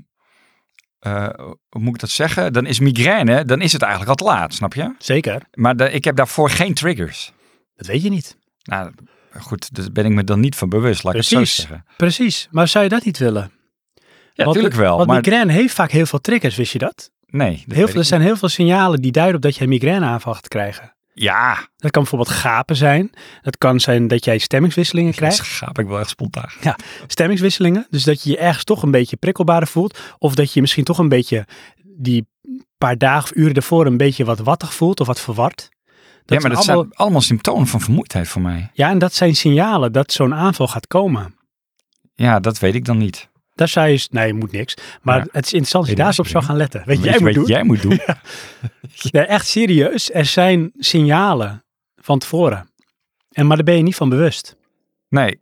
Speaker 2: eh, hoe moet ik dat zeggen? Dan is migraine, dan is het eigenlijk al te laat, snap je?
Speaker 1: Zeker,
Speaker 2: Maar da- ik heb daarvoor geen triggers.
Speaker 1: dat weet je niet.
Speaker 2: Nou, goed, daar ben ik me dan niet van bewust, laat ik het
Speaker 1: Precies.
Speaker 2: zo zeggen.
Speaker 1: Precies, maar zou je dat niet willen?
Speaker 2: Ja,
Speaker 1: Want-
Speaker 2: natuurlijk wel.
Speaker 1: Want
Speaker 2: Maar
Speaker 1: migraine heeft vaak heel veel triggers, wist je dat?
Speaker 2: nee, dat
Speaker 1: Heel
Speaker 2: weet
Speaker 1: veel, er
Speaker 2: ik
Speaker 1: zijn heel veel signalen die duiden op dat jij een migraineaanval gaat krijgen.
Speaker 2: niet. Ja,
Speaker 1: Dat kan bijvoorbeeld gapen zijn. Dat kan zijn dat jij stemmingswisselingen
Speaker 2: dat
Speaker 1: krijgt.
Speaker 2: schaap ik wel echt spontaan.
Speaker 1: Stemmingswisselingen, dus dat je je ergens toch een beetje prikkelbaarder voelt. Of dat je misschien toch een beetje die paar dagen of uren daarvoor een beetje wat wattig voelt of wat verward.
Speaker 2: ja, maar
Speaker 1: zijn
Speaker 2: dat
Speaker 1: allemaal-
Speaker 2: zijn allemaal symptomen van vermoeidheid voor mij.
Speaker 1: ja, en dat zijn signalen dat zo'n aanval gaat komen.
Speaker 2: Ja, dat weet ik dan niet.
Speaker 1: Daar zou je, nee, je moet niks. Maar
Speaker 2: Ja.
Speaker 1: het is interessant als je
Speaker 2: Weet
Speaker 1: daar
Speaker 2: ik
Speaker 1: eens op zou
Speaker 2: niet.
Speaker 1: gaan letten. Weet je, jij
Speaker 2: je
Speaker 1: moet
Speaker 2: wat
Speaker 1: doen.
Speaker 2: jij moet doen?
Speaker 1: Nee, echt serieus, er zijn signalen van tevoren. En, maar daar ben je niet van bewust.
Speaker 2: Nee,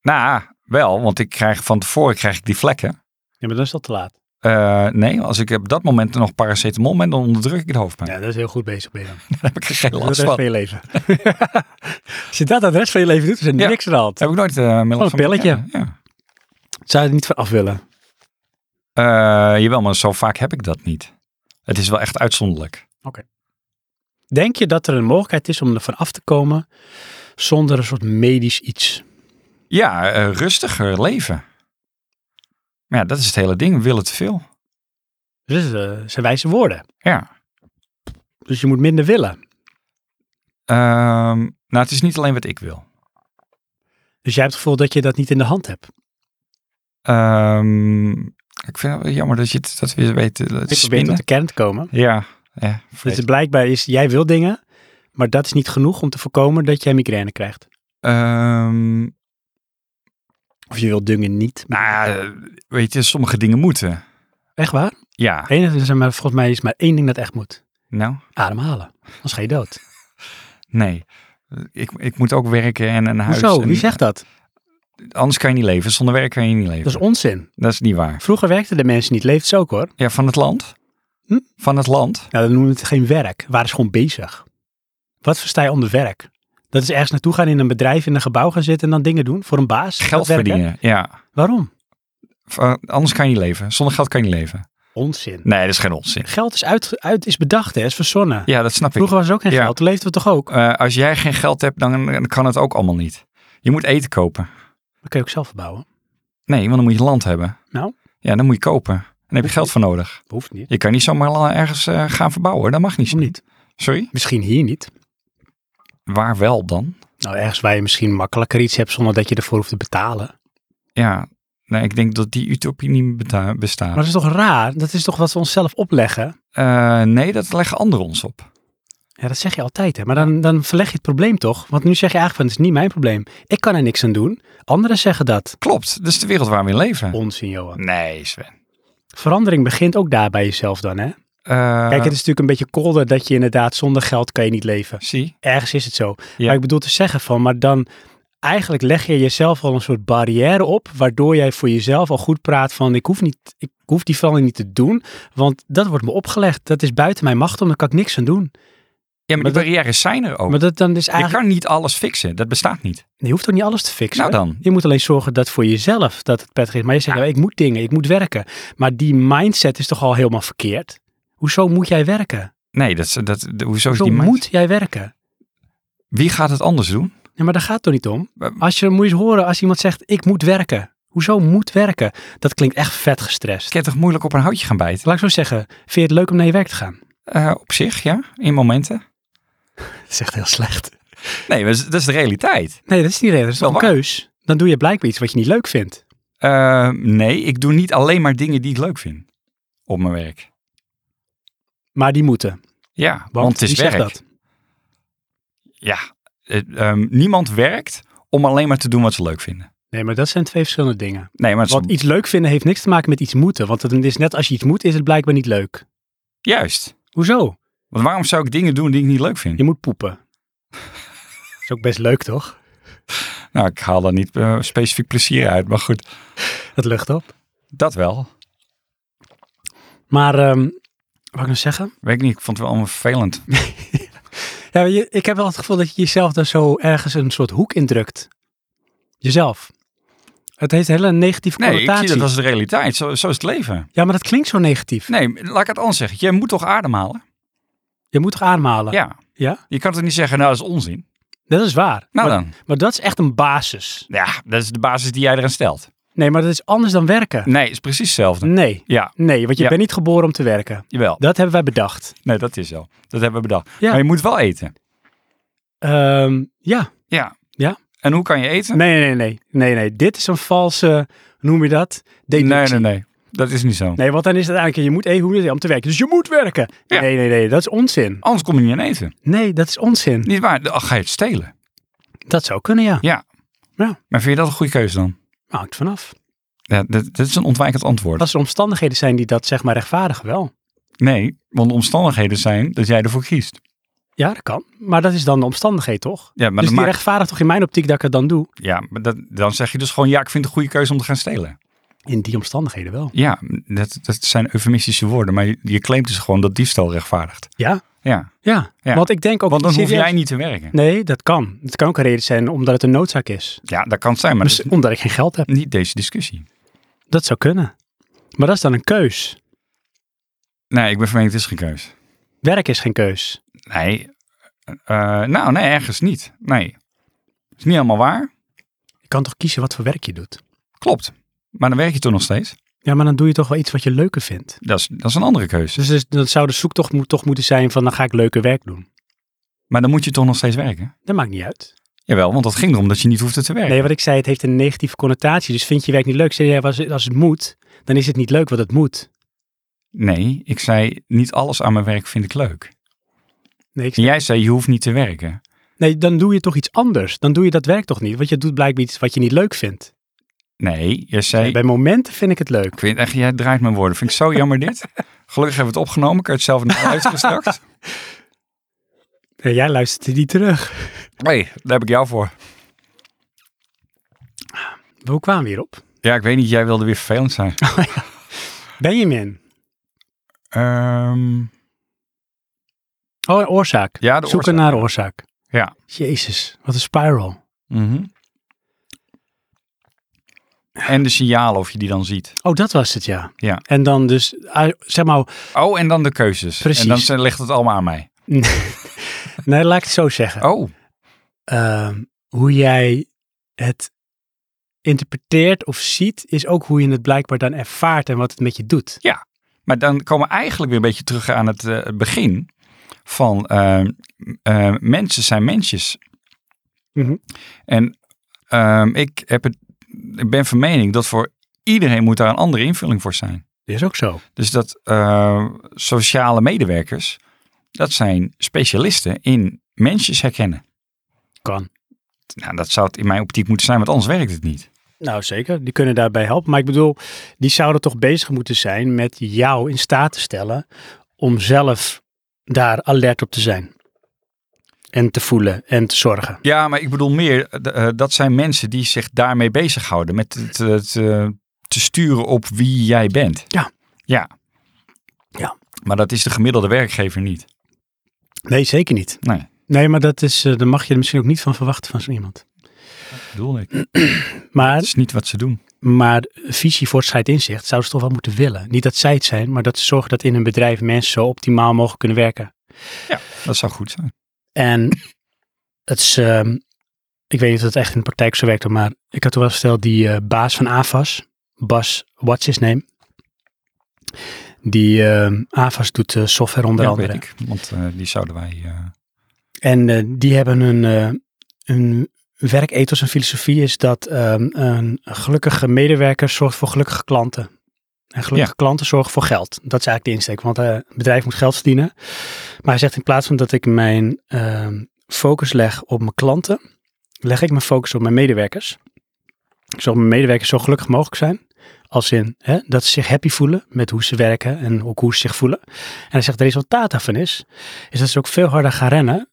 Speaker 2: nou, wel, want ik krijg van tevoren krijg ik die vlekken.
Speaker 1: Ja, maar dan is dat te laat.
Speaker 2: Eh, nee, als ik op dat moment nog paracetamol ben, dan onderdruk ik de hoofdpijn.
Speaker 1: Ja, dat is heel goed bezig ben je dan.
Speaker 2: Daar heb ik geen
Speaker 1: Voor de
Speaker 2: last
Speaker 1: rest
Speaker 2: van.
Speaker 1: van je leven. Als je dat aan de rest van je leven doet, is er
Speaker 2: Ja.
Speaker 1: niks aan de hand.
Speaker 2: Heb ik nooit eh Gewoon
Speaker 1: een pilletje.
Speaker 2: Ja, ja.
Speaker 1: Zou je er niet van af willen?
Speaker 2: Eh, jawel, maar zo vaak heb ik dat niet. Het is wel echt uitzonderlijk.
Speaker 1: Denk je dat er een mogelijkheid is om er van af te komen zonder een soort medisch iets?
Speaker 2: Ja, eh, rustiger leven. Maar ja, dat is het hele ding. We willen te veel.
Speaker 1: Dus eh, dat zijn wijze woorden.
Speaker 2: Ja.
Speaker 1: Dus je moet minder willen.
Speaker 2: Ehm, nou, het is niet alleen wat ik wil.
Speaker 1: Dus jij hebt het gevoel dat je dat niet in de hand hebt.
Speaker 2: Ehm, ik vind het wel jammer dat je het, dat weer weet.
Speaker 1: Ik
Speaker 2: eh, Het
Speaker 1: probeer tot de
Speaker 2: spinnen.
Speaker 1: kern te komen.
Speaker 2: Ja, ja
Speaker 1: Dus
Speaker 2: vrees.
Speaker 1: het blijkbaar is, jij wil dingen, maar dat is niet genoeg om te voorkomen dat jij migraine krijgt.
Speaker 2: Ehm,
Speaker 1: Of je wil dingen niet.
Speaker 2: nou, eh, weet je, sommige dingen moeten.
Speaker 1: Echt waar?
Speaker 2: Ja,
Speaker 1: Enige, zeg maar, volgens mij is maar één ding dat echt moet.
Speaker 2: nou.
Speaker 1: Ademhalen. Anders ga je dood.
Speaker 2: Nee. Ik, ik moet ook werken en een huis.
Speaker 1: Hoezo?
Speaker 2: en-
Speaker 1: Wie zegt dat?
Speaker 2: Anders kan je niet leven. Zonder werk kan je niet leven.
Speaker 1: Dat is onzin.
Speaker 2: niet waar.
Speaker 1: Vroeger werkten de mensen niet. Leeft ze ook hoor.
Speaker 2: Ja, van het land.
Speaker 1: Hm?
Speaker 2: Van het land.
Speaker 1: Nou, dan noemen we het geen werk. Waar is gewoon bezig? Wat versta je onder werk? Dat is ergens naartoe gaan in een bedrijf, in een gebouw gaan zitten en dan dingen doen voor een baas.
Speaker 2: Geld
Speaker 1: Dat Hm? werken?
Speaker 2: verdienen. Ja.
Speaker 1: Waarom?
Speaker 2: Van- eh, Anders kan je niet leven. Zonder geld kan je niet leven.
Speaker 1: Onzin.
Speaker 2: Nee, dat is geen onzin.
Speaker 1: Geld is, uit, uit, is bedacht, hè, is verzonnen.
Speaker 2: Ja, dat snap ik.
Speaker 1: Vroeger was er ook geen
Speaker 2: Ja.
Speaker 1: geld. Toen leefden we toch ook?
Speaker 2: Eh, als jij geen geld hebt, dan dan kan het ook allemaal niet. Je moet eten kopen.
Speaker 1: Dan kun je ook zelf verbouwen.
Speaker 2: Nee, want dan moet je land hebben.
Speaker 1: Nou?
Speaker 2: Ja, dan moet je kopen. Dan heb je geld voor nodig.
Speaker 1: Hoeft niet.
Speaker 2: Je kan niet zomaar la- ergens eh, gaan verbouwen. Dat mag niet.
Speaker 1: Waarom niet?
Speaker 2: Sorry?
Speaker 1: Misschien hier niet.
Speaker 2: Waar wel dan?
Speaker 1: Nou, ergens waar je misschien makkelijker iets hebt zonder dat je ervoor hoeft te betalen.
Speaker 2: Ja, nee, ik denk dat die utopie niet meer beta- bestaat.
Speaker 1: Maar dat is toch raar? Dat is toch wat we onszelf opleggen?
Speaker 2: Eh, nee, dat leggen anderen ons op.
Speaker 1: Ja, dat zeg je altijd, hè? Maar dan, dan verleg je het probleem toch? Want nu zeg je eigenlijk van, het is niet mijn probleem. Ik kan er niks aan doen. Anderen zeggen dat.
Speaker 2: Klopt, dat is de wereld waar we in leven.
Speaker 1: Onzin, Johan.
Speaker 2: Oh. Nee, Sven.
Speaker 1: Verandering begint ook daar bij jezelf dan, hè?
Speaker 2: Eh,
Speaker 1: Kijk, het is natuurlijk een beetje kolder dat je inderdaad zonder geld kan je niet leven.
Speaker 2: Zie,
Speaker 1: Ergens is het zo.
Speaker 2: Ja.
Speaker 1: Maar ik bedoel te zeggen van, maar dan... Eigenlijk leg je jezelf al een soort barrière op, waardoor jij voor jezelf al goed praat van ik hoef, niet, ik hoef die verandering niet te doen, want dat wordt me opgelegd. Dat is buiten mijn macht om, daar kan ik niks aan doen.
Speaker 2: ja, maar,
Speaker 1: maar
Speaker 2: die
Speaker 1: dat-
Speaker 2: barrières zijn er ook.
Speaker 1: Maar dat dan is
Speaker 2: Je
Speaker 1: eigenlijk...
Speaker 2: kan niet alles fixen, dat bestaat niet.
Speaker 1: Je hoeft ook niet alles te fixen.
Speaker 2: Nou dan.
Speaker 1: Je moet alleen zorgen dat voor jezelf dat het prettig is. Maar je zegt, ja. ik moet dingen, ik moet werken. Maar die mindset is toch al helemaal verkeerd? Hoezo moet jij werken?
Speaker 2: Nee, dat, is- dat, de- hoezo is
Speaker 1: Zo
Speaker 2: die mind-
Speaker 1: moet jij werken.
Speaker 2: Wie gaat het anders doen?
Speaker 1: Ja, maar daar gaat het toch niet om?
Speaker 2: Maar-
Speaker 1: Als je moet je eens horen, als iemand zegt, ik moet werken. Hoezo moet werken? Dat klinkt echt vet gestrest.
Speaker 2: Ik kan toch moeilijk op een houtje gaan bijten?
Speaker 1: Laat ik zo zeggen, vind je het leuk om naar je werk te gaan?
Speaker 2: Eh, op zich, ja. In momenten.
Speaker 1: Dat is echt heel slecht.
Speaker 2: Nee, maar dat is, dat is de realiteit.
Speaker 1: Nee, dat is niet de reden. Dat is
Speaker 2: Wel
Speaker 1: toch een
Speaker 2: waar.
Speaker 1: keus. Dan doe je blijkbaar iets wat je niet leuk vindt.
Speaker 2: Eh, nee, ik doe niet alleen maar dingen die ik leuk vind op mijn werk.
Speaker 1: Maar die moeten. Want,
Speaker 2: Ja, want, het is
Speaker 1: wie zegt
Speaker 2: werk.
Speaker 1: dat?
Speaker 2: Ja, het, ehm, niemand werkt om alleen maar te doen wat ze leuk vinden.
Speaker 1: Nee, maar dat zijn twee verschillende dingen.
Speaker 2: Nee, maar het is-
Speaker 1: Want iets leuk vinden heeft niks te maken met iets moeten. Want het is net als je iets moet, is het blijkbaar niet leuk.
Speaker 2: juist.
Speaker 1: Hoezo?
Speaker 2: Want waarom zou ik dingen doen die ik niet leuk vind?
Speaker 1: Je moet poepen. Dat is ook best leuk, toch?
Speaker 2: Nou, ik haal daar niet eh, specifiek plezier uit, maar goed,
Speaker 1: Dat lucht op.
Speaker 2: dat wel.
Speaker 1: Maar, ehm wat ik nog zeggen?
Speaker 2: Weet ik niet, ik vond het wel allemaal vervelend.
Speaker 1: Ja, je- ik heb wel het gevoel dat je jezelf daar zo ergens een soort hoek in drukt. Jezelf. Het heeft een hele negatieve
Speaker 2: Nee, ik zie
Speaker 1: connotatie.
Speaker 2: dat als de realiteit. Zo, zo is het leven.
Speaker 1: Ja, maar dat klinkt zo negatief.
Speaker 2: Nee, laat ik het anders zeggen. Je moet toch ademhalen?
Speaker 1: Je moet toch aanhalen?
Speaker 2: Ja.
Speaker 1: Ja?
Speaker 2: Je kan toch niet zeggen, nou, dat is onzin?
Speaker 1: Dat is waar.
Speaker 2: Nou
Speaker 1: maar,
Speaker 2: dan.
Speaker 1: maar dat is echt een basis.
Speaker 2: Ja, dat is de basis die jij eraan stelt.
Speaker 1: Nee, maar dat is anders dan werken.
Speaker 2: Nee, het is precies hetzelfde.
Speaker 1: Nee.
Speaker 2: Ja,
Speaker 1: Nee, want je
Speaker 2: Ja.
Speaker 1: bent niet geboren om te werken.
Speaker 2: jawel.
Speaker 1: Dat hebben wij bedacht.
Speaker 2: Nee, dat is zo. Dat hebben we bedacht.
Speaker 1: Ja.
Speaker 2: Maar je moet wel eten.
Speaker 1: Ehm, ja.
Speaker 2: Ja.
Speaker 1: Ja.
Speaker 2: En hoe kan je eten?
Speaker 1: Nee, nee, nee. Nee, nee. Dit is een valse, hoe noem je dat? Deductie.
Speaker 2: nee, nee. nee. Dat is niet zo.
Speaker 1: Nee, want dan is het eigenlijk, je moet eh, hoe is het om te werken. Dus je moet werken.
Speaker 2: Ja.
Speaker 1: Nee, nee, nee. Dat is onzin.
Speaker 2: Anders kom je niet aan eten.
Speaker 1: Nee, dat is onzin.
Speaker 2: Niet waar? Dan ga je het stelen.
Speaker 1: Dat zou kunnen, ja.
Speaker 2: Maar vind je dat een goede keuze dan?
Speaker 1: Nou, hangt vanaf.
Speaker 2: Ja, dat, dat is een ontwijkend antwoord.
Speaker 1: Als er omstandigheden zijn die dat zeg maar rechtvaardigen, wel.
Speaker 2: Nee, want de omstandigheden zijn dat jij ervoor kiest.
Speaker 1: Ja, dat kan. Maar dat is dan de omstandigheid, toch?
Speaker 2: Ja, maar,
Speaker 1: dus
Speaker 2: dat
Speaker 1: die
Speaker 2: maakt-
Speaker 1: rechtvaardigt toch in mijn optiek dat ik het dan doe?
Speaker 2: ja, maar dat, dan zeg je dus gewoon, ja, ik vind het een goede keuze om te gaan stelen.
Speaker 1: In die omstandigheden wel.
Speaker 2: Ja, dat, dat zijn eufemistische woorden, maar je, je claimt dus gewoon dat diefstal rechtvaardigt.
Speaker 1: Ja?
Speaker 2: Ja,
Speaker 1: Ja.
Speaker 2: Ja.
Speaker 1: Want ik denk ook...
Speaker 2: want dan hoef
Speaker 1: serieus-
Speaker 2: jij niet te werken.
Speaker 1: Nee, dat kan. Het kan ook een reden zijn omdat het een noodzaak is.
Speaker 2: Ja, dat kan het zijn, maar
Speaker 1: Dus
Speaker 2: dat is
Speaker 1: omdat ik geen geld heb.
Speaker 2: niet deze discussie.
Speaker 1: Dat zou kunnen. Maar dat is dan een keus.
Speaker 2: Nee, ik ben van mening, het is geen keuze.
Speaker 1: Werk is geen keus.
Speaker 2: Nee, eh, nou nee, ergens niet. Nee, is niet helemaal waar.
Speaker 1: Je kan toch kiezen wat voor werk je doet?
Speaker 2: Klopt. Maar dan werk je toch nog steeds.
Speaker 1: Ja, maar dan doe je toch wel iets wat je leuker vindt.
Speaker 2: Dat is, dat is een andere keuze.
Speaker 1: Dus, dus dat zou de zoektocht moet, toch moeten zijn van dan ga ik leuker werk doen.
Speaker 2: Maar dan moet je toch nog steeds werken.
Speaker 1: Dat maakt niet uit.
Speaker 2: Jawel, want dat ging erom dat je niet hoefde te werken.
Speaker 1: Nee, wat ik zei, het heeft een negatieve connotatie. Dus vind je werk niet leuk? Zeg jij, als, het- als het moet, dan is het niet leuk wat het moet.
Speaker 2: Nee, ik zei niet alles aan mijn werk vind ik leuk.
Speaker 1: Nee, ik-
Speaker 2: En jij zei je hoeft niet te werken.
Speaker 1: nee, dan doe je toch iets anders. Dan doe je dat werk toch niet. Want je doet blijkbaar iets wat je niet leuk vindt.
Speaker 2: Nee, jij zei...
Speaker 1: Bij momenten vind ik het leuk.
Speaker 2: Ik vind echt, jij draait mijn woorden. Vind ik zo jammer dit. Gelukkig hebben we het opgenomen. Ik heb het zelf nog uitgestrakt.
Speaker 1: Ja, jij luistert die terug.
Speaker 2: Nee, daar heb ik jou voor.
Speaker 1: Hoe kwamen we hierop?
Speaker 2: Ja, ik weet niet. Jij wilde weer vervelend zijn.
Speaker 1: Benjamin.
Speaker 2: Ehm,
Speaker 1: Oh, een oorzaak.
Speaker 2: ja, de
Speaker 1: Zoeken
Speaker 2: oorzaak.
Speaker 1: naar oorzaak.
Speaker 2: Ja.
Speaker 1: Jezus, wat een spiral.
Speaker 2: Mhm. En de signalen of je die dan ziet.
Speaker 1: Oh, dat was het, ja.
Speaker 2: Ja.
Speaker 1: En dan dus, ah, zeg maar,
Speaker 2: Oh, en dan de keuzes.
Speaker 1: Precies.
Speaker 2: En dan zijn- ligt het allemaal aan mij.
Speaker 1: nee, laat ik het zo zeggen.
Speaker 2: Oh,
Speaker 1: Ehm, hoe jij het interpreteert of ziet, is ook hoe je het blijkbaar dan ervaart en wat het met je doet.
Speaker 2: maar dan komen we eigenlijk weer een beetje terug aan het eh, begin. Van ehm, eh, mensen zijn mensjes.
Speaker 1: Mhm.
Speaker 2: En ehm, ik, heb het, ik ben van mening dat voor iedereen moet daar een andere invulling voor zijn.
Speaker 1: Dat is ook zo.
Speaker 2: Dus dat eh, sociale medewerkers, dat zijn specialisten in mensjes herkennen.
Speaker 1: Kan.
Speaker 2: Nou, dat zou het in mijn optiek moeten zijn, want anders werkt het niet.
Speaker 1: Nou, zeker. Die kunnen daarbij helpen. Maar ik bedoel, die zouden toch bezig moeten zijn met jou in staat te stellen om zelf daar alert op te zijn. En te voelen en te zorgen.
Speaker 2: Ja, maar ik bedoel meer, eh, eh, dat zijn mensen die zich daarmee bezighouden. Met het, het, eh, te sturen op wie jij bent.
Speaker 1: Ja.
Speaker 2: Ja.
Speaker 1: Ja.
Speaker 2: Maar dat is de gemiddelde werkgever niet.
Speaker 1: Nee, zeker niet.
Speaker 2: Nee.
Speaker 1: Nee, maar dat is, eh, daar mag je er misschien ook niet van verwachten van zo iemand.
Speaker 2: Bedoel ik.
Speaker 1: Maar
Speaker 2: Dat is niet wat ze doen.
Speaker 1: Maar visie, voortschrijd, inzicht zouden ze toch wel moeten willen. Niet dat zij het zijn, maar dat ze zorgen dat in hun bedrijf mensen zo optimaal mogelijk kunnen werken.
Speaker 2: Ja, dat zou goed zijn.
Speaker 1: En het is, ehm, ik weet niet of het echt in de praktijk zo werkt, maar ik had toen wel gesteld, die eh, baas van AFAS, Bas, what's his name? Die ehm AFAS doet eh, software onder
Speaker 2: ja,
Speaker 1: andere.
Speaker 2: weet ik. Want eh, die zouden wij... eh,
Speaker 1: En eh, die hebben een, eh een werkethos en filosofie is dat ehm, een gelukkige medewerker zorgt voor gelukkige klanten. En gelukkige klanten zorgen voor geld. Dat is eigenlijk de insteek, want eh, het bedrijf moet geld verdienen. Maar hij zegt in plaats van dat ik mijn ehm, focus leg op mijn klanten, leg ik mijn focus op mijn medewerkers. Ik zorg dat mijn medewerkers zo gelukkig mogelijk zijn. Als in hè, dat ze zich happy voelen met hoe ze werken en ook hoe ze zich voelen. En hij zegt, het resultaat daarvan is, is dat ze ook veel harder gaan rennen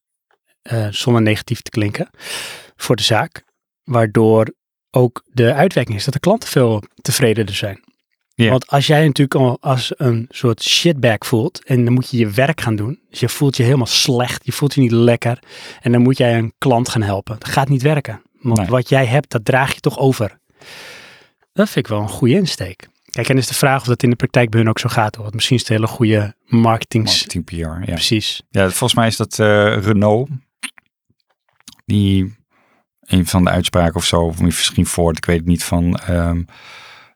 Speaker 1: eh, zonder negatief te klinken, voor de zaak. Waardoor ook de uitwerking is dat de klanten veel tevredener zijn.
Speaker 2: Ja.
Speaker 1: Want als jij je natuurlijk al als een soort shitbag voelt en dan moet je je werk gaan doen. Dus je voelt je helemaal slecht, je voelt je niet lekker. En dan moet jij een klant gaan helpen. Dat gaat niet werken. Want
Speaker 2: Nee.
Speaker 1: wat jij hebt, dat draag je toch over. Dat vind ik wel een goede insteek. Kijk, en is de vraag of dat in de praktijk bij hun ook zo gaat. hoor. Want misschien is het een hele goede marketing.
Speaker 2: marketing PR, ja.
Speaker 1: Precies.
Speaker 2: Ja, volgens mij is dat eh, Renault. Die een van de uitspraken of zo, of misschien Ford, ik weet het niet van. ehm,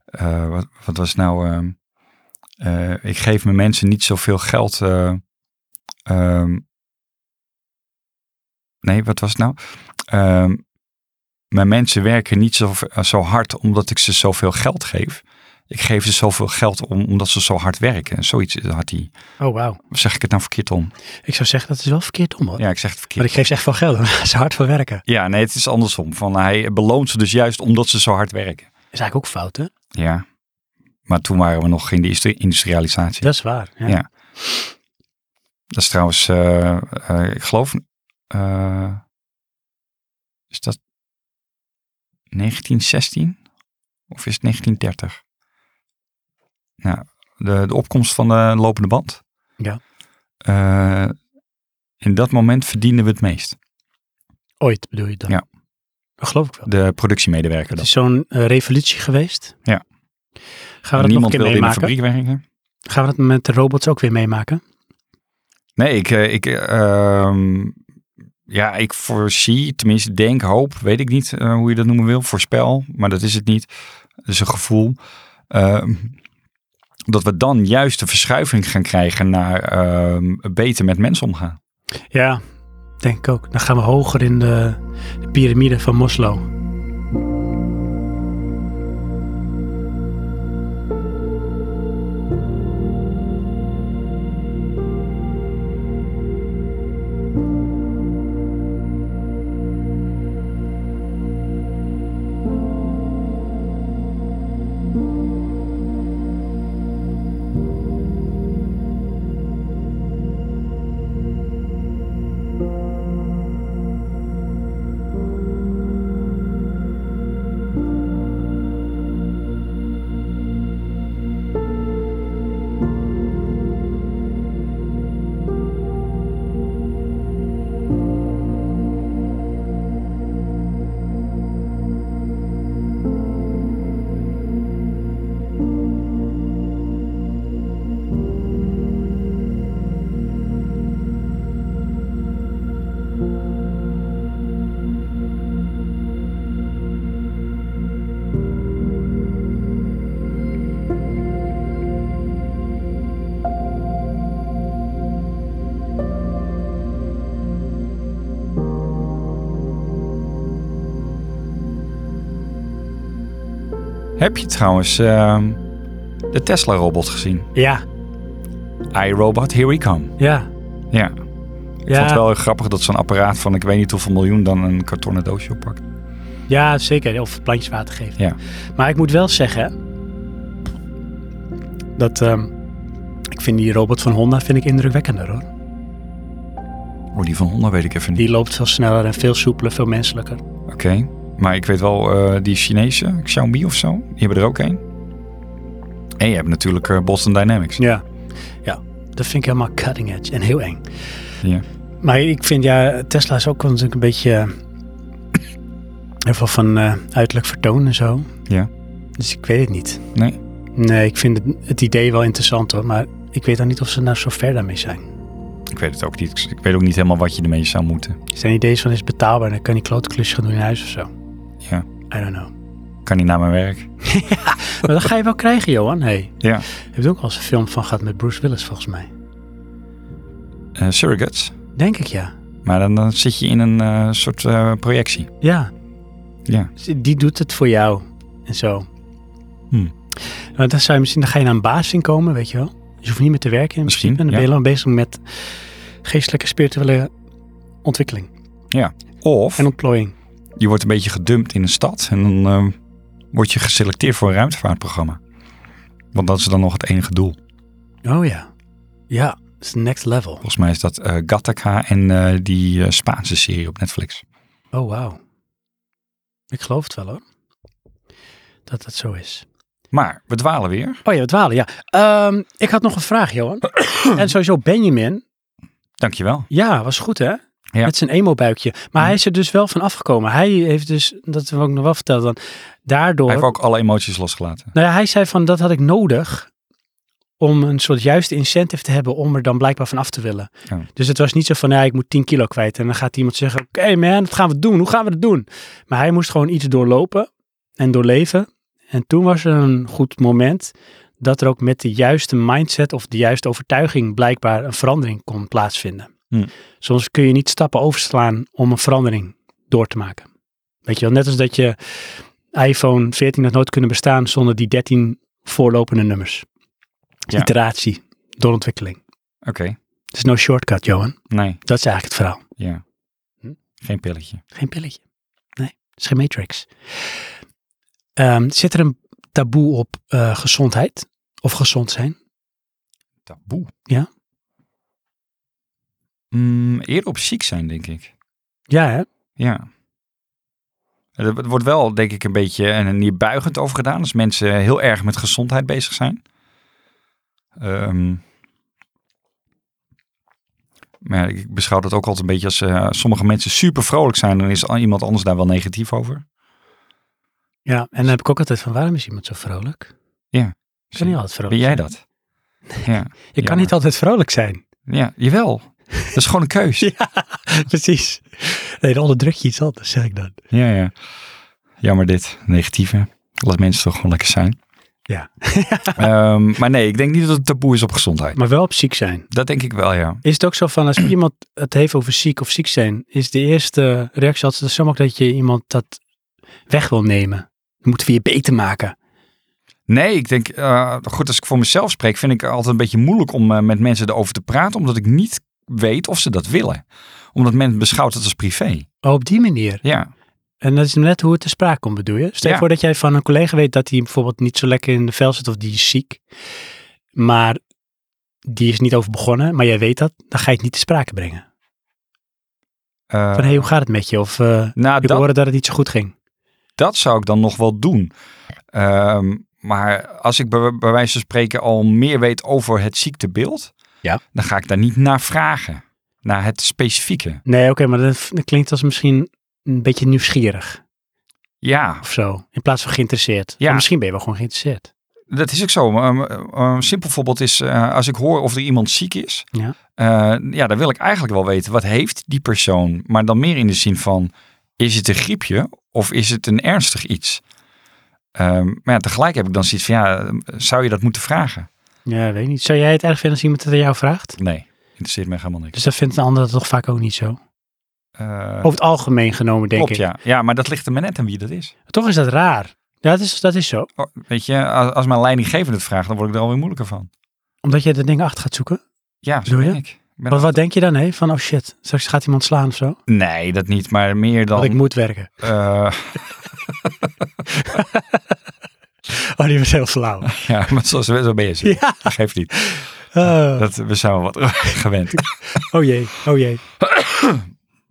Speaker 2: eh, wat, wat was het nou? ehm, eh, ik geef mijn mensen niet zoveel geld. eh, ehm, nee, wat was het nou? Ehm, mijn mensen werken niet zo, zo hard omdat ik ze zoveel geld geef. Ik geef ze zoveel geld om, omdat ze zo hard werken. Zoiets had hij.
Speaker 1: Oh, wauw.
Speaker 2: Of zeg ik het nou verkeerd om?
Speaker 1: Ik zou zeggen, dat is wel verkeerd om hoor.
Speaker 2: Ja, ik zeg
Speaker 1: Maar
Speaker 2: het verkeerd.
Speaker 1: ik geef ze echt veel geld, daar gaan ze hard voor werken.
Speaker 2: Ja, nee, het is andersom. Van, hij beloont ze dus juist omdat ze zo hard werken.
Speaker 1: is eigenlijk ook fout, hè?
Speaker 2: Ja. Maar toen waren we nog in de industri- industrialisatie.
Speaker 1: Dat is waar. Ja.
Speaker 2: Ja. Dat is trouwens, eh, eh, ik geloof, eh, is dat 1916 of is het 1930? Nou, de, de opkomst van de lopende band.
Speaker 1: Ja.
Speaker 2: Eh, in dat moment verdienden we het meest.
Speaker 1: Ooit bedoel je dan?
Speaker 2: Ja.
Speaker 1: Dat geloof ik wel.
Speaker 2: De productiemedewerker
Speaker 1: Het
Speaker 2: dan.
Speaker 1: is zo'n eh, revolutie geweest. Gaan
Speaker 2: Ja.
Speaker 1: we dat nog een
Speaker 2: Niemand
Speaker 1: keer
Speaker 2: wilde in de
Speaker 1: meemaken?
Speaker 2: fabriek werken.
Speaker 1: Gaan we dat met de robots ook weer meemaken?
Speaker 2: Nee, ik, eh, ik, eh, ehm, ja, ik voorzie, tenminste denk, hoop, weet ik niet eh, hoe je dat noemen wil, voorspel, maar dat is het niet. Dat is een gevoel. ehm, dat we dan juist de verschuiving gaan krijgen naar ehm, beter met mensen omgaan.
Speaker 1: Ja, denk ik ook. Dan gaan we hoger in de, de piramide van Moslo.
Speaker 2: Heb je trouwens ehm, de Tesla-robot gezien?
Speaker 1: Ja,
Speaker 2: iRobot, here we come.
Speaker 1: ja.
Speaker 2: Ja, ik
Speaker 1: ja,
Speaker 2: vond het wel heel grappig dat zo'n apparaat van ik weet niet hoeveel miljoen dan een kartonnen doosje oppakt.
Speaker 1: ja, zeker. Of het plantjes water geeft.
Speaker 2: Ja.
Speaker 1: Maar ik moet wel zeggen dat ehm, ik vind die robot van Honda vind ik indrukwekkender hoor.
Speaker 2: Oh, die van Honda weet ik even niet.
Speaker 1: Die loopt veel sneller en veel soepeler, veel menselijker.
Speaker 2: Oké, maar ik weet wel, eh, die Chinese, Xiaomi of zo, die hebben er ook één. En je hebt natuurlijk eh, Boston Dynamics.
Speaker 1: Ja. Ja, dat vind ik helemaal cutting edge en heel eng.
Speaker 2: Ja.
Speaker 1: Maar ik vind ja, Tesla is ook wel natuurlijk een beetje eh, heel veel van eh, uiterlijk vertoon en zo.
Speaker 2: Ja.
Speaker 1: Dus ik weet het niet.
Speaker 2: Nee?
Speaker 1: Nee, ik vind het, het idee wel interessant hoor, maar ik weet dan niet of ze nou zo ver daarmee zijn.
Speaker 2: Ik weet het ook niet. Ik weet ook niet helemaal wat je ermee zou moeten.
Speaker 1: Zijn ideeën van is het betaalbaar en dan kan die klote klusje gaan doen in huis of zo.
Speaker 2: Ja.
Speaker 1: I don't know.
Speaker 2: Kan niet naar mijn werk.
Speaker 1: Maar dat ga je wel krijgen, Johan. Hey.
Speaker 2: Ja.
Speaker 1: Je hebt er ook al eens een film van gehad met Bruce Willis, volgens mij.
Speaker 2: Eh, surrogates.
Speaker 1: Denk ik, ja.
Speaker 2: Maar dan, dan zit je in een eh, soort eh, projectie.
Speaker 1: Ja. Dus
Speaker 2: Ja.
Speaker 1: Die doet het voor jou. En zo.
Speaker 2: Hmm.
Speaker 1: Want dan zou je misschien, dan ga je naar een baas in komen, weet je wel. Dus je hoeft niet meer te werken in
Speaker 2: Misschien,
Speaker 1: principe. En dan
Speaker 2: ja.
Speaker 1: ben je lang bezig met geestelijke, spirituele ontwikkeling
Speaker 2: Of
Speaker 1: en ontplooiing.
Speaker 2: je wordt een beetje gedumpt in een stad. En dan eh, word je geselecteerd voor een ruimtevaartprogramma. Want dat is dan nog het enige doel.
Speaker 1: Oh ja. Ja, dat is next level.
Speaker 2: Volgens mij is dat eh, Gattaca en eh, die eh, Spaanse serie op Netflix.
Speaker 1: Oh wauw. Ik geloof het wel hoor. Dat dat zo is.
Speaker 2: Maar we dwalen weer.
Speaker 1: Oh ja, het dwalen, ja. Ehm, ik had nog een vraag, Johan. en sowieso Benjamin.
Speaker 2: Dankjewel.
Speaker 1: Ja, was goed hè?
Speaker 2: Ja.
Speaker 1: Met zijn emo-buikje. Maar hij is er dus wel van afgekomen. Hij heeft dus, dat we ook nog wel verteld dan, daardoor...
Speaker 2: Hij heeft ook alle emoties losgelaten.
Speaker 1: Nou ja, hij zei van, dat had ik nodig om een soort juiste incentive te hebben om er dan blijkbaar van af te willen.
Speaker 2: Ja.
Speaker 1: Dus het was niet zo van, ja, ik moet 10 kilo kwijt. En dan gaat iemand zeggen, oké man, dat gaan we doen. Hoe gaan we dat doen? Maar hij moest gewoon iets doorlopen en doorleven. En toen was er een goed moment dat er ook met de juiste mindset of de juiste overtuiging blijkbaar een verandering kon plaatsvinden.
Speaker 2: Hm.
Speaker 1: Soms kun je niet stappen overslaan om een verandering door te maken. Weet je wel, net als dat je iPhone 14 had nooit kunnen bestaan zonder die 13 voorlopende nummers.
Speaker 2: Ja.
Speaker 1: Iteratie, doorontwikkeling.
Speaker 2: Oké.
Speaker 1: Het is no shortcut, Johan.
Speaker 2: Nee.
Speaker 1: Dat is eigenlijk het verhaal.
Speaker 2: Ja.
Speaker 1: Hm?
Speaker 2: Geen pilletje.
Speaker 1: Geen pilletje. Nee, het is geen matrix. Ehm, zit er een taboe op eh, gezondheid? Of gezond zijn?
Speaker 2: Taboe.
Speaker 1: Ja.
Speaker 2: Mm, eerder op ziek zijn, denk ik.
Speaker 1: Ja, hè?
Speaker 2: Ja. Er er wordt wel, denk ik, een beetje een neerbuigend over gedaan. Als mensen heel erg met gezondheid bezig zijn. Ehm, maar ik beschouw dat ook altijd een beetje als eh, sommige mensen super vrolijk zijn. Dan is al- iemand anders daar wel negatief over.
Speaker 1: Ja, en dan heb ik ook altijd van, waarom is iemand zo vrolijk? Ik kan niet altijd
Speaker 2: Ben
Speaker 1: vrolijk
Speaker 2: jij
Speaker 1: zijn.
Speaker 2: dat? Ja,
Speaker 1: Ik kan
Speaker 2: Ja.
Speaker 1: niet altijd vrolijk zijn.
Speaker 2: ja, jawel. Dat is gewoon een keus.
Speaker 1: Ja. Precies. Nee, dan onderdruk je iets anders, zeg ik dan.
Speaker 2: Ja, ja. Jammer dit. Negatieve. Laat mensen toch gewoon lekker zijn.
Speaker 1: Ja.
Speaker 2: Ehm, maar nee, ik denk niet dat het taboe is op gezondheid.
Speaker 1: Maar wel op ziek zijn.
Speaker 2: Dat denk ik wel, ja.
Speaker 1: Is het ook zo van als iemand het heeft over ziek of ziek zijn, is de eerste reactie altijd zo makkelijk dat je iemand dat weg wil nemen? Dan moeten we je beter maken.
Speaker 2: Nee, ik denk, eh, goed, als ik voor mezelf spreek, vind ik het altijd een beetje moeilijk om eh, met mensen erover te praten, omdat ik niet weet of ze dat willen. Omdat men beschouwt het als privé.
Speaker 1: Oh, op die manier.
Speaker 2: Ja,
Speaker 1: En dat is net hoe het te sprake komt, bedoel je? Stel je
Speaker 2: Ja.
Speaker 1: voor dat jij van een collega weet dat hij bijvoorbeeld niet zo lekker in de vel zit of die is ziek. Maar die is niet over begonnen, maar jij weet dat, dan ga je het niet te sprake brengen.
Speaker 2: Eh,
Speaker 1: Van hé, hey, hoe gaat het met je? Of eh
Speaker 2: nou,
Speaker 1: ik
Speaker 2: dat,
Speaker 1: hoorde dat het niet zo goed ging.
Speaker 2: dat zou ik dan nog wel doen. Ehm, maar als ik bij, bij wijze van spreken al meer weet over het ziektebeeld,
Speaker 1: Ja.
Speaker 2: dan ga ik daar niet naar vragen. Naar het specifieke.
Speaker 1: Nee, oké, maar dat, dat klinkt als misschien een beetje nieuwsgierig.
Speaker 2: Ja,
Speaker 1: of zo. In plaats van geïnteresseerd.
Speaker 2: Ja.
Speaker 1: Maar misschien ben je wel gewoon geïnteresseerd.
Speaker 2: Dat is ook zo. Maar, um, um, Een simpel voorbeeld is eh, als ik hoor of er iemand ziek is.
Speaker 1: Ja.
Speaker 2: eh, ja, dan wil ik eigenlijk wel weten wat heeft die persoon. Maar dan meer in de zin van is het een griepje of is het een ernstig iets? Ehm, maar ja, tegelijk heb ik dan zoiets van ja, zou je dat moeten vragen?
Speaker 1: Ja, weet ik niet. Zou jij het erg vinden als iemand het aan jou vraagt?
Speaker 2: Nee, interesseert mij helemaal niks.
Speaker 1: Dus dat vindt een ander dat toch vaak ook niet zo.
Speaker 2: Eh,
Speaker 1: Over het algemeen genomen, denk
Speaker 2: klopt,
Speaker 1: ik.
Speaker 2: ja. Ja, maar dat ligt er maar net aan wie dat is.
Speaker 1: Toch is dat raar. Ja, dat is, dat is zo.
Speaker 2: Oh, weet je, als, als mijn leidinggevende het vraagt, dan word ik er alweer moeilijker van.
Speaker 1: Omdat je de dingen achter gaat zoeken.
Speaker 2: Ja, zo
Speaker 1: Doe je?
Speaker 2: ben ik. Ik ben
Speaker 1: Want wat denk je dan, hè? Van, oh shit, straks gaat iemand slaan of zo.
Speaker 2: al- Nee, dat niet, maar meer dan...
Speaker 1: Want ik moet werken.
Speaker 2: eh,
Speaker 1: Oh, die was heel flauw.
Speaker 2: Ja, maar zo, zo ben je zo.
Speaker 1: Ja.
Speaker 2: Dat geeft niet.
Speaker 1: Oh,
Speaker 2: Dat, we zijn wel wat gewend.
Speaker 1: oh jee, oh jee.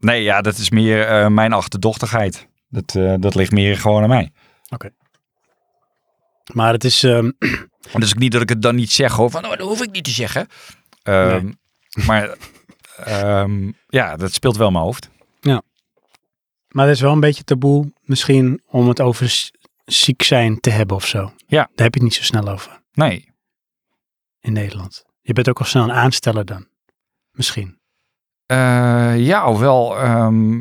Speaker 2: Nee, ja, dat is meer eh, mijn achterdochtigheid. Dat, eh, dat ligt meer gewoon aan mij.
Speaker 1: Maar het is, ehm,
Speaker 2: Dus ook niet dat ik het dan niet zeg hoor. Van, oh, dat hoef ik niet te zeggen. Ehm, Maar ehm, ja, dat speelt wel in mijn hoofd.
Speaker 1: maar het is wel een beetje taboe misschien om het over s- ziek zijn te hebben of zo.
Speaker 2: Ja.
Speaker 1: Daar heb je het niet zo snel over
Speaker 2: Nee.
Speaker 1: in Nederland. Je bent ook al snel een aansteller dan. misschien?
Speaker 2: Eh, ja, hoewel. ehm,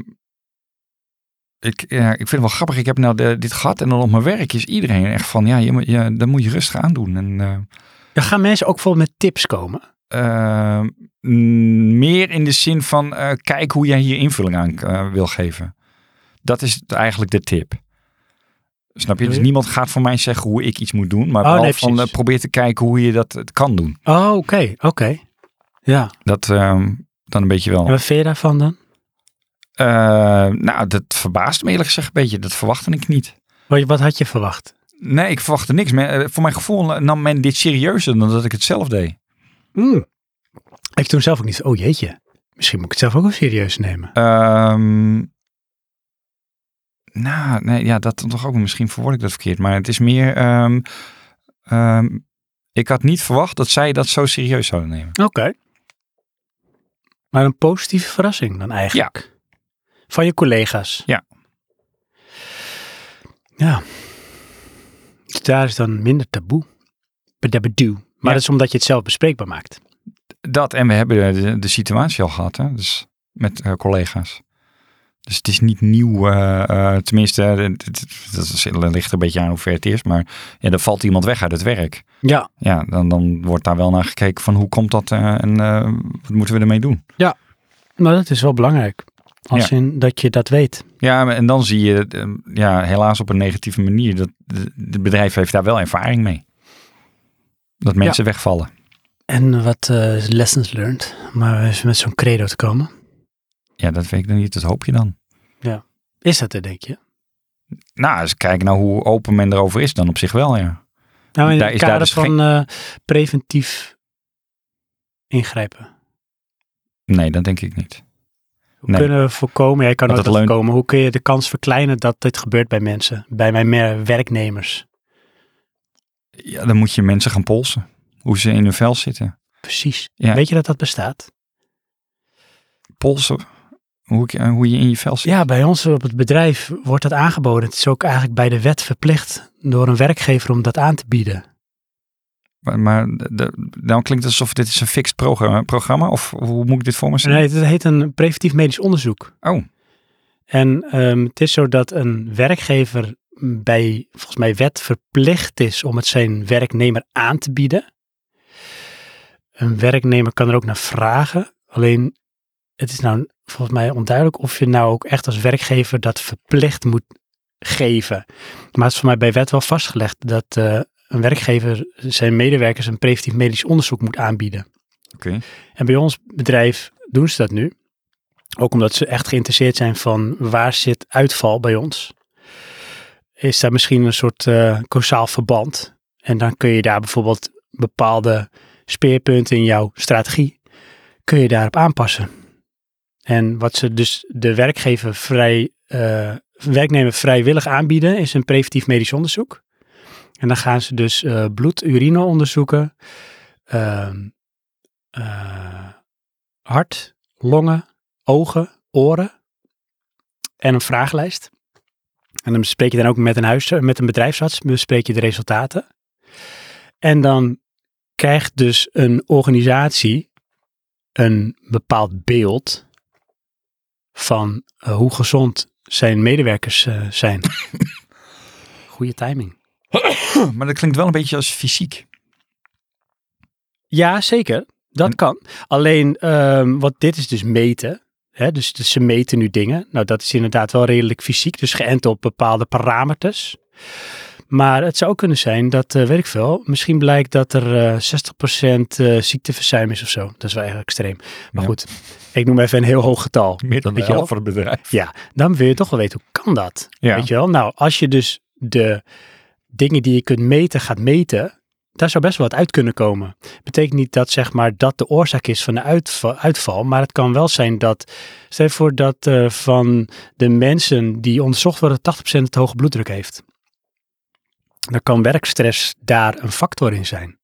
Speaker 2: ik, ja, ik vind het wel grappig. Ik heb nou de- dit gehad en dan op mijn werk is iedereen echt van, ja, je, moet- ja dat moet je rustig aandoen. En eh,
Speaker 1: Dan gaan mensen ook vol met tips komen.
Speaker 2: eh, mm, meer in de zin van, eh, kijk hoe jij hier invulling aan eh, wil geven. Dat is eigenlijk de tip. Snap je? Dus
Speaker 1: Ja.
Speaker 2: niemand gaat voor mij zeggen hoe ik iets moet doen, maar
Speaker 1: Hm. Oh,
Speaker 2: wel
Speaker 1: nee,
Speaker 2: van
Speaker 1: precies.
Speaker 2: eh, probeer te kijken hoe je dat eh, kan doen.
Speaker 1: Oh, oké, oké. Ja,
Speaker 2: Dat ehm, dan een beetje wel.
Speaker 1: en wat vind je daarvan dan?
Speaker 2: Eh, nou, dat verbaast me eerlijk gezegd een beetje. Dat verwachtte ik niet.
Speaker 1: Wat, wat had je verwacht?
Speaker 2: Nee, ik verwachtte niks. Men, eh, voor mijn gevoel nam men dit serieuzer dan dat ik het zelf deed.
Speaker 1: Mm. Ik toen zelf ook niet, oh jeetje, misschien moet ik het zelf ook wel serieus nemen.
Speaker 2: Ehm, nou, nee, ja, dat dan toch ook. Misschien verwoord ik dat verkeerd. Maar het is meer... ehm, ehm, ik had niet verwacht dat zij dat zo serieus zouden nemen.
Speaker 1: Oké. Maar een positieve verrassing dan eigenlijk. Van je collega's.
Speaker 2: Ja.
Speaker 1: Ja. Dus daar is dan minder taboe. Bedabedoe. Maar
Speaker 2: Ja.
Speaker 1: dat is omdat je het zelf bespreekbaar maakt.
Speaker 2: Dat en we hebben de, de situatie al gehad, hè? Dus met eh, collega's. Dus het is niet nieuw, eh, eh, tenminste, eh, het- het- dat is- dat ligt er een beetje aan hoe ver het is, maar ja, dan valt iemand weg uit het werk.
Speaker 1: Ja.
Speaker 2: Ja, dan, dan wordt daar wel naar gekeken van hoe komt dat eh, en eh, wat moeten we ermee doen.
Speaker 1: Maar dat is wel belangrijk. Als in dat je dat weet.
Speaker 2: Ja, en dan zie je, eh, ja, helaas op een negatieve manier, dat de- het bedrijf heeft daar wel ervaring mee. Dat mensen wegvallen.
Speaker 1: En wat eh, lessons learned. Maar eens met zo'n credo te komen.
Speaker 2: Ja, dat weet ik dan niet, dat hoop je dan.
Speaker 1: Is dat er, denk je?
Speaker 2: Nou, als ik kijk naar hoe open men erover is, dan op zich wel, ja.
Speaker 1: Nou, in
Speaker 2: Daar
Speaker 1: het
Speaker 2: is daar
Speaker 1: kader
Speaker 2: dus
Speaker 1: van
Speaker 2: geen-
Speaker 1: eh, preventief ingrijpen.
Speaker 2: Nee, dat denk ik niet.
Speaker 1: Hoe
Speaker 2: Nee.
Speaker 1: kunnen we voorkomen, jij kan
Speaker 2: Want
Speaker 1: ook
Speaker 2: dat leunt-
Speaker 1: voorkomen, hoe kun je de kans verkleinen dat dit gebeurt bij mensen, bij mijn mer- werknemers?
Speaker 2: Ja, dan moet je mensen gaan polsen. Hoe ze in hun vel zitten.
Speaker 1: Precies.
Speaker 2: Ja.
Speaker 1: Weet je dat dat bestaat?
Speaker 2: Polsen. Hoe, ik- eh, hoe je in je vel zit.
Speaker 1: Ja, bij ons op het bedrijf wordt dat aangeboden. Het is ook eigenlijk bij de wet verplicht door een werkgever om dat aan te bieden.
Speaker 2: Maar, maar d- d- dan klinkt het alsof dit is een fixed programma, programma. Of hoe moet ik dit voor me zien?
Speaker 1: Nee, het heet een preventief medisch onderzoek.
Speaker 2: Oh.
Speaker 1: En ehm, het is zo dat een werkgever bij, volgens mij, wet verplicht is om het zijn werknemer aan te bieden. Een werknemer kan er ook naar vragen. Alleen, het is nou volgens mij onduidelijk of je nou ook echt als werkgever dat verplicht moet geven. Maar het is voor mij bij wet wel vastgelegd dat eh, een werkgever zijn medewerkers een preventief medisch onderzoek moet aanbieden.
Speaker 2: Oké.
Speaker 1: En bij ons bedrijf doen ze dat nu. Ook omdat ze echt geïnteresseerd zijn van waar zit uitval bij ons. Is daar misschien een soort eh causaal verband? En dan kun je daar bijvoorbeeld bepaalde speerpunten in jouw strategie, kun je daarop aanpassen. En wat ze dus de werkgever vrij, eh, werknemer vrijwillig aanbieden, is een preventief medisch onderzoek. En dan gaan ze dus eh, bloed, urine onderzoeken, ehm, eh, hart, longen, ogen, oren en een vragenlijst. En dan bespreek je dan ook met een, huis, eh, met een bedrijfsarts bespreek je de resultaten. En dan krijgt dus een organisatie een bepaald beeld van eh, hoe gezond zijn medewerkers eh, zijn. Goede timing.
Speaker 2: Maar dat klinkt wel een beetje als fysiek.
Speaker 1: Ja, zeker.
Speaker 2: Hm.
Speaker 1: Dat kan. Alleen, ehm wat dit is dus meten. Hè? Dus, dus ze meten nu dingen. Nou, dat is inderdaad wel redelijk fysiek. Dus geënt op bepaalde parameters. Maar het zou ook kunnen zijn dat, eh, weet ik veel, misschien blijkt dat er eh 60% eh, ziekteverzuim is of zo. Dat is wel erg extreem. Maar
Speaker 2: Ja.
Speaker 1: goed, ik noem even een heel hoog getal.
Speaker 2: Meer dan
Speaker 1: Weet je
Speaker 2: de
Speaker 1: wel?
Speaker 2: helft voor het bedrijf.
Speaker 1: Ja, dan wil je toch wel weten, hoe kan dat?
Speaker 2: Ja.
Speaker 1: Weet je wel? Nou, als je dus de dingen die je kunt meten gaat meten, daar zou best wel wat uit kunnen komen. Betekent niet dat zeg maar dat de oorzaak is van de uitva- uitval, maar het kan wel zijn dat, stel je voor dat eh, van de mensen die onderzocht worden, 80% het hoge bloeddruk heeft. Dan kan werkstress daar een factor in zijn.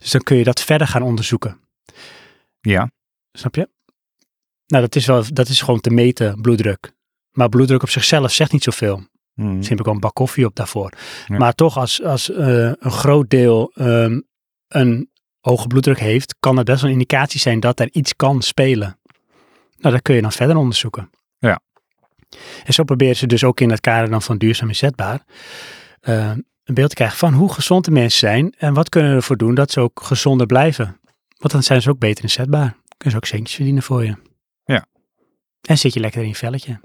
Speaker 1: Dus dan kun je dat verder gaan onderzoeken.
Speaker 2: Ja.
Speaker 1: Snap je? Nou, dat is, wel, dat is gewoon te meten, bloeddruk. Maar bloeddruk op zichzelf zegt niet zoveel.
Speaker 2: Hmm.
Speaker 1: Misschien heb ik wel een bak koffie op daarvoor.
Speaker 2: Ja.
Speaker 1: Maar toch, als, als eh, een groot deel ehm, een hoge bloeddruk heeft, kan dat best wel een indicatie zijn dat er iets kan spelen. Nou, dat kun je dan verder onderzoeken.
Speaker 2: Ja.
Speaker 1: En zo proberen ze dus ook in het kader dan van duurzaam inzetbaar eh, een beeld te krijgen van hoe gezond de mensen zijn en wat kunnen we ervoor doen dat ze ook gezonder blijven. Want dan zijn ze ook beter inzetbaar. Kunnen ze ook centjes verdienen voor je.
Speaker 2: Ja.
Speaker 1: En zit je lekker in je velletje.
Speaker 2: Nou,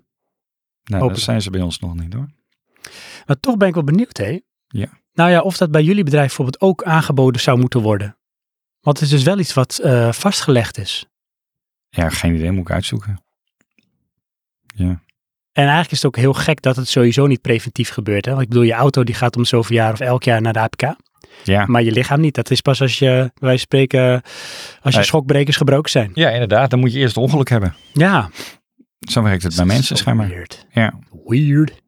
Speaker 2: dat
Speaker 1: Hopelijk.
Speaker 2: zijn ze bij ons nog niet hoor.
Speaker 1: Maar toch ben ik wel benieuwd, hè?
Speaker 2: Ja.
Speaker 1: Nou ja, of dat bij jullie bedrijf bijvoorbeeld ook aangeboden zou moeten worden. Want het is dus wel iets wat eh, vastgelegd is.
Speaker 2: Ja, geen idee, moet ik uitzoeken.
Speaker 1: En eigenlijk is het ook heel gek dat het sowieso niet preventief gebeurt. Hè? Want ik bedoel, je auto die gaat om zoveel jaar of elk jaar naar de APK.
Speaker 2: Ah. Ja,
Speaker 1: Maar je lichaam niet. Dat is pas als je, bij wijze van spreken, als je
Speaker 2: Nee.
Speaker 1: schokbrekers gebroken zijn.
Speaker 2: ja inderdaad, dan moet je eerst ongeluk hebben.
Speaker 1: Ja.
Speaker 2: Zo werkt het bij mensen
Speaker 1: Zo
Speaker 2: schijnbaar.
Speaker 1: Weird.
Speaker 2: Ja.
Speaker 1: Weird.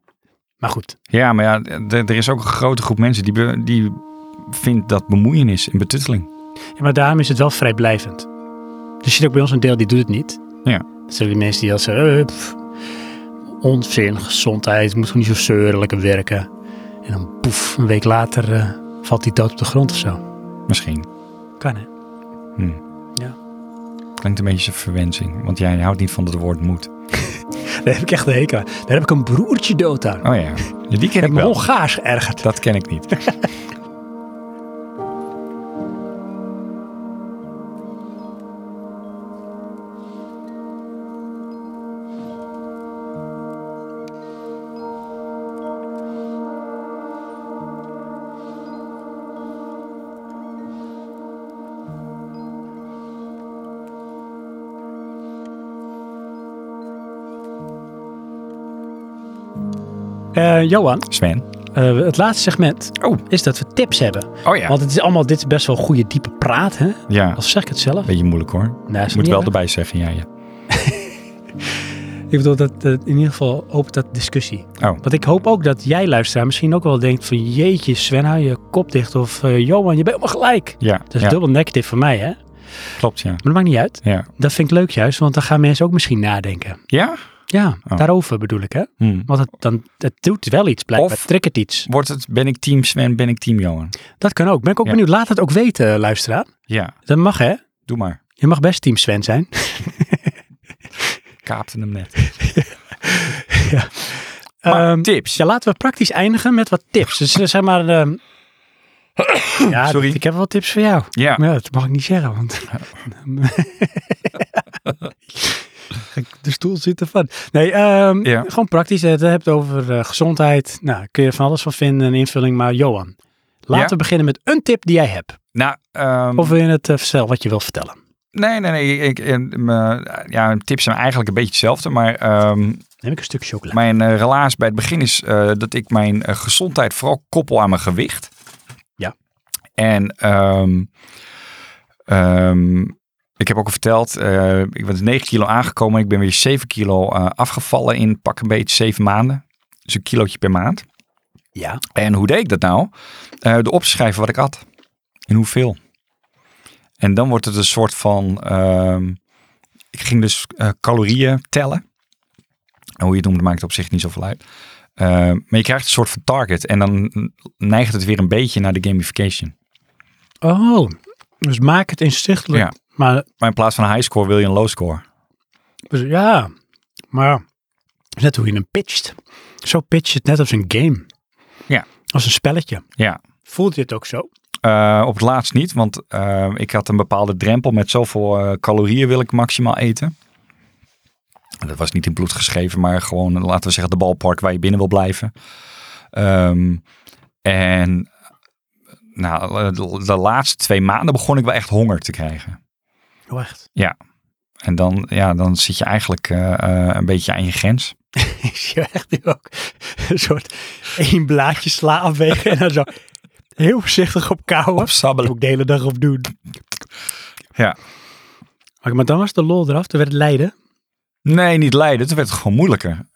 Speaker 1: Maar goed.
Speaker 2: ja, maar ja, d- er is ook een grote groep mensen die, be- die vindt dat bemoeienis en betutteling.
Speaker 1: Ja, maar daarom is het wel vrijblijvend. Er zit ook bij ons een deel die doet het niet.
Speaker 2: Ja.
Speaker 1: Dat zijn die mensen die al zeggen, eh, pff, onzin, gezondheid, moet gewoon niet zo zeurlijk en werken. En dan poef, een week later eh, valt die dood op de grond of zo.
Speaker 2: Misschien.
Speaker 1: Kan hè?
Speaker 2: Klinkt een beetje verwensing, want jij houdt niet van het woord Oh moed.
Speaker 1: Daar heb ik echt een hekel aan. Daar heb ik een broertje dood aan.
Speaker 2: Oh ja, Ja, die ken
Speaker 1: Ik
Speaker 2: ik
Speaker 1: heb me
Speaker 2: wel.
Speaker 1: ongaars geërgerd.
Speaker 2: Dat ken ik niet.
Speaker 1: Eh, Johan,
Speaker 2: Sven.
Speaker 1: eh, het laatste segment
Speaker 2: Oh.
Speaker 1: is dat we tips hebben.
Speaker 2: Oh ja.
Speaker 1: Want het is allemaal, dit is best wel goede diepe praat, hè?
Speaker 2: Ja,
Speaker 1: Of zeg ik het zelf?
Speaker 2: beetje moeilijk hoor.
Speaker 1: Nee, is
Speaker 2: Je
Speaker 1: niet
Speaker 2: moet wel
Speaker 1: erg.
Speaker 2: erbij zeggen, ja. ja.
Speaker 1: Ik bedoel, dat, dat in ieder geval opent dat discussie.
Speaker 2: Oh,
Speaker 1: Want ik hoop ook dat jij luisteraar misschien ook wel denkt van... Jeetje, Sven, hou je kop dicht. Of eh, Johan, je bent helemaal gelijk.
Speaker 2: ja,
Speaker 1: Dat is
Speaker 2: ja
Speaker 1: dubbel negative voor mij, hè? Maar
Speaker 2: klopt ja.
Speaker 1: dat maakt niet uit.
Speaker 2: Ja,
Speaker 1: Dat vind ik leuk juist, want dan gaan mensen ook misschien nadenken.
Speaker 2: ja?
Speaker 1: Ja,
Speaker 2: Oh.
Speaker 1: daarover bedoel ik, hè?
Speaker 2: Hm.
Speaker 1: Want het, dan, het doet wel iets, blijkbaar.
Speaker 2: Of-
Speaker 1: Het triggert iets.
Speaker 2: Wordt het, ben ik team Sven, ben ik team Johan?
Speaker 1: Dat kan ook. Ben ik ook
Speaker 2: Ja.
Speaker 1: benieuwd. Laat het ook weten, eh, luisteraar.
Speaker 2: Ja,
Speaker 1: Dat mag, hè?
Speaker 2: doe maar.
Speaker 1: Je mag best team Sven zijn.
Speaker 2: Kaapte hem net. Maar
Speaker 1: Ehm,
Speaker 2: tips.
Speaker 1: ja, laten we praktisch eindigen met wat tips. Dus eh, zeg maar... ehm, ja,
Speaker 2: Sorry.
Speaker 1: ik heb wel tips voor jou.
Speaker 2: Ja,
Speaker 1: Maar ja, dat mag ik niet zeggen, want... Ga ik op De stoel zit ervan. Nee, ehm,
Speaker 2: Ja.
Speaker 1: gewoon praktisch. eh, Je hebt het over eh, gezondheid. Nou, kun je van alles van vinden, een invulling. Maar Johan, laten
Speaker 2: Ja?
Speaker 1: we beginnen met een tip die jij hebt.
Speaker 2: nou, ehm,
Speaker 1: Of wil je het eh, vertellen wat je wil vertellen?
Speaker 2: nee, nee, nee. Ik, en, eh, ja, tips zijn eigenlijk een beetje hetzelfde, maar ehm,
Speaker 1: Neem ik een stuk chocola.
Speaker 2: mijn eh, relaas bij het begin is eh, dat ik mijn eh, gezondheid vooral koppel aan mijn gewicht.
Speaker 1: Ja.
Speaker 2: En ehm, ehm, ik heb ook al verteld, eh, ik ben 9 kilo aangekomen. Ik ben weer 7 kilo eh, afgevallen in pak een beetje 7 maanden. Dus een kilootje per maand.
Speaker 1: Ja.
Speaker 2: En hoe deed ik dat nou? Eh door op te schrijven wat ik at. En hoeveel. En dan wordt het een soort van... ehm, ik ging dus eh, calorieën tellen. En hoe je het noemt, maakt op zich niet zoveel uit. Eh, maar je krijgt een soort van target. En dan neigt het weer een beetje naar de gamification.
Speaker 1: Oh, dus maak het inzichtelijk.
Speaker 2: Ja.
Speaker 1: Maar
Speaker 2: Maar in plaats van een high score wil je een low score.
Speaker 1: dus, ja, maar net hoe je hem pitcht. Zo pitch je het net als een game.
Speaker 2: Ja.
Speaker 1: Als een spelletje.
Speaker 2: Ja.
Speaker 1: Voelt je het ook zo?
Speaker 2: Eh, op het laatst niet, want eh, ik had een bepaalde drempel met zoveel eh, calorieën wil ik maximaal eten. Dat was niet in bloed geschreven, maar gewoon, laten we zeggen, de balpark waar je binnen wil blijven. Ehm, en nou, de- de laatste twee maanden begon ik wel echt honger te krijgen.
Speaker 1: Oh, echt.
Speaker 2: En dan, ja, dan zit je eigenlijk eh, eh, een beetje aan je grens.
Speaker 1: Ik zie jou echt nu ook een soort één blaadje sla afwegen en dan zo heel voorzichtig op kouwen. Dat
Speaker 2: Opsabbelen.
Speaker 1: ook de hele dag op doen.
Speaker 2: Ja.
Speaker 1: Oké, maar dan was de lol eraf. Toen werd het lijden.
Speaker 2: Nee, niet lijden. Toen werd het gewoon moeilijker.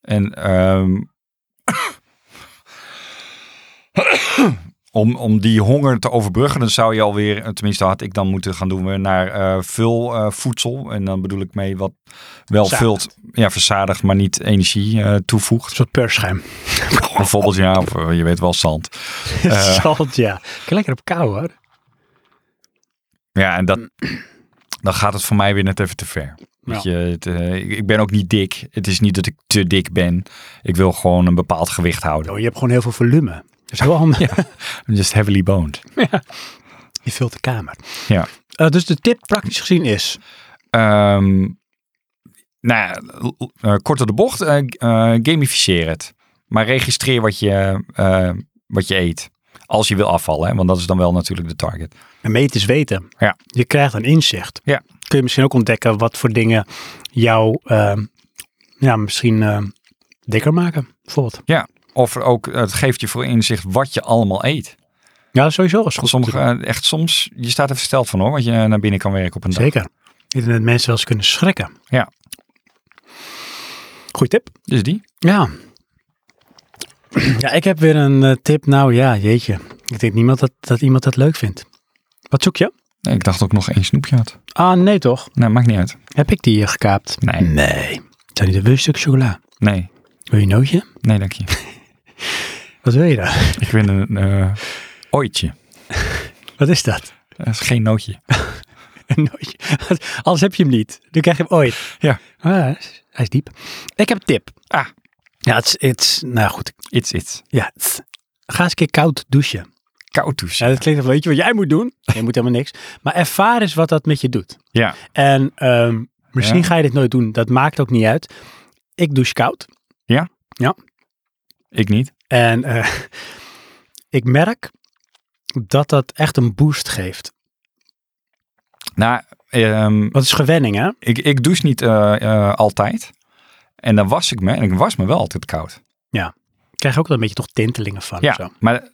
Speaker 2: En ehm, om, om die honger te overbruggen, dan zou je alweer, eh, tenminste had ik dan moeten gaan doen, weer naar eh vul eh, voedsel. En dan bedoel ik mee wat wel
Speaker 1: Verzadigd.
Speaker 2: vult, ja, verzadigd, maar niet energie eh, toevoegt.
Speaker 1: Een soort peurschuim.
Speaker 2: Bijvoorbeeld, ja, of, eh, je weet wel, zand. Eh.
Speaker 1: Zand, ja. Ik kan lekker op kou hoor.
Speaker 2: Ja, en dat, dan gaat het voor mij weer net even te ver. Weet je, het, eh, ik- ik ben ook niet dik. Het is niet dat ik te dik ben. Ik wil gewoon een bepaald gewicht houden.
Speaker 1: Oh, je hebt gewoon heel veel volume. Dat is heel handig.
Speaker 2: I'm just heavily boned.
Speaker 1: Je vult de kamer.
Speaker 2: Ja.
Speaker 1: Eh, dus de tip praktisch gezien is...
Speaker 2: Ehm, nou ja, l- l- eh, kort door de bocht, eh, g- eh, gamificeer het. Maar registreer wat je, eh, wat je eet. Als je wil afvallen, hè? want dat is dan wel natuurlijk de target.
Speaker 1: En meten is weten.
Speaker 2: Ja.
Speaker 1: Je krijgt een inzicht.
Speaker 2: Ja.
Speaker 1: Kun je misschien ook ontdekken wat voor dingen jou ehm, ja, misschien ehm, dikker maken, bijvoorbeeld.
Speaker 2: Of ook, het geeft je voor inzicht wat je allemaal eet.
Speaker 1: Ja, sowieso is goed.
Speaker 2: Sommige, eh, echt soms, je staat er versteld van hoor, wat je eh, naar binnen kan werken op een dag.
Speaker 1: Zeker. Ik denk dat mensen wel eens kunnen schrikken.
Speaker 2: Ja.
Speaker 1: Goeie tip.
Speaker 2: Dus die.
Speaker 1: Ja. Ja, ik heb weer een eh, tip. Nou ja, jeetje. Ik denk niemand dat, dat iemand dat leuk vindt. Wat zoek je?
Speaker 2: Nee, ik dacht ook nog één snoepje had.
Speaker 1: Ah, nee toch?
Speaker 2: Nou, maakt niet uit.
Speaker 1: Heb ik die hier gekaapt?
Speaker 2: Nee.
Speaker 1: Nee. Zijn die de een stuk chocola?
Speaker 2: Nee,
Speaker 1: Wil je een nootje?
Speaker 2: nee dank je.
Speaker 1: Wat wil je daar?
Speaker 2: ik wil een eh ooitje.
Speaker 1: Wat is dat?
Speaker 2: Dat is geen nootje.
Speaker 1: Een nootje. Anders heb je hem niet. Dan krijg je hem ooit.
Speaker 2: Ja.
Speaker 1: Ah, hij is- hij is diep. Ik heb een tip.
Speaker 2: Ah.
Speaker 1: Ja, het is, het is, nou goed.
Speaker 2: It's it.
Speaker 1: Ja, het is- ga eens een keer koud douchen.
Speaker 2: Koud douchen.
Speaker 1: Ja, dat klinkt wel, weet je wat jij moet doen? Je moet helemaal niks. Maar ervaar eens wat dat met je doet.
Speaker 2: Ja.
Speaker 1: En ehm, misschien
Speaker 2: Ja.
Speaker 1: ga je dit nooit doen. Dat maakt ook niet uit. Ik douche koud.
Speaker 2: Ik niet.
Speaker 1: En eh, ik merk dat dat echt een boost geeft.
Speaker 2: Nou, ehm,
Speaker 1: Wat is gewenning, hè?
Speaker 2: ik, ik douche niet eh, eh, altijd. En dan was ik me. En ik was me wel altijd koud.
Speaker 1: Krijg je ook wel een beetje toch tintelingen van.
Speaker 2: Ja,
Speaker 1: of zo.
Speaker 2: Maar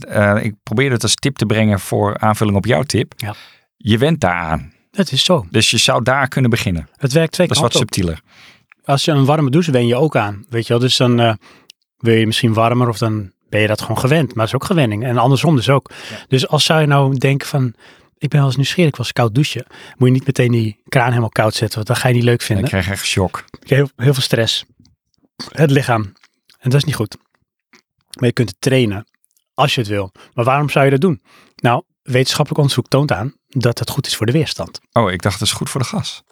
Speaker 2: eh, eh, ik probeer het als tip te brengen voor aanvulling op jouw tip.
Speaker 1: Ja.
Speaker 2: Je went daaraan.
Speaker 1: Dat is zo.
Speaker 2: Dus je zou daar kunnen beginnen.
Speaker 1: Het werkt twee
Speaker 2: Dat is
Speaker 1: kanten
Speaker 2: wat
Speaker 1: op.
Speaker 2: subtieler.
Speaker 1: Als je een warme douche wen je ook aan. Weet je wel? Dus dan eh, wil je misschien warmer of dan ben je dat gewoon gewend. Maar dat is ook gewenning. En andersom dus ook. Dus als zou je nou denken van... Ik ben wel eens nieuwsgierig, ik was koud douchen. Moet je niet meteen die kraan helemaal koud zetten, want dat ga je niet leuk
Speaker 2: Ik
Speaker 1: vinden.
Speaker 2: krijg echt shock.
Speaker 1: Ik heb Heel, heel veel stress. Het lichaam. En dat is niet goed. Maar je kunt het trainen als je het wil. Maar waarom zou je dat doen? Nou, wetenschappelijk onderzoek toont aan dat het goed is voor de weerstand.
Speaker 2: Oh, ik dacht dat is goed voor de gas.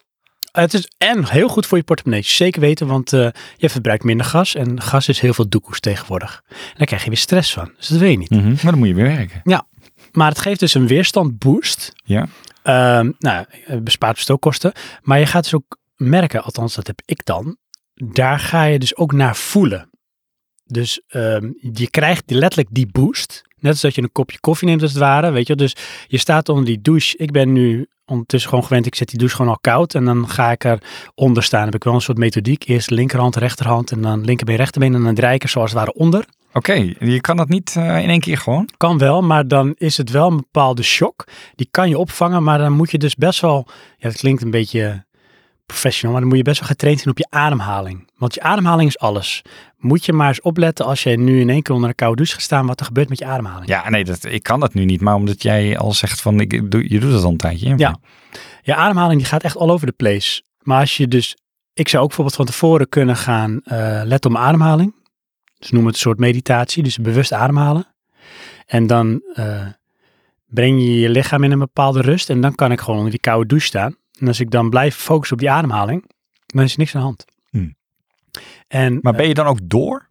Speaker 1: Het is en heel goed voor je portemonnee. Zeker weten, want eh, je verbruikt minder gas. En gas is heel veel doekoes tegenwoordig. En daar krijg je weer stress van. Dus dat weet je niet.
Speaker 2: Mhm. Maar dan moet je weer werken.
Speaker 1: Maar het geeft dus een weerstandboost.
Speaker 2: Ja.
Speaker 1: Ehm, nou, het bespaart stookkosten. Maar je gaat dus ook merken, althans dat heb ik dan. Daar ga je dus ook naar voelen. Dus ehm, je krijgt die- letterlijk die boost. Net als dat je een kopje koffie neemt als het ware. Weet je, wel. dus je staat onder die douche. Ik ben nu ondertussen gewoon gewend. Ik zet die douche gewoon al koud. En dan ga ik eronder staan. Dan heb ik wel een soort methodiek. Eerst linkerhand, rechterhand. En dan linkerbeen, rechterbeen. En dan draai ik er zoals het ware onder.
Speaker 2: Oké, je kan dat niet eh, in één keer gewoon.
Speaker 1: Kan wel, maar dan is het wel een bepaalde shock. Die kan je opvangen, maar dan moet je dus best wel... Ja, dat klinkt een beetje professional, maar dan moet je best wel getraind zijn op je ademhaling. Want je ademhaling is alles. Moet je maar eens opletten als jij nu in één keer onder een koude douche gaat staan... wat er gebeurt met je ademhaling.
Speaker 2: Ja, nee, dat, ik kan dat nu niet. Maar omdat jij al zegt van, ik, doe, je doet dat al een tijdje.
Speaker 1: Ja. Je ademhaling die gaat echt all over the place. Maar als je dus... Ik zou ook bijvoorbeeld van tevoren kunnen gaan eh letten op mijn ademhaling. Dus noem het een soort meditatie, dus bewust ademhalen. En dan eh, breng je je lichaam in een bepaalde rust. En dan kan ik gewoon onder die koude douche staan. En als ik dan blijf focussen op die ademhaling, dan is er niks aan de hand.
Speaker 2: Hmm.
Speaker 1: En eh,
Speaker 2: Maar ben je dan ook door?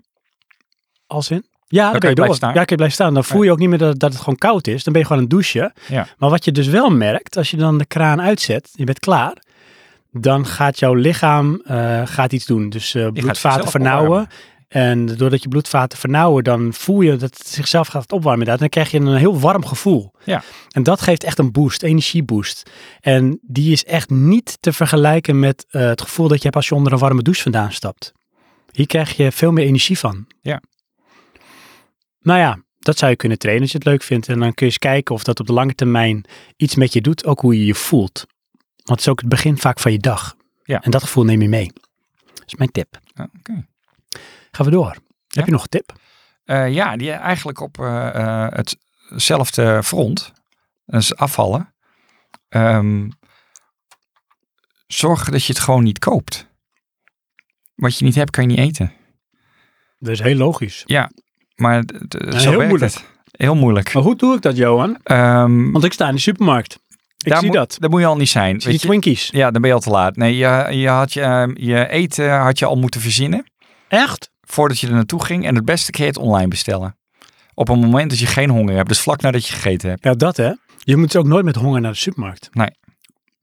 Speaker 1: als in? Ja, dan kun je,
Speaker 2: Dan kan je
Speaker 1: door.
Speaker 2: blijven staan.
Speaker 1: Ja, kun je blijven staan. Dan voel je ook niet meer dat, dat het gewoon koud is. Dan ben je gewoon aan het douchen.
Speaker 2: Ja.
Speaker 1: Maar wat je dus wel merkt, als je dan de kraan uitzet, je bent klaar, dan gaat jouw lichaam eh, gaat iets doen. Dus eh, bloedvaten
Speaker 2: zichzelf
Speaker 1: vernauwen.
Speaker 2: opwarmen.
Speaker 1: En doordat je bloedvaten vernauwen, dan voel je dat het zichzelf gaat opwarmen. inderdaad. En dan krijg je een heel warm gevoel.
Speaker 2: Ja.
Speaker 1: En dat geeft echt een boost, energieboost. En die is echt niet te vergelijken met eh, het gevoel dat je hebt als je onder een warme douche vandaan stapt. Hier krijg je veel meer energie van.
Speaker 2: Ja.
Speaker 1: Nou ja, dat zou je kunnen trainen als je het leuk vindt. En dan kun je eens kijken of dat op de lange termijn iets met je doet. Ook hoe je je voelt. Want het is ook het begin vaak van je dag.
Speaker 2: Ja.
Speaker 1: En dat gevoel neem je mee. Dat is mijn tip.
Speaker 2: Ja, Oké.
Speaker 1: Gaan we door. Heb je nog een tip?
Speaker 2: Eh, ja, die eigenlijk op eh, eh, hetzelfde front, dus afvallen. Ehm, zorg dat je het gewoon niet koopt. Wat je niet hebt, kan je niet eten.
Speaker 1: Dat is heel logisch.
Speaker 2: Maar d- d- zo
Speaker 1: heel
Speaker 2: werkt
Speaker 1: moeilijk.
Speaker 2: het. Heel moeilijk.
Speaker 1: Maar hoe doe ik dat, Johan?
Speaker 2: Ehm,
Speaker 1: Want ik sta in de supermarkt. Ik Ik
Speaker 2: daar
Speaker 1: zie
Speaker 2: moet-
Speaker 1: dat.
Speaker 2: Daar moet je al niet zijn.
Speaker 1: Zie je
Speaker 2: Weet je?
Speaker 1: Twinkies?
Speaker 2: Ja, dan ben je al te laat. Nee, je, je, had je, ehm, je eten had je al moeten verzinnen
Speaker 1: Echt?
Speaker 2: voordat je er naartoe ging. En het beste kun je het online bestellen. Op een moment dat je geen honger hebt. Dus vlak nadat je gegeten hebt.
Speaker 1: Ja, dat hè. Je moet ook nooit met honger naar de supermarkt.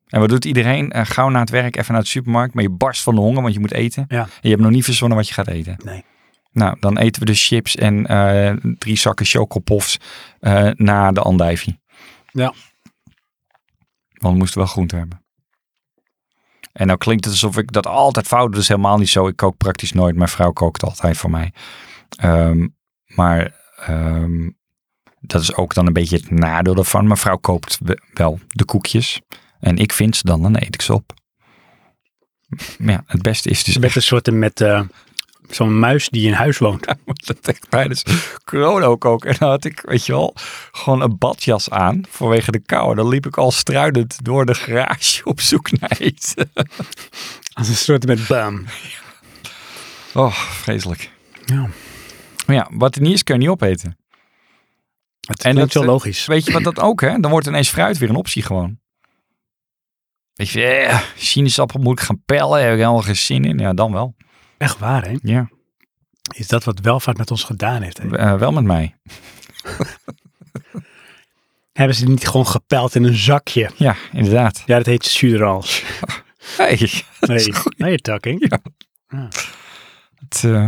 Speaker 2: En wat doet iedereen? Eh, gauw na het werk even naar de supermarkt. Maar je barst van de honger, want je moet eten.
Speaker 1: Ja.
Speaker 2: En je hebt nog niet verzonnen wat je gaat eten.
Speaker 1: Nee.
Speaker 2: Nou, dan eten we dus chips en eh, drie zakken chocopofs eh, na de andijvie.
Speaker 1: Ja.
Speaker 2: Want we moesten wel groente hebben. En nou klinkt het alsof ik dat altijd fout doe. Dat is helemaal niet zo. Ik kook praktisch nooit. Mijn vrouw kookt altijd voor mij. Ehm, maar ehm, dat is ook dan een beetje het nadeel ervan. Mijn vrouw koopt we- wel de koekjes. En ik vind ze dan, dan eet ik ze op. Maar ja, het beste is dus
Speaker 1: Je bent een soort met eh, zo'n muis die in huis woont.
Speaker 2: dat echt tijdens corona ook ook. En dan had ik, weet je wel, gewoon een badjas aan vanwege de kou. En dan liep ik al struidend door de garage op zoek naar eten.
Speaker 1: Als een soort met bam.
Speaker 2: Oh, vreselijk.
Speaker 1: Ja.
Speaker 2: Maar ja, wat er niet is, kun je niet opeten.
Speaker 1: Het
Speaker 2: En
Speaker 1: klinkt
Speaker 2: dat,
Speaker 1: wel
Speaker 2: eh,
Speaker 1: logisch.
Speaker 2: Weet je wat dat ook, hè? Dan wordt ineens fruit weer een optie gewoon. Weet je, eh, sinaasappel moet ik gaan pellen. Heb ik helemaal geen zin in. Ja, dan wel.
Speaker 1: Echt waar hè?
Speaker 2: Ja,
Speaker 1: Is dat wat welvaart met ons gedaan heeft? Hè?
Speaker 2: eh, wel met mij.
Speaker 1: Hebben ze die niet gewoon gepeld in een zakje?
Speaker 2: Ja, inderdaad.
Speaker 1: Ja, dat heet suderals.
Speaker 2: Hey.
Speaker 1: Nee, nee takking.
Speaker 2: Ja. Het, eh,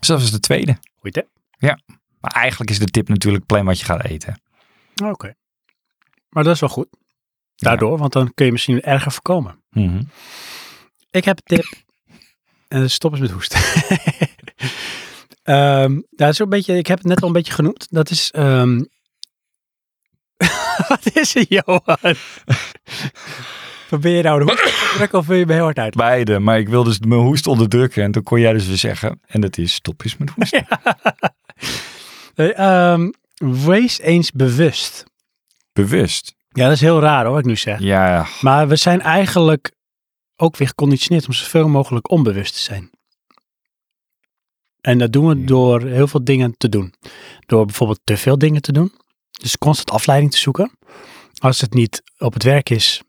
Speaker 2: zelfs als de tweede.
Speaker 1: Goed hè?
Speaker 2: Maar eigenlijk is de tip natuurlijk plan wat je gaat eten.
Speaker 1: Oké. Maar dat is wel goed. Daardoor, want dan kun je misschien erger voorkomen. Ik heb een tip. En dat is stop eens met hoesten. Ehm, ja, dat is ook een beetje, ik heb het net al een beetje genoemd. Dat is... ehm, Wat is er, Johan? Probeer je nou de hoest te drukken of wil je me heel hard uit?
Speaker 2: Beide, maar ik wil dus mijn hoest onderdrukken. En toen kon jij dus weer zeggen, en dat is stop eens met hoesten.
Speaker 1: Nee, ehm, wees eens bewust.
Speaker 2: Bewust.
Speaker 1: Ja, dat is heel raar hoor, wat ik nu zeg.
Speaker 2: Ja,
Speaker 1: Maar we zijn eigenlijk ook weer geconditioneerd om zoveel mogelijk onbewust te zijn. En dat doen we
Speaker 2: Ja.
Speaker 1: door heel veel dingen te doen. Door bijvoorbeeld te veel dingen te doen. Dus constant afleiding te zoeken. Als het niet op het werk is,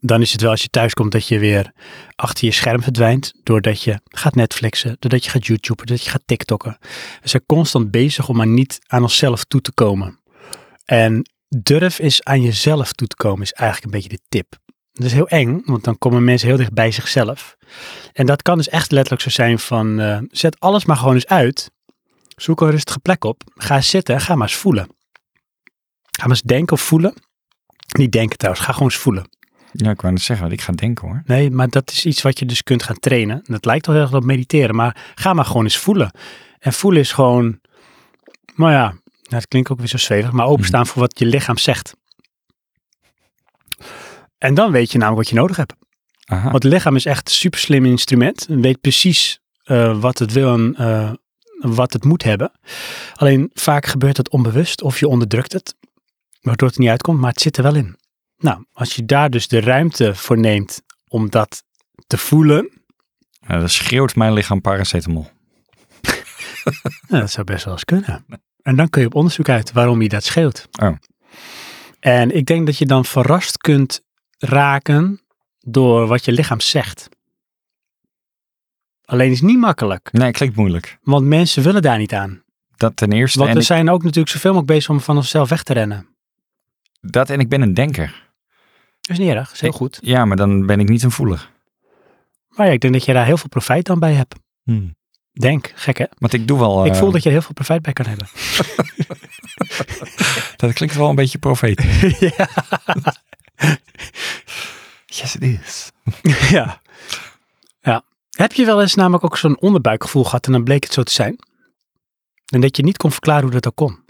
Speaker 1: dan is het wel als je thuis komt dat je weer achter je scherm verdwijnt. Doordat je gaat Netflixen, doordat je gaat YouTuben, doordat je gaat TikTokken. We zijn constant bezig om maar niet aan onszelf toe te komen. En durf eens aan jezelf toe te komen is eigenlijk een beetje de tip. Dat is heel eng, want dan komen mensen heel dicht bij zichzelf. En dat kan dus echt letterlijk zo zijn van eh, zet alles maar gewoon eens uit. Zoek een rustige plek op. Ga eens zitten en ga maar eens voelen. Ga maar eens denken of voelen. Niet denken trouwens, ga gewoon eens voelen.
Speaker 2: ja ik wou net zeggen, want ik ga denken hoor.
Speaker 1: Nee, maar dat is iets wat je dus kunt gaan trainen. En Dat lijkt wel heel erg op mediteren, maar ga maar gewoon eens voelen. En voelen is gewoon, nou ja, nou, het klinkt ook weer zo zwevig, maar openstaan voor wat je lichaam zegt. En dan weet je namelijk wat je nodig hebt.
Speaker 2: Aha.
Speaker 1: Want het lichaam is echt een super slim instrument. Het weet precies eh, wat het wil en eh, wat het moet hebben. Alleen vaak gebeurt het onbewust of je onderdrukt het, waardoor het er niet uitkomt, maar het zit er wel in. Nou, als je daar dus de ruimte voor neemt om dat te voelen,
Speaker 2: Nou, dat schreeuwt mijn lichaam paracetamol.
Speaker 1: Nou, dat zou best wel eens kunnen. En dan kun je op onderzoek uit waarom je dat scheelt.
Speaker 2: Oh.
Speaker 1: En ik denk dat je dan verrast kunt raken door wat je lichaam zegt. Alleen is het niet makkelijk,
Speaker 2: Nee, klinkt moeilijk.
Speaker 1: want mensen willen daar niet aan.
Speaker 2: Dat ten eerste.
Speaker 1: Want
Speaker 2: en
Speaker 1: we
Speaker 2: ik-
Speaker 1: zijn ook natuurlijk zoveel mogelijk bezig om van onszelf weg te rennen.
Speaker 2: dat en ik ben een denker.
Speaker 1: Dat is niet erg, dat is heel
Speaker 2: Ik-
Speaker 1: goed.
Speaker 2: Ja, maar dan ben ik niet een voeler.
Speaker 1: Maar ja, ik denk dat je daar heel veel profijt dan bij hebt.
Speaker 2: Hmm.
Speaker 1: Denk, gek hè?
Speaker 2: Want ik doe wel...
Speaker 1: Ik
Speaker 2: eh,
Speaker 1: voel dat je er heel veel profijt bij kan hebben.
Speaker 2: Dat klinkt wel een beetje profetisch.
Speaker 1: ja.
Speaker 2: Yes, it is.
Speaker 1: Ja. ja. Heb je wel eens namelijk ook zo'n onderbuikgevoel gehad en dan bleek het zo te zijn? En dat je niet kon verklaren hoe dat ook kon.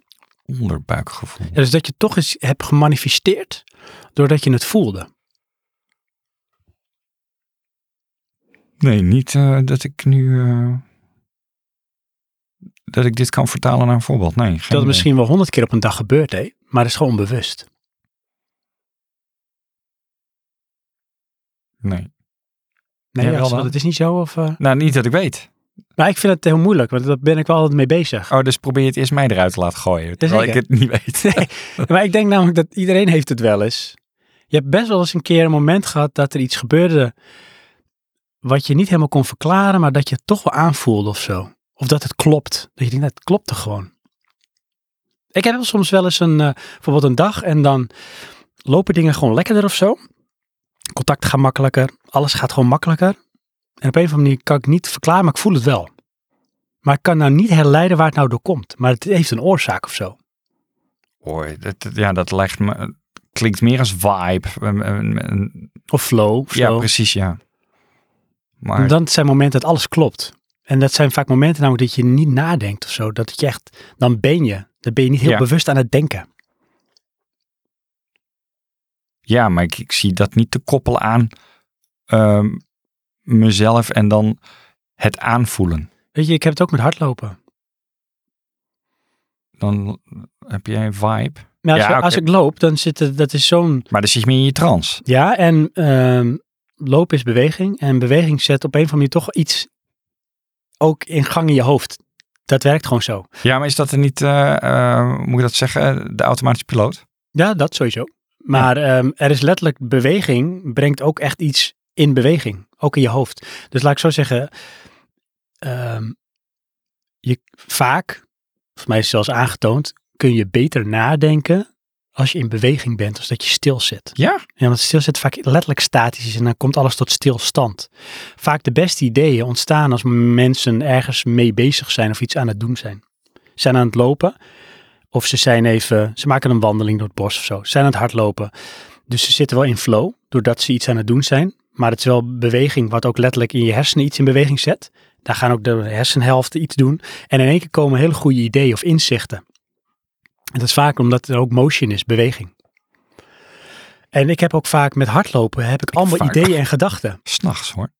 Speaker 2: Onderbuikgevoel.
Speaker 1: Ja, dus dat je toch eens hebt gemanifesteerd doordat je het voelde.
Speaker 2: Nee, niet eh, dat ik nu... eh, dat ik dit kan vertalen naar een voorbeeld. Nee, geen
Speaker 1: dat
Speaker 2: idee.
Speaker 1: het misschien wel honderd keer op een dag gebeurt, hè? maar dat is gewoon onbewust.
Speaker 2: Nee.
Speaker 1: Nee,
Speaker 2: Ja,
Speaker 1: ja,
Speaker 2: wel
Speaker 1: zo,
Speaker 2: dan.
Speaker 1: dat is niet zo. Of, eh,
Speaker 2: Nou, niet dat ik weet.
Speaker 1: Maar ik vind het heel moeilijk, want daar ben ik wel altijd mee bezig.
Speaker 2: Oh, dus probeer je het eerst mij eruit te laten gooien, terwijl ik
Speaker 1: Jazeker.
Speaker 2: het niet weet.
Speaker 1: Maar ik denk namelijk dat iedereen heeft het wel eens. Je hebt best wel eens een keer een moment gehad dat er iets gebeurde wat je niet helemaal kon verklaren, maar dat je het toch wel aanvoelde of zo. Of dat het klopt. Dat je denkt, nou, het klopt er gewoon. Ik heb wel soms wel eens een, eh, bijvoorbeeld een dag en dan lopen dingen gewoon lekkerder of zo. Contact gaat makkelijker, alles gaat gewoon makkelijker. En op een of andere manier kan ik niet verklaren, maar ik voel het wel. Maar ik kan nou niet herleiden waar het nou door komt. Maar het heeft een oorzaak of zo.
Speaker 2: Hoor, dat, dat- ja, dat lijkt me, klinkt meer als vibe. Een- een- een-
Speaker 1: Of flow of
Speaker 2: ja,
Speaker 1: zo.
Speaker 2: precies, ja. Maar
Speaker 1: En Dan zijn momenten dat alles klopt. En dat zijn vaak momenten namelijk dat je niet nadenkt of zo. Dat het je echt, dan ben je. Dan ben je niet heel
Speaker 2: Ja.
Speaker 1: bewust aan het denken.
Speaker 2: Ja, maar ik, ik zie dat niet te koppelen aan ehm, mezelf en dan het aanvoelen.
Speaker 1: Weet je, ik heb het ook met hardlopen.
Speaker 2: Dan heb jij een vibe.
Speaker 1: Nou, als,
Speaker 2: Ja,
Speaker 1: als
Speaker 2: oké.
Speaker 1: ik loop, dan zit het, dat is zo'n,
Speaker 2: Maar dan zit je meer in je trance.
Speaker 1: ja, en ehm, lopen is beweging. En beweging zet op een of andere manier toch iets ook in gang in je hoofd. Dat werkt gewoon zo.
Speaker 2: Ja, maar is dat er niet, eh, eh, hoe moet ik dat zeggen, de automatische piloot?
Speaker 1: Ja, dat sowieso. Maar ehm, er is letterlijk beweging, brengt ook echt iets in beweging. Ook in je hoofd. Dus laat ik zo zeggen, ehm, je vaak, voor mij is het zelfs aangetoond, kun je beter nadenken als je in beweging bent, als dat je stil zit.
Speaker 2: Ja.
Speaker 1: Ja, want stil zit vaak letterlijk statisch is en dan komt alles tot stilstand. Vaak de beste ideeën ontstaan als mensen ergens mee bezig zijn of iets aan het doen zijn. Ze zijn aan het lopen of ze zijn even, ze maken een wandeling door het bos of zo. Ze zijn aan het hardlopen. Dus ze zitten wel in flow doordat ze iets aan het doen zijn. Maar het is wel beweging wat ook letterlijk in je hersenen iets in beweging zet. Daar gaan ook de hersenhelften iets doen. En in één keer komen hele goede ideeën of inzichten. En dat is vaak omdat er ook motion is, beweging. En ik heb ook vaak met hardlopen, heb ik allemaal
Speaker 2: vaak.
Speaker 1: ideeën en gedachten.
Speaker 2: S'nachts hoor.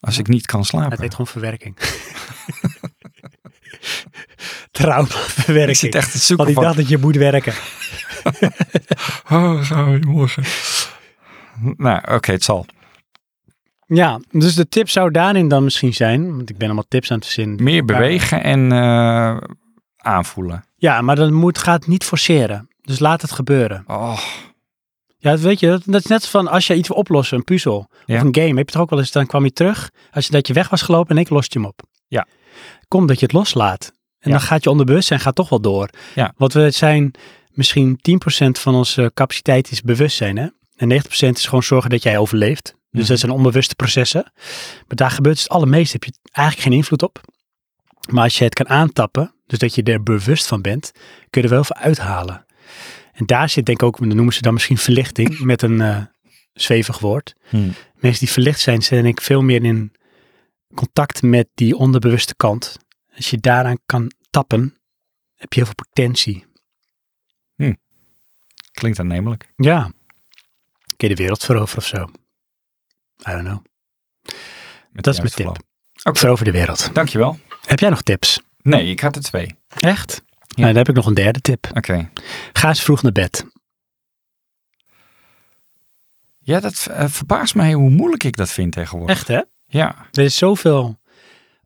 Speaker 2: Als ik niet kan slapen.
Speaker 1: Het heet gewoon verwerking.
Speaker 2: ik
Speaker 1: Traumaverwerking.
Speaker 2: zit echt te zoeken
Speaker 1: Want ik
Speaker 2: van,
Speaker 1: dacht dat je moet werken.
Speaker 2: oh, gaan we morgen. Nou, oké, het zal.
Speaker 1: Ja, dus de tip zou daarin dan misschien zijn, want ik ben allemaal tips aan het verzinnen.
Speaker 2: Meer bewegen en eh, aanvoelen.
Speaker 1: Ja, maar dan moet, gaat niet forceren. Dus laat het gebeuren.
Speaker 2: Oh,
Speaker 1: Ja, dat weet je, dat, dat is net van als je iets wil oplossen, een puzzel
Speaker 2: Ja.
Speaker 1: of een game. Heb je toch ook wel eens, dan kwam je terug, als je, dat je weg was gelopen en ik lost je hem op.
Speaker 2: Ja.
Speaker 1: Kom dat je het loslaat. En
Speaker 2: Ja.
Speaker 1: dan gaat je onderbewustzijn gaat toch wel door.
Speaker 2: Ja.
Speaker 1: Want we zijn misschien 10% van onze capaciteit is bewustzijn. Hè? En 90% is gewoon zorgen dat jij overleeft. Dus
Speaker 2: Mhm.
Speaker 1: dat zijn onbewuste processen. Maar daar gebeurt het allermeest. Heb je eigenlijk geen invloed op. Maar als je het kan aantappen, dus dat je er bewust van bent, kun je er wel veel uithalen. En daar zit denk ik ook, dan noemen ze dan misschien verlichting met een eh, zwevig woord.
Speaker 2: Hmm.
Speaker 1: Mensen die verlicht zijn, zijn denk ik veel meer in contact met die onderbewuste kant. Als je daaraan kan tappen, heb je heel veel potentie.
Speaker 2: klinkt aannemelijk.
Speaker 1: Ja. Kun je de wereld veroveren of zo. I don't know. Dat
Speaker 2: Met de
Speaker 1: is mijn
Speaker 2: juiste
Speaker 1: tip.
Speaker 2: flow.
Speaker 1: Verover de wereld.
Speaker 2: Dankjewel.
Speaker 1: Heb jij nog tips?
Speaker 2: Nee, ik had er twee.
Speaker 1: Echt?
Speaker 2: Ja.
Speaker 1: Nou, dan heb ik nog een derde tip.
Speaker 2: Oké.
Speaker 1: Ga eens vroeg naar bed.
Speaker 2: Ja, dat eh, verbaast mij hoe moeilijk ik dat vind tegenwoordig.
Speaker 1: Echt hè?
Speaker 2: Ja.
Speaker 1: Er is zoveel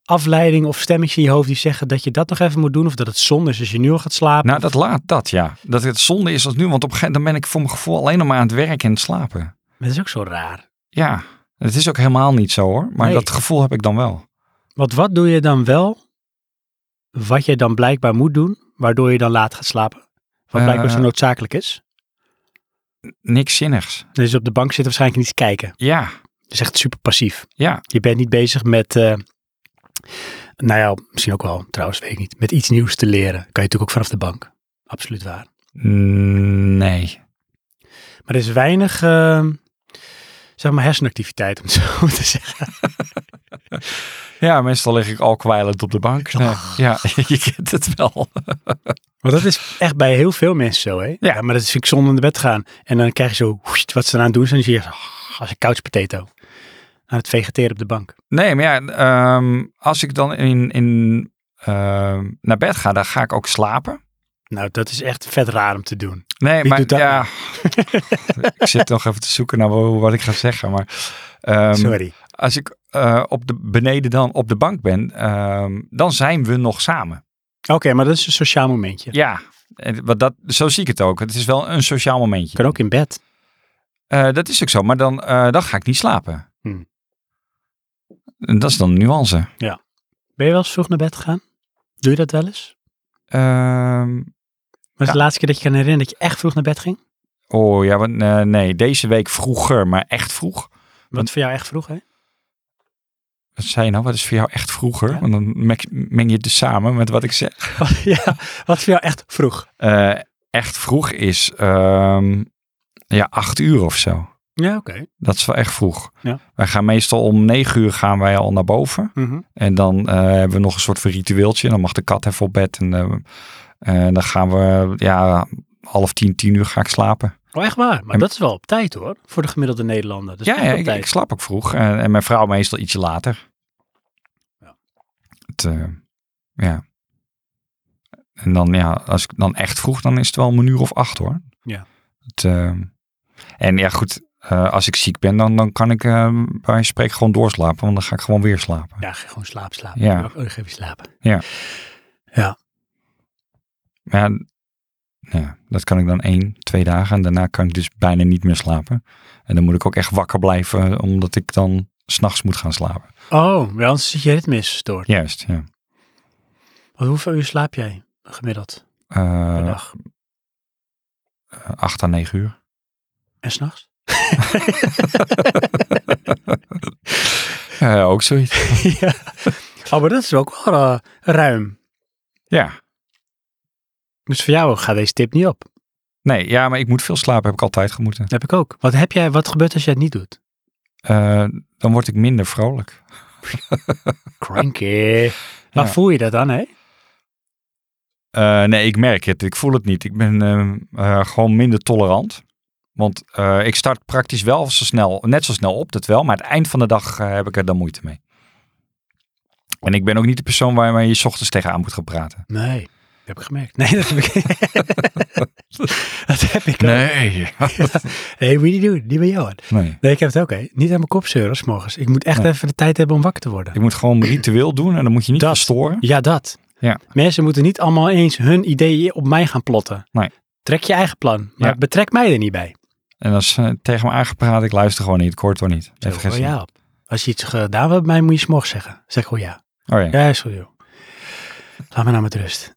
Speaker 1: afleiding of stemmetjes in je hoofd die zeggen dat je dat nog even moet doen. Of dat het zonde is als je nu al gaat slapen.
Speaker 2: Nou, dat laat dat, ja. Dat het zonde is als nu, want op een gegeven moment dan ben ik voor mijn gevoel alleen nog maar aan het werk en het slapen.
Speaker 1: Maar dat is ook zo raar.
Speaker 2: Ja. Het is ook helemaal niet zo hoor, maar
Speaker 1: Nee.
Speaker 2: dat gevoel heb ik dan wel.
Speaker 1: Want wat doe je dan wel, wat je dan blijkbaar moet doen, waardoor je dan laat gaat slapen? Wat
Speaker 2: Eh,
Speaker 1: blijkbaar zo noodzakelijk is.
Speaker 2: Niks zinnigs.
Speaker 1: Dus op de bank zitten waarschijnlijk niet te kijken.
Speaker 2: Ja.
Speaker 1: Dat is echt super passief.
Speaker 2: Ja.
Speaker 1: Je bent niet bezig met, eh, nou ja, misschien ook wel, trouwens weet ik niet, met iets nieuws te leren. Kan je natuurlijk ook vanaf de bank. Absoluut waar.
Speaker 2: Mm, Nee.
Speaker 1: Maar er is weinig, eh, zeg maar, hersenactiviteit, om het zo te zeggen.
Speaker 2: Ja, meestal lig ik al kwijlend op de bank. Nee. Ja, je kent het wel.
Speaker 1: Want dat is echt bij heel veel mensen zo, hè? Ja. maar dat is vind ik zonde in de bed te gaan. En dan krijg je zo, wst, wat ze dan aan het doen zijn, dan zie je oh, als een couch potato. Aan het vegeteren op de bank.
Speaker 2: Nee, maar ja, ehm, als ik dan in, in, ehm, naar bed ga, dan ga ik ook slapen.
Speaker 1: Nou, dat is echt vet raar om te doen.
Speaker 2: Nee,
Speaker 1: Wie
Speaker 2: maar
Speaker 1: doet dat
Speaker 2: ja, ik zit nog even te zoeken naar wa- wat ik ga zeggen. Maar ehm,
Speaker 1: Sorry.
Speaker 2: als ik eh, op de, beneden dan op de bank ben, ehm, dan zijn we nog samen.
Speaker 1: Oké, maar dat is een sociaal momentje.
Speaker 2: Ja, en wat dat, zo zie ik het ook. Het is wel een sociaal momentje.
Speaker 1: Kan ook in bed.
Speaker 2: Eh, dat is ook zo, maar dan, eh, dan ga ik niet slapen.
Speaker 1: Hmm.
Speaker 2: En Dat is dan een nuance.
Speaker 1: Ben je wel eens vroeg naar bed gegaan? Doe je dat wel eens?
Speaker 2: Ehm,
Speaker 1: Maar
Speaker 2: Ja.
Speaker 1: de laatste keer dat je kan herinneren dat je echt vroeg naar bed ging?
Speaker 2: oh ja, want, eh, nee, deze week vroeger, maar echt vroeg. Hm.
Speaker 1: Wat voor jou echt vroeg, hè?
Speaker 2: Wat zei je nou? Wat is voor jou echt vroeger?
Speaker 1: Ja.
Speaker 2: Want dan mek- meng je het dus samen met wat ik zeg.
Speaker 1: ja, wat voor jou echt vroeg?
Speaker 2: Eh, echt vroeg is ehm, ja, acht uur of zo.
Speaker 1: Ja, oké.
Speaker 2: Dat is wel echt vroeg.
Speaker 1: Ja.
Speaker 2: Wij gaan meestal om negen uur gaan wij al naar boven.
Speaker 1: Mhm.
Speaker 2: En dan eh, hebben we nog een soort van ritueeltje. Dan mag de kat even op bed. En eh, eh, dan gaan we, ja, half tien, tien uur ga ik slapen.
Speaker 1: Oh, echt waar? Maar
Speaker 2: En-
Speaker 1: dat is wel op tijd, hoor. Voor de gemiddelde Nederlander. Dat is
Speaker 2: Hm. ja,
Speaker 1: echt
Speaker 2: ja
Speaker 1: op
Speaker 2: ik,
Speaker 1: tijd.
Speaker 2: ik slaap ook vroeg. En, en mijn vrouw meestal ietsje later.
Speaker 1: Ja.
Speaker 2: Het, eh, ja. En dan, ja, als ik dan echt vroeg, dan is het wel om een uur of acht hoor.
Speaker 1: Ja.
Speaker 2: Het, eh, en ja, goed. eh, als ik ziek ben, dan, dan kan ik eh bij spreek gewoon doorslapen. Want dan ga ik gewoon weer slapen.
Speaker 1: Ja, ga gewoon slaap, slapen.
Speaker 2: Ja.
Speaker 1: Oh, ik ga even slapen.
Speaker 2: Maar ja, nou ja, dat kan ik dan één, twee dagen. En daarna kan ik dus bijna niet meer slapen. En dan moet ik ook echt wakker blijven, omdat ik dan s'nachts moet gaan slapen.
Speaker 1: Oh, wel, anders zit je ritme is verstoord.
Speaker 2: Juist, ja.
Speaker 1: Want hoeveel uur slaap jij gemiddeld per
Speaker 2: Eh
Speaker 1: dag?
Speaker 2: acht à negen uur.
Speaker 1: En s'nachts?
Speaker 2: Eh, ook zoiets.
Speaker 1: ja. Oh, maar dat is ook wel eh, ruim.
Speaker 2: Ja.
Speaker 1: Dus voor jou gaat deze tip niet op.
Speaker 2: Nee, ja, maar ik moet veel slapen, heb ik altijd gemoeten.
Speaker 1: Dat heb ik ook. Wat, heb jij, wat gebeurt als jij het niet doet?
Speaker 2: Eh, dan word ik minder vrolijk.
Speaker 1: Cranky. Maar
Speaker 2: Ja.
Speaker 1: voel je dat dan, hè?
Speaker 2: Eh, nee, ik merk het. Ik voel het niet. Ik ben ehm, eh, gewoon minder tolerant. Want eh, ik start praktisch wel zo snel, net zo snel op, dat wel. Maar het eind van de dag eh, heb ik er dan moeite mee. En ik ben ook niet de persoon waar waar je s ochtends tegenaan moet gaan praten.
Speaker 1: Nee. Dat heb ik gemerkt. Nee, dat heb ik Dat heb ik ook.
Speaker 2: Nee.
Speaker 1: Nee, moet je niet doen. Niet bij jou. hoor.
Speaker 2: nee.
Speaker 1: Nee, ik heb het ook, hè? Niet aan mijn kop zeuren 's morgens. Ik moet echt
Speaker 2: Nee.
Speaker 1: even de tijd hebben om wakker te worden.
Speaker 2: Ik moet gewoon mijn ritueel doen en dan moet je niet
Speaker 1: Dat.
Speaker 2: verstoren.
Speaker 1: Ja, dat.
Speaker 2: Ja.
Speaker 1: Mensen moeten niet allemaal eens hun ideeën op mij gaan plotten.
Speaker 2: Nee.
Speaker 1: Trek je eigen plan, maar
Speaker 2: Ja.
Speaker 1: betrek mij er niet bij.
Speaker 2: En als ze tegen me aangepraat, ik luister gewoon niet. Ik hoor het wel niet. Even
Speaker 1: Zeg
Speaker 2: geen
Speaker 1: gewoon
Speaker 2: zin.
Speaker 1: oh ja op. Als je iets gedaan hebt bij mij, moet je smog zeggen. Zeg gewoon ja.
Speaker 2: Oh ja.
Speaker 1: Ja, is goed joh. Laat me nou met rust.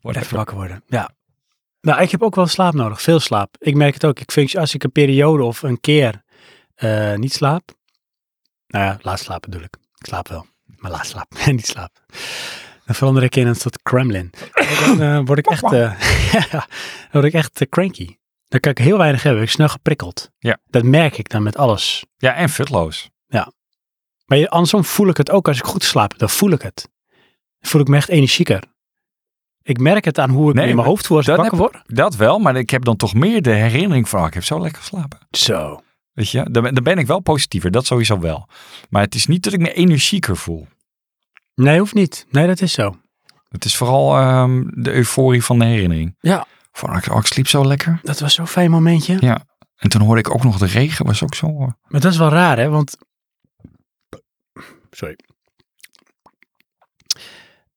Speaker 2: Whatever.
Speaker 1: Even wakker worden. Ja. Nou, ik heb ook wel slaap nodig. Veel slaap. Ik merk het ook. Ik vind, als ik een periode of een keer eh, niet slaap. Nou ja, laat slapen bedoel ik. Ik slaap wel. Maar laat slaap. En niet slaap. Dan verander ik in een soort gremlin. Dan eh, word ik echt, eh, ja, dan word ik echt eh, cranky. Dan kan ik heel weinig hebben. Ik snel geprikkeld.
Speaker 2: Ja.
Speaker 1: Dat merk ik dan met alles.
Speaker 2: Ja, en futloos.
Speaker 1: Maar je- andersom voel ik het ook als ik goed slaap. Dan voel ik het. Dan voel ik me echt energieker. Ik merk het aan hoe ik
Speaker 2: Nee,
Speaker 1: me in mijn
Speaker 2: maar
Speaker 1: hoofd voel als ik
Speaker 2: dat
Speaker 1: wakker
Speaker 2: heb-
Speaker 1: word.
Speaker 2: Dat wel, maar ik heb dan toch meer de herinnering van, oh, ik heb zo lekker geslapen.
Speaker 1: Zo.
Speaker 2: Weet je, dan, ben- dan ben ik wel positiever, dat sowieso wel. Maar het is niet dat ik me energieker voel.
Speaker 1: Nee, hoeft niet. Nee, dat is zo.
Speaker 2: Het is vooral ehm, de euforie van de herinnering.
Speaker 1: Ja.
Speaker 2: Van, ik- oh, ik sliep zo lekker.
Speaker 1: Dat was zo'n fijn momentje.
Speaker 2: Ja. En toen hoorde ik ook nog de regen, was ook zo. eh,
Speaker 1: Maar dat is wel raar, hè? Want. Sorry.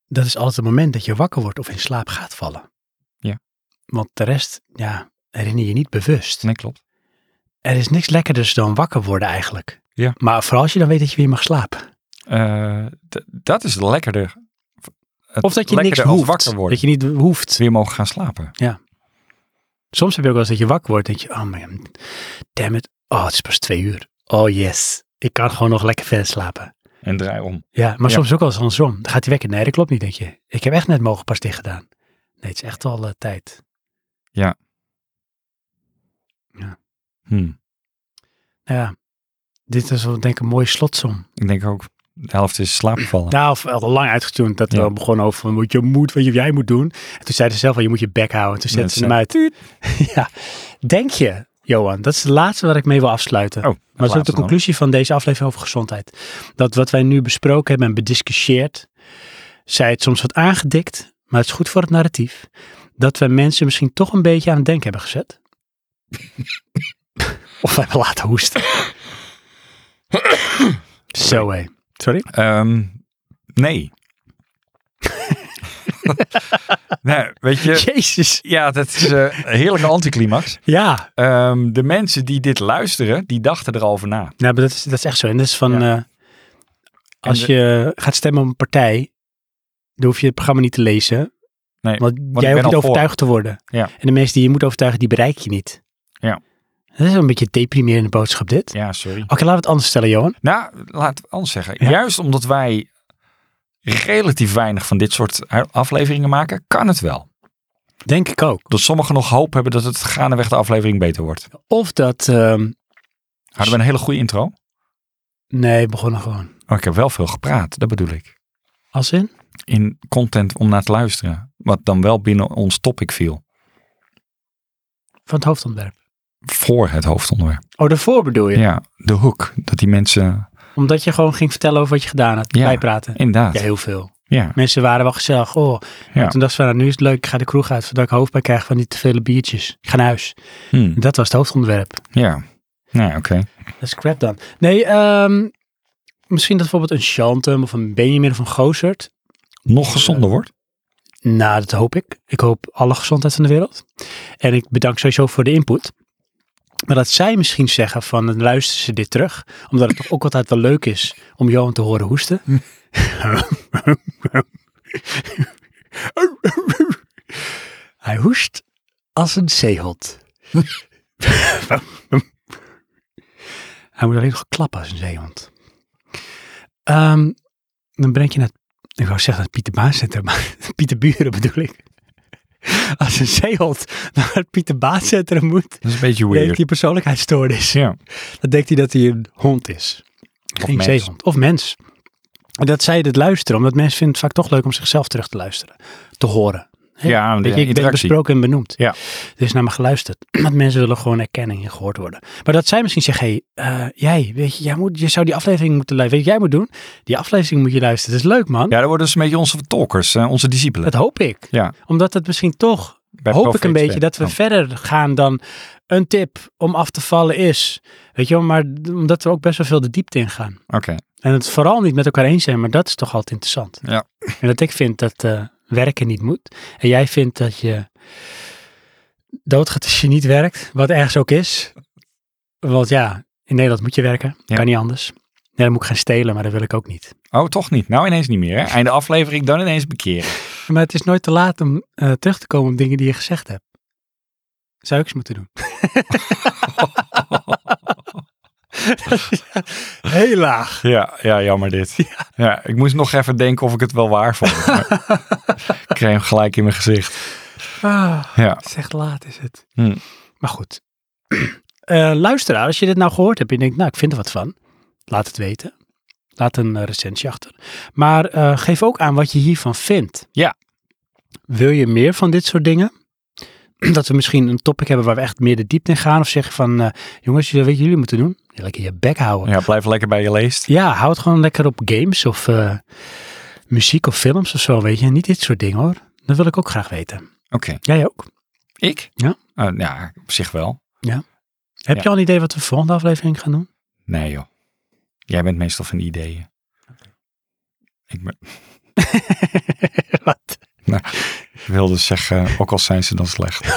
Speaker 1: Dat is altijd het moment dat je wakker wordt of in slaap gaat vallen.
Speaker 2: Ja.
Speaker 1: Want de rest, ja, herinner je niet bewust.
Speaker 2: Nee, klopt.
Speaker 1: Er is niks lekkerders dan wakker worden eigenlijk.
Speaker 2: Ja.
Speaker 1: Maar vooral als je dan weet dat je weer mag slapen.
Speaker 2: Eh, d- dat is lekkerder. Het
Speaker 1: Of dat je niks
Speaker 2: lekkerder als
Speaker 1: hoeft.
Speaker 2: wakker worden.
Speaker 1: Dat je niet hoeft.
Speaker 2: Weer mogen gaan slapen.
Speaker 1: Soms heb je ook wel eens dat je wakker wordt en denk je, oh man, damn it. Oh, het is pas twee uur. Oh yes, ik kan gewoon nog lekker verder slapen.
Speaker 2: En draai om.
Speaker 1: Ja, maar
Speaker 2: Ja.
Speaker 1: soms ook wel eens andersom. Dan gaat hij wekken. Nee, dat klopt niet, denk je. Ik heb echt net mogen pas dicht gedaan. Nee, het is echt al eh, tijd.
Speaker 2: Hm.
Speaker 1: Nou ja, dit is wel denk ik een mooie slotsom.
Speaker 2: Ik denk ook, de helft is slaapvallen.
Speaker 1: Nou, of al lang uitgetuned dat we
Speaker 2: Ja.
Speaker 1: al begonnen over wat je moet, wat je- jij moet doen. En toen zei ze zelf al, je moet je bek houden. Toen zetten
Speaker 2: Net
Speaker 1: ze hem uit. ja, denk je, Johan, dat is het laatste waar ik mee wil afsluiten.
Speaker 2: Oh,
Speaker 1: Maar dat is
Speaker 2: laatste
Speaker 1: ook de
Speaker 2: dan.
Speaker 1: conclusie van deze aflevering over gezondheid. Dat wat wij nu besproken hebben en bediscussieerd, zij het soms wat aangedikt, maar het is goed voor het narratief. Dat we mensen misschien toch een beetje aan het denken hebben gezet. of hebben laten hoesten. Zo hé.
Speaker 5: Sorry?
Speaker 2: Ehm, nee. nou, weet je,
Speaker 1: Jezus.
Speaker 2: ja, dat is eh, een heerlijke anticlimax.
Speaker 1: Ja,
Speaker 2: Ehm, de mensen die dit luisteren, die dachten erover na.
Speaker 1: nou, maar dat, is, dat is echt zo. En dat is van, eh, als
Speaker 2: En de-
Speaker 1: je gaat stemmen op een partij, dan hoef je het programma niet te lezen.
Speaker 2: Nee,
Speaker 1: want
Speaker 2: ben
Speaker 1: jij hoeft
Speaker 2: al
Speaker 1: niet
Speaker 2: voor.
Speaker 1: overtuigd te worden.
Speaker 2: Ja.
Speaker 1: En de mensen die je moet overtuigen, die bereik je niet.
Speaker 2: Ja.
Speaker 1: Dat is een beetje een deprimerende boodschap dit.
Speaker 2: Ja, sorry.
Speaker 1: Oké, laten we het anders stellen, Johan.
Speaker 2: Nou, laat ik anders zeggen.
Speaker 1: Ja.
Speaker 2: Juist omdat wij relatief weinig van dit soort afleveringen maken, kan het wel.
Speaker 1: Denk ik ook.
Speaker 2: Dat sommigen nog hoop hebben dat het gaandeweg de aflevering beter wordt.
Speaker 1: Of dat, ehm,
Speaker 2: Hadden we een hele goede intro?
Speaker 1: nee, begonnen gewoon.
Speaker 2: Oh, ik heb wel veel gepraat, dat bedoel ik.
Speaker 1: Als in?
Speaker 2: In content om naar te luisteren. Wat dan wel binnen ons topic viel.
Speaker 1: Van het hoofdontwerp.
Speaker 2: Voor het hoofdonderwerp.
Speaker 1: Oh, daarvoor bedoel je?
Speaker 2: Ja, de hoek. Dat die mensen...
Speaker 1: Omdat je gewoon ging vertellen over wat je gedaan had.
Speaker 2: Ja.
Speaker 1: Bijpraten.
Speaker 2: Inderdaad.
Speaker 1: Ja,
Speaker 2: Ja.
Speaker 1: heel veel. Mensen waren wel gezellig. Oh.
Speaker 2: Ja.
Speaker 1: Toen dachten ze, nou, nu is het leuk. Ik ga de kroeg uit voordat ik hoofdpijn krijg van die te vele biertjes. Ik ga naar huis.
Speaker 2: Hm,
Speaker 1: Dat was het hoofdonderwerp.
Speaker 2: ja. Nou, ja, oké.
Speaker 1: Dat is crap dan. Nee, ehm, misschien dat bijvoorbeeld een Chantem of een Benjamin of een Gozert.
Speaker 2: Nog gezonder wordt.
Speaker 1: Nou, dat hoop ik. Ik hoop alle gezondheid van de wereld. En ik bedank sowieso voor de input. Maar dat zij misschien zeggen van, dan luisteren ze dit terug. Omdat het toch ook altijd wel leuk is om Johan te horen hoesten. Hij hoest als een zeehond. Hij moet alleen nog klappen als een zeehond. Ehm, dan breng je het, ik wou zeggen het Pieter Baan Centrum, maar Pieter Buren bedoel ik. Als een zeehond naar het Pieter Baan Centrum moet,
Speaker 2: Dat is een beetje
Speaker 1: denkt
Speaker 2: weird.
Speaker 1: hij persoonlijkheidsstoornis.
Speaker 2: Ja.
Speaker 1: Dan denkt hij dat hij een hond is.
Speaker 2: Of
Speaker 1: Geen
Speaker 2: mens.
Speaker 1: zeehond. Of mens. En dat zij dit luisteren, omdat mensen vinden het vaak toch leuk om zichzelf terug te luisteren. Te horen. Hè?
Speaker 2: Ja,
Speaker 1: Weet
Speaker 2: de
Speaker 1: je, ik ben
Speaker 2: interactie.
Speaker 1: besproken en benoemd.
Speaker 2: Ja.
Speaker 1: Er is naar me geluisterd. Want mensen willen gewoon erkenning en gehoord worden. Maar dat zij misschien zeggen, hey, eh, jij, weet je, jij moet, je zou die aflevering moeten luisteren. Weet je wat jij moet doen? Die aflevering moet je luisteren. Dat is leuk, man.
Speaker 2: Ja, dat worden dus een beetje onze talkers, eh, onze discipelen.
Speaker 1: Dat hoop ik.
Speaker 2: Ja.
Speaker 1: Omdat het misschien toch,
Speaker 2: Bij
Speaker 1: hoop
Speaker 2: Profit
Speaker 1: ik een beetje,
Speaker 2: Expert.
Speaker 1: dat we
Speaker 2: Oh.
Speaker 1: verder gaan dan een tip om af te vallen is. Weet je wel, maar d- omdat we ook best wel veel de diepte in gaan.
Speaker 2: Oh, Oké.
Speaker 1: En het vooral niet met elkaar eens zijn, maar dat is toch altijd interessant.
Speaker 2: Ja.
Speaker 1: En dat ik vind dat eh, werken niet moet. En jij vindt dat je doodgaat als je niet werkt, wat ergens ook is. Want ja, in Nederland moet je werken,
Speaker 2: Ja.
Speaker 1: kan niet anders. Nee, dan moet ik gaan stelen, maar dat wil ik ook niet.
Speaker 2: Oh, toch niet. Nou ineens niet meer. Hè? Einde aflevering, dan ineens bekeren.
Speaker 1: Maar het is nooit te laat om eh, terug te komen op dingen die je gezegd hebt. Zou ik eens moeten doen. Heel laag.
Speaker 2: Ja, ja jammer dit. Ja. ik moest nog even denken of ik het wel waar vond. maar ik kreeg hem gelijk in mijn gezicht.
Speaker 1: Ah.
Speaker 2: Ja.
Speaker 1: Het is echt laat, is het.
Speaker 2: Hmm.
Speaker 1: Maar goed. Eh luisteraar, als je dit nou gehoord hebt en je denkt, nou, ik vind er wat van. Laat het weten. Laat een eh, recensie achter. Maar eh, geef ook aan wat je hiervan vindt.
Speaker 2: Ja.
Speaker 1: Wil je meer van dit soort dingen? Dat we misschien een topic hebben waar we echt meer de diepte in gaan. Of zeggen van, eh, jongens, jullie- weet je wat jullie moeten doen? Lekker je bek houden.
Speaker 2: ja, blijf lekker bij je leest.
Speaker 1: Ja, houd gewoon lekker op games of eh, muziek of films of zo, weet je. Niet dit soort dingen hoor. Dat wil ik ook graag weten.
Speaker 2: Oké.
Speaker 1: Jij ook?
Speaker 2: Ik?
Speaker 1: Ja.
Speaker 2: Eh, ja, op zich wel.
Speaker 1: Heb
Speaker 2: Ja.
Speaker 1: je al een idee wat we de volgende aflevering gaan doen?
Speaker 2: Nee joh. Jij bent meestal van die ideeën. Ik ben-
Speaker 1: wat?
Speaker 2: wilde zeggen, ook al zijn ze dan slecht.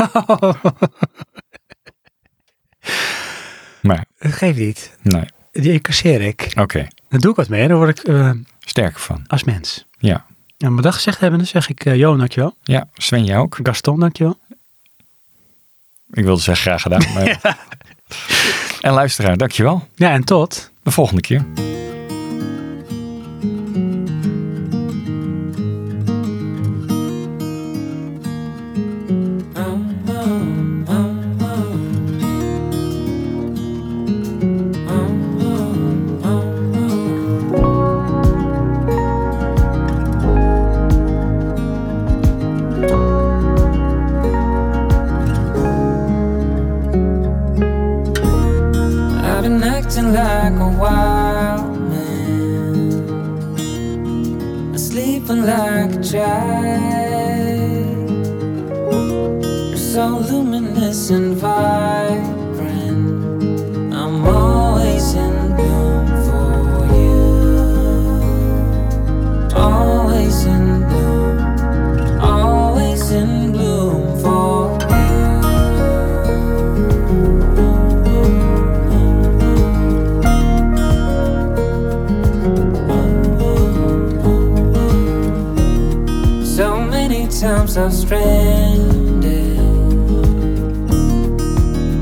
Speaker 2: Maar
Speaker 1: Dat geeft niet.
Speaker 2: nee, oké.
Speaker 1: Die incasseer ik. Daar doe ik wat mee. hè. Dan word ik eh,
Speaker 2: Sterker van.
Speaker 1: als mens.
Speaker 2: Ja.
Speaker 1: En mijn dag gezegd hebben, dan zeg ik eh Johan, dankjewel.
Speaker 2: Ja, Sven, jij ook?
Speaker 1: Gaston, dankjewel.
Speaker 2: Ik wilde zeggen graag gedaan. Maar... En luisteraar, dankjewel.
Speaker 1: Ja, en tot.
Speaker 2: De volgende keer.
Speaker 6: I've been acting like a wild man, sleeping like a child. You're so luminous and vibrant. I'm always in bloom for you. times I've stranded.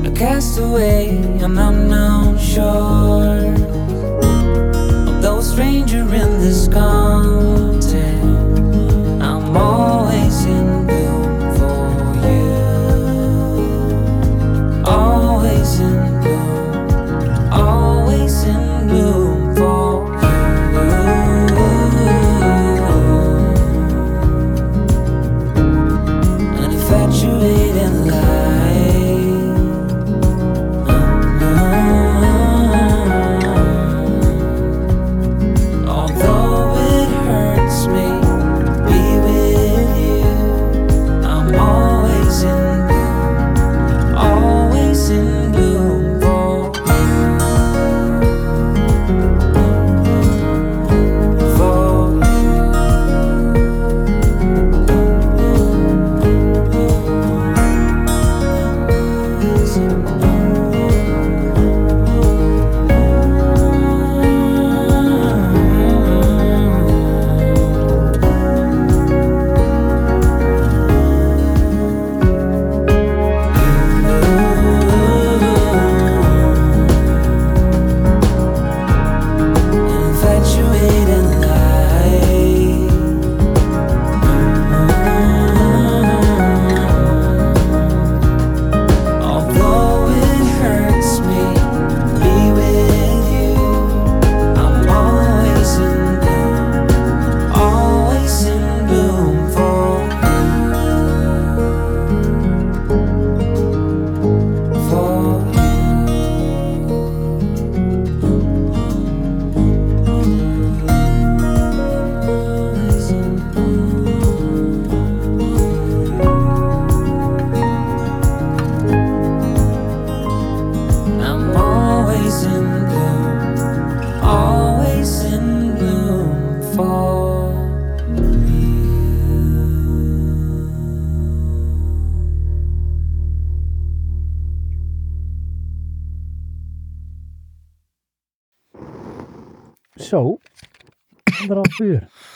Speaker 6: A castaway on unknown shore. Although a stranger in this content, I'm always in bloom for you. Always in bloom. Always in bloom for you. An infatuated light. Although it hurts me to be with you, I'm always in bloom, always in bloom for you, for Infatuated light. Although it hurts me to be with you, I'm always in bloom, always in bloom for you, for you. I'm always in bloom, always in bloom for.
Speaker 1: Zo, anderhalf uur.